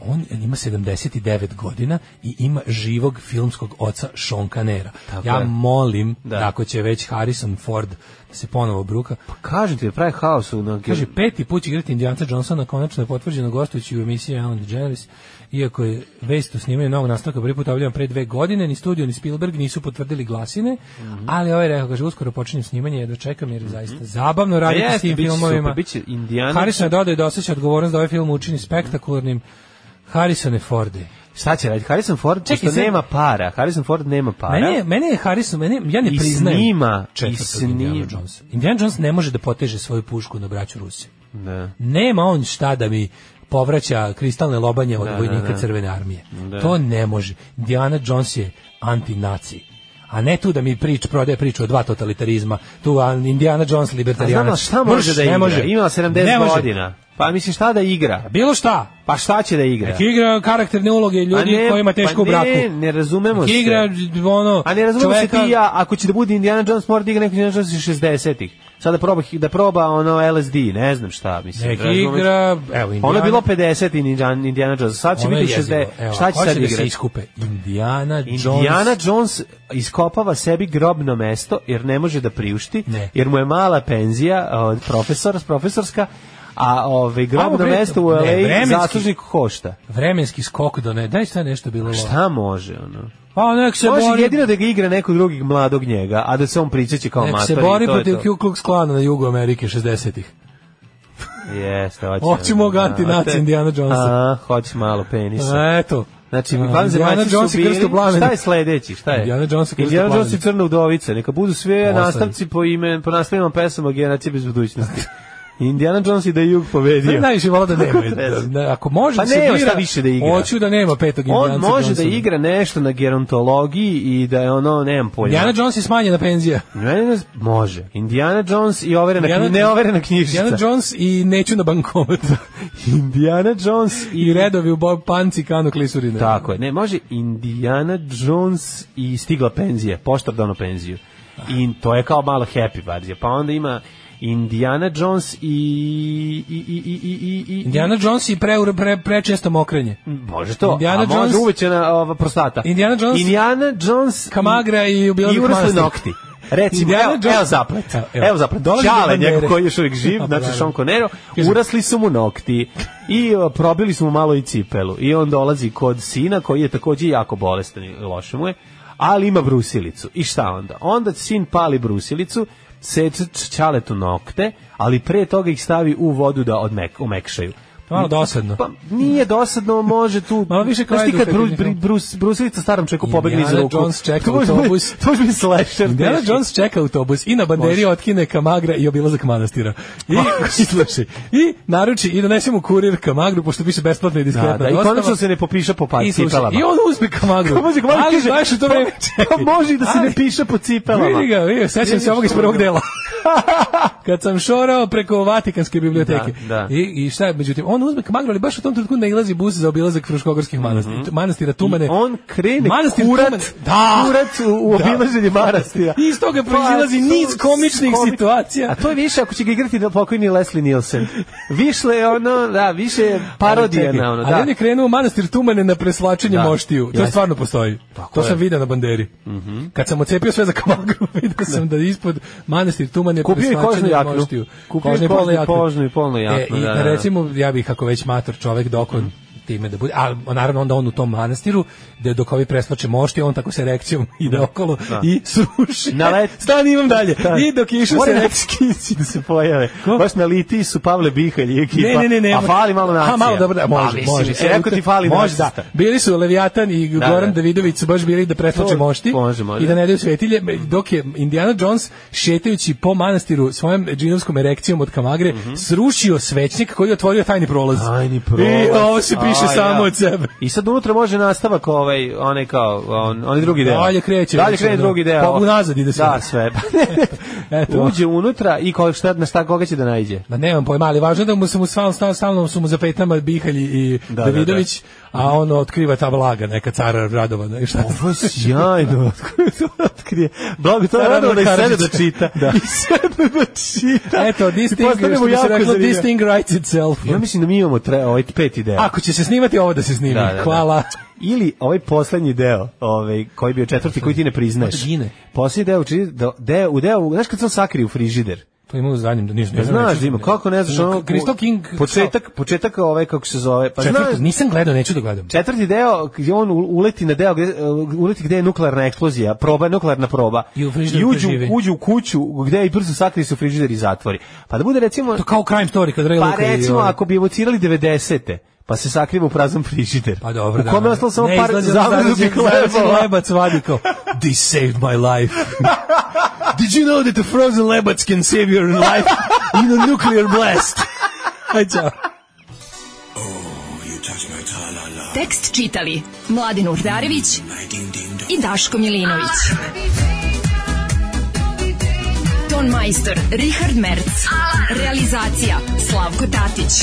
[SPEAKER 6] on ima 79 godina i ima živog filmskog oca Sean Canera.
[SPEAKER 7] Tako
[SPEAKER 6] ja
[SPEAKER 7] je.
[SPEAKER 6] molim
[SPEAKER 7] Da.
[SPEAKER 6] da. ako će već Harrison Ford da se ponovo bruka,
[SPEAKER 7] Kažem ti, pravi haos u... Na... Pa
[SPEAKER 6] Kaže, peti put će igrati Indijanca Johnsona, konačno je potvrđeno gostujući u emisiji Alan DeGeneres, iako je vest o snimanju novog nastavka prvi put objavljen pre dve godine, ni studio, ni Spielberg nisu potvrdili glasine,
[SPEAKER 7] Mhm.
[SPEAKER 6] ali ovaj rekao, kaže, uskoro počinjem snimanje, jedva čekam jer je zaista zabavno raditi
[SPEAKER 7] Pa Jeste,
[SPEAKER 6] s tim
[SPEAKER 7] biće
[SPEAKER 6] filmovima.
[SPEAKER 7] super, biće Indijanac.
[SPEAKER 6] Harrison je dodao i da osjeća odgovornost da ovaj film učini spektakularnim Harrisone Forde.
[SPEAKER 7] Šta će raditi? Harrison Ford,
[SPEAKER 6] Čekaj,
[SPEAKER 7] pošto
[SPEAKER 6] sad-
[SPEAKER 7] nema para. Harrison Ford nema para.
[SPEAKER 6] Mene je, mene je Harrison, mene, ja ne
[SPEAKER 7] Pa I
[SPEAKER 6] priznajem
[SPEAKER 7] snima, i
[SPEAKER 6] četvrtog
[SPEAKER 7] snima.
[SPEAKER 6] Indiana Jonesa. Indiana Jones ne može da poteže svoju pušku na braću Rusi.
[SPEAKER 7] Da.
[SPEAKER 6] Nema on šta da mi povraća kristalne lobanje od
[SPEAKER 7] Da,
[SPEAKER 6] vojnika
[SPEAKER 7] da, da.
[SPEAKER 6] crvene armije. To ne može. Diana Jones je antinaci. A ne tu da mi prič prodaje priču o dva totalitarizma. Tu a, Indiana Jones libertarijanac.
[SPEAKER 7] Pa Znamo šta može
[SPEAKER 6] Mrš,
[SPEAKER 7] da
[SPEAKER 6] ne
[SPEAKER 7] igra.
[SPEAKER 6] može.
[SPEAKER 7] Ima 70
[SPEAKER 6] Ne može.
[SPEAKER 7] godina. Pa mislim šta da igra?
[SPEAKER 6] Bilo šta.
[SPEAKER 7] Pa šta će da igra?
[SPEAKER 6] Nek igra karakterne uloge
[SPEAKER 7] A
[SPEAKER 6] ljudi
[SPEAKER 7] ne,
[SPEAKER 6] kojima teško
[SPEAKER 7] pa
[SPEAKER 6] u braku.
[SPEAKER 7] Ne, ne razumemo
[SPEAKER 6] Nek
[SPEAKER 7] se.
[SPEAKER 6] igra ono
[SPEAKER 7] A ne razumemo se
[SPEAKER 6] čoveka-
[SPEAKER 7] ti i ja, ako će da bude Indiana Jones, mora da igra neko Indiana Jones iz 60-ih. Sada proba, da proba ono LSD, ne znam šta, mislim.
[SPEAKER 6] Nek
[SPEAKER 7] razumeš?
[SPEAKER 6] igra, evo,
[SPEAKER 7] Ono je
[SPEAKER 6] Indiana-
[SPEAKER 7] bilo 50 i Indiana- Indiana Jones, sad će
[SPEAKER 6] Ono je
[SPEAKER 7] biti 60.
[SPEAKER 6] jezivo. Evo,
[SPEAKER 7] Šta će
[SPEAKER 6] hoće
[SPEAKER 7] sad
[SPEAKER 6] da se
[SPEAKER 7] igrati?
[SPEAKER 6] iskupe? Indiana Jones.
[SPEAKER 7] Indiana Jones iskopava sebi grobno mesto jer ne može da priušti,
[SPEAKER 6] Ne.
[SPEAKER 7] jer mu je mala penzija od profesora, profesorska, a ovaj
[SPEAKER 6] Ajmo,
[SPEAKER 7] grobno
[SPEAKER 6] bre,
[SPEAKER 7] mesto u
[SPEAKER 6] ne,
[SPEAKER 7] LA
[SPEAKER 6] vremenski-
[SPEAKER 7] zaslužnik košta.
[SPEAKER 6] Vremenski skok do ne, daj šta nešto bilo loše.
[SPEAKER 7] Šta može ono?
[SPEAKER 6] Pa nek se
[SPEAKER 7] Može
[SPEAKER 6] bori.
[SPEAKER 7] jedino da ga igra nekog drugog mladog njega, a da se on pričeće kao
[SPEAKER 6] Nek se
[SPEAKER 7] matori.
[SPEAKER 6] bori
[SPEAKER 7] to je
[SPEAKER 6] protiv
[SPEAKER 7] to.
[SPEAKER 6] Ku Klux Klana na jugu Amerike 60-ih.
[SPEAKER 7] Jeste, hoće.
[SPEAKER 6] Hoće mog antinaci
[SPEAKER 7] Hoće-
[SPEAKER 6] Indiana Jonesa.
[SPEAKER 7] A, hoće malo penisa.
[SPEAKER 6] Pa Eto.
[SPEAKER 7] Znači,
[SPEAKER 6] A,
[SPEAKER 7] van
[SPEAKER 6] Indiana
[SPEAKER 7] zemaljci
[SPEAKER 6] Jones
[SPEAKER 7] su
[SPEAKER 6] i
[SPEAKER 7] bili,
[SPEAKER 6] Krsto Plamen.
[SPEAKER 7] šta je sledeći, šta je?
[SPEAKER 6] Indiana Jones i Krsto
[SPEAKER 7] Indiana Jones
[SPEAKER 6] Plamen.
[SPEAKER 7] i Crna Udovica, neka budu sve
[SPEAKER 6] Ostali.
[SPEAKER 7] nastavci po ime, po naslovima pesama generacije bez
[SPEAKER 6] [LAUGHS]
[SPEAKER 7] budućnosti. Indiana Jones i da je jug
[SPEAKER 6] Ne,
[SPEAKER 7] pobedio.
[SPEAKER 6] Pa najviše vola da
[SPEAKER 7] [LAUGHS]
[SPEAKER 6] nema.
[SPEAKER 7] Bez.
[SPEAKER 6] Da- da- Ako može
[SPEAKER 7] Pa
[SPEAKER 6] da se
[SPEAKER 7] nema
[SPEAKER 6] bira,
[SPEAKER 7] šta više da igra.
[SPEAKER 6] hoću da nema petog
[SPEAKER 7] On
[SPEAKER 6] Indiana
[SPEAKER 7] može da igra nešto na gerontologiji i da je ono, nemam pojma.
[SPEAKER 6] Indiana Jones je smanjena
[SPEAKER 7] [LAUGHS]
[SPEAKER 6] penzija.
[SPEAKER 7] Indiana Jones može. Indiana Jones i overena,
[SPEAKER 6] Indiana-
[SPEAKER 7] knji- neoverena knjižica.
[SPEAKER 6] Indiana Jones i neću na
[SPEAKER 7] [LAUGHS]
[SPEAKER 6] bankomat.
[SPEAKER 7] Indiana Jones
[SPEAKER 6] I redovi u Bob Panci, Kano Klisurine.
[SPEAKER 7] Tako je. Ne, može Indiana Jones i stigla penzija, poštardano penziju. I to je kao malo happy verzija. Pa onda ima Indiana Jones i i i i i i, i
[SPEAKER 6] Indiana Jones i pre, pre, prečesto mokrenje.
[SPEAKER 7] Može to.
[SPEAKER 6] Indiana
[SPEAKER 7] a može
[SPEAKER 6] Jones-
[SPEAKER 7] uvećana ova prostata.
[SPEAKER 6] Indiana Jones-
[SPEAKER 7] Indiana Jones i-
[SPEAKER 6] Kamagra i
[SPEAKER 7] i
[SPEAKER 6] Ubilavi
[SPEAKER 7] urasli
[SPEAKER 6] manastir.
[SPEAKER 7] nokti. Recimo,
[SPEAKER 6] Indiana
[SPEAKER 7] evo,
[SPEAKER 6] Jones-
[SPEAKER 7] evo zaplet.
[SPEAKER 6] Evo,
[SPEAKER 7] Evo,
[SPEAKER 6] evo.
[SPEAKER 7] zaplet.
[SPEAKER 6] Dolazi do
[SPEAKER 7] Čale,
[SPEAKER 6] bandere.
[SPEAKER 7] njegov koji je još uvijek živ,
[SPEAKER 6] [LAUGHS] Pa,
[SPEAKER 7] znači
[SPEAKER 6] naravno.
[SPEAKER 7] Sean Conero,
[SPEAKER 6] Kaže-
[SPEAKER 7] urasli su mu nokti i o, probili su mu malo i cipelu. I on dolazi kod sina koji je takođe jako bolestan i loše mu je, ali ima brusilicu. I šta onda? Onda sin pali brusilicu, seče č- čaletu nokte, ali pre toga ih stavi u vodu da odmek, omekšaju.
[SPEAKER 6] To je malo dosadno.
[SPEAKER 7] Pa nije dosadno, može
[SPEAKER 6] [LAUGHS]
[SPEAKER 7] tu.
[SPEAKER 6] Malo Ono više kao
[SPEAKER 7] Znaš ti
[SPEAKER 6] Edu
[SPEAKER 7] kad
[SPEAKER 6] Federico.
[SPEAKER 7] Bruce, Bruce, Bruce, Bruce starom čeku pobegne iz
[SPEAKER 6] Indiana
[SPEAKER 7] ruku.
[SPEAKER 6] Jones čeka
[SPEAKER 7] To može
[SPEAKER 6] autobus.
[SPEAKER 7] biti- To može biti slasher.
[SPEAKER 6] Indiana
[SPEAKER 7] teški.
[SPEAKER 6] Jones čeka autobus i na banderi otkine kamagra i obilazak manastira. I, [LAUGHS] i slušaj, i naruči i donese mu kurir kamagru, pošto piše besplatno i diskretno.
[SPEAKER 7] Da, da, i konačno se ne popiša po pa-
[SPEAKER 6] I, slušaj,
[SPEAKER 7] cipelama. [LAUGHS]
[SPEAKER 6] I on uzme kamagru.
[SPEAKER 7] Može ga malo
[SPEAKER 6] ali
[SPEAKER 7] kaže,
[SPEAKER 6] znaš u to
[SPEAKER 7] [LAUGHS]
[SPEAKER 6] vreme
[SPEAKER 7] pa-
[SPEAKER 6] čekaj.
[SPEAKER 7] pa može i da se ne
[SPEAKER 6] Ali,
[SPEAKER 7] piše po cipelama.
[SPEAKER 6] Vidi ga, vidi, ga, sećam se ovog iz prvog
[SPEAKER 7] [LAUGHS]
[SPEAKER 6] dela. Kad sam šorao preko Vatikanske biblioteke.
[SPEAKER 7] Da, da.
[SPEAKER 6] I, I šta je, međutim, on uzme kamagru, ali baš u tom trenutku nailazi bus za obilazak Fruškogorskih manastira, manastira Tumane.
[SPEAKER 7] Mhm. I on krene
[SPEAKER 6] Manastir Tuman.
[SPEAKER 7] kurat,
[SPEAKER 6] Da.
[SPEAKER 7] kurat u, u
[SPEAKER 6] Da.
[SPEAKER 7] obilaženje manastira.
[SPEAKER 6] I iz toga proizilazi
[SPEAKER 7] to-
[SPEAKER 6] niz komičnih
[SPEAKER 7] komi-
[SPEAKER 6] situacija.
[SPEAKER 7] A to je više ako će ga igrati da pokojni Leslie Nielsen. Više je ono, da, više je parodija
[SPEAKER 6] Ali čekaj,
[SPEAKER 7] na ono,
[SPEAKER 6] Ali
[SPEAKER 7] da.
[SPEAKER 6] on je krenuo u manastir Tumane na preslačenje
[SPEAKER 7] Da.
[SPEAKER 6] moštiju. To
[SPEAKER 7] Jeste.
[SPEAKER 6] stvarno postoji.
[SPEAKER 7] Tako
[SPEAKER 6] to
[SPEAKER 7] je. Mhm.
[SPEAKER 6] sam video na banderi. Kad sam ocepio sve za kamagru, [LAUGHS] vidio sam da ispod manastir Tumane je
[SPEAKER 7] Kupio je
[SPEAKER 6] preslačenje
[SPEAKER 7] kožnu jaknu.
[SPEAKER 6] moštiju.
[SPEAKER 7] Kupio je
[SPEAKER 6] Kožnu i polnu
[SPEAKER 7] kožnu-
[SPEAKER 6] jaknu.
[SPEAKER 7] kožnu i polnu jaknu,
[SPEAKER 6] E, i
[SPEAKER 7] da, da, da.
[SPEAKER 6] recimo, ja bih ako već mator čovek dokon time da bude, ali naravno onda on u tom manastiru da dok ovi preslače moštiju, on tako se rekcijom [LAUGHS] ide okolo i [LAUGHS] sruši.
[SPEAKER 7] Na let-
[SPEAKER 6] Stani imam dalje.
[SPEAKER 7] Da.
[SPEAKER 6] I dok je išao
[SPEAKER 7] Mora
[SPEAKER 6] se
[SPEAKER 7] neki
[SPEAKER 6] rekcijom
[SPEAKER 7] skinci da se pojave. Baš na litiji su Pavle Bihalj i ekipa.
[SPEAKER 6] Ne, ne, ne, ne.
[SPEAKER 7] A fali malo nacija.
[SPEAKER 6] A malo dobro, da, može,
[SPEAKER 7] A, mislim,
[SPEAKER 6] može.
[SPEAKER 7] se rekao ti fali
[SPEAKER 6] može, da.
[SPEAKER 7] nacista.
[SPEAKER 6] Bili su Leviatan i
[SPEAKER 7] Da,
[SPEAKER 6] Goran
[SPEAKER 7] da.
[SPEAKER 6] Davidović su baš bili da preslače
[SPEAKER 7] To-
[SPEAKER 6] mošti
[SPEAKER 7] može, može.
[SPEAKER 6] i da ne daju svetilje, dok je Indiana Jones šetajući po manastiru svojom džinovskom erekcijom od kamagre srušio svećnik koji je otvorio tajni prolaz.
[SPEAKER 7] Mhm. Tajni prolaz.
[SPEAKER 6] I ovo se piše
[SPEAKER 7] Aj,
[SPEAKER 6] samo
[SPEAKER 7] ja.
[SPEAKER 6] od sebe.
[SPEAKER 7] I sad unutra može nastavak ovaj, onaj kao, on, onaj drugi deo.
[SPEAKER 6] Dalje kreće.
[SPEAKER 7] Dalje kreće
[SPEAKER 6] Znači,
[SPEAKER 7] drugi deo.
[SPEAKER 6] [LAUGHS] Pa unazad ide sve.
[SPEAKER 7] Da, sve. Pa ne,
[SPEAKER 6] Eto.
[SPEAKER 7] Uđe unutra i ko, šta, na šta koga će da najde?
[SPEAKER 6] Ma nemam pojma, ali važno je da mu se mu stalno, stalno, stalno su mu za petama Bihalji i
[SPEAKER 7] Da, da,
[SPEAKER 6] Davidović, a ono otkriva ta vlaga, neka cara Radovana i šta
[SPEAKER 7] Ovo je sjajno. Otkrije. Blago to je
[SPEAKER 6] Naravno,
[SPEAKER 7] radovno i sede [LAUGHS] da
[SPEAKER 6] Karadžić.
[SPEAKER 7] čita.
[SPEAKER 6] Da.
[SPEAKER 7] I
[SPEAKER 6] [LAUGHS]
[SPEAKER 7] sede da čita.
[SPEAKER 6] Eto, this
[SPEAKER 7] I
[SPEAKER 6] thing,
[SPEAKER 7] postane mu
[SPEAKER 6] što bi se
[SPEAKER 7] jako
[SPEAKER 6] reklo,
[SPEAKER 7] zanimljivo.
[SPEAKER 6] this thing writes itself.
[SPEAKER 7] Ja mislim da mi imamo tre, ovaj pet ideja.
[SPEAKER 6] Ako će se snimati, ovo da se snimi.
[SPEAKER 7] Da, da, da.
[SPEAKER 6] Hvala.
[SPEAKER 7] Ili ovaj poslednji deo, ovaj koji je bio četvrti koji ti ne priznaješ.
[SPEAKER 6] Od Gine.
[SPEAKER 7] Poslednji deo, čini da deo, u deo, znaš kad sam sakrio u frižider.
[SPEAKER 6] Pa ima u zadnjem, da ništa.
[SPEAKER 7] Pa znaš da ima, kako ne znaš, ono...
[SPEAKER 6] Crystal King...
[SPEAKER 7] Početak, početak ovaj, kako se zove, pa
[SPEAKER 6] Četvrti,
[SPEAKER 7] znaš...
[SPEAKER 6] nisam gledao, neću da gledam.
[SPEAKER 7] Četvrti deo, gdje on u- uleti na deo, gde, uh, uleti gde je nuklearna eksplozija, proba, nuklearna proba.
[SPEAKER 6] I u frižider
[SPEAKER 7] uđu,
[SPEAKER 6] preživi.
[SPEAKER 7] uđu u kuću, gde i brzo sakri se u frižider i zatvori. Pa da bude recimo...
[SPEAKER 6] To kao crime story, kad Ray
[SPEAKER 7] Pa
[SPEAKER 6] Luka i
[SPEAKER 7] recimo,
[SPEAKER 6] ovaj-
[SPEAKER 7] ako bi evocirali 90-te, pa se sakriva u prazan frižider.
[SPEAKER 6] Pa dobro,
[SPEAKER 7] U kome je ostalo samo par zamrzutih
[SPEAKER 6] Zamrzutih
[SPEAKER 7] hlebova.
[SPEAKER 6] lebac vadi kao, they saved my
[SPEAKER 7] [LAUGHS]
[SPEAKER 6] life. Did you know that the frozen lebac can save your life in a nuclear blast? Aj, čao.
[SPEAKER 12] Tekst čitali Mladin Urdarević i Daško Milinović. Ton majstor Richard Merc. Realizacija Slavko Tatić.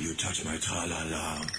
[SPEAKER 1] You touch my tra-la-la.